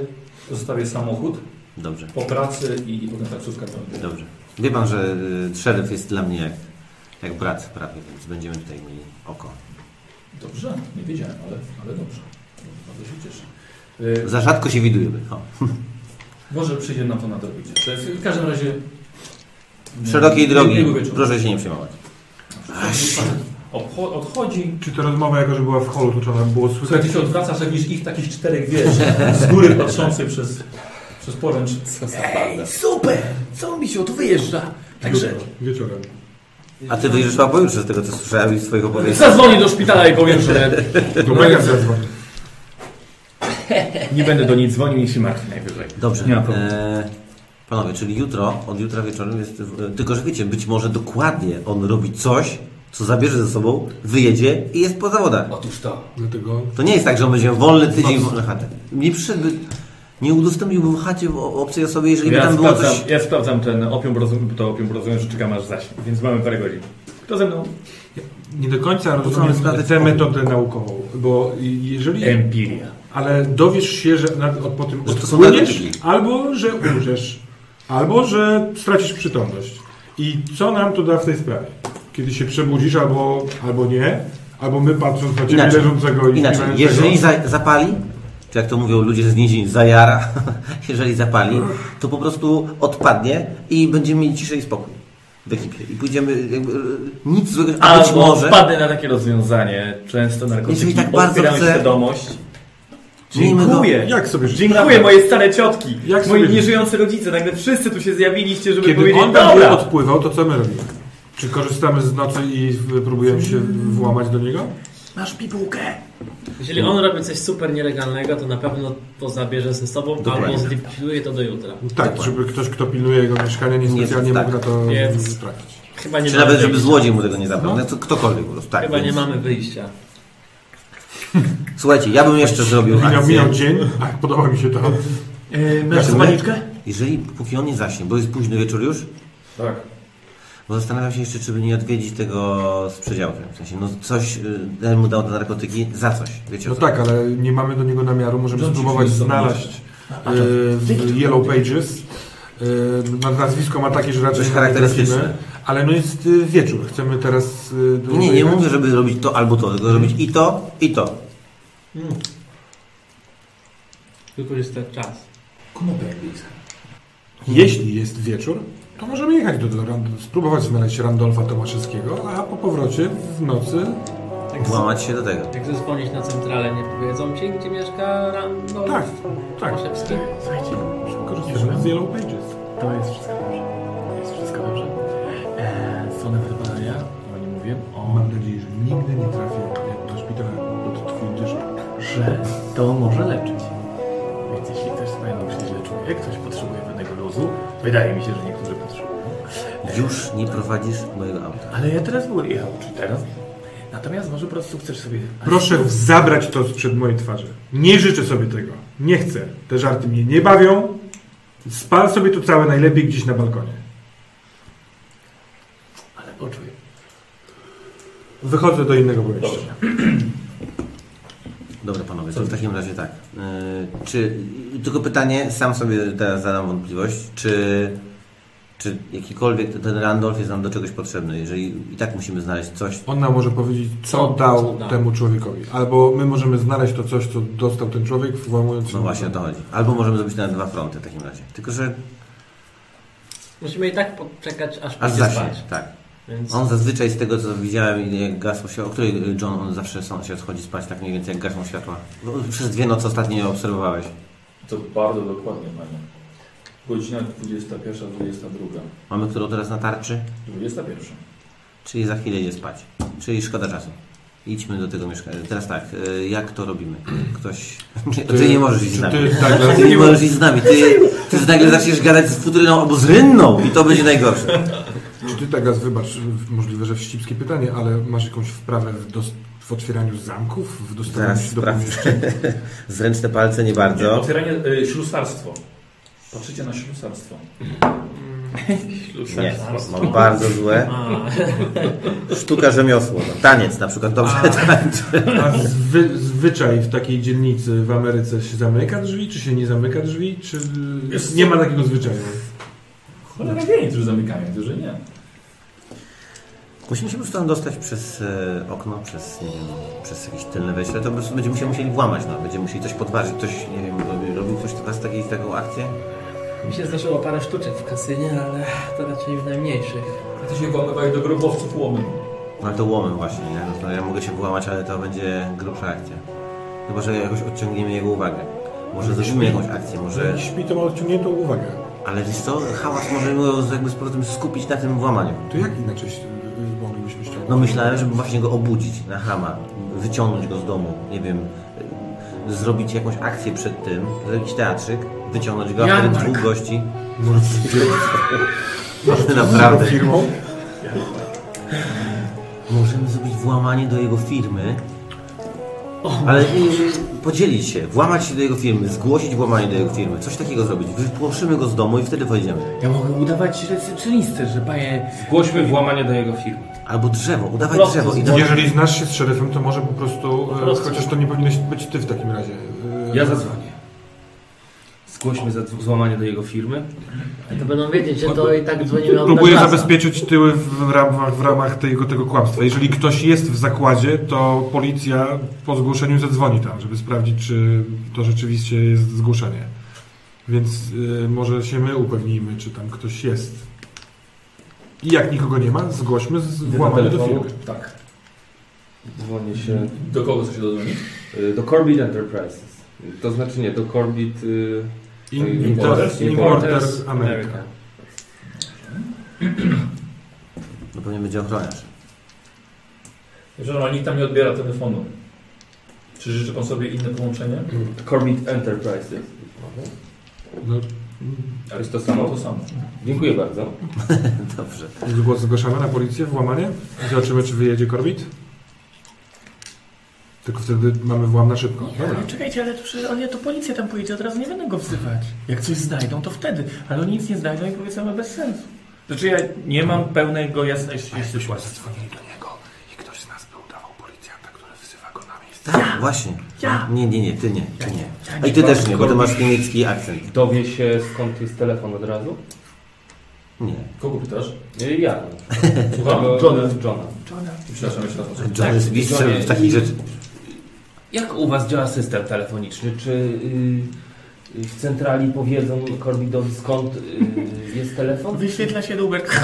zostawię samochód
Dobrze.
po pracy i, i potem taksówka będzie.
Dobrze. Wie pan, że y, szeryf jest dla mnie jak, jak brat prawie, więc będziemy tutaj mieli oko.
Dobrze, nie wiedziałem, ale, ale dobrze. Bardzo się cieszę. Y,
Za rzadko się widujemy. O.
Może przyjdzie na to nadrobić. To jest- W każdym razie...
Szerokiej
Nie,
drogi.
miłego wieczoru.
Proszę się nie przejmować.
Obcho- Odchodzi.
Czy to rozmowa jako, że była w holu, to trzeba było
Słuchaj,
słychać?
ty się odwracasz, jak widzisz ich takich czterech, wiesz, z góry patrzących przez, przez poręcz.
Ej, super! Co mi się tu wyjeżdża?
tak,
Także
Wieczorem.
A ty wyjrzysz na pojutrze z tego, co słyszałem i z swoich opowieści.
Zadzwonię do szpitala i powiem, że...
Do mega zadzwonił.
Nie będę do niej dzwonił i się martwił najwyżej.
Dobrze.
Nie ma problemu.
E, panowie, czyli jutro, od jutra wieczorem jest. w- Tylko, że wiecie, być może dokładnie on robi coś, co zabierze ze sobą, wyjedzie i jest po zawodach.
Otóż to.
Dlatego
To nie jest tak, że on będzie wolny tydzień, wolny chatę. Nie przyszedłby, nie udostępniłby w chacie o- obcej osobie, jeżeli by
Ja
tam było
sprawdzam,
coś.
ja sprawdzam ten opium, bo rozumiem, to opium, bo rozumiem, że czekam aż zaśnie, więc mamy parę godzin. Kto ze mną?
nie do końca
Musimy
rozumiem
sprawdzać
tę
opór.
metodę naukową, bo jeżeli...
Empiria.
Ale dowiesz się, że na, od, po tym
Że to są
odpłyniesz,
narkotyki.
albo że umrzesz, albo że stracisz przytomność. I co nam to da w tej sprawie? Kiedy się przebudzisz, albo, albo nie, albo my patrząc na ciebie
Inaczej.
leżącego i
Inaczej,
śpiewającego.
jeżeli za, zapali, czy jak to mówią ludzie z nizin, zajara, [laughs] jeżeli zapali, to po prostu odpadnie i będziemy mieli ciszę i spokój w ekipie. I pójdziemy, jakby, e, nic złego, a być
Albo
może...
wpadnę na takie rozwiązanie, często narkotyki,
Jeśli tak bardzo
otwieram
chcę-
świadomość.
Miejmy go-
Dziękuję.
Jak sobie życzysz?
Dziękuję moje stare ciotki,
Jak sobie
moi
życzysz?
nieżyjący rodzice, nagle wszyscy tu się zjawiliście, żeby
Kiedy
powiedzieć,
on będzie
dobra,
odpływał, to co my robimy? Czy korzystamy z nocy i w- próbujemy się włamać do niego?
masz pipułkę.
Jeżeli on robi coś super nielegalnego, to na pewno to zabierze ze sobą albo
Dokładnie.
zlikwiduje to do jutra.
No tak, żeby ktoś, kto pilnuje jego mieszkania, niespecjalnie
Nie, tak.
mógł na to
Więc-
trafić.
Chyba nie
Czy
mamy
nawet, żeby
wyjścia.
złodziej mu tego nie zabrał. No. to Ktokolwiek po prostu. Tak,
Chyba nie
więc-
mamy wyjścia.
Słuchajcie, ja bym jeszcze zrobił
Minął,
akcję.
minął dzień, [laughs] Ach, podoba mi się to.
Yy, masz
Znaczy, my-
zapalniczkę?
Jeżeli póki on nie zaśnie, bo jest późny wieczór już,
Tak.
Bo zastanawiam się jeszcze, czy by nie odwiedzić tego z przedziałkiem. W sensie, no coś, y, ja mu dał te narkotyki za coś, wiecie
No
o co?
tak, ale nie mamy do niego namiaru, możemy
Rządzi
spróbować
się
znaleźć
tak.
e, w Yellow Pages. E, na- Nazwisko ma takie, że raczej
Coś
na nie
charakterystyczne.
trafimy. Ale no jest e, wieczór, chcemy teraz... e, do-
Nie, nie, nie mówię, żeby robić to albo to, tylko robić i to, i to.
Wykorzystać czas.
Konopia angielska.
Jeśli jest wieczór, to możemy jechać do, do, Rand- spróbować znaleźć Randolfa Tomaszewskiego, a po powrocie w nocy... Tak.
Jak, z,
Włamać się do tego.
jak zadzwonić na centralę, nie powiedzą ci, gdzie mieszka Randolph
Tak, tak.
Tomaszewski?
Słuchajcie,
Korzystamy z Yellow Pages.
to jest wszystko dobrze. To Jest wszystko dobrze. Eee, Strona wybadania, o nie mówię, o,
Mam nadzieję, że nigdy nie trafię jak do szpitala pod twój dyżur.
że to może leczyć. Więc jeśli ktoś z Państwa się źle czuje, ktoś potrzebuje pewnego luzu, wydaje mi się, że niektórzy potrzebują,
Już nie prowadzisz mojego auta.
ale ja teraz w ogóle jechał, czy teraz? Natomiast może po prostu chcesz sobie...
Proszę zabrać to sprzed mojej twarzy. Nie życzę sobie tego. Nie chcę. Te żarty mnie nie bawią. Spal sobie to całe najlepiej gdzieś na balkonie.
Ale poczuj.
Wychodzę do innego pomieszczenia.
Dobra, panowie, to w takim razie tak. Yy, czy, tylko pytanie, sam sobie teraz zadam wątpliwość, czy, czy jakikolwiek ten Randolph jest nam do czegoś potrzebny, jeżeli i tak musimy znaleźć coś,
On nam może powiedzieć, co
Co-
dał
co dał.
temu człowiekowi. Albo my możemy znaleźć to coś, co dostał ten człowiek, włamując się.
No właśnie o to chodzi. Albo możemy zrobić na dwa fronty w takim razie. Tylko, że
Musimy i tak poczekać, aż
Aż
pójdzie
zaśnie,
spać.
tak.
Więc
On zazwyczaj z tego co widziałem, jak gasło się, o której John on zawsze są, się schodzi spać, tak mniej więcej jak gaszą światła. No, Przez dwie noce ostatnio obserwowałeś.
To bardzo dokładnie, panie. Godzina 21, 22.
Mamy którą teraz na tarczy?
21.
Czyli za chwilę idzie spać. Czyli szkoda czasu. Idźmy do tego mieszkania. Teraz tak, y, jak to robimy? Ktoś. [laughs] Ty, ty nie możesz iść z
czy
nami.
ty
[laughs]
tak, Douglas-
Ty nie możesz iść z nami. Ty, ty nagle zaczniesz gadać z futryną albo z rynną i to będzie najgorsze.
Czy ty tak raz wybacz, możliwe, że wścibskie pytanie, ale masz jakąś wprawę w, dos- w otwieraniu zamków, w dostaniu
Zaraz
się do
sprawdzę.
pomieszczeń?
Zręczne palce nie
Nie,
bardzo.
Otwieranie, y, ślusarstwo. Patrzycie na ślusarstwo.
Nie, mam bardzo złe. [laughs] Sztuka rzemiosło. No, taniec na przykład. Dobrze, [laughs] tańczy.
A zwy, zwyczaj w takiej dzielnicy w Ameryce się zamyka drzwi, czy się nie zamyka drzwi, czy
Jest-
nie ma takiego zwyczaju?
Cholera wie, którzy zamykają, którzy nie.
Musimy się po prostu tam dostać przez e, okno, przez, nie wiem, przez jakieś tylne wejście, ale to po prostu będziemy się musieli włamać, no. będziemy musieli coś podważyć, ktoś, nie wiem, robi- robił ktoś teraz taki, taką akcję?
Mi się zdarzyło parę sztuczek w kasynie, ale to raczej w najmniejszych.
A ty się włamywaj do grobowców łomym.
No ale to łomem właśnie, nie? No, to ja mogę się włamać, ale to będzie grubsza akcja. Chyba, że jakoś odciągniemy jego uwagę. Może zrobimy jakąś akcję, może...
Że śpi, to ma odciągniętą uwagę.
Ale wiesz co, hałas może go jakby z powrotem skupić na tym włamaniu.
To jak inaczej się- moglibyśmy ściągnąć?
No myślałem, żeby właśnie go obudzić na hama, wyciągnąć go z domu, nie wiem, y, zrobić jakąś akcję przed tym, zrobić teatrzyk, wyciągnąć go, a wtedy
Jarmark.
dwóch gości.
Może z
[laughs]
firmą? Może z
Naprawdę.
firmą?
Możemy zrobić włamanie do jego firmy, ale y, podzielić się, włamać się do jego firmy, zgłosić włamanie do jego firmy, coś takiego zrobić. Wypłoszymy go z domu i wtedy pojedziemy.
Ja mogę udawać recepcjonistę, że panie...
Głośmy włamanie do jego firmy.
Albo drzewo, udawaj
Proces.
drzewo. I
Jeżeli znasz się z szeryfem, to może po prostu, e,
Proces.
chociaż to nie powinieneś być ty w takim razie. e,
Ja zadzwonię. Zgłośmy za złamanie do jego firmy.
To będą wiedzieć, że to i tak dzwonimy od
Próbuję
Douglasa.
zabezpieczyć tyły w ramach, w ramach tego, tego kłamstwa. Jeżeli ktoś jest w zakładzie, to policja po zgłoszeniu zadzwoni tam, żeby sprawdzić, czy to rzeczywiście jest zgłoszenie. Więc y, może się my upewnijmy, czy tam ktoś jest. I jak nikogo nie ma, zgłośmy z
Idę do
włamanie do
telefonu.
firmy.
Tak.
Dzwonię się.
Do kogo chcesz się dodzwonić?
Y, Do Corbit Enterprises. Y, To znaczy nie, do Corbit. y,
In-
y,
Importers- Importers America.
Tak.
No pewnie będzie ochroniarz.
Że no, nikt tam nie odbiera telefonu. Czy życzy pan sobie inne połączenie?
Corbit Enterprises.
No,
To jest to samo?
To samo.
Dziękuję bardzo.
Dobrze.
Zgło- Zgłaszamy na policję włamanie i zobaczymy, czy wyjedzie korbit. Tylko wtedy mamy włam na szybko. Dobra.
Ale No, czekajcie, ale to, przecież- ale to policja tam pojedzie, od razu nie będą go wzywać. Jak coś znajdą, to wtedy. Ale oni nic nie znajdą i powiedzą, że bez sensu.
Znaczy ja nie mam pełnego jasności.
Jesteś łatwy.
Dzwonili do niego i ktoś z nas by udawał policjanta, który wzywa go na miejsce.
Tak, właśnie.
Ja.
Nie, nie, nie, ty nie, ty nie.
Ja
A
nie
i ty
mam
też nie, bo ty
Corbin.
masz niemiecki akcent.
Dowie się skąd jest telefon od razu?
Nie.
Kogo pytasz?
Y, Ja.
Słucham?
Tego-
Johna.
Johna.
Johna.
Przepraszam, jeszcze raz. Tak,
John jest mistrzem
Johnie,
w takich
i-
rzeczy.
Jak u Was działa system telefoniczny? Czy y, y, w centrali powiedzą Corbidowi skąd y, jest telefon?
Wyświetla się dłubek.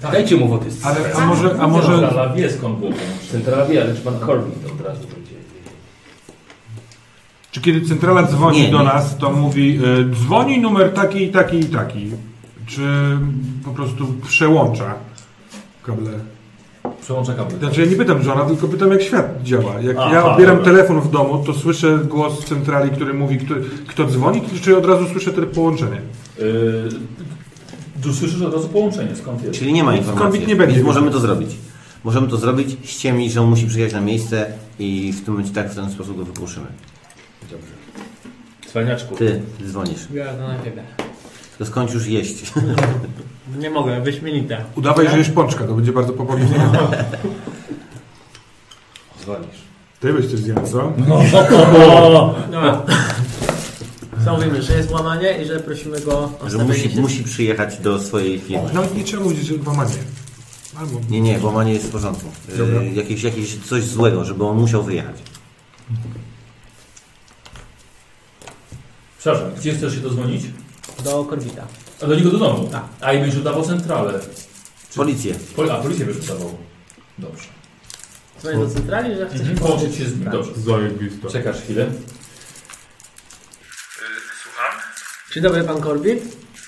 Tak.
Dajcie mu wody.
Ale- a może- a może-
Centrala wie skąd było połączenie.
Centrala wie, ale czy pan Corbid od razu będzie?
Czy kiedy centrala dzwoni
Nie,
do
nie.
nas, to mówi y, dzwoni numer taki i taki i taki? Czy po prostu przełącza kable?
Przełącza kabel. Yy,
Znaczy ja nie pytam żona, tylko pytam jak świat działa. Jak
Aha,
ja odbieram
dobra.
telefon w domu, to słyszę głos z centrali, który mówi kto, kto dzwoni, czy- czy od razu słyszę to połączenie?
Yy, tu słyszysz od razu połączenie, skąd jest?
Czyli nie ma
Więc
informacji.
COVID nie będzie.
Więc możemy to zrobić. Możemy to zrobić, ściemnić, że on musi przyjechać na miejsce i w tym momencie tak w ten sposób go wypłoszymy.
Cwaniaczku.
Ty dzwonisz.
Ja to najpierw.
Tylko skończ już jeść.
Nie mogę, wyśmienita.
Udawaj, że jesz pączka, to będzie bardzo popołudnie.
Dzwonisz.
Ty byś coś zjadł, co?
No. Zamówimy, że jest łamanie i że prosimy go o
[laughs] że
stawienie
musi,
się.
musi przyjechać do swojej firmy.
Nawet nie trzeba mówić, że włamanie. Albo...
Nie, nie, włamanie jest w porządku.
Dobra.
Yy, jakieś, jakieś coś złego, żeby on musiał wyjechać.
Przepraszam, gdzie chcesz się dozwonić?
Do Korwita.
A do niego do domu? Tak. A i będziesz udawał centralę.
Policję.
Pol a, policję będziesz udawał. Dobrze.
Dzwonię do centrali, że chcę
Mhm,
się
Połączyć się z nim. Dobrze.
Zajebiste.
Czekasz chwilę.
Słucham?
Dzień dobry, pan Korbit.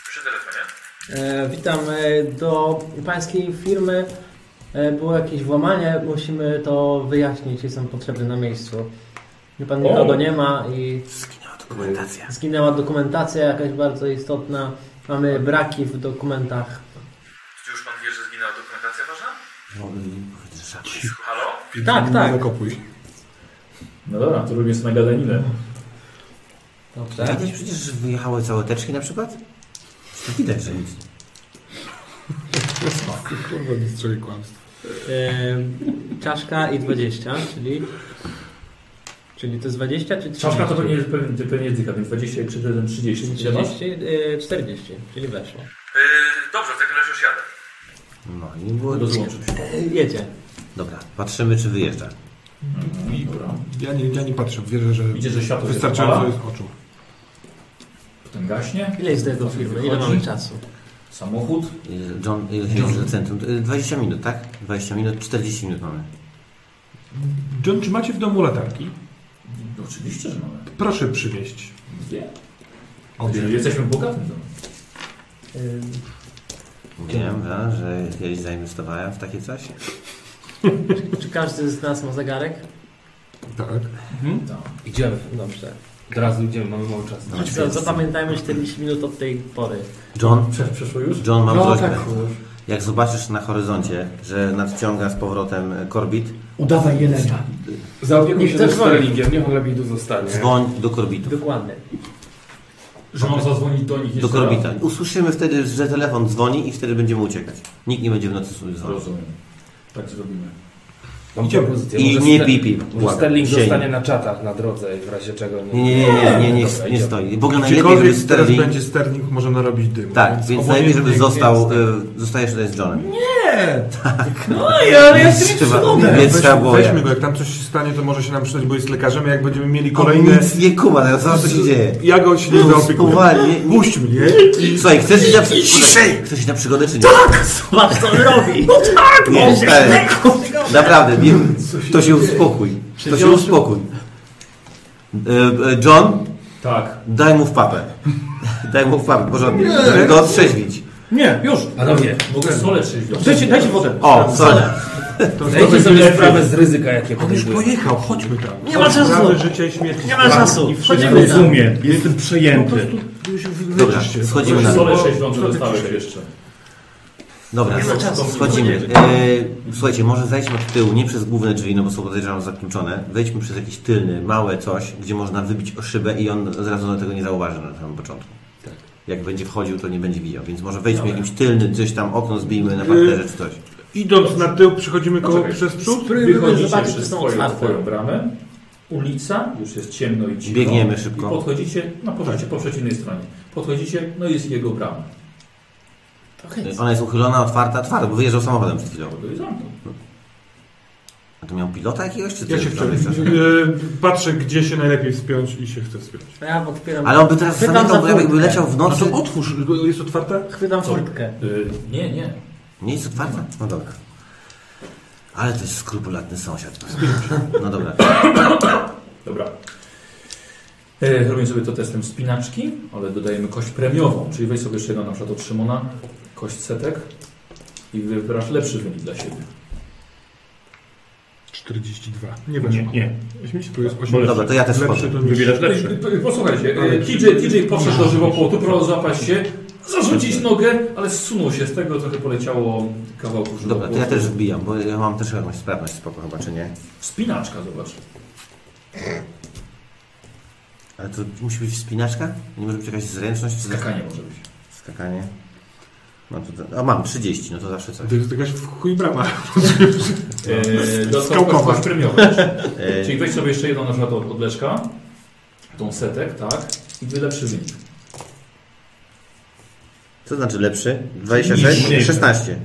Przy telefonie.
E, witam. E, Do pańskiej firmy e, było jakieś włamanie. Musimy to wyjaśnić. Jestem potrzebny na miejscu. Wie pan,
O.
nikogo nie ma i... Zginęła dokumentacja. Zginęła dokumentacja jakaś bardzo istotna. Mamy braki w dokumentach.
Czy już pan wie, że zginęła dokumentacja ważna? Halo?
Tak, tak.
No dobra, to robię sobie gadaninę.
Tak?
Dobrze. Jakieś przecież wyjechały całe teczki na przykład? To Widać, że nic.
Kurwa, nie strzeli kłamstw.
E, czaszka i 20, czyli... Czyli to jest 20 czy 30?
Czaszka to pewnie jest pewnie, pewnie jest dycha, więc 20 i 31, 30.
Y,
30, e, 40, czyli weszło.
Yy, dobrze, w takim razie już jadę.
No i nie było
Rozłączył
E, Jedzie.
Dobra, patrzymy czy wyjeżdża. Y,
Dobra.
Ja nie, ja nie patrzę, wierzę, że
Widzę, że światło się
wystarczająco
zapala.
jest oczu.
Potem gaśnie.
Ile jest tego firmy? Ile
Wychodzi.
mamy czasu?
Samochód.
Y, John, ile się jeździ do centrum? Y, 20 minut, tak? 20 minut, 40 minut mamy.
John, czy macie w domu latarki?
No, Oczywiście, że mamy.
Proszę przywieźć.
Dwie.
Obie.
Jesteśmy w bogatym domu.
Mówiłem, da, że kiedyś zainwestowałem w takie coś.
Czy każdy z nas ma zegarek?
Tak.
Mhm. Tak.
Idziemy.
Dobrze.
Od razu idziemy, mamy mało czasu.
Chodź,
Za-
więc-
Zapamiętajmy 40 minut od tej pory.
John,
Prze- przeszło już?
John mam
No,
prośbę.
tak, już.
Jak zobaczysz na horyzoncie, że nadciąga z powrotem e, korbit,
Udawaj Jelena. Zaopiekuj
Niech
się też
zadzwoni.
Sterlingiem, niech on lepiej tu zostanie.
dzwoń do korbitu.
Dokładnie.
Że on zadzwoni do nich
Do
jeszcze
korbita.
raz.
Usłyszymy wtedy, że telefon dzwoni i wtedy będziemy uciekać. Nikt nie będzie w nocy sobie dzwonił.
Rozumiem. Tak zrobimy.
Mam
Idziemy.
propozycję.
I
Może
nie
Ster-
pij, pij.
Może
Błagam.
Sterling
Sień.
zostanie na czatach na drodze i w razie czego nie...
Nie, nie, nie, nie, nie, nie,
Dobra,
nie
idziemy.
stoi. W ogóle najlepiej,
Gdziekolwiek
żeby
teraz
Sterling...
będzie sterling, może narobić dymu.
Tak, więc najlepiej, żeby
obojętnie,
został...
gdzie jest.
y, Zostajesz tutaj z Johnem.
Nie!
Tak.
No
i ale ja się nie Trzeba- przygodę. więc
Weź,
trzeba było
Weźmy
jak.
go, jak tam coś się stanie, to może się nam przydać, bo jest lekarzem, a jak będziemy mieli
On
kolejne...
nic nie kuma, teraz zobacz, co się dzieje.
Ja go się nie
No,
zaopiekuję.
spowalnie.
Puść mnie.
Słuchaj, chcesz iść na przygodę? Chcesz iść na przygodę, czy nie? Tak!
Zobacz, co on robi. No tak,
Nie, stary. no! Naprawdę, nie, to się uspokój. To się uspokój. E, e, John?
Tak.
Daj mu w papę. Daj mu w papę, porządnie.
Nie.
Żeby go otrzeźwić.
Nie, już, panowie.
Mogę solę trzeźwić.
Dajcie, dajcie wodę.
O, sorry.
Zdajcie sobie sprawę z ryzyka, jakie On już
pojechał, chodźmy tam.
Nie ma czasu.
Sprawy życia i śmierci.
Nie ma czasu.
Chodzimy
Chodzimy
tam.
Rozumiem.
Jestem
przejęty.
Dobra, schodzimy na
Solę trzeźwią, co dostałeś jeszcze.
Dobra,
Nie ma czasu.
schodzimy. E, słuchajcie, może zejdźmy od tyłu, nie przez główne drzwi, no bo są podejrzewam zakluczone. Wejdźmy przez jakiś tylny, małe coś, gdzie można wybić o szybę i on od razu tego nie zauważy na samym początku. Jak będzie wchodził, to nie będzie widział, więc może wejdźmy jakimś tylnym, coś tam, okno zbijmy na parterze czy coś.
Idąc na tył, przechodzimy koło
Poczekaj.
przez przód.
Wychodzicie przez twoją, twoją bramę. Ulica, już jest ciemno i dziwno.
Biegniemy szybko.
I podchodzicie, no poczekajcie, po przeciwnej stronie. Podchodzicie, no jest jego brama.
E, Ona jest uchylona, otwarta, otwarta, bo wyjeżdżał samochodem przed chwilą.
To jest zamknięte.
A to miał pilota jakiegoś, czy
Ja
co
się
jest
wczoraj,
tam?
y, patrzę, gdzie się najlepiej wspiąć i się chcę wspiąć.
A ja podpieram.
Ale on by teraz
Chwytam
zamykał, bo
za
jakby
furtkę.
leciał w
No
nocy.
to otwórz, bo jest otwarte?
Chwytam furtkę.
Y, nie, nie.
Nie jest otwarte? No dobra. Ale to jest skrupulatny sąsiad. No dobra.
Dobra. E, Robimy sobie to testem spinaczki, ale dodajemy kość premiową, czyli weź sobie jeszcze jedną na przykład od Szymona, kość setek i wybrasz lepszy wynik dla siebie.
42. Nie weszło.
Nie, nie.
80, tu jest 80.
Dobra, to ja też wchodzę.
to nie-
Wybierasz lepszy.
Y, y, Posłuchajcie,
Ale
e, TJ, TJ poszedł do żywopłotu, próbował złapać się, zarzucić nogę, ale zsunął się z tego, trochę poleciało kawałków żywopłotu.
Dobra, to ja też wbijam, bo ja mam też jakąś sprawność spoko chyba, czy nie?
Spinaczka, zobacz.
Ale to musi być wspinaczka? Nie może być jakaś zręczność?
Skakanie może być.
Skakanie. No to, a mam 30, no to zawsze coś.
To jest jakaś w chuj brama.
Eee, Dodatkowo kość,
Skałkowa.
kość premiowa.
Eee.
Czyli weź sobie jeszcze jedną na przykład od, od Leszka, tą setek, tak, i wy lepszy wynik.
Co znaczy lepszy? 26? 16.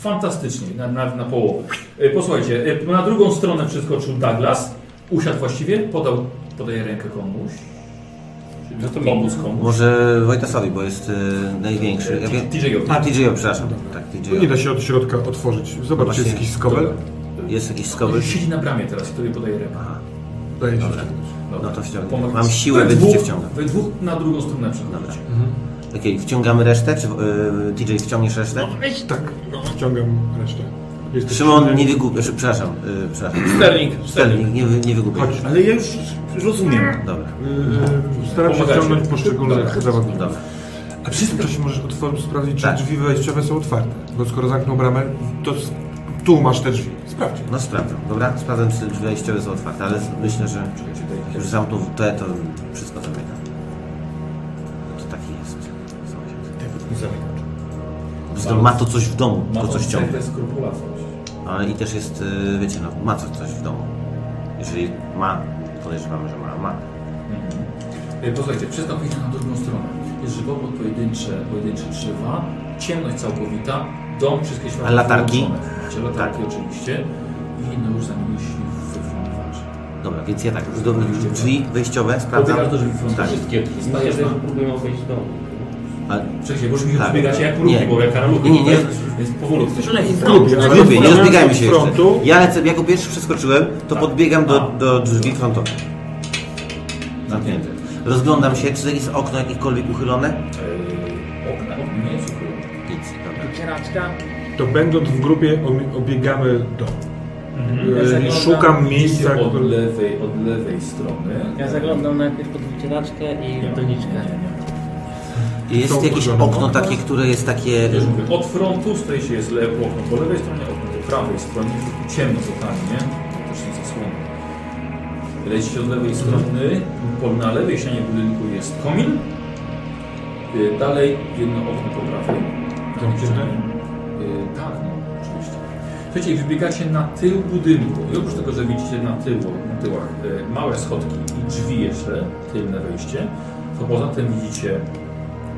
Fantastycznie, na, na, na połowę. E, Posłuchajcie, e, na drugą stronę przeskoczył Douglas, usiadł właściwie, podał, podaje rękę komuś. No to pomóc komuś. E,
Może Wojtasowi, bo jest y, największy. Ja wiem-
TJ-owi.
A, TJ-owi, przepraszam. Tak, TJ-owi.
No Nie da się od środka otworzyć. Zobacz, czy jest
Właśnie.
jakiś skobel.
Jest jakiś skobel.
Siedzi na bramie teraz, który podaje repa.
Daje się
Dobra. No to wciągnę.
Pomogę.
Mam siłę,
We
więc cię
dwóch-
wciągam.
We dwóch na drugą stronę przechodzicie.
Mhm.
Okej, wciągamy resztę? Czy y, TJ wciągniesz resztę?
Tak, wciągam resztę. Jesteś
Szymon, nie wygłupiaj. Przepraszam, y, przepraszam.
Sterling.
Sterling, nie, wy- nie wygłupiaj.
Chodź.
Ale ja już rozumiem.
Dobra.
Yy, staram się
Pomagacie.
wciągnąć poszczególnych
Dobra.
zawodników.
Dobra.
A czy ktoś możesz otwor- sprawdzić, czy drzwi wejściowe są otwarte? Bo skoro zamknął bramę, to s- tu masz te drzwi. Sprawdź.
No sprawdzam, dobra? Sprawdzam, czy drzwi wejściowe są otwarte, ale myślę, że jak już zamknął te, to wszystko zamyka. No to taki jest. Zresztą ma to coś w domu,
Ma
to
on
coś ciągnie.
cechę skrupulatności.
Ale i też jest, y, wiecie, no, ma coś, coś w domu. Jeżeli ma, podejrzewam, że ma, ma.
E, Posłuchajcie, przeskakujcie na drugą stronę. Jest żywopłot, pojedyncze, pojedyncze drzewa, ciemność całkowita, dom, wszystkie światła
A latarki? Tak.
wyłączone. Macie latarki oczywiście i no już zamienił się w frontowarze.
Dobra, więc ja tak, już do, drzwi wejściowe sprawdzam.
Podbiegasz do drzwi
Tak.
frontowarze. Wszystkie.
Stajesz na próbę obejść dom.
A...
Przecież, bo już mi odbiegacie jak
Tak. Nie.
lubi, bo jak na lubi.
Nie, nie, nie.
Jest E, powolutku.
Lubię, lubię, nie rozbiegajmy się jeszcze. Ja lecę, jako pierwszy przeskoczyłem, to podbiegam do, do drzwi frontowych. Zamknięte. Rozglądam się, czy jest okno jakiekolwiek uchylone?
Okna, nie jest ukryte.
Nic, dobra.
Cieraczka.
To będąc w grupie, obie- obiegamy dom.
Mhm.
Yy,
Ja zaglądam-
Szukam miejsca,
od
które...
lewej, od lewej strony.
Ja zaglądam najpierw pod wycieraczkę i w doniczkę.
Jest
Są
jakieś
uchylone
okno
okna?
takie, które jest takie...
Wiesz, mówię, od frontu z której się jest lewo okno po lewej stronie, okno po prawej stronie, jest tu ciemno z okami, nie? To Też są zasłony. Lecicie od lewej strony, po, na lewej ścianie budynku jest komin, y, dalej jedno okno po prawej. Zamknięte? Tak, no, oczywiście. Słuchajcie, i wybiegacie na tył budynku i oprócz tego, że widzicie na, tyło, na tyłach y, małe schodki i drzwi jeszcze, tylne wejście, to poza tym widzicie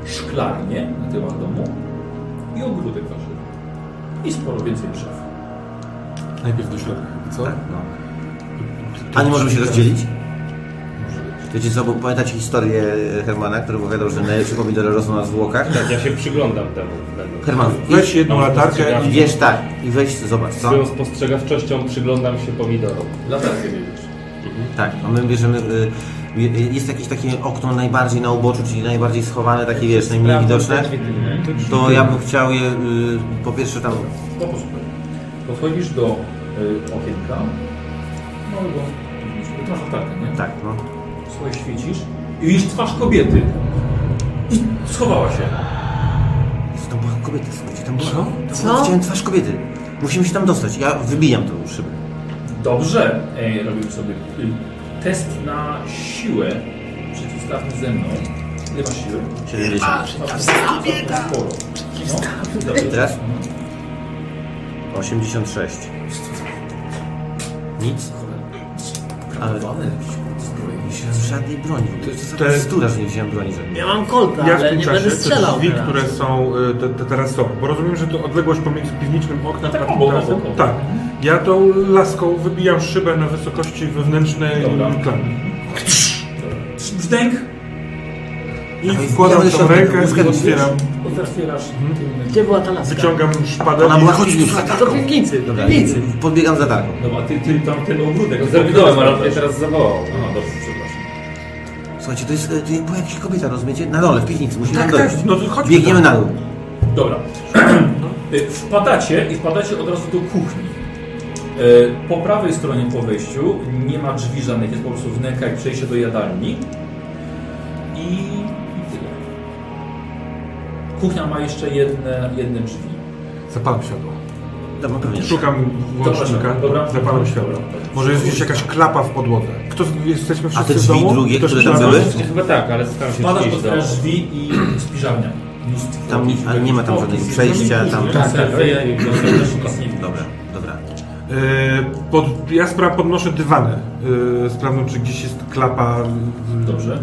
szklarnię na tyłach domu i ogródek warzyw. I sporo więcej drzew.
Najpierw do środka, co?
Tak, no. A nie możemy się rozdzielić? Wiecie co, bo pamiętacie historię Hermana, który opowiadał, że najlepsze pomidory rosną na zwłokach?
Tak, ja się przyglądam temu.
Herman,
Weź jedną latarkę
i
i-
wiesz tak, i weź, zobacz, co?
Swoją spostrzegawczością przyglądam się pomidorom.
Latarkę bierzesz.
Tak, a my bierzemy. y, y, Jest jakieś takie okno najbardziej na uboczu, czyli najbardziej schowane, takie wiesz, najmniej widoczne. To ja bym chciał je y, po pierwsze tam.
No, Po prostu. Podchodzisz do y, okienka. Małego. Masz latarkę, nie?
Tak, no.
Słuchaj, świecisz i widzisz twarz kobiety. I schowała się.
Jezu, Tam była kobieta, słuchajcie, tam była.
Co?
Tam
Co?
była- Widziałem twarz kobiety. Musimy się tam dostać. Ja wybijam tą szybę.
Dobrze. Ej, robimy sobie y, test na siłę. Przeciwstawny ze mną. Ile masz siły?
70.
Przeciwstawny. Sporo. No, dobrze.
Teraz? 86. Nic. Ale z żadnej broni. To jest
Te-
te... stura, że nie wziąłem broni żadnej.
Ja mam kolta,
Ja w
Tak, ale
tym
nie
czasie
będę
te
strzelał
drzwi,
teraz.
które są y, te, te teraz są, bo rozumiem, że to odległość pomiędzy piwnicznym oknem a tym
obok,
tarasem.
obok, obok.
No Tak. Ja tą laską wybijam szybę na wysokości wewnętrznej
Dobra.
klamy.
Brzdęk.
I
Ale
wkładam
Tak, wkładamy
tą
się
rękę
do
i otwieram.
Otwierasz.
Gdzie była ta laska?
Wyciągam szpadę
Ona była
i...
chodzić tu
Do piwnicy, do
Dobra,
piwnicy.
podbiegam za darmo.
Dobra, ty, ty tam ten ogródek.
Zawidłem, ale mnie teraz zawołał.
Aha, dobrze, przepraszam.
Słuchajcie, to jest, e, to była jakaś kobieta, rozumiecie? Na dole, w piwnicy, musimy
Tak,
tam
tak,
dojść.
no to chodźmy
Biegniemy
tam.
na dół.
Dobra. Y, wpadacie i wpadacie od razu do kuchni. Y, Po prawej stronie po wejściu nie ma drzwi żadnych, jest po prostu wnęka i przejście do jadalni. I i tyle. Kuchnia ma jeszcze jedne, jedne drzwi.
Zapalam światło.
Dobra, no, pewnie.
Szukam włącznika,
dobra.
zapalam światło. Może jest gdzieś jakaś klapa w podłodze. Kto, jesteśmy
A
wszyscy
te
w
drzwi
domu?
drugie,
Ktoś
które tam
przyszedł?
były?
Chyba tak, ale staram się
Wpadasz,
gdzieś
otwierasz
do...
drzwi i spiżarnia. Mnóstwo
Tam nie- ale nie ma tam żadnego
opcji,
przejścia,
jest
tam-
dużo
Tak, tak,
serwy, i to też nic nie widać.
Dobra, dobra.
Yy, pod, ja spra podnoszę dywany. Yy, sprawdzam, czy gdzieś jest klapa. yy,
Dobrze.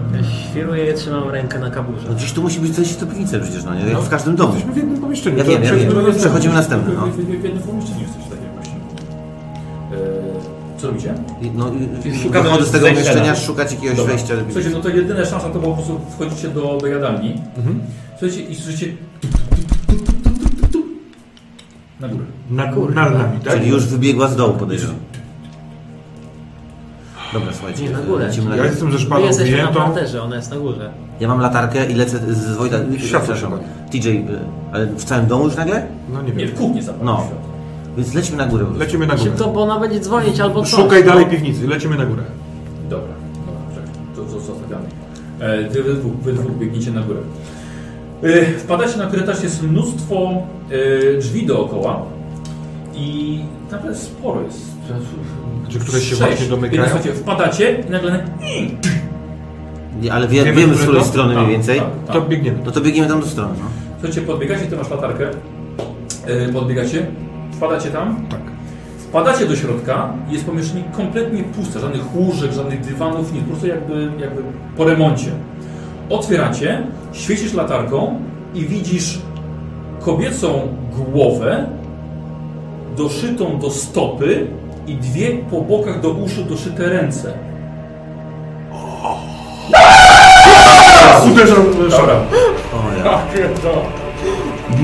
Świruję i trzymam rękę na kaburze.
No gdzieś tu musi być coś to piwnicę przecież, no nie? Jak w każdym domu.
Jesteśmy w jednym pomieszczeniu.
Ja
to
wiem, ja
przejdźmy
wiem.
do następnego.
Przechodzimy następny, no.
W- w- w- W jednym pomieszczeniu jesteś takiego właśnie. E, Co robicie?
No, i- i wychodzę z tego
zejścia
pomieszczenia,
na-
szukać jakiegoś
Dobra.
wejścia. żeby-
Słuchajcie, no to jedyna szansa to było po prostu wchodzicie do, do jadalni.
Mhm.
Słuchajcie i słyszycie... Na górę.
Na, nad nami, tak?
Czyli już wybiegła z dołu, podejrzewam. Dobra, słuchajcie. e,
Nie, na górę.
lecimy na
Ja
górę.
jestem ze szpadą Wy jesteście na ujętą. parterze, ona jest na górze.
Ja mam latarkę i lecę z z Wojta. Światło TJ, y, ale w całym domu już nagle?
No nie
wiem. Nie, w kuchni zapalił
No. Więc lećmy na górę.
Lecimy na
Szybko, bo ona będzie dzwonić albo coś.
Szukaj dalej piwnicy, lecimy na górę.
Dobra, dobra, czekaj, to to zostawiamy. E, Wy, wy, dwóch, wy dwóch biegniecie na górę. E, Wpadacie na korytarz, jest mnóstwo e, drzwi dookoła i naprawdę sporo jest.
Czy Znaczy, które się
Sześć.
właśnie domykają?
Więc słuchajcie, wpadacie i nagle...
Nie, ale wie, wiemy, z której strony mniej więcej.
To
biegniemy.
No to biegniemy tam do strony. No.
Słuchajcie, podbiegacie, ty masz latarkę. E, Podbiegacie, wpadacie tam. Tak. Wpadacie do środka, jest pomieszczenie kompletnie puste, żadnych łóżek, żadnych dywanów, nic, po prostu jakby, jakby po remoncie. Otwieracie, świecisz latarką i widzisz kobiecą głowę doszytą do stopy i dwie po bokach do uszu doszyte ręce.
Uderzam
szara.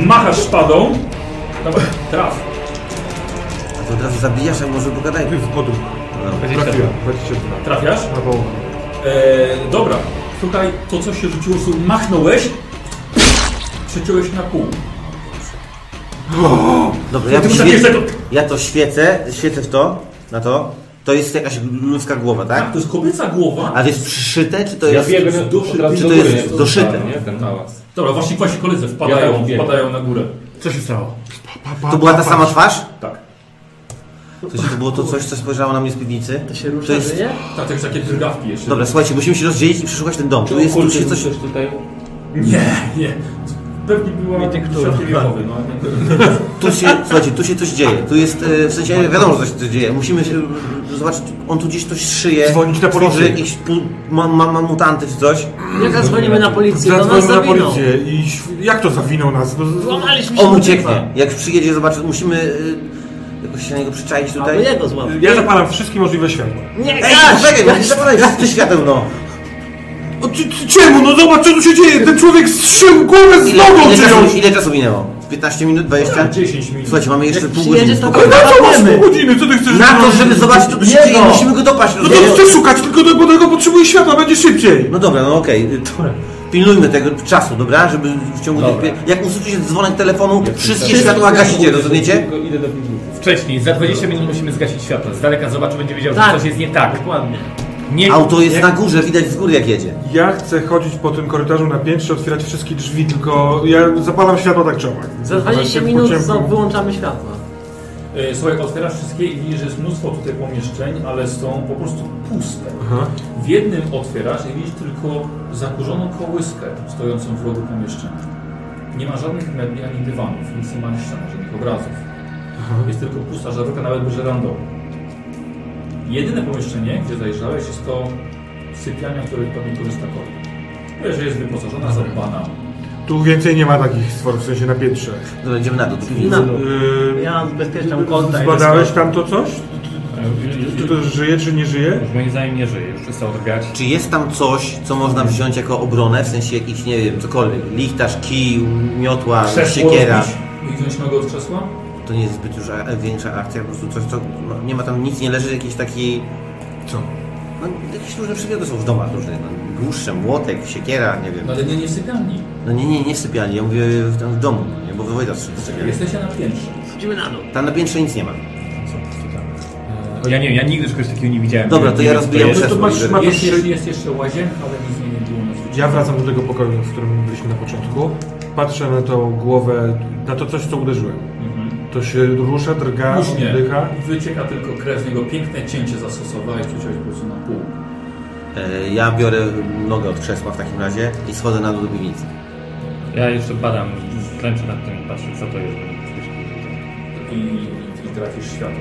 Machasz szpadą. Dobra, traf.
A to od razu zabijasz, a może pogadajmy.
W podróż. Trafiłem, 22.
Trafiasz?
Na połowę.
E, dobra, tutaj to co się rzuciło, su- machnąłeś, przeciąłeś na pół.
Dobra, ja,
Ty
to
mu
świecę,
zabierzesz
ja to świecę, świecę w to, na to. To jest jakaś ludzka głowa, tak?
to jest kobieca głowa.
A to jest przyszyte, czy to
Ja
jest
biegłem od
doszyte,
razu
czy
do
to
góry,
jest
nie?
doszyte?
Nie, ten hałas. Dobra, właśnie właśnie koledzy wpadają,
Ja
wpadają na górę.
Co się stało?
To była ta sama twarz?
Tak.
To, się, to było to coś, co spojrzało na mnie z piwnicy? To się
rusza, żyje?
Tak, to jest takie drgawki jeszcze.
Dobra, słuchajcie, musimy się rozdzielić i przeszukać ten dom. Tu jest tu się coś...
tutaj? Nie, nie. Pewnie była środki wiechowy, no.
Tu się, słuchajcie, tu się coś dzieje. Tu jest, e, w sensie wiadomo, że coś tu dzieje. Musimy się e, zobaczyć, on tu gdzieś coś szyje.
Dzwonić na policję.
Tworzy jakieś pu- ma, ma, ma mutanty czy coś.
Nie zadzwonimy na policję, do nas
Zadzwonimy na
zawiną.
policję i św- jak to zawinął nas? No, z-
Złamaliśmy
On ucieknie. Jak przyjedzie, zobaczy, musimy e, jakoś się na niego przyczaić tutaj.
Albo jego złapać.
Ja zapalam wszystkie możliwe światła.
Nie,
tak? Ej,
gaś,
czekaj,
gaś.
bo zapalaj ty świateł, no.
O, ty, ty, czemu? No zobacz, co tu się dzieje! Ten człowiek zszył głowę z
Ile,
nogą
ile, czasu,
czyjąś!
ile czasu minęło? 15 minut, 20?
10 minut.
Słuchajcie, mamy jeszcze
Jak
pół
przyjedzie,
godziny.
to
Ale
spokojnie.
na No co masz
Zobaczymy.
pół godziny? Co ty chcesz
Na to,
zrobić?
żeby zobaczyć, co tu się
Nie
dzieje,
no.
musimy go dopaść.
No to chcę szukać, tylko do, bo tego potrzebuję światła, będzie szybciej!
No dobra, no okej. Dobra. Pilnujmy tego czasu, dobra? Żeby w ciągu tych...
Dobra.
pie- Jak usłyszycie dzwonek telefonu, wszystkie
teraz-
światła
teraz-
gasicie, rozumiecie?
idę do piwnicy. Wcześniej, za 20 minut musimy zgasić światło. Z daleka zobaczy, będzie wiedział,
Tak.
że coś jest nie tak. Dokładnie. Nie,
Auto jest na górze, widać z góry jak jedzie.
Ja chcę chodzić po tym korytarzu na piętrze, otwierać wszystkie drzwi, tylko ja zapalam światła tak czy owak.
Za 20
Po
minut
ciemku.
za- wyłączamy światło.
E, Słuchaj, otwierasz wszystkie i widzisz, że jest mnóstwo tutaj pomieszczeń, ale są po prostu puste.
Aha.
W jednym otwierasz i widzisz tylko zakurzoną kołyskę stojącą w rogu pomieszczenia. Nie ma żadnych mebli ani dywanów, nic nie ma na ścianach, żadnych obrazów. Jest tylko pusta żarówka, nawet żerandą. Jedyne pomieszczenie, gdzie zajrzałeś, jest to sypialnia, w której pewnie korzysta kolej. Wiesz, że jest wyposażona, zadbana.
Tu więcej nie ma takich stworów, w sensie na piętrze.
Dobra, idziemy na to. do piwnicy.
Na dół.
Yy,
Ja zabezpieczam konta. i
Zbadałeś
wszystko.
tam to coś? Czy to żyje, czy nie żyje?
Już E, moim zdaniem nie żyje, już przestał drgać.
Czy jest tam coś, co można wziąć jako obronę, w sensie jakiś, nie wiem, cokolwiek? Lichtarz, kij, miotła, siekiera.
rozbić i wziąć nogę od krzesła?
To nie jest zbyt już a- większa akcja, po prostu coś, co... No, nie ma tam nic, nie leży jakiejś takiej...
Co?
No, jakieś różne przedmioty są w domach różnych. No, dłuższe, młotek, siekiera, nie wiem.
No ale nie, nie w sypialni.
No nie, nie, nie w sypialni, ja mówię w, tam w domu, no nie, bo wywojda strzegł.
Jesteście na piętrze.
Wchodzimy na dół.
Tam na piętrze nic nie ma.
Ja nie wiem, ja nigdy czegoś takiego nie widziałem.
Dobra,
Nie
to ja
wiem, co
rozbijam
jest.
To
krzesło.
masz-
żeby-
ma-
Jest,
trzy-
jest, jest jeszcze łazienka, ale nic nie, nie było na zwyczaju.
Ja wracam do tego pokoju, w którym byliśmy na początku. Patrzę na tą głowę, na to coś, co uderzyłem. To się rusza, drga,
Muśnie.
oddycha.
Mhm. Wycieka tylko krew z niego. Piękne cięcie zastosowałeś, przeciąłeś po prostu na pół.
E, Ja biorę nogę od krzesła w takim razie i schodzę na dół do piwnicy.
Ja jeszcze badam, klęczę nad tym i patrzę, co to jest.
I, i trafisz światło.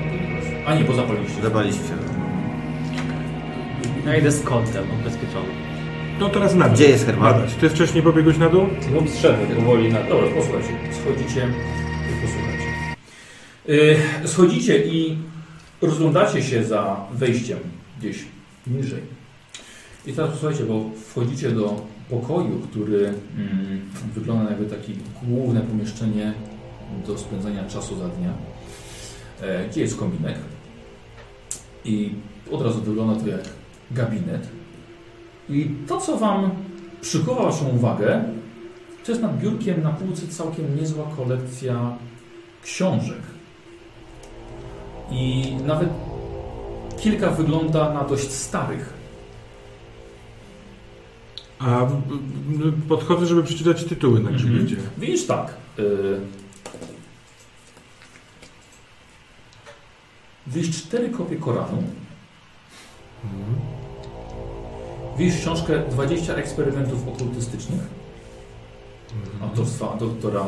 A nie, bo zapaliliście.
Zapaliśmy się.
Ja idę z kontem ubezpieczony.
No teraz na dół.
Gdzie jest Herman?
Adaś, Ty wcześniej pobiegłeś na dół?
No zszedł powoli na... Dobra, posłuchajcie. Y, Schodzicie i posłuchajcie. Yy, schodzicie i Rozglądacie się za wejściem gdzieś niżej. I teraz posłuchajcie, bo wchodzicie do pokoju, który mm, wygląda jakby takie główne pomieszczenie do spędzania czasu za dnia, e, gdzie jest kominek. I od razu wygląda to jak gabinet. I to, co Wam przykuwa Waszą uwagę, to jest nad biurkiem na półce całkiem niezła kolekcja książek. I nawet kilka wygląda na dość starych.
A m, m, podchodzę, żeby przeczytać tytuły na grzbiecie.
Widzisz tak. Y... Widzisz cztery kopie Koranu.
Mhm.
Widzisz książkę 20 eksperymentów okultystycznych
Mhm.
autorstwa doktora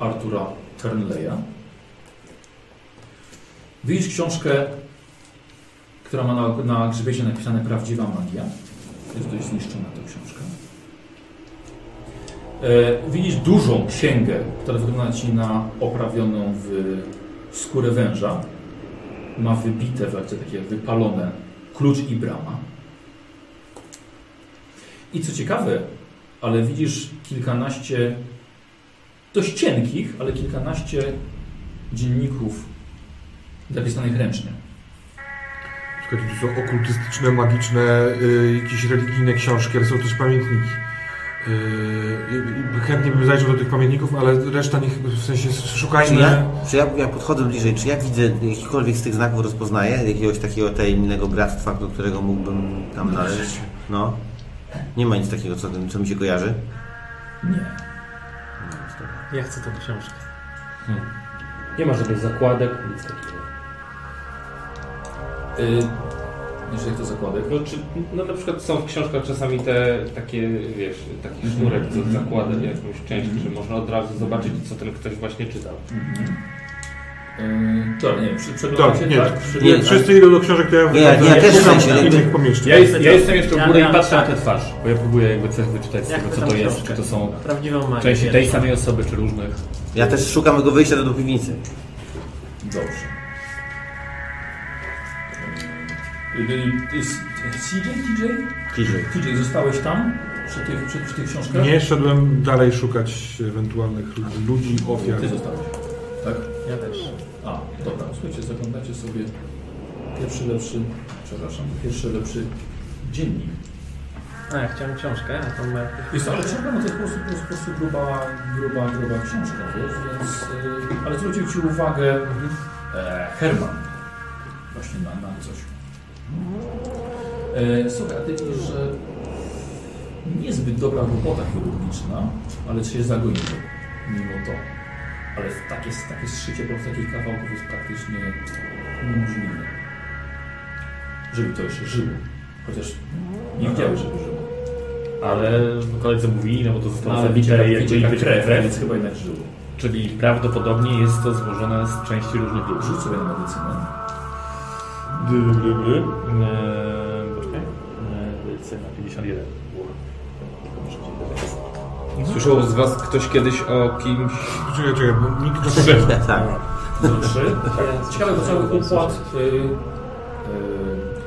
Artura Turnleya. Widzisz książkę, która ma na, na grzbiecie napisane Prawdziwa magia. Jest dość zniszczona ta książka. E, widzisz dużą księgę, która wygląda ci na oprawioną w skórę węża. Ma wybite, w akcie takie wypalone klucz i brama. I co ciekawe, ale widzisz kilkanaście dość cienkich, ale kilkanaście dzienników zapisanych ręcznie.
Czekajcie, tu są okultystyczne, magiczne, y, jakieś religijne książki, ale są też pamiętniki. Y, y, y, chętnie bym zajrzał do tych pamiętników, ale reszta niech, w sensie
Czy
szukajmy...
ja, czy ja, ja podchodzę bliżej, czy ja widzę jakikolwiek z tych znaków rozpoznaję? Jakiegoś takiego tajemnego bractwa, do którego mógłbym tam należeć? No. Nie ma nic takiego, co, co mi się kojarzy?
Ja chcę tą książkę.
Nie ma żadnych zakładek, nic takiego.
Jeszcze Y, jak to zakładek?
No, czy, no na przykład są w książkach czasami te takie, wiesz, taki sznurek, co zakłada jakąś część, że można od razu zobaczyć, co ten ktoś właśnie czytał.
Yy, to nie wiem, przy, przeglądacie,
Tak, nie,
tak?
nie, wszyscy idą do książek, to ja
Nie, ja
wychodzę.
też w sensie,
Szukam
jakby-
innych pomieszczeń.
Ja, jest, ja jestem jeszcze
Ja
w górę i
miałem
patrzę na tę
tak.
twarz, bo ja próbuję jakby coś wyczytać z
Jak
tego,
to
co
tam
to jest,
książkę?
czy to są
Prawdziwą magię
części tej
pierwszą.
samej osoby, czy różnych.
Ja też szukam jego wyjścia do piwnicy.
Dobrze. Yy, jest- CJ? TJ?
TJ.
TJ, zostałeś tam? Przy tych, przy, przy tych książkach?
Nie, szedłem dalej szukać ewentualnych ludzi, ofiar.
Ty zostałeś. Tak?
Ja też.
A, dobra, słuchajcie, zaglądacie sobie pierwszy lepszy, przepraszam, pierwszy lepszy dziennik.
A, ja chciałem książkę, a to ma jakieś...
Jest, ale książka no to jest po prostu, po prostu, po prostu gruba, gruba, gruba książka, wiesz, więc... y, ale zwrócił Ci uwagę e, Herman właśnie na, na coś. E, słuchaj, a Ty widzisz, że niezbyt dobra robota chirurgiczna, ale się zagoniło mimo to. Ale takie, takie zszycie po prostu takich kawałków jest praktycznie niemożliwe. Żeby to jeszcze żyło. Chociaż nie widziały, żeby żyło.
Ale koledzy mówili, no bo to zostało
Ale
zabite
widzicie,
i
widzicie,
jakby
jak krew,
krew,
więc chyba jednak żyło.
Czyli prawdopodobnie jest to złożone z części różnych ludzi.
Rzuć sobie na medycynę.
Eee,
Eee,
Poczekaj. Medycyna 51. Mhm.
Słyszał z was ktoś kiedyś o kimś...
Czekaj, czekaj, bo nikt nas
Tak.
Trzy. [laughs] Ciekawe, bo cały układ y,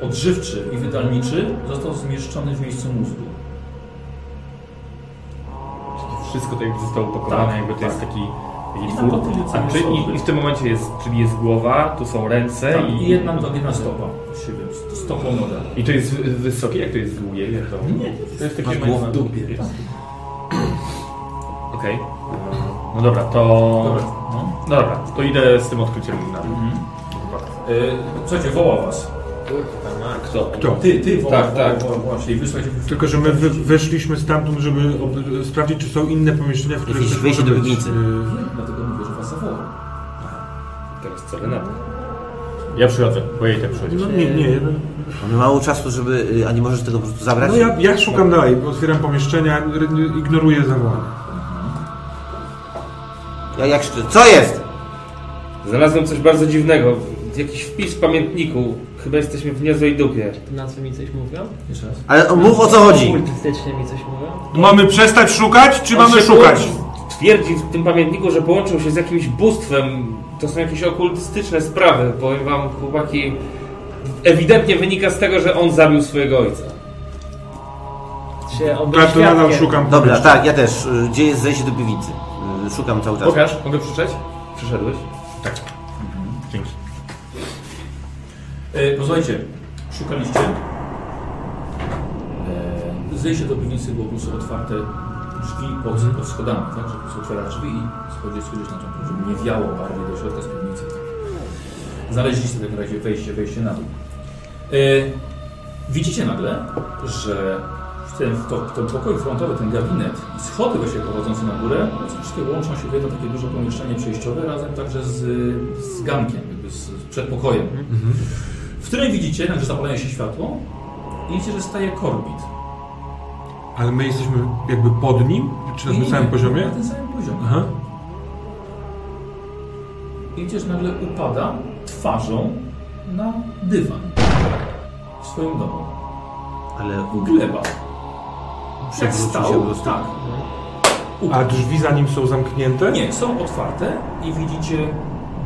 y, odżywczy i wydalniczy został zmieszczony w miejscu mózgu.
Wszystko to jakby zostało upakowane,
Tak,
jakby to
tak.
jest taki...
I
taki
tam
wór.
to tyle, co
A czy, i,
osoby.
I w tym momencie jest, czyli jest głowa, tu są ręce
Tak,
i...
I jedna, to jedna stopa. Siebie, st- Stopą noga.
I to jest wy- wysokie, jak to jest długie, jak to...
Nie,
to jest
masz
takie...
głowę w dupie.
Okej. No dobra, to...
Dobra,
Dobra.
no.
to idę z tym odkryciem na dół.
Y, Słuchajcie, woła was.
Kto?
Kto?
Ty, ty woła,
Tak,
tak, woła,
tak.
woła, właśnie. I wysłuchajcie.
Tylko, że my wy, weszliśmy stamtąd, żeby ob, sprawdzić, czy są inne pomieszczenia, w których
Jakieś
coś
wyjście
może
do
być.
piwnicy.
Y,
Dlatego mówię, że was zawołał.
Teraz co, Renata? Ja przychodzę, bo jej też przychodzi.
No nie, nie. no.
Mamy mało czasu, żeby... y, A nie możesz tego po prostu zabrać?
No ja, ja szukam dalej, otwieram pomieszczenia, r- ignoruję zawołanie.
Ja jak szczerze... Co jest?
Znalazłem coś bardzo dziwnego. Jakiś wpis w pamiętniku. Chyba jesteśmy w niezłej dupie.
Nazwy mi coś mówią?
Jeszcze raz.
Ale o, mów o co chodzi.
Okultystycznie mi coś mówią?
Mamy przestać szukać, czy
On
mamy
się
szukać?
połączy- Twierdzi w tym pamiętniku, że połączył się z jakimś bóstwem. To są jakieś okultystyczne sprawy. Powiem wam, chłopaki,
ewidentnie wynika z tego, że on zabił swojego ojca.
Się obyć
Tak, to nadal
świadkiem.
szukam.
Dobra, tak, ja też. Y, Gdzie jest zejście do piwnicy? Y, Szukam cały czas.
Pokaż, mogę krzyczeć? Przyszedłeś?
Tak. Dzięki.
E, Posłuchajcie, szukaliście. E, Zejście do piwnicy było plus otwarte drzwi pod, pod schodami, tak? Że po prostu otwiera drzwi i schodzisz schodzisz na tą dół, żeby nie wiało bardziej do środka z piwnicy. tak? Znaleźliście w takim razie wejście, wejście na dół. E, widzicie nagle, że w ten, w to, w ten pokój frontowy, ten gabinet i schody właśnie prowadzące na górę, wszystkie łączą się w jedno takie duże pomieszczenie przejściowe razem także z, z gankiem, jakby z, z przedpokojem w której widzicie, że zapalają się światło i widzicie, że staje korbit.
Ale my jesteśmy jakby pod nim? Czy na
Nie,
tym
nie,
samym poziomie?
Na tym samym poziomie.
Aha.
I widzicie, że nagle upada twarzą na dywan w swoim domu.
Ale u
Gleba. Jak
Przewrócił
stał,
się po prostu.
tak.
A drzwi za nim są zamknięte?
Nie, są otwarte i widzicie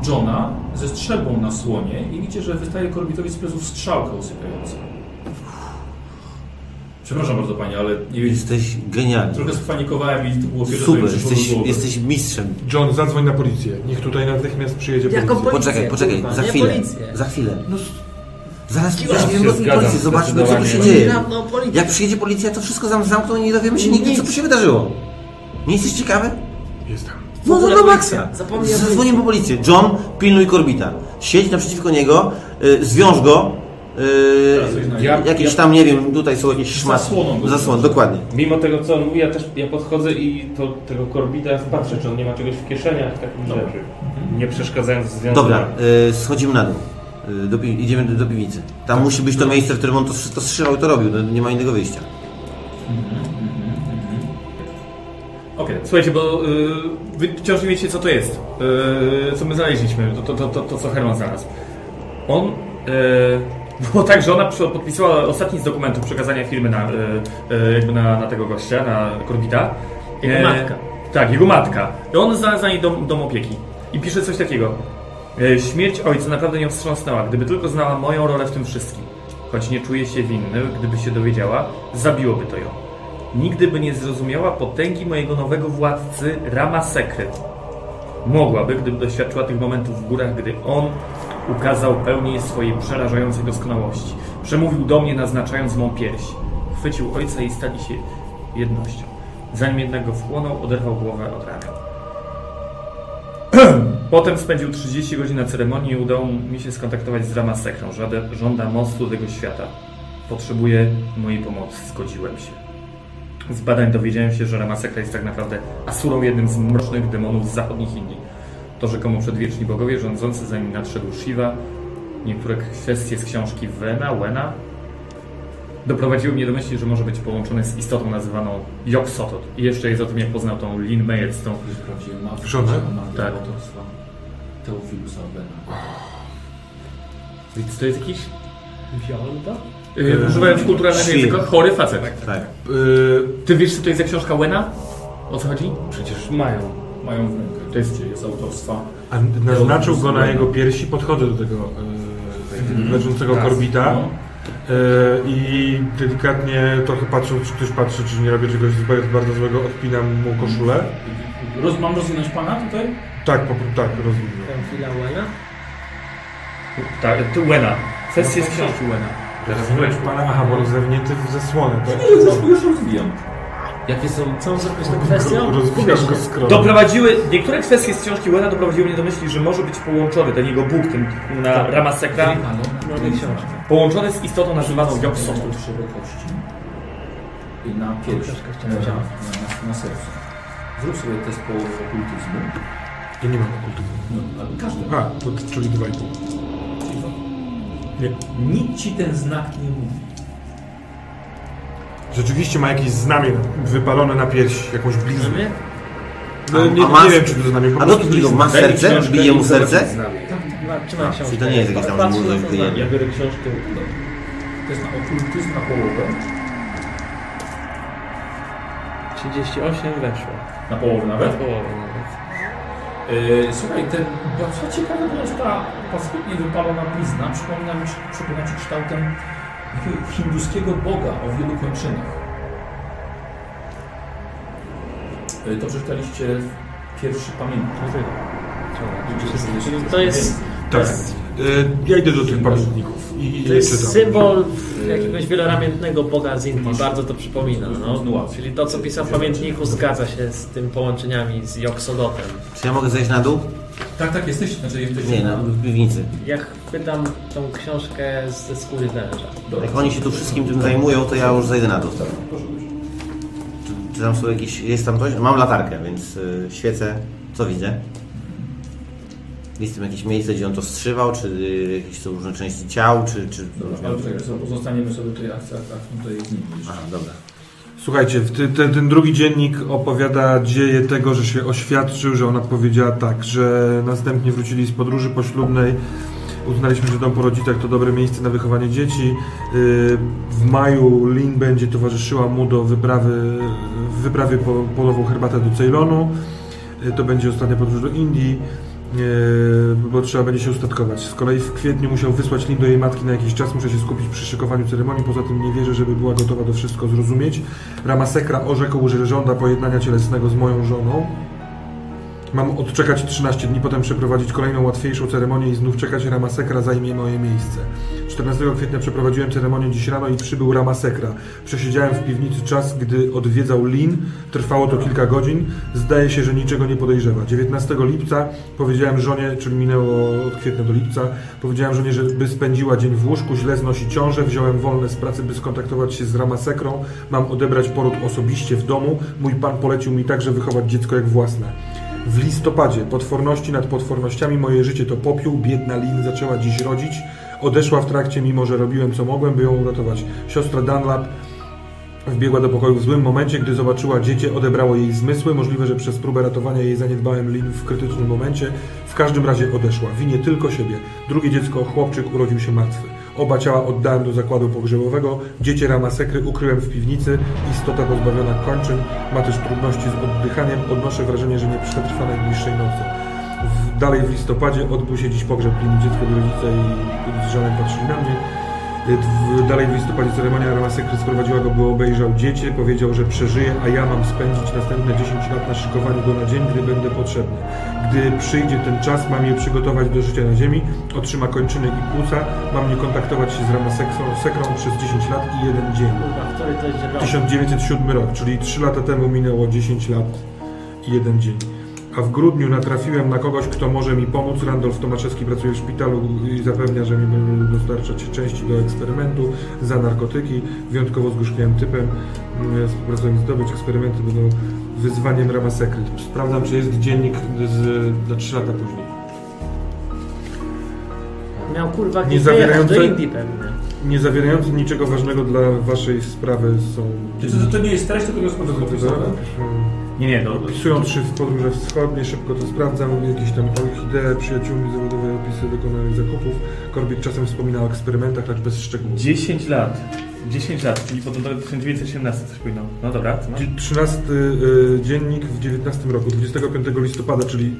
Johna ze strzelbą na słonie i widzicie, że wystaje korbitowi z pleców strzałkę usypiającą. Przepraszam bardzo Panie, ale nie wiem,
Jesteś genialny.
trochę spanikowałem i to było pierwsze, co mi
Super,
przyszło do
jesteś,
głowy.
jesteś mistrzem.
John, zadzwoń na policję. Niech tutaj natychmiast przyjedzie
Jaką
policja.
policję?
Poczekaj, poczekaj,
kurwa,
za
nie
chwilę.
policję. No,
Za chwilę. Zaraz
Ja się
weźmiemy
zgadzam,
policję, zobaczmy co tu się
zdecydowanie.
dzieje.
Żadną policję.
Jak przyjedzie policja, to wszystko zam- zamkną i nie dowiemy się nigdy,
no, Nic. no,
co tu się wydarzyło. Nie jesteś ciekawy?
Jestem.
No
W
to
ogóle
do
policja.
maksa.
Zapomniałem
Zadzwonimy po policję. John, pilnuj Korbita. Siedź naprzeciwko niego, y, zwiąż go. Y,
Ja-
jakieś
ja-
tam, nie wiem, tutaj są jakieś szmaty.
Zasłoną go.
Zasłon, dokładnie.
Mimo tego, co on mówi, ja też ja podchodzę i to, tego korbita patrzę, czy on nie ma czegoś w kieszeniach, takich rzeczy.
Mhm.
Nie przeszkadzając w związku.
Dobra, y, schodzimy na dół. Y, do, pi- idziemy do, do piwnicy. Tam musi być to miejsce, w którym on to, to strzelał i to robił. No, nie ma innego wyjścia.
Okej,
Słuchajcie, bo y, wy wciąż nie wiecie, co to jest. Y, co my znaleźliśmy, to, to, to, to, to co Herman znalazł. On. Y, było tak, że ona przy- podpisała ostatni z dokumentów przekazania firmy na, y, y, jakby na, na tego gościa, na Korbita.
Jego matka.
Tak, jego matka. I on znalazł na niej dom, dom opieki. I pisze coś takiego. E, Śmierć ojca naprawdę nią wstrząsnęła, gdyby tylko znała moją rolę w tym wszystkim. Choć nie czuje się winny, gdyby się dowiedziała, zabiłoby to ją. Nigdy by nie zrozumiała potęgi mojego nowego władcy Rama Sekret. Mogłaby, gdyby doświadczyła tych momentów w górach, gdy on ukazał pełnię swojej przerażającej doskonałości. Przemówił do mnie, naznaczając mą pierś. Chwycił ojca i stali się jednością. Zanim jednego wchłonął, oderwał głowę od ramion. [clears throat] Potem spędził 30 godzin na ceremonii i udało mi się skontaktować z Rama Sekrą. Żada- Żąda mostu tego świata. Potrzebuje mojej pomocy. Zgodziłem się. Z badań dowiedziałem się, że Rama Sekra jest tak naprawdę Asurą, jednym z mrocznych demonów z zachodnich Indii. To rzekomo przedwieczni bogowie rządzący zanim nadszedł Shiva. Niektóre kwestie z książki Wena, Wena doprowadziły mnie do myśli, że może być połączony z istotą nazywaną Yog-Sothoth. I jeszcze jest o tym, jak poznał tą Lin Meyer z tą...
Sprawdziłem mapę.
Żonę?
Tak. Autorstwa Teofilusa Bena.
Więc to jest jakiś...
Wziąłem to?
Yy, używając kulturalnego
Shiva.
języka, chory facet.
Tak.
Y,
Ty wiesz, co to jest za książka Wena? O co chodzi?
Przecież mają.
Mają w rękę. To jest, jest autorstwa.
a naznaczył go na jego piersi, podchodzę do tego y,
Mhm.
leżącego korbita.
No.
y, I delikatnie trochę patrząc, czy ktoś patrzy, czy nie robię czegoś zba- bardzo złego, odpinam mu koszulę.
Roz, mam rozwinąć pana tutaj?
Tak, po, tak, rozumiem.
Tam chwila łana.
Tak, to Wena. Sesja z książki Wena.
Rozumiesz pana, aha, bo on jest zawinięty w zasłonę, tak?
Już, już rozwijam.
Jakie są.
Co z tą kwestią?
Rozbijasz go skromnie.
Doprowadziły, niektóre kwestie z książki Wena doprowadziły mnie do myśli, że może być połączony ten jego Bóg, ten na Rama Sekra,
No,
Mamy książkę.
połączony z istotą nazywaną Jobsotą.
Są szerokości. I na piersi.
Troszkę
Na,
chciałem
na,
wziąć.
na, na sercu. Zrób sobie test połowy okultyzmu.
Ja nie mam okultyzmu.
No, ale każdy.
A, to, czyli 2,5.
Nic ci ten znak nie mówi.
Rzeczywiście ma jakieś znamię wypalone na piersi, jakąś bliznę.
A-
No, nie,
a masz-
nie wiem, czy to znamię. po
A
prostu
dotknij go,
blizna.
ma serce? Bije mu serce?
Ma- Trzymaj książkę.
Czyli to nie jest jakieś tam, że mu
Patrz,
coś
co
wyjebie.
Ja biorę książkę.
To jest na okultyzm na połowę.
38 weszło.
Na połowę
Na
nawet.
Tak. no.
połowę nawet.
Yy, słuchaj, ten, bo co ciekawe, to jest ta paskudnie wypalona blizna, przypomina mi, przypomina ci kształtem takiego hinduskiego boga o wielu kończynach. Yy, to przeczytaliście pierwszy pamiętnik.
Czyli to jest-
Tak. Y, Ja idę do tych pamiętników i
To
czytam.
jest symbol jakiegoś wieloramiętnego boga z Indii, bardzo to przypomina. No. Czyli to, co pisał w pamiętniku, zgadza się z tym połączeniami z Joksodotem.
Czy ja mogę zejść na dół?
Tak, tak, jesteś, znaczy jesteś...
Nie, no. na w piwnicy.
Ja chwytam tą książkę ze skóry węża.
Jak oni się tu wszystkim tym zajmują, to ja już zejdę na dół. Czy, czy tam są jakieś... Jest tam coś? Mam latarkę, więc y, świecę. Co widzę? Jest tam jakieś miejsce, gdzie on to strzywał, czy y, jakieś są różne części ciał, czy... czy
Ale czekaj, so- pozostaniemy sobie tutaj akcja, akcja tutaj z nim. Aha,
dobra.
Słuchajcie, w ty, ten, ten drugi dziennik opowiada dzieje tego, że się oświadczył, że ona powiedziała tak, że następnie wrócili z podróży poślubnej. Uznaliśmy, że dom po rodzicach to dobre miejsce na wychowanie dzieci. Yy, W maju Lin będzie towarzyszyła mu do wyprawy, w wyprawie po polową herbatę do Ceylonu. Yy, To będzie ostatnia podróż do Indii, yy, bo trzeba będzie się ustatkować. Z kolei w kwietniu musiał wysłać Lin do jej matki na jakiś czas. Muszę się skupić przy szykowaniu ceremonii. Poza tym nie wierzę, żeby była gotowa do wszystko zrozumieć. Ramasekra orzekł, że żąda pojednania cielesnego z moją żoną. Mam odczekać 13 dni, potem przeprowadzić kolejną łatwiejszą ceremonię i znów czekać Ramasekra zajmie moje miejsce. 14 kwietnia przeprowadziłem ceremonię dziś rano i przybył Ramasekra. Przesiedziałem w piwnicy czas, gdy odwiedzał Lin. Trwało to kilka godzin. Zdaje się, że niczego nie podejrzewa. 19 lipca powiedziałem żonie, czyli minęło od kwietnia do lipca, powiedziałem żonie, żeby spędziła dzień w łóżku, źle znosi ciążę, wziąłem wolne z pracy, by skontaktować się z Ramasekrą. Mam odebrać poród osobiście w domu. Mój pan polecił mi także wychować dziecko jak własne. W listopadzie potworności nad potwornościami moje życie to popiół, biedna Lin zaczęła dziś rodzić. Odeszła w trakcie, mimo że robiłem co mogłem, by ją uratować. Siostra Dunlap wbiegła do pokoju w złym momencie, gdy zobaczyła dziecię, odebrało jej zmysły. Możliwe, że przez próbę ratowania jej zaniedbałem Lin w krytycznym momencie. W każdym razie odeszła. Winię tylko siebie. Drugie dziecko, chłopczyk, urodził się martwy. Oba ciała oddałem do zakładu pogrzebowego, dziecię ramasekry ukryłem w piwnicy, istota pozbawiona kończyn, ma też trudności z oddychaniem, odnoszę wrażenie, że nie przetrwa najbliższej nocy. W, dalej w listopadzie odbył się dziś pogrzeb Liny, dziecko i rodzice i z żalem patrzyli na mnie. Y, w- Dalej w listopadzie ceremonia ramasekry sprowadziła go, by obejrzał dziecię, powiedział, że przeżyje, a ja mam spędzić następne 10 lat na szykowaniu go na dzień, gdy będę potrzebny. Gdy przyjdzie ten czas, mam je przygotować do życia na ziemi, otrzyma kończyny i płuca, mam nie kontaktować się z ramasekrą sekrą przez 10 lat i jeden dzień.
Kurwa, który to jest rok?
1907 rok, czyli 3 lata temu minęło 10 lat i jeden dzień. A w grudniu natrafiłem na kogoś, kto może mi pomóc. Randolf Tomaszewski pracuje w szpitalu i zapewnia, że mi będzie dostarczać części do eksperymentu za narkotyki. Wyjątkowo zgorzkniałym typem. Mm, Współpracujemy zdobyć. Eksperymenty będą wyzwaniem rama sekret. Sprawdzam, czy jest dziennik z, na 3 lata później.
Miał kurwa
Nie
gdzieś wyjechać
zawierające,
do Indii pewnie.
nie zawierające niczego ważnego dla Waszej sprawy są...
Czy to, to nie jest treść, tylko jest po prostu opisane?
Nie, nie, no. Psują trzy w podróże wschodnie, szybko to sprawdzam, jakieś tam orchidee, przyjaciółmi zawodowe opisy dokonanych zakupów. Korbik czasem wspomina o eksperymentach, lecz bez szczegółów.
10 lat. 10 lat, czyli potem do 1917 coś powinno. No dobra, co masz?
13 y, dziennik w 19 roku, 25 listopada, czyli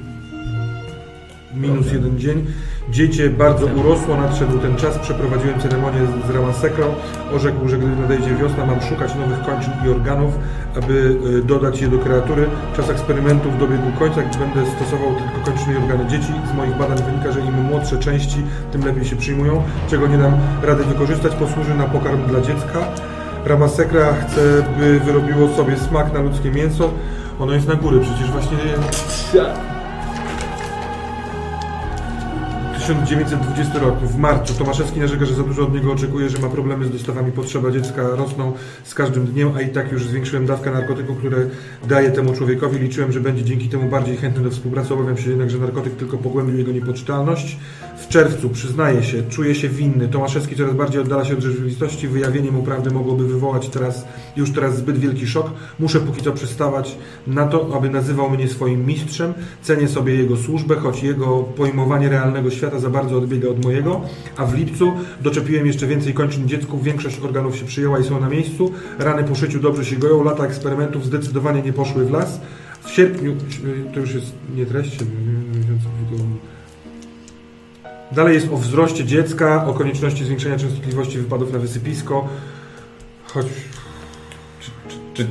minus jeden dzień. Dziecię bardzo urosło, nadszedł ten czas, przeprowadziłem ceremonię z- z Ramasekrą. Orzekł, że gdy nadejdzie wiosna, mam szukać nowych kończyn i organów, aby y, dodać je do kreatury. Czas eksperymentów dobiegł końca, gdy będę stosował tylko kończyny i organy dzieci. Z moich badań wynika, że im młodsze części, tym lepiej się przyjmują. Czego nie dam rady wykorzystać, posłuży na pokarm dla dziecka. Ramasekra chce, by wyrobiło sobie smak na ludzkie mięso. Ono jest na góry, przecież właśnie... 1920 rok, w marcu. Tomaszewski narzeka, że za dużo od niego oczekuje, że ma problemy z dostawami. Potrzeba dziecka rosną z każdym dniem, a i tak już zwiększyłem dawkę narkotyku, które daję temu człowiekowi. Liczyłem, że będzie dzięki temu bardziej chętny do współpracy. Obawiam się jednak, że narkotyk tylko pogłębił jego niepoczytalność. W czerwcu przyznaje się, czuje się winny. Tomaszewski coraz bardziej oddala się od rzeczywistości. Wyjawienie mu prawdy mogłoby wywołać teraz, już teraz zbyt wielki szok. Muszę póki co przystawać na to, aby nazywał mnie swoim mistrzem. Cenię sobie jego służbę, choć jego pojmowanie realnego świata za bardzo odbiega od mojego. A w lipcu doczepiłem jeszcze więcej kończyn dziecku. Większość organów się przyjęła i są na miejscu. Rany po szyciu dobrze się goją. Lata eksperymentów zdecydowanie nie poszły w las. W sierpniu, to już jest nie treść, siedmiu, nie? Dalej jest o wzroście dziecka, o konieczności zwiększenia częstotliwości wypadów na wysypisko. Choć
Czy,
tak?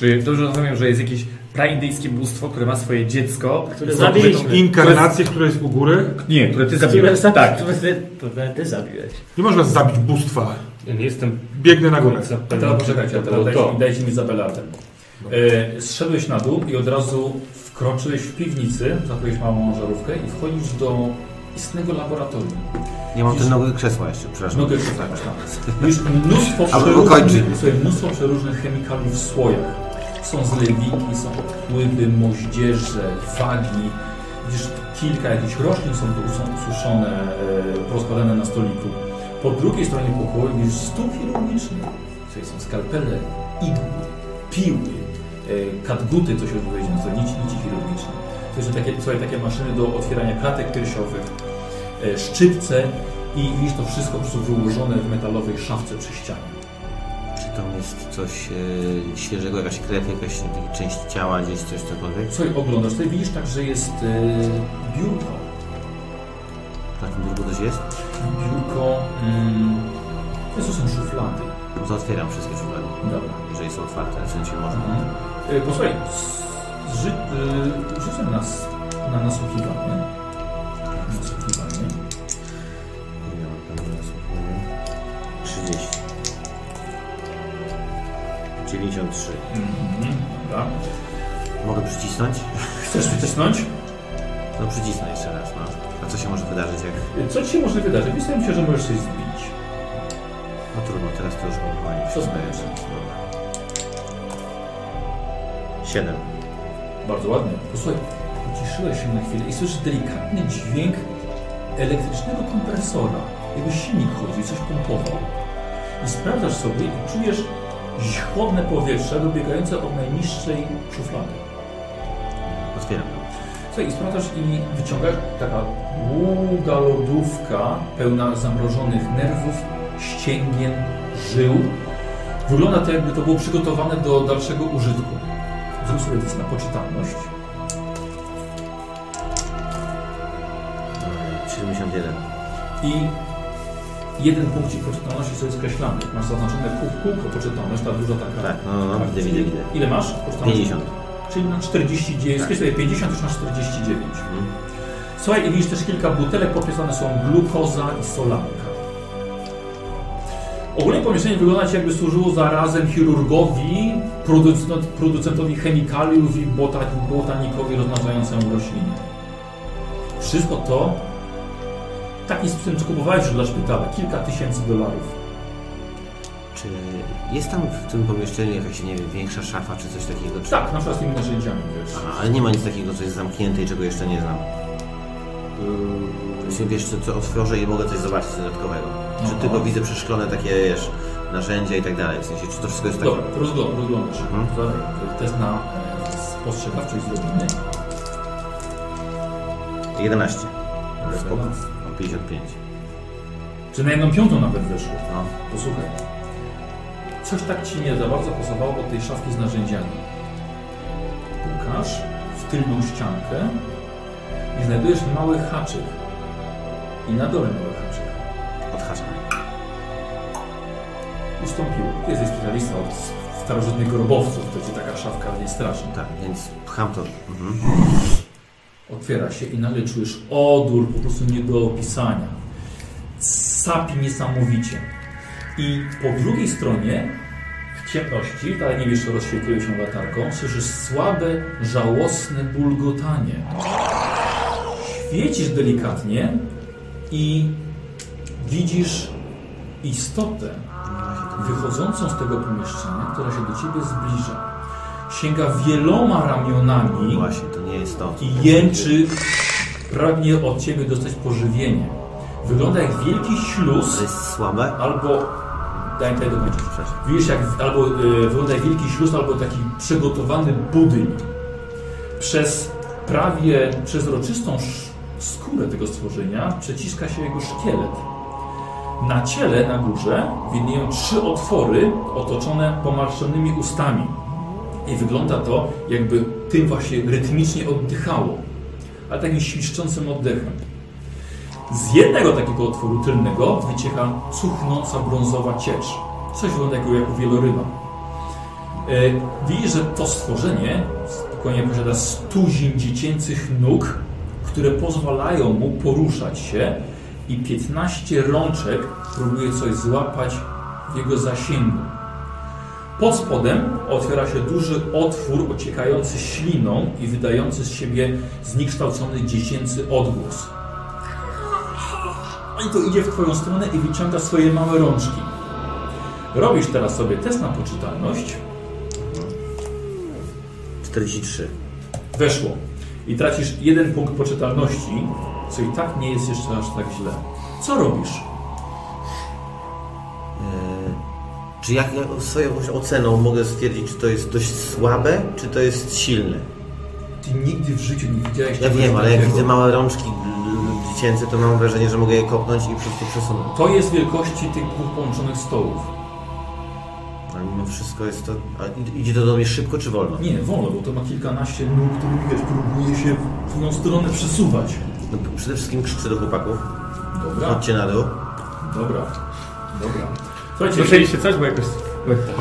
czy dobrze rozumiem, że jest jakieś praindyjskie bóstwo, które ma swoje dziecko,
Które zabiliśmy.
Inkarnację, która jest u góry?
Nie, które ty
Które
zabiłeś.
zabi-
Tak.
które ty, które ty zabiłeś.
nie można zabić bóstwa.
Ja nie jestem...
Biegnę na górę.
końca
A
pewien,
teraz
czy
poczekajcie, a
to
teraz
było
dajcie,
to.
mi- dajcie mi zabelatę. E, zszedłeś na dół i od razu wkroczyłeś w piwnicy, zakryłeś małą żarówkę i wchodzisz do istnego laboratorium.
Nie mam też
Widzisz-
nogę krzesła jeszcze, przepraszam.
Nogę krzesła, Już mnóstwo
A bo
przeróżnych,
kończy.
słuchaj, mnóstwo przeróżnych chemikaliów w słojach. Są zlewiki, są pływy, moździerze, wagi. Widzisz, kilka jakichś roślin są tu są ususzone, e, rozkładane na stoliku. Po drugiej stronie pokoju widzisz stół chirurgiczny. Tutaj są skalpele, igły, piły, e, katguty, co się odpowiedzi na to, nici, nici chirurgiczne. To są takie, słuchaj, takie maszyny do otwierania klatek piersiowych, e, szczypce i widzisz to wszystko po prostu wyłożone w metalowej szafce przy ścianie.
Czy tam jest coś e, świeżego, jakaś krew, jakaś część ciała, gdzieś coś cokolwiek?
Słuchaj, oglądasz, tutaj widzisz także jest e, biurko.
Tak W takim drugu coś jest?
Biurko, mm, to są szuflady.
No to otwieram wszystkie szuflady.
Dobra.
Jeżeli są otwarte, w sensie można.
E, posłuchaj, z- z ży, e, rzucę nas na nasłuchiwanie. Nasłuchiwanie.
Nie mam tam nasłuchania. 30. 93.
Mhm, dobra.
Mogę przycisnąć?
Chcesz wycisnąć?
No przycisnę jeszcze raz, no. A co się może wydarzyć jak...
E, Co ci się może wydarzyć? Wydaje mi się, że możesz coś zbić.
No trudno, teraz to już mam
Co
zdajesz? 7.
Bardzo ładnie. Posłuchaj, uciszyłeś się na chwilę i słyszysz delikatny dźwięk elektrycznego kompresora. Jakby silnik chodził, coś pompował. I sprawdzasz sobie i czujesz chłodne powietrze dobiegające od najniższej szuflady.
Otwieram ją.
Słuchaj, i sprawdzasz i wyciągasz taka długa lodówka pełna zamrożonych nerwów, ścięgien, żył. Wygląda to jakby to było przygotowane do dalszego użytku. Zrób sobie test na poczytalność.
71.
i jeden punkcik poczytalności sobie skreślamy. Masz zaznaczone kół, kółko poczytalność, ta duża taka.
Tak, no, no, widzę,
Czyli
widzę, widzę.
Ile masz poczytalności?
50.
Czyli na 49, tak. sobie 50, już masz 49. Słuchaj, i widzisz też kilka butelek, podpisane są glukoza i solanka. Ogólnie pomieszczenie wygląda jakby służyło zarazem chirurgowi, producent, producentowi chemikaliów i botan- botanikowi rozmnażającemu rośliny. Wszystko to taki sprzęt, co kupowałeś już dla szpitala, kilka tysięcy dolarów.
Czy jest tam w tym pomieszczeniu jakaś, nie wiem, większa szafa czy coś takiego? Czy...
Tak, na przykład z tymi narzędziami, wiesz.
Aha, ale nie ma nic takiego, co jest zamknięte i czego jeszcze nie znam. Jeśli wiesz, co, co otworzę i mogę coś zobaczyć dodatkowego. Czy
Aha.
tylko widzę przeszklone takie, wiesz, narzędzia i tak dalej. W sensie, czy to wszystko jest tak takie...
Dobra, rozgląd, rozglądasz.
Mhm,
To Test na e, spostrzegawczość zrobimy.
11. Ale spoko. Mam 55.
Czy na jedną piątą nawet weszło?
No.
Posłuchaj. Coś tak ci nie za bardzo pasowało od tej szafki z narzędziami. Pukasz w tylną ściankę i znajdujesz mały haczyk. I na dole mały haczyk.
Odhaczam.
Ustąpiło. Ty jesteś specjalistą od starożytnych grobowców, to ci taka szafka nie straszy.
Tak, więc pcham to. Mhm.
Otwiera się i nagle czujesz odór po prostu nie do opisania. Sapi niesamowicie. I po drugiej stronie, w ciemności, ale nie wiesz, co rozświetliło się latarką, słyszysz słabe, żałosne bulgotanie. Świecisz delikatnie i widzisz istotę wychodzącą z tego pomieszczenia, która się do ciebie zbliża. Sięga wieloma ramionami
No Właśnie, to nie jest to.
i jęczy, pragnie od ciebie dostać pożywienie. Wygląda jak wielki
To
śluz,
jest słabe?
albo. Daj mi tutaj dokończyć. Widzisz, jak albo, y, wygląda jak wielki śluz, albo taki przygotowany budyń. Przez prawie przezroczystą sz- skórę tego stworzenia przeciska się jego szkielet. Na ciele, na górze, widnieją trzy otwory otoczone pomarszczonymi ustami. I wygląda to, jakby tym właśnie rytmicznie oddychało, ale takim świszczącym oddechem. Z jednego takiego otworu tylnego wycieka cuchnąca brązowa ciecz. Coś wygląda jak wieloryba. E, Widzisz, że to stworzenie spokojnie posiada stuzin dziecięcych nóg, które pozwalają mu poruszać się i 15 rączek próbuje coś złapać w jego zasięgu. Pod spodem otwiera się duży otwór ociekający śliną i wydający z siebie zniekształcony dziecięcy odgłos. I to idzie w twoją stronę i wyciąga swoje małe rączki. Robisz teraz sobie test na poczytalność.
43.
Weszło. I tracisz jeden punkt poczytalności, co i tak nie jest jeszcze aż tak źle. Co robisz?
E, Czy jak ja swoją jakąś oceną mogę stwierdzić, czy to jest dość słabe, czy to jest silne?
Ty nigdy w życiu nie widziałeś
Ja
czegoś
wiem, ale jak
takiego.
widzę małe rączki l- dziecięce, to mam wrażenie, że mogę je kopnąć i po prostu przesunąć.
To jest wielkości tych dwóch połączonych stołów.
Ale mimo wszystko jest to... A id- idzie to do mnie szybko czy wolno?
Nie, wolno, bo to ma kilkanaście nóg, który wiesz, próbuje się w tą stronę przesuwać.
No, przede wszystkim krzyczę do chłopaków.
Dobra.
Chodźcie na dół.
Dobra, dobra. Słuchajcie,
Słyszeliście coś, bo jakoś...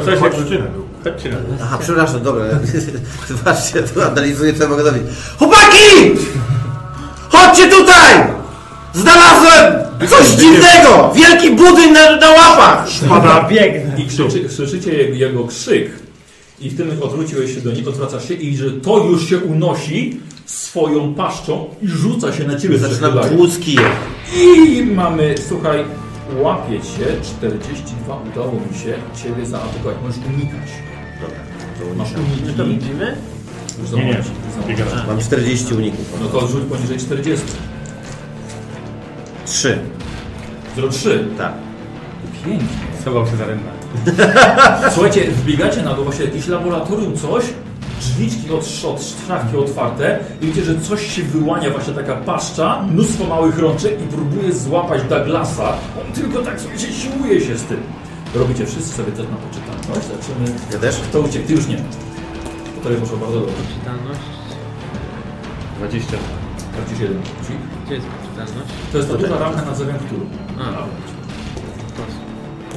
Coś jak...
Chodźcie na
Chodźcie na dół.
Aha, przepraszam, dobra. [laughs] Zobaczcie, to analizuję, co ja mogę zrobić. Chłopaki! Chodźcie tutaj! Znalazłem coś dziwnego! Wielki budyń na, na łapach!
Spada, biegnę. I krzyczy, słyszycie jego, jego krzyk. I w tym odwróciłeś się do nich, odwracasz się i że to już się unosi swoją paszczą i rzuca się na ciebie.
Zaczyna
zaczynając.
tłuc kijem.
I mamy, słuchaj, łapie cię, 42 udało mi się ciebie zaatakować. Możesz unikać. Dobra. Masz uniki.
to widzimy?
Już
Nie, nie.
zobacz, już zobacz.
Mam 40 uników.
No to rzuć poniżej 40.
3.
03.
Tak.
Pięknie.
Schował się za rynna.
[laughs] Słuchajcie, wbiegacie na dół właśnie jakieś laboratorium, coś, drzwiczki od, sz- od szafki otwarte i widzicie, że coś się wyłania, właśnie taka paszcza, mnóstwo małych rączek i próbuje złapać Douglasa. On tylko tak sobie się siłuje się z tym. Robicie wszyscy sobie też na poczytalność, zobaczymy.
Ja też?
Kto uciekł? Ty już nie. Bo to poszło bardzo dobrze.
Poczytalność.
20. 21. Czyli
Gdzie jest poczytalność?
to jest ta duża ramka nad zewnątrz którą.
A, dobra.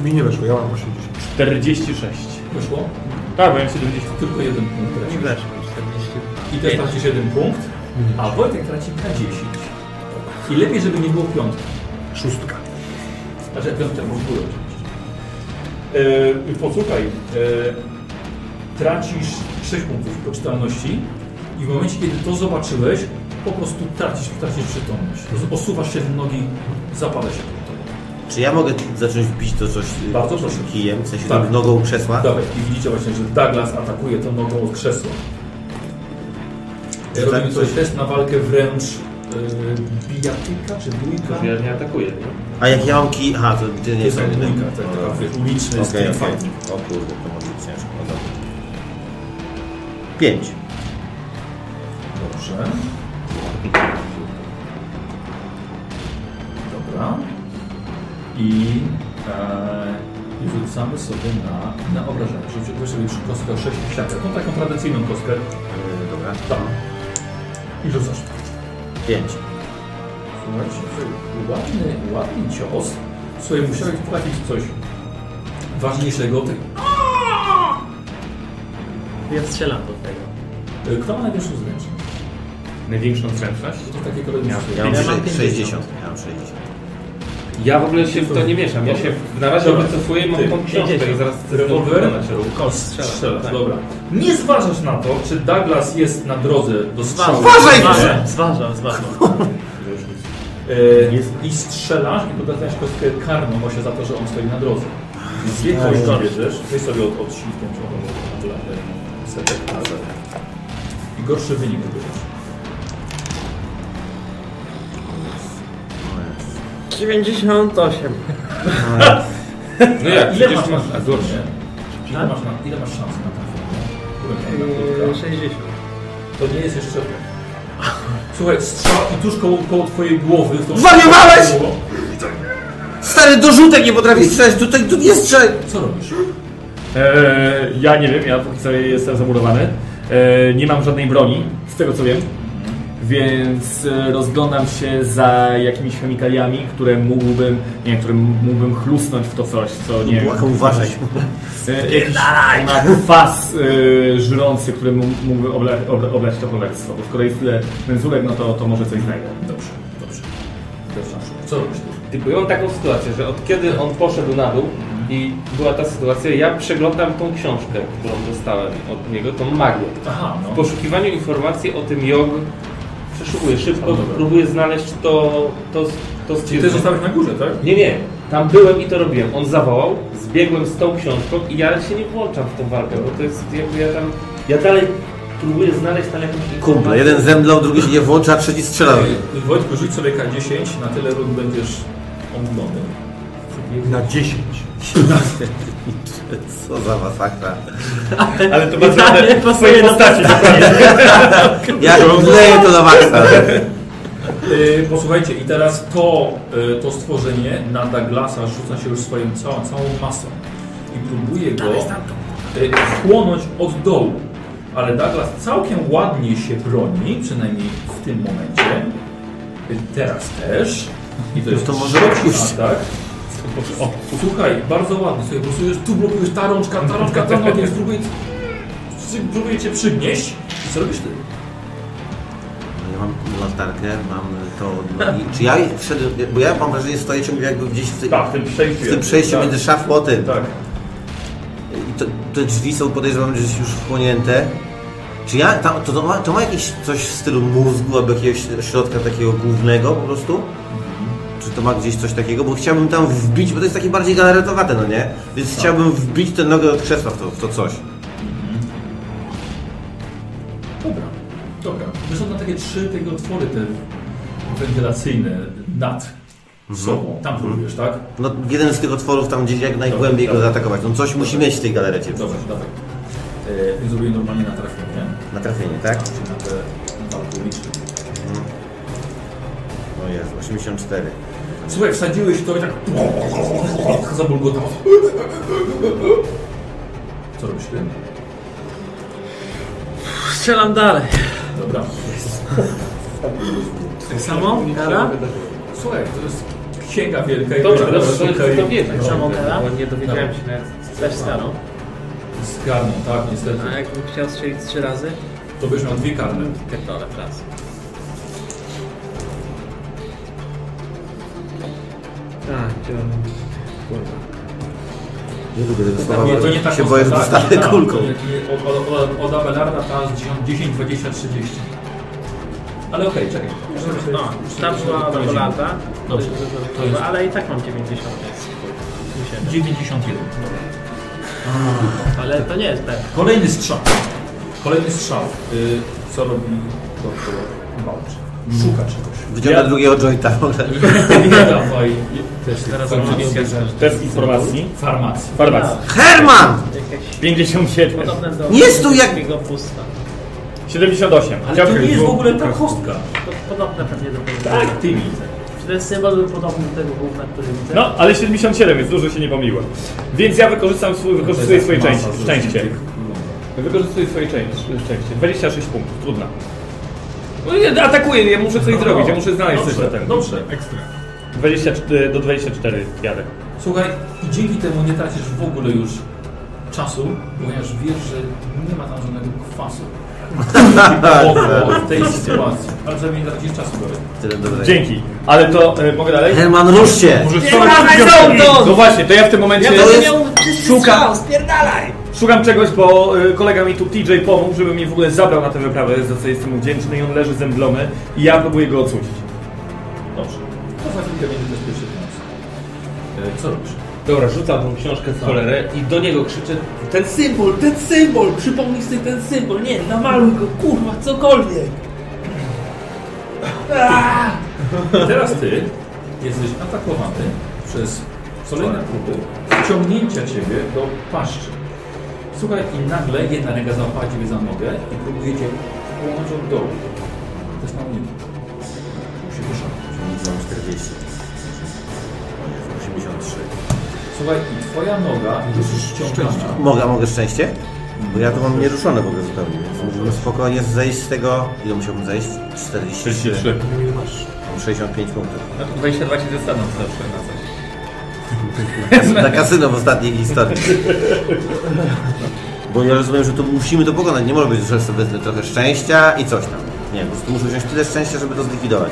Mi nie weszło, ja mam 80.
46.
Wyszło?
Tak, bo ja mam 70.
Tylko jeden punkt.
Nie
weszło. I też tracisz jeden punkt, a Wojtek traci K10. I lepiej, żeby nie było piątka.
Szóstka.
Znaczy piątka w górę oczywiście. E, posłuchaj, e, tracisz 6 punktów poczytalności i w momencie, kiedy to zobaczyłeś, po prostu tracisz, tracisz przytomność. Osuwasz się w nogi, zapada się.
Czy ja mogę zacząć bić to coś
Bardzo proszę.
kijem, w sensie
Tak.
tak. nogą krzesła?
Dawaj, i widzicie właśnie, że Douglas atakuje tą nogą od krzesła.
Że
Robimy
tak
coś
coś-
test na walkę wręcz yy, bijatyka czy dwójka?
Ja nie atakuję, nie?
A jak ja mam kij... Aha, to ty nie
jest
jest.
dwójka, tak, taka wiesz, uliczny
Okej,
street
okej.
fighting.
O kurde, to może być ciężko. No dobra. Pięć.
Dobrze. Dobra. I, e, i rzucamy sobie na, na obrażenia. Rzucimy sobie już kostkę 6 siatek. No taką tradycyjną kostkę. Yy,
dobra.
Tam. I rzucasz.
Pięć.
Słuchajcie, ładny, ładny cios. Słuchaj, musiałeś trafić coś ważniejszego. Ty-
Ja strzelam do tego.
y, Kto ma największą zręczność?
Największą zręczność?
To takie kolejne
Ja-
słowo.
Ja mam
Ja
sze-
mam
60. Ja mam 60.
Ja w ogóle się w to nie mieszam. Ja się na razie wycofuję, mam tą książkę i zaraz chcę
rewolwer.
na siebie.
Kost strzela, dobra. Nie zważasz na to, czy Douglas jest na drodze do strzału.
Zważaj!
Nie.
Zważam, zważam.
E, I strzelasz i dodajesz kostkę karną właśnie za to, że on stoi na drodze. Więc dwie
A,
kości
dobrze.
bierzesz, weź sobie od, od silnikiem, czy od- od latem, e, setek na zero. I gorszy wynik wybierzesz.
98.
No jak,
ile
przecież
masz,
masz... A gorsze.
nie? Ile masz, na, ile masz szans na trafienie?
Yy, 60.
To nie jest jeszcze... Słuchaj, strzał i tuż koło, koło twojej głowy... w tą-
Zwariowałeś! Stary dorzutek nie potrafi strzelać, tutaj tu nie strzelaj!
Co robisz?
Eee, E, ja nie wiem, ja póki co jestem zamurowany. Eee, nie mam żadnej broni, z tego co wiem. więc e, rozglądam się za jakimiś chemikaliami, które mógłbym, nie, wiem, którym mógłbym chlusnąć w to coś, co nie
Błagam, uważaj.
E, Jakiś ma kwas e, żrący, który mu- mógłby obla, obla, oblać to cholerstwo, bo skoro jest tyle pędzulek, no to, to może coś znajdę.
Dobrze, dobrze.
Co robisz?
Tylko ja mam taką sytuację, że od kiedy on poszedł na dół i była ta sytuacja, ja przeglądam tą książkę, którą dostałem od niego, tą magię.
Aha, no.
W poszukiwaniu informacji o tym jog przeszukuję szybko, próbuję znaleźć to, to, to z
Czyli ty zostałeś na górze, tak?
Nie, nie. Tam byłem i to robiłem. On zawołał, zbiegłem z tą książką i ja się nie włączam w tą walkę, bo to jest jakby ja tam... Ja dalej próbuję znaleźć tam jakąś
Kumple,
informację.
jeden zemdlał, drugi się nie włącza, a trzeci strzela.
Ej, Wojtku, rzuć sobie K10, na tyle rund będziesz omdlony.
Na 10.
Co za masakra.
Ale to bardzo ładne w swojej postaci.
Ja leję to na maksa.
Y, Posłuchajcie, i teraz to, y, to stworzenie na Douglasa rzuca się już swoją całą, całą masą i próbuje go y, wchłonąć od dołu. Ale Douglas całkiem ładnie się broni, przynajmniej w tym momencie. Y, Teraz też. I to jest
to może
trzeci
odpuść.
atak. tak? Słuchaj, bardzo ładnie sobie głosujesz, tu blokujesz ta rączka, ta rączka, ta nogi, spróbuję, spróbuję cię przygnieść. I co robisz ty?
Ja mam latarkę, mam to od nogi. Czy ja wszedłem, bo ja mam wrażenie, stoję ciągle jakby gdzieś w, tej,
Tak, w tym przejściu
w tym
jakby,
przejściu
tak.
między szafą a tym.
Tak.
I to, te drzwi są, podejrzewam, że już wchłonięte. Czy ja, tam, to, to, ma, to ma jakieś coś w stylu mózgu albo jakiegoś środka takiego głównego po prostu? Czy to ma gdzieś coś takiego? Bo chciałbym tam wbić, bo to jest takie bardziej galaretowate, no nie? Więc
Tak.
chciałbym wbić tę nogę od krzesła w to, w to coś.
Dobra, dobra. Wyszedł na takie trzy tego otwory te wentylacyjne nad sobą. Tam próbujesz, tak?
No, jeden z tych otworów tam gdzieś jak najgłębiej
Tak,
go zaatakować. No coś musi mieć w tej galerecie.
No,
Dobra, dawaj. E, więc zrobię normalnie na trafienie.
Na trafienie, tak?
Czyli na te walkowiczki.
No jest, 84.
Słuchaj, wsadziłeś to i tak [laughs] zabulgotało. Co robisz ty?
Strzelam dalej.
Dobra.
Tak samo? Kara?
Słuchaj, to jest księga wielka i
Dobrze,
wielka
dobrze, to
sztuka
jest tak
i-
to wiedza.
No.
Samo kara?
Bo nie dowiedziałem się nawet.
Też starą.
Zgarną, tak, niestety.
No, A jakbym chciał strzelić trzy razy?
To byś miał dwie karne.
Pierdolę, raz. Tak, chciałem... Kurwa.
Nie lubię tego słowa,
Nie,
bo
to nie tak
się boję, że dostanę kulką.
Od, od, od, od Abelarda ta z 10, 20, 30. Ale okej, czekaj.
A, tam była do lata.
Dobrze, to jest
Ale i tak mam 90, więc... mi się-
91.
Ale to nie jest pewne.
Kolejny strzał. Kolejny strzał. Y, co robi doktor Bałcz? Szuka
[laughs]
czegoś.
Wyciąga drugiego jointa.
[laughs] Dawaj. Też
Zaraz
farmacji.
amunicja zależy.
Test informacji. Farmacji.
Farmacja.
Herman!
Tak. Jakieś
57.
podobne do...
Nie stój jak-
Jego pusta.
78.
Ale to nie jest w ogóle ta kostka.
To podobne pewnie do tego.
Tak, ty widzę.
Ten symbol był podobny do tego główna, który widzę.
No, ale 77, więc dużo się nie pomyliłem. Więc ja wykorzystam swój, wykorzystuję swoje
Masa
części,
zresztą
szczęście.
tych wygląda.
Wykorzystuję swoje części, szczęście. 26 punktów, trudno. No nie, atakuję, ja muszę coś zrobić, ja muszę znaleźć coś na
Dobrze,
ten.
Dobrze.
24, do 24 jadę.
Słuchaj, i dzięki temu nie tracisz w ogóle już czasu, ponieważ wiesz, że nie ma tam żadnego kwasu. Typowo w tej sytuacji. Ale przynajmniej nie tracisz czasu. Borek.
Tyle dobrego.
Dzięki, ale to e, mogę dalej?
Herman, ruszcie!
Nie No właśnie, to ja w tym momencie
Ja to jest-
No,
szukam, szukam czegoś, bo y, kolega mi tu TJ pomógł, żeby mnie w ogóle zabrał na tę wyprawę, za co jestem mu wdzięczny i on leży zemdlony i ja próbuję go ocucić.
Dobrze. To za chwilkę będzie też pierwszy pomoc. E, Co robisz?
Dobra, rzucam tą książkę w cholerę i do niego krzyczę Ten symbol, ten symbol, przypomnij sobie ten symbol, nie, namaluj go, kurwa, cokolwiek.
I Teraz ty jesteś atakowany przez kolejne próby wciągnięcia ciebie do paszczy. Słuchaj, i nagle jedna ręka załapała ciebie za nogę i próbuje cię połączyć od dołu. To jest na mnie. Musi wyszarpnąć.
Widzę 40. O Jezu, 83.
Słuchaj, i twoja noga już jest ściągana.
Mogę, mogę szczęście? Bo ja to mam nieruszone w ogóle zupełnie, więc mógłbym spokojnie zejść z tego. Ile musiałbym zejść? 43.
43.
Ile masz? Mam 65 punktów.
No to 22 się
Tak,
zastanów zawsze na coś.
[laughs] Na kasyno w ostatniej historii. Bo ja rozumiem, że to musimy to pokonać. Nie może być, że sobie trochę szczęścia i coś tam. Nie, po prostu muszę wziąć tyle szczęścia, żeby to zlikwidować.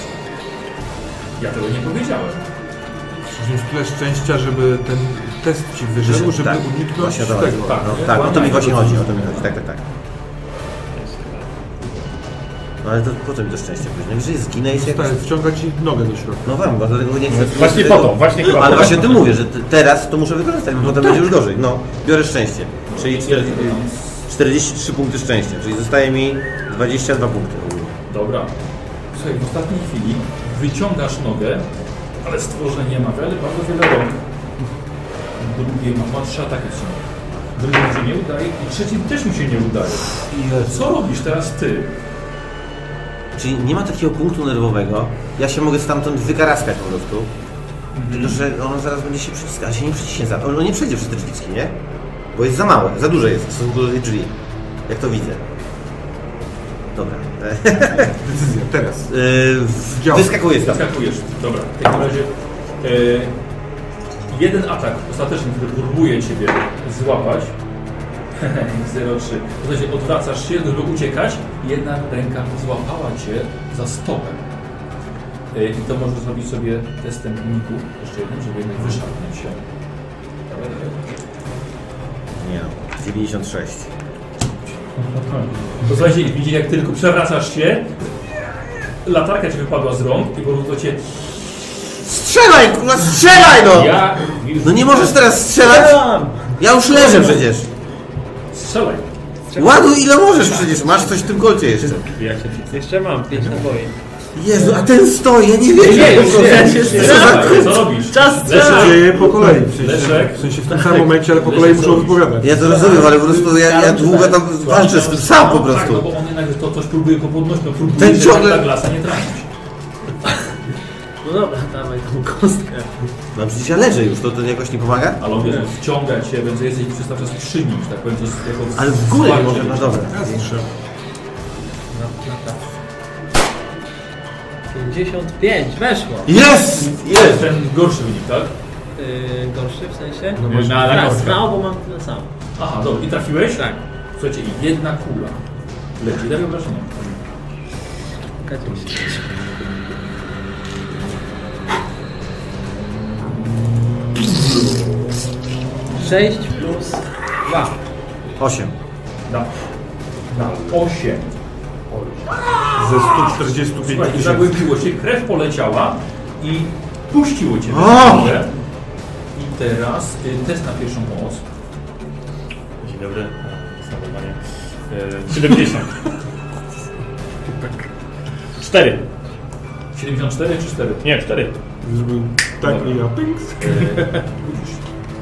Ja tego nie powiedziałem.
Musisz mieć tyle szczęścia, żeby ten test ci wyszedł, żeby
tak,
uniknąć
właśnie o
tego.
to chodzi. Tak, no, tak, o to mi właśnie chodzi, o to mi chodzi, tak, tak, tak. No ale to po co mi to szczęście później? Najwyżej zginę i się jakoś...
wciąga ci nogę do środka.
No wiem, bo dlatego nie chcę...
No,
tego-
właśnie po to, właśnie chyba po
Ale
to.
właśnie o tym mówię, że te- teraz to muszę wykorzystać, bo potem będzie już gorzej. No, biorę szczęście, czyli 40, 43 punkty szczęścia, czyli zostaje mi 22 punkty.
Dobra. Słuchaj, w ostatniej chwili wyciągasz nogę, ale stworzenie ma wiele, bardzo wiele rąk. Drugie ma, ma trzy ataki w sumie. Drugie mu się nie udaje i trzecim też mu się nie udaje. Co robisz teraz ty?
Czyli nie ma takiego punktu nerwowego, ja się mogę stamtąd wykaraskać po prostu, tylko że ono zaraz będzie się przyciskać, się nie przyciśnie za... Ono nie przejdzie przez te drzwiczki, nie? Bo jest za małe, za duże jest w stosunku do tej drzwi, jak to widzę. Dobra. E,
Decyzja, teraz.
Tak. Yy,
Działa.
wyskakuję stamtąd.
Wyskakujesz. Dobra, w takim razie e, jeden atak ostateczny, który próbuje Ciebie złapać. [laughs] 0,3. W zasadzie odwracasz się, żeby uciekać, jedna ręka złapała Cię za stopę. E, I to możesz zrobić sobie testem uniku, jeszcze jednym, żeby jednak wyszarpnąć się.
Nie no, 96.
To słuchajcie, widzicie jak tylko przewracasz się, latarka Ci wypadła z rąk i po prostu Cię...
Strzelaj, kurwa, strzelaj no!
Ja...
No nie możesz teraz strzelać! Ja już leżę przecież!
Strzelaj.
Ładuj ile możesz przecież, masz coś w tym kolcie jeszcze.
Jeszcze mam 5 naboi.
Jezu, a ten stoi, ja nie wiem.
Nie, nie, nie, nie, nie, nie,
Co robisz?
Czas,
To się
czas.
dzieje po kolei, w sensie,
Leszek.
w sensie w tym samym momencie, ale po kolei muszą wypowiadać.
Ja to rozumiem, ale po prostu ja, ja długo tam walczę z tym sam po
Tak, no
prostu.
bo on jednak to coś próbuje go podnosić, no próbuje
Ten
żeby
ciągle-
ta glasa nie trafić.
No dobra, dawaj tą kostkę.
No przecież ja leżę już, to, to jakoś nie pomaga?
Ale on wiesz, wciąga cię, więc jesteś przez cały czas przy nim, że tak powiem, to jest jako...
Ale w górę nie
wsparcie.
może, no dobra.
Strzel.
55, weszło.
Jest! Jest!
Ten gorszy wynik, tak?
Yy, gorszy w sensie?
No bo- na- na
Tak,
kostkę.
Znał, bo mam tyle samo.
Aha, dobra, i trafiłeś?
Tak.
Słuchajcie, i jedna kula. Leci, ile wyobrażenia?
K10. Sześć plus dwa.
8.
Na, na 8.
Ze 145
Słuchaj,
tysięcy.
zagłębiło się, krew poleciała i puściło cię.
O!
I teraz y, test na pierwszą pomoc.
Dzień dobry. Zastosowanie. Yy,
[laughs]
70. 4.
74 czy 4?
Nie, 4.
Zrobił tak i ja pings.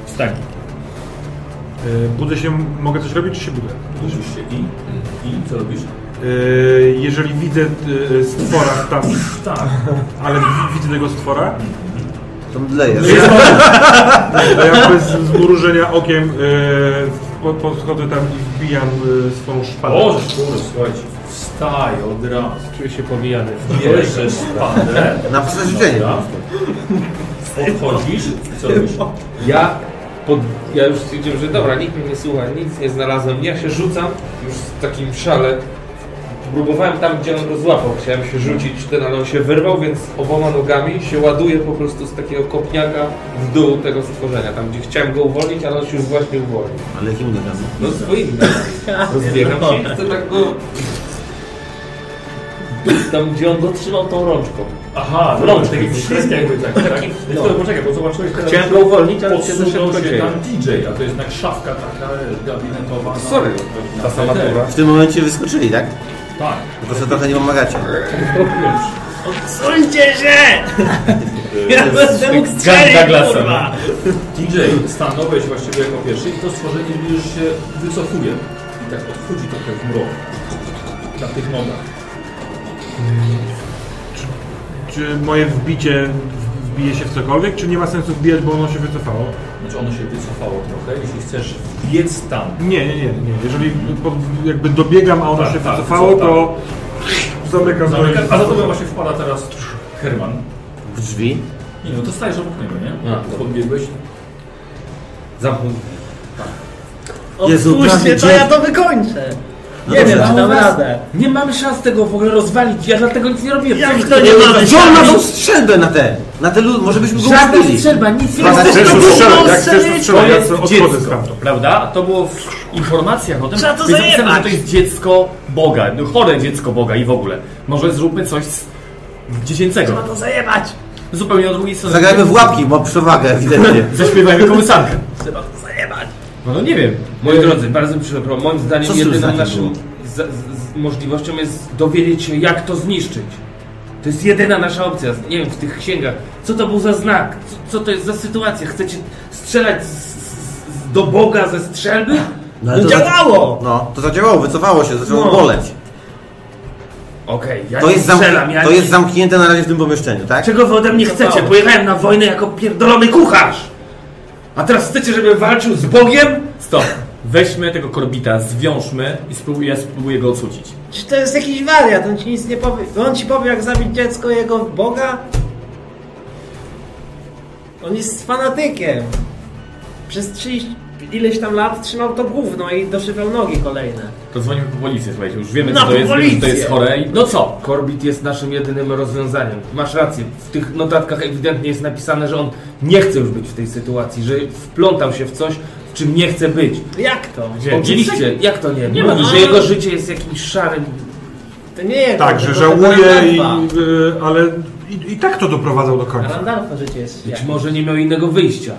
Wstań.
E, Budzę się, mogę coś robić, czy się budzę?
Oczywiście. I, I co robisz?
E, Jeżeli widzę e, stwora tam,
[laughs]
Tak.
ale wi- widzę tego stwora,
To mdlejesz.
to ja bez zmrużenia okiem e, po- podchodzę tam i wbijam e, swą szpadę.
Boże, kurde, słuchajcie, wstaj od razu.
Czuję się pomijany.
Bierzesz szpadę,
Na przeżyczenie.
Dobra. podchodzisz i co robisz?
Ja, pod, ja już stwierdziłem, że dobra, nikt mnie nie słucha, nic nie znalazłem. Ja się rzucam już w takim szale. Próbowałem tam, gdzie on go złapał. Chciałem się rzucić, ten, ale on się wyrwał, więc oboma nogami się ładuje po prostu z takiego kopniaka w dół tego stworzenia. Tam, gdzie chciałem go uwolnić, ale on się już właśnie uwolnił.
Ale jakim dodam?
No swoimi nogami. Rozbiegam się i chcę tak go... Tam, gdzie on go trzymał tą rączką.
Aha, no
W
dobra,
rączki.
taki przycisk jakby tak, tak?
Taki-
No to poczekaj, bo zobaczyłeś teraz...
Chciałem go uwolnić, ale się za
Podsunął
szybko
się
dzieje.
tam DJ, a to jest jednak szafka taka e, gabinetowa. na-
Sorry,
no,
na
tak.
ta sama
PTR.
tura.
W tym momencie wyskoczyli, tak?
Tak.
Tylko sobie trochę nie pomagacie.
Odsuńcie się! Ja będę mógł
Gun
strzelić,
Douglasa.
kurwa!
DJ, no. stanąłeś właściwie jako pierwszy i to stworzenie już się wycofuje. I tak odchodzi trochę w mrok. Na tych nogach.
Czy moje wbicie w- wbije się w cokolwiek, czy nie ma sensu wbijać, bo ono się wycofało?
Znaczy ono się wycofało trochę, jeśli chcesz biec tam.
Nie, nie, nie, nie. Jeżeli pod- jakby dobiegam, a ono
Tak,
się
tak,
wycofało,
wycofa-
to zamykam
Zamyka,
broń.
a za tobą właśnie wpada teraz Herman.
W drzwi?
Nie no, to stajesz obok niego, nie?
A, dobra.
Podbiegłeś.
Zamknął.
Jezu,
Odpuśćcie
prawie
to,
dzień.
ja to wykończę.
No
nie
dobrze.
wiem, czy dam
Dobra.
radę.
Nie mamy szans tego w ogóle rozwalić, ja dlatego nic nie robiłem.
Jak
Co
to
ty
nie
robisz?
mamy?
Co on ma tą strzelbę na te? Na te lu- może byśmy go
Żadna
ubili.
strzelba, nic nie
Ma
ma.
na-
Chcesz
Jezu,
strzelać,
no,
jak chcesz
strzelić.
strzelać.
To
Ja
jest
co- odchodzę
dziecko,
stamtąd.
prawda? To było w informacjach o tym.
Trzeba to
Jest napisane,
zajebać.
że to jest dziecko Boga, no, chore dziecko Boga i w ogóle. Może zróbmy coś z dziecięcego.
Trzeba to zajebać.
Zupełnie od drugiej strony.
Zagrajmy w łapki, bo przewagę ewidentnie.
Zaśpiewajmy kołysankę.
Trzeba to zajebać.
No, no nie wiem.
Moi drodzy, bardzo mi przepraszam. Moim zdaniem
Co z tym
jedyną
znakiem
naszą z, z, z możliwością jest dowiedzieć się, jak to zniszczyć. To jest jedyna nasza opcja. Nie wiem, w tych księgach. Co to był za znak? Co, co to jest za sytuacja? Chcecie strzelać z, z, z, do Boga ze strzelby?
No,
No,
ale to za-
działało!
No, to zadziałało, wycofało się, zaczęło
No.
boleć.
Okej, ja
To
nie
jest, zam...
strzelam. Ja
to
nie-
jest zamknięte na razie w tym pomieszczeniu, tak?
Czego wy ode mnie chcecie?
Zostało.
Pojechałem na wojnę jako pierdolony kucharz! A teraz chcecie, żebym walczył z Bogiem?
Stop. Weźmy tego korbita, zwiążmy i spróbuję, ja spróbuję go odsucić.
Czy to jest jakiś wariat? On ci nic nie powie. On ci powie, jak zabić dziecko jego Boga? On jest fanatykiem. Przez 30 ileś tam lat trzymał to gówno i doszywał nogi kolejne.
To dzwonimy po policję, słuchajcie, już wiemy,
No,
co to
po
jest, wiemy, że to jest
policję.
chore i... No co?
Korbit jest naszym jedynym rozwiązaniem. Masz rację. W tych notatkach ewidentnie jest napisane, że on nie chce już być w tej sytuacji, że wplątał się w coś, w czym nie chce być.
Jak to?
Gdzie?
Oczywiście, jak to nie?
Nie
nie
ma
Mówi,
nic.
że jego życie jest jakimś szarym.
To nie jest.
Tak, że żałuję, i, y, ale i, i tak to doprowadzał do końca.
Randalfa życie jest.
Być
jak-
może nie miał innego wyjścia.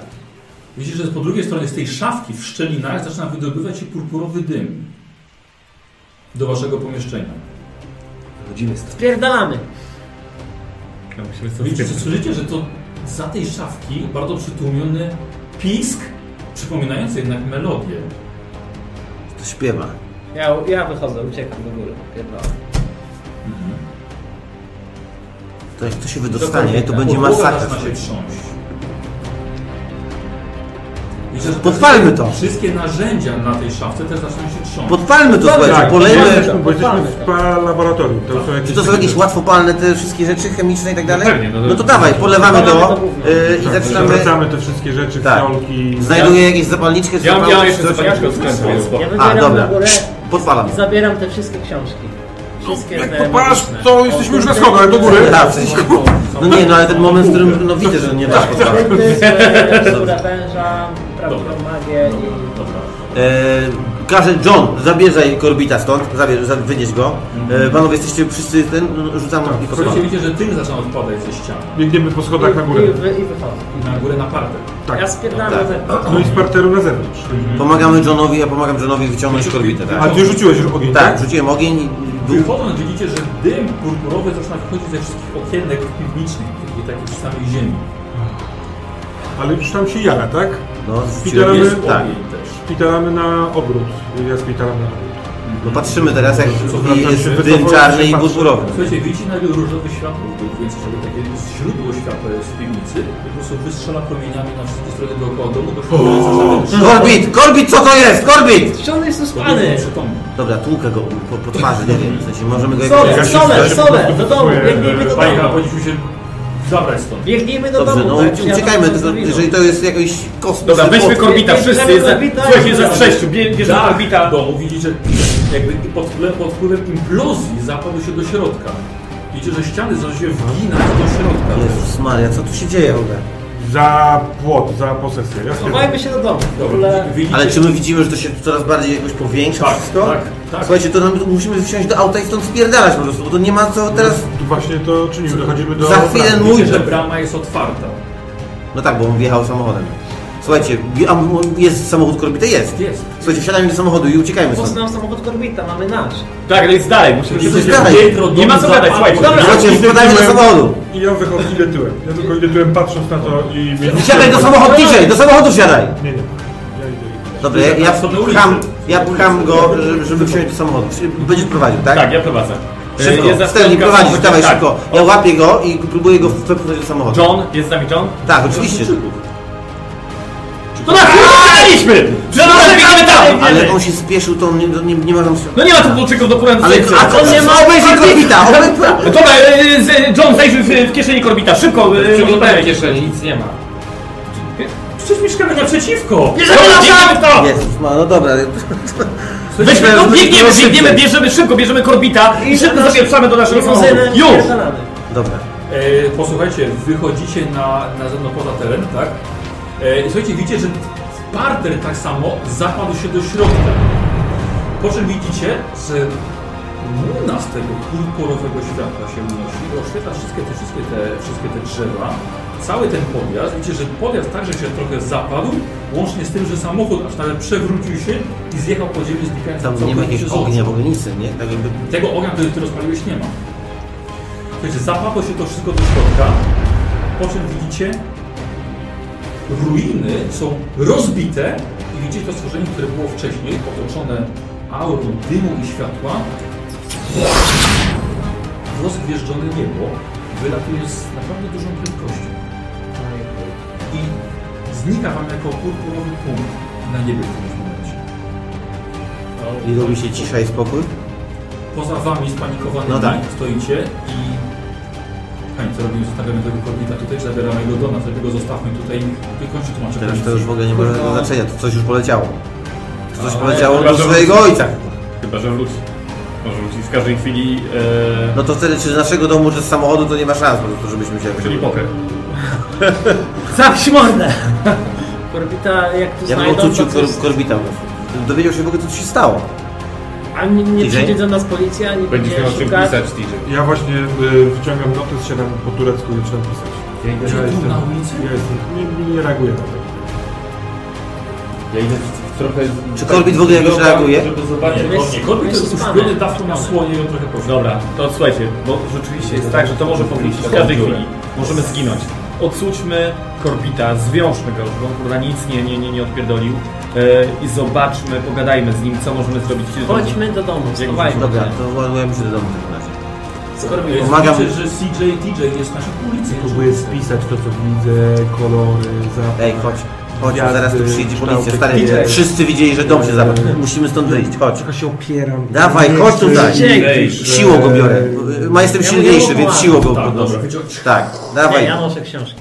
Widzisz, że po drugiej stronie z tej szafki w szczelinach zaczyna wydobywać się purpurowy dym do waszego pomieszczenia.
Chodzimy stąd.
Spierdalamy.
No, musimy sobie
Widzicie,
spytać.
słyszycie, że to za tej szafki bardzo przytłumiony pisk, przypominający jednak melodię.
To śpiewa.
Ja, ja wychodzę, uciekam do góry. Pierdolę.
To jak to się wydostanie,
Tak.
to będzie masakra.
Zaczyna się trząść. Widzicie, że
Podpalmy
te-
to.
Wszystkie narzędzia na tej szafce też zaczynają się trząść.
Podpalmy to, słuchajcie,
Tak, bo
polejmy.
jesteśmy, bo jesteśmy w pa- laboratorium. To są jakieś
Czy to są
takie
jakieś łatwopalne te wszystkie rzeczy chemiczne i tak dalej?
No pewnie, no to-
No to dawaj, polewamy to y, i
Tak,
zaczynamy.
Wracamy te wszystkie rzeczy,
Tak.
fiolki.
Znajduję jakieś zapalniczkę,
Ja mam ja mam
zapałki,
jeszcze
coś.
zapalniczkę od sklepu, więc spoko.
Ja
A,
wybieram
dobra.
do górę,
Podpalam.
zabieram te wszystkie książki. Wszystkie
No, Jak
te
podpalasz,
magiczne.
to jesteśmy już na schodach, ale do góry.
Tak, w sensie, no nie, no ale ten moment, w którym no widzę, że nie dasz
Tak.
podpalać.
[laughs]
Kryptyzmy, szura węża, prawdą magię i...
E, Każe John, zabierzaj Korbita stąd, zabierz, za- wynieś go. E, panowie, jesteście wszyscy ten,
Tak,
rzucam i
Słuchajcie,
posłucham.
widzicie, że ty zaczyna odpadać ze ściany.
Biegniemy po schodach na górę.
I, wy- i wychodzę.
Na górę na parter.
Tak.
Ja spierdalam
Tak.
na zewnątrz.
No i z parteru na zewnątrz.
Pomagamy Johnowi, ja pomagam Johnowi wyciągnąć Korbita,
A
tak?
ty rzuciłeś już ogień,
Tak, rzuciłem ogień i był...
Wychodząc widzicie, że dym purpurowy zaczyna wchodzić ze wszystkich okienek piwnicznych i takich z samej ziemi.
tak? Ale już tam się jara, tak?
No,
Spitalamy-
rzuciłem, tak.
Ogień też.
Spitalamy na obrót. Ja spitalam na obrót.
No patrzymy teraz, jak
Co
i
wraca
jest
się,
dym
wycofuje
czarny
się,
i
patrzy.
burburowy.
Słuchajcie, widzicie nagle różowy światło, więc żeby takie źródło światła jest w piwnicy, po prostu wystrzela promieniami na wszystkie strony dookoła domu, do No tak.
Korbit! Korbit, co to jest? Korbit!
Czy on jest uspany?
Pany! Przytomny.
Dobra, tłukę go po, po twarzy, nie wiem, w sensie możemy go
Solę,
jakoś...
solę, solę, do domu,
Swoje,
biegnijmy do
Bajka,
domu.
powinniśmy się zabrać stąd.
Biegnijmy do
Dobrze,
domu.
no
tak? Ja
uciekajmy,
tam
tylko,
widzę.
jeżeli to znaczy, jest jakiś kosmos...
Dobra, weźmy korbita,
Bierzemy
wszyscy, jest za,
korbita.
słuchajcie, jest za w sześciu, bie- bierzemy
Dach
korbita.
domu widzicie, jakby pod wpływem, pod wpływem implozji zapadł się do środka. Widzicie, że ściany zaczęły się wginać do środka.
Jezus Maria, co tu się dzieje w ogóle?
Za płot, za posesję. Ja spierdalam.
Chowajmy się do domu. W
Dobra,
ogóle...
widzicie,
Ale czy my widzimy, że to się coraz bardziej jakoś powiększa
Tak,
wszystko?
tak, tak.
Słuchajcie, to nam, musimy wsiąść do auta i stąd spierdalać po prostu, bo to nie ma co teraz...
Tu Właśnie to czynimy, dochodzimy do...
Za chwilę mój...
widzicie, że brama jest otwarta.
No tak, bo on wjechał samochodem. Słuchajcie, a jest samochód korbita? Jest.
Jest.
Słuchajcie, wsiadajmy do samochodu i uciekajmy stąd.
Poznam samochód Korbita, mamy nasz.
Tak, ale jest dalej, musimy
Jest
się
coś dalej.
Piętro domu
Nie ma co gadać,
zapadło.
słuchajcie.
Dobra,
Słuchajcie,
Idę
wpadajmy do
tyłem.
samochodu.
I ja wychodzę, idę tyłem. Ja tylko idę tyłem patrząc na to i...
Wsiadaj do samochodu, DJ! Do samochodu wsiadaj!
Nie, nie.
Dobra, ja, ja,
Wsiadaj do
pcham,
ulicy.
ja pcham go, żeby, żeby wsiąść do samochodu. Będziesz prowadził, tak?
Tak, ja prowadzę.
Szybko,
jest za
Stanley,
stronką
prowadzisz,
samochodu.
dawaj
Tak.
szybko. Ja łapię go i próbuję go wepchnąć do samochodu.
John, jest z nami John?
Tak, oczywiście.
To na chwilę staliśmy! Że nas biegamy tam!
Ale on się spieszył, to on nie, nie, nie ma tam...
No nie ma tu kluczyków do kurwa
Ale
sekcji.
a to nie ma obejrzeć korbita! obejrzyj-
Dobra, e, z- John, zajrzyj w, w kieszeni korbita, szybko! e,
Przyglądałem kieszeni, nic nie ma.
Przecież mieszkamy naprzeciwko!
Nie zabieram to!
Jezus, ma, no dobra.
Weźmy, no, biegniemy, biegniemy, bierzemy szybko, bierzemy korbita i szybko zapieprzamy do naszego samochodu. Już!
Dobra.
E, posłuchajcie, wychodzicie na, na no, poza teren, tak? E, i słuchajcie, widzicie, że parter tak samo zapadł się do środka. Po czym widzicie, że muna z tego purpurowego światła się unosi i oświetla wszystkie te, wszystkie, te, wszystkie te drzewa. Cały ten podjazd, widzicie, że podjazd także się trochę zapadł, łącznie z tym, że samochód aż nawet przewrócił się i zjechał po ziemi znikając
Tam nie ma jakiegoś ognia w ognicy, nie? Tak jakby...
tego ognia, który ty rozpaliłeś, nie ma. Słuchajcie, zapadło się to wszystko do środka, po czym widzicie, ruiny są rozbite i widzicie to stworzenie, które było wcześniej, otoczone aurą dymu i światła. W Rozgwieżdżone niebo wylatuje z naprawdę dużą prędkością. I znika wam jako purpurowy punkt na niebie w tym momencie.
I robi się cisza i spokój?
Poza wami spanikowanymi
No tak.
stoicie i... Pani, co robimy? Zostawiamy tego korbita tutaj, zabieramy go do nas, żeby go zostawmy tutaj. Wykończy tłumaczę.
Teraz to
policji.
już w ogóle nie ma
Kurwa.
żadnego znaczenia, to coś już poleciało. To coś
Ale
poleciało
chyba,
do
że
swojego
wróci.
ojca.
Chyba, że wróci. Może wróci w każdej chwili.
e,
No to wtedy, czy z naszego domu, czy z samochodu, to nie ma szans po prostu, żebyśmy się...
Czyli poker.
Zamknij mordę! Korbita, jak tu
Ja bym
znajdą,
odczucił
to
kor
coś-
korbita. po prostu. Dowiedział się w ogóle, co tu się stało.
Ani nie
DJ?
przyjdzie do nas policja, ani
Będziesz
będzie
miał czym
szukać.
pisać.
Ja właśnie y, wyciągam notes, siadam po turecku i zaczynam pisać.
Ja idę
ja
tu
jestem,
na
ja jestem, nie, nie reaguję na to.
Ja idę trochę...
Czy Corbett w ogóle jakoś reaguje?
Żeby
Nie,
zobaczyć,
nie, Korbit to jest uśpiony, dawno na słonie i on trochę poszedł.
Dobra, to słuchajcie, bo rzeczywiście jest tak, że to może powrócić w każdej chwili. Możemy zginąć. Odsućmy korbita, zwiążmy go, żeby on kurwa nic nie, nie, nie, nie odpierdolił e, i zobaczmy, pogadajmy z nim, co możemy zrobić.
Chodźmy do domu.
Jak
Słuchajcie.
Dobra, to ładujemy się do domu w takim razie.
Korbit,
Pomagam.
Pomagam. że CJ DJ jest na naszej ulicy.
Próbuję spisać to, co widzę, kolory, zapach.
Ej, chodź. Chodź,
gwiazdy,
zaraz tu przyjdzie
kształty
policja. Stary,
kwiatów.
wszyscy widzieli, że dom się zapadł. Musimy stąd wyjść, chodź.
Tylko się opieram.
Dawaj,
Nie
chodź
chcę
tutaj.
iść,
Siłą go
że-
biorę. Ma jestem
Ja
silniejszy,
mówię,
więc
łapy.
siłą go
Tak,
podnoszę.
dobra.
Tak,
Nie,
dawaj.
ja noszę książki.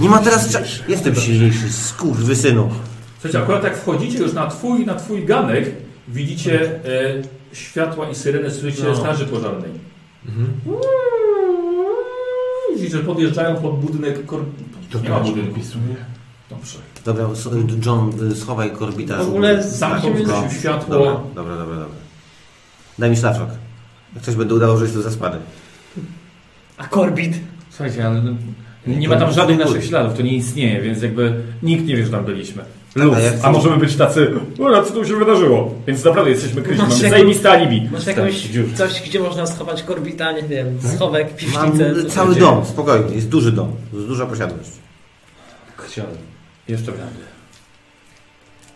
Nie ma teraz czasu. Jestem silniejszy, skurwysynu.
Słuchajcie, akurat jak wchodzicie już na twój, na twój ganek, widzicie e, światła i syrenę, słyszycie
No.
straży pożarnej. Widzicie, że podjeżdżają pod budynek kor...
To
nie ma
tak
budynku.
pisuje.
Dobrze.
Dobra, s- John, y, schowaj korbita.
W ogóle
zamknij
Dobra,
się w światło.
no. Dobra, dobra, dobra. dobra. Daj mi szlafrok. Jak coś będę udało, że jest tu zaspany.
A korbit?
Słuchajcie, ale no, nie ma tam żadnych naszych śladów, to nie istnieje, więc jakby nikt nie wie, że tam byliśmy. Luz,
jak-
a możemy być tacy, no co tu się wydarzyło? Więc naprawdę jesteśmy kryci, mamy
Masz jak-
zajebiste alibi.
Masz
Tak,
jakąś
dziur.
coś, gdzie można schować korbita, nie wiem, schowek,
Tak? Mam
piwnicę.
y,
co
cały
będzie?
dom, spokojnie. Jest duży dom. Jest duża posiadłość.
Chciałem. Jeszcze będę.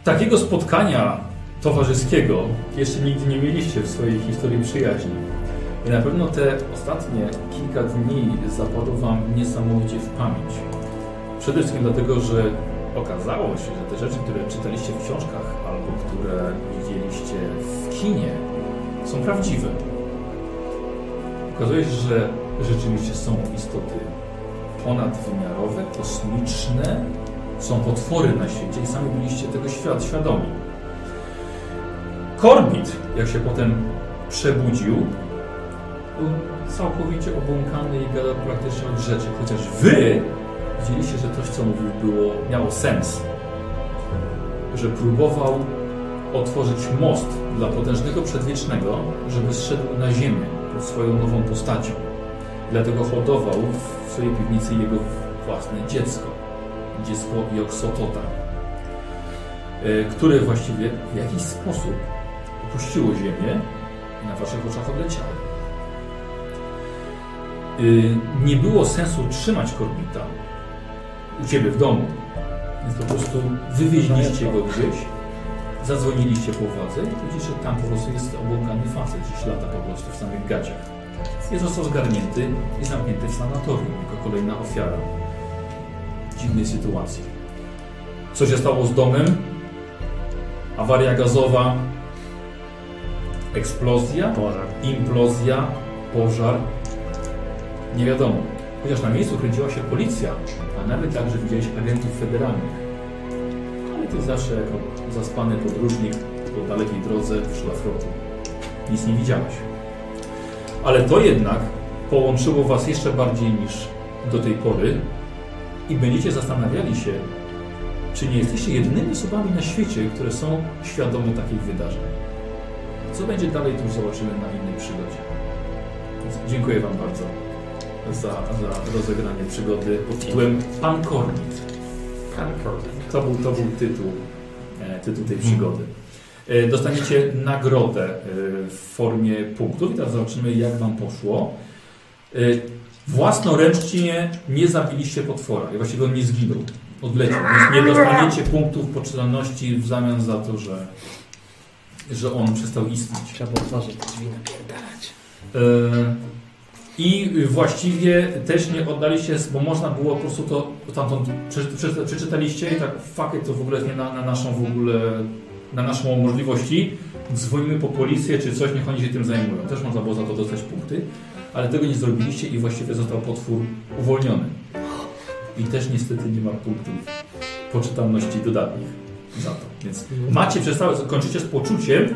Takiego spotkania towarzyskiego jeszcze nigdy nie mieliście w swojej historii przyjaźni. I na pewno te ostatnie kilka dni zapadło Wam niesamowicie w pamięć. Przede wszystkim dlatego, że okazało się, że te rzeczy, które czytaliście w książkach albo które widzieliście w kinie, są prawdziwe. Okazuje się, że rzeczywiście są istoty ponadwymiarowe, kosmiczne, są potwory na świecie i sami byliście tego świat świadomi. Korbit, jak się potem przebudził, był całkowicie obłąkany i gadał praktycznie od rzeczy, chociaż wy widzieliście, że coś, co mówił, było, miało sens. Że próbował otworzyć most dla potężnego przedwiecznego, żeby zszedł na ziemię pod swoją nową postacią. Dlatego hodował w swojej piwnicy jego własne dziecko. Dziecko Joksotota, y, które właściwie w jakiś sposób opuściło ziemię i na waszych oczach odleciało. Y, Nie było sensu trzymać korbita u ciebie w domu, więc po prostu wywieźliście go gdzieś Zadzwoniliście po władzę i widzicie, że tam po prostu jest obłąkany facet, gdzieś lata po prostu w samych gaciach. I został zgarnięty i zamknięty w sanatorium jako kolejna ofiara dziwnej sytuacji. Co się stało z domem? Awaria gazowa, eksplozja, pożar. implozja, pożar. Nie wiadomo. Chociaż na miejscu kręciła się policja, a nawet także widziałeś agentów federalnych. Ale ty zawsze jako zaspany podróżnik po dalekiej drodze w szlafroku. Nic nie widziałeś. Ale to jednak połączyło was jeszcze bardziej niż do tej pory i będziecie zastanawiali się, czy nie jesteście jedynymi osobami na świecie, które są świadome takich wydarzeń. Co będzie dalej, to już zobaczymy na innej przygodzie. Więc dziękuję Wam bardzo za, za rozegranie przygody pod tytułem Pan Kornit. To był, to był tytuł, e, tytuł tej przygody. E, Dostaniecie nagrodę e, w formie punktów i teraz zobaczymy, jak Wam poszło. E, Własnoręcznie nie zabiliście potwora i właściwie on nie zginął. Odleciał. Więc nie dostaniecie punktów poczytalności w zamian za to, że, że on przestał istnieć. Trzeba otworzyć te drzwi, napierdalać. E, I właściwie też nie oddaliście, bo można było po prostu to tamtąd przeczy- przeczy- przeczytaliście i tak fuck it, to w ogóle jest nie na, na naszą w ogóle, na naszą możliwości. Dzwonimy po policję czy coś, niech oni się tym zajmują. Też można było za to dostać punkty, ale tego nie zrobiliście i właściwie został potwór uwolniony. I też niestety nie ma punktów poczytalności dodatnich za to. Więc macie przez całe, kończycie z poczuciem,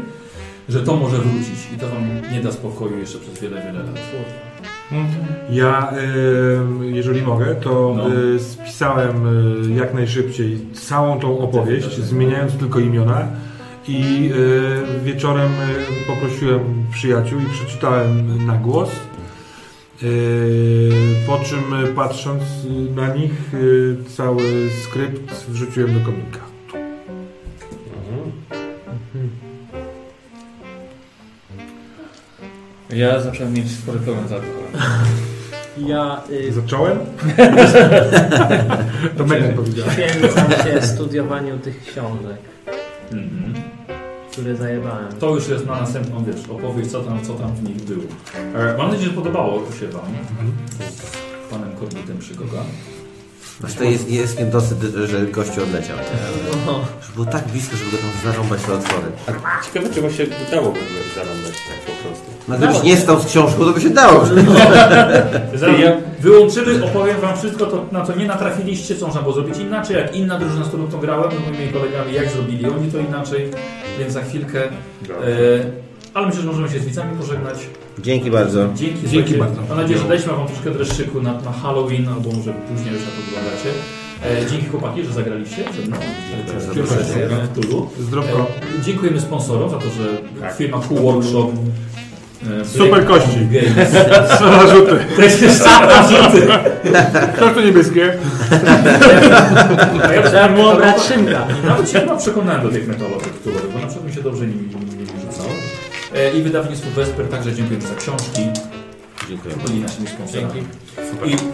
że to może wrócić i to wam nie da spokoju jeszcze przez wiele, wiele lat.
Ja, em, jeżeli mogę, to y, spisałem y, jak najszybciej całą tą opowieść, zmieniając tylko imiona i y, wieczorem y, poprosiłem przyjaciół i przeczytałem na głos. Y, Po czym y, patrząc y, na nich, y, cały skrypt wrzuciłem do komika.
Ja zacząłem mieć spory problem z alkoholem.
Ja... Y...
Zacząłem? To Megan powiedziała.
Poświęcam się studiowaniu tych książek, które zajebałem.
Mhm. To już jest na następną wiesz, opowieść, co tam, co tam w nich było. E, mam nadzieję, że podobało się Wam z panem Korbitem przygoda.
Zresztą jest, jest niedosyt, że gościu odleciał.
Oho.
Że było tak blisko, żeby go tam zarąbać te otwory.
Ciekawe, czy właśnie dało w ogóle zarąbać tak po prostu.
No gdybyś nie stał z książką, to by się dało.
Zaraz Wyłączymy, opowiem wam wszystko, to, na co nie natrafiliście, co można było zrobić inaczej, jak inna drużyna, z którą to grałem, z moimi kolegami, jak zrobili oni to inaczej, więc za chwilkę. E, ale myślę, że możemy się z widzami pożegnać.
Dzięki bardzo.
Dzięki,
Dzięki
słuchajcie.
bardzo.
Mam nadzieję, że daliśmy wam troszkę dreszczyku na, na Halloween, albo może później już na to wyglądacie. E, dzięki chłopaki, że zagraliście ze mną. E,
Za
Pierwsza
proszę.
sesja w Tulu.
Zdrowko.
E, dziękujemy sponsorom za to, że firma Cool Workshop e,
Super
Black
kości.
Games.
Same rzuty.
To jest jeszcze same rzuty.
Tak to niebieskie.
A ja
Trzeba było
nawet-
brać szynka.
Nawet się chyba przekonałem do tych metalowych których, bo na przykład mi się dobrze nimi nimi rzucało. E, I wydawnictwu Wesper także dziękujemy za książki.
Dziękuję
I naszymi sponsorami.
Dzięki.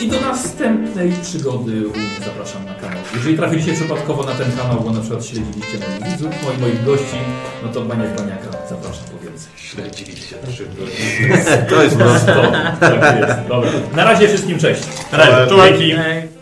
I, I do następnej przygody zapraszam na kanał. Jeżeli trafiliście przypadkowo na ten kanał, bo na przykład śledziliście moich widzów, moich, moich gości, no to Bania Baniaka zapraszam po więcej. Śledziliście [laughs] trzy
To jest mocno.
Tak jest. Dobra. Na razie wszystkim cześć. Na razie.
Cześć.
Dzięki.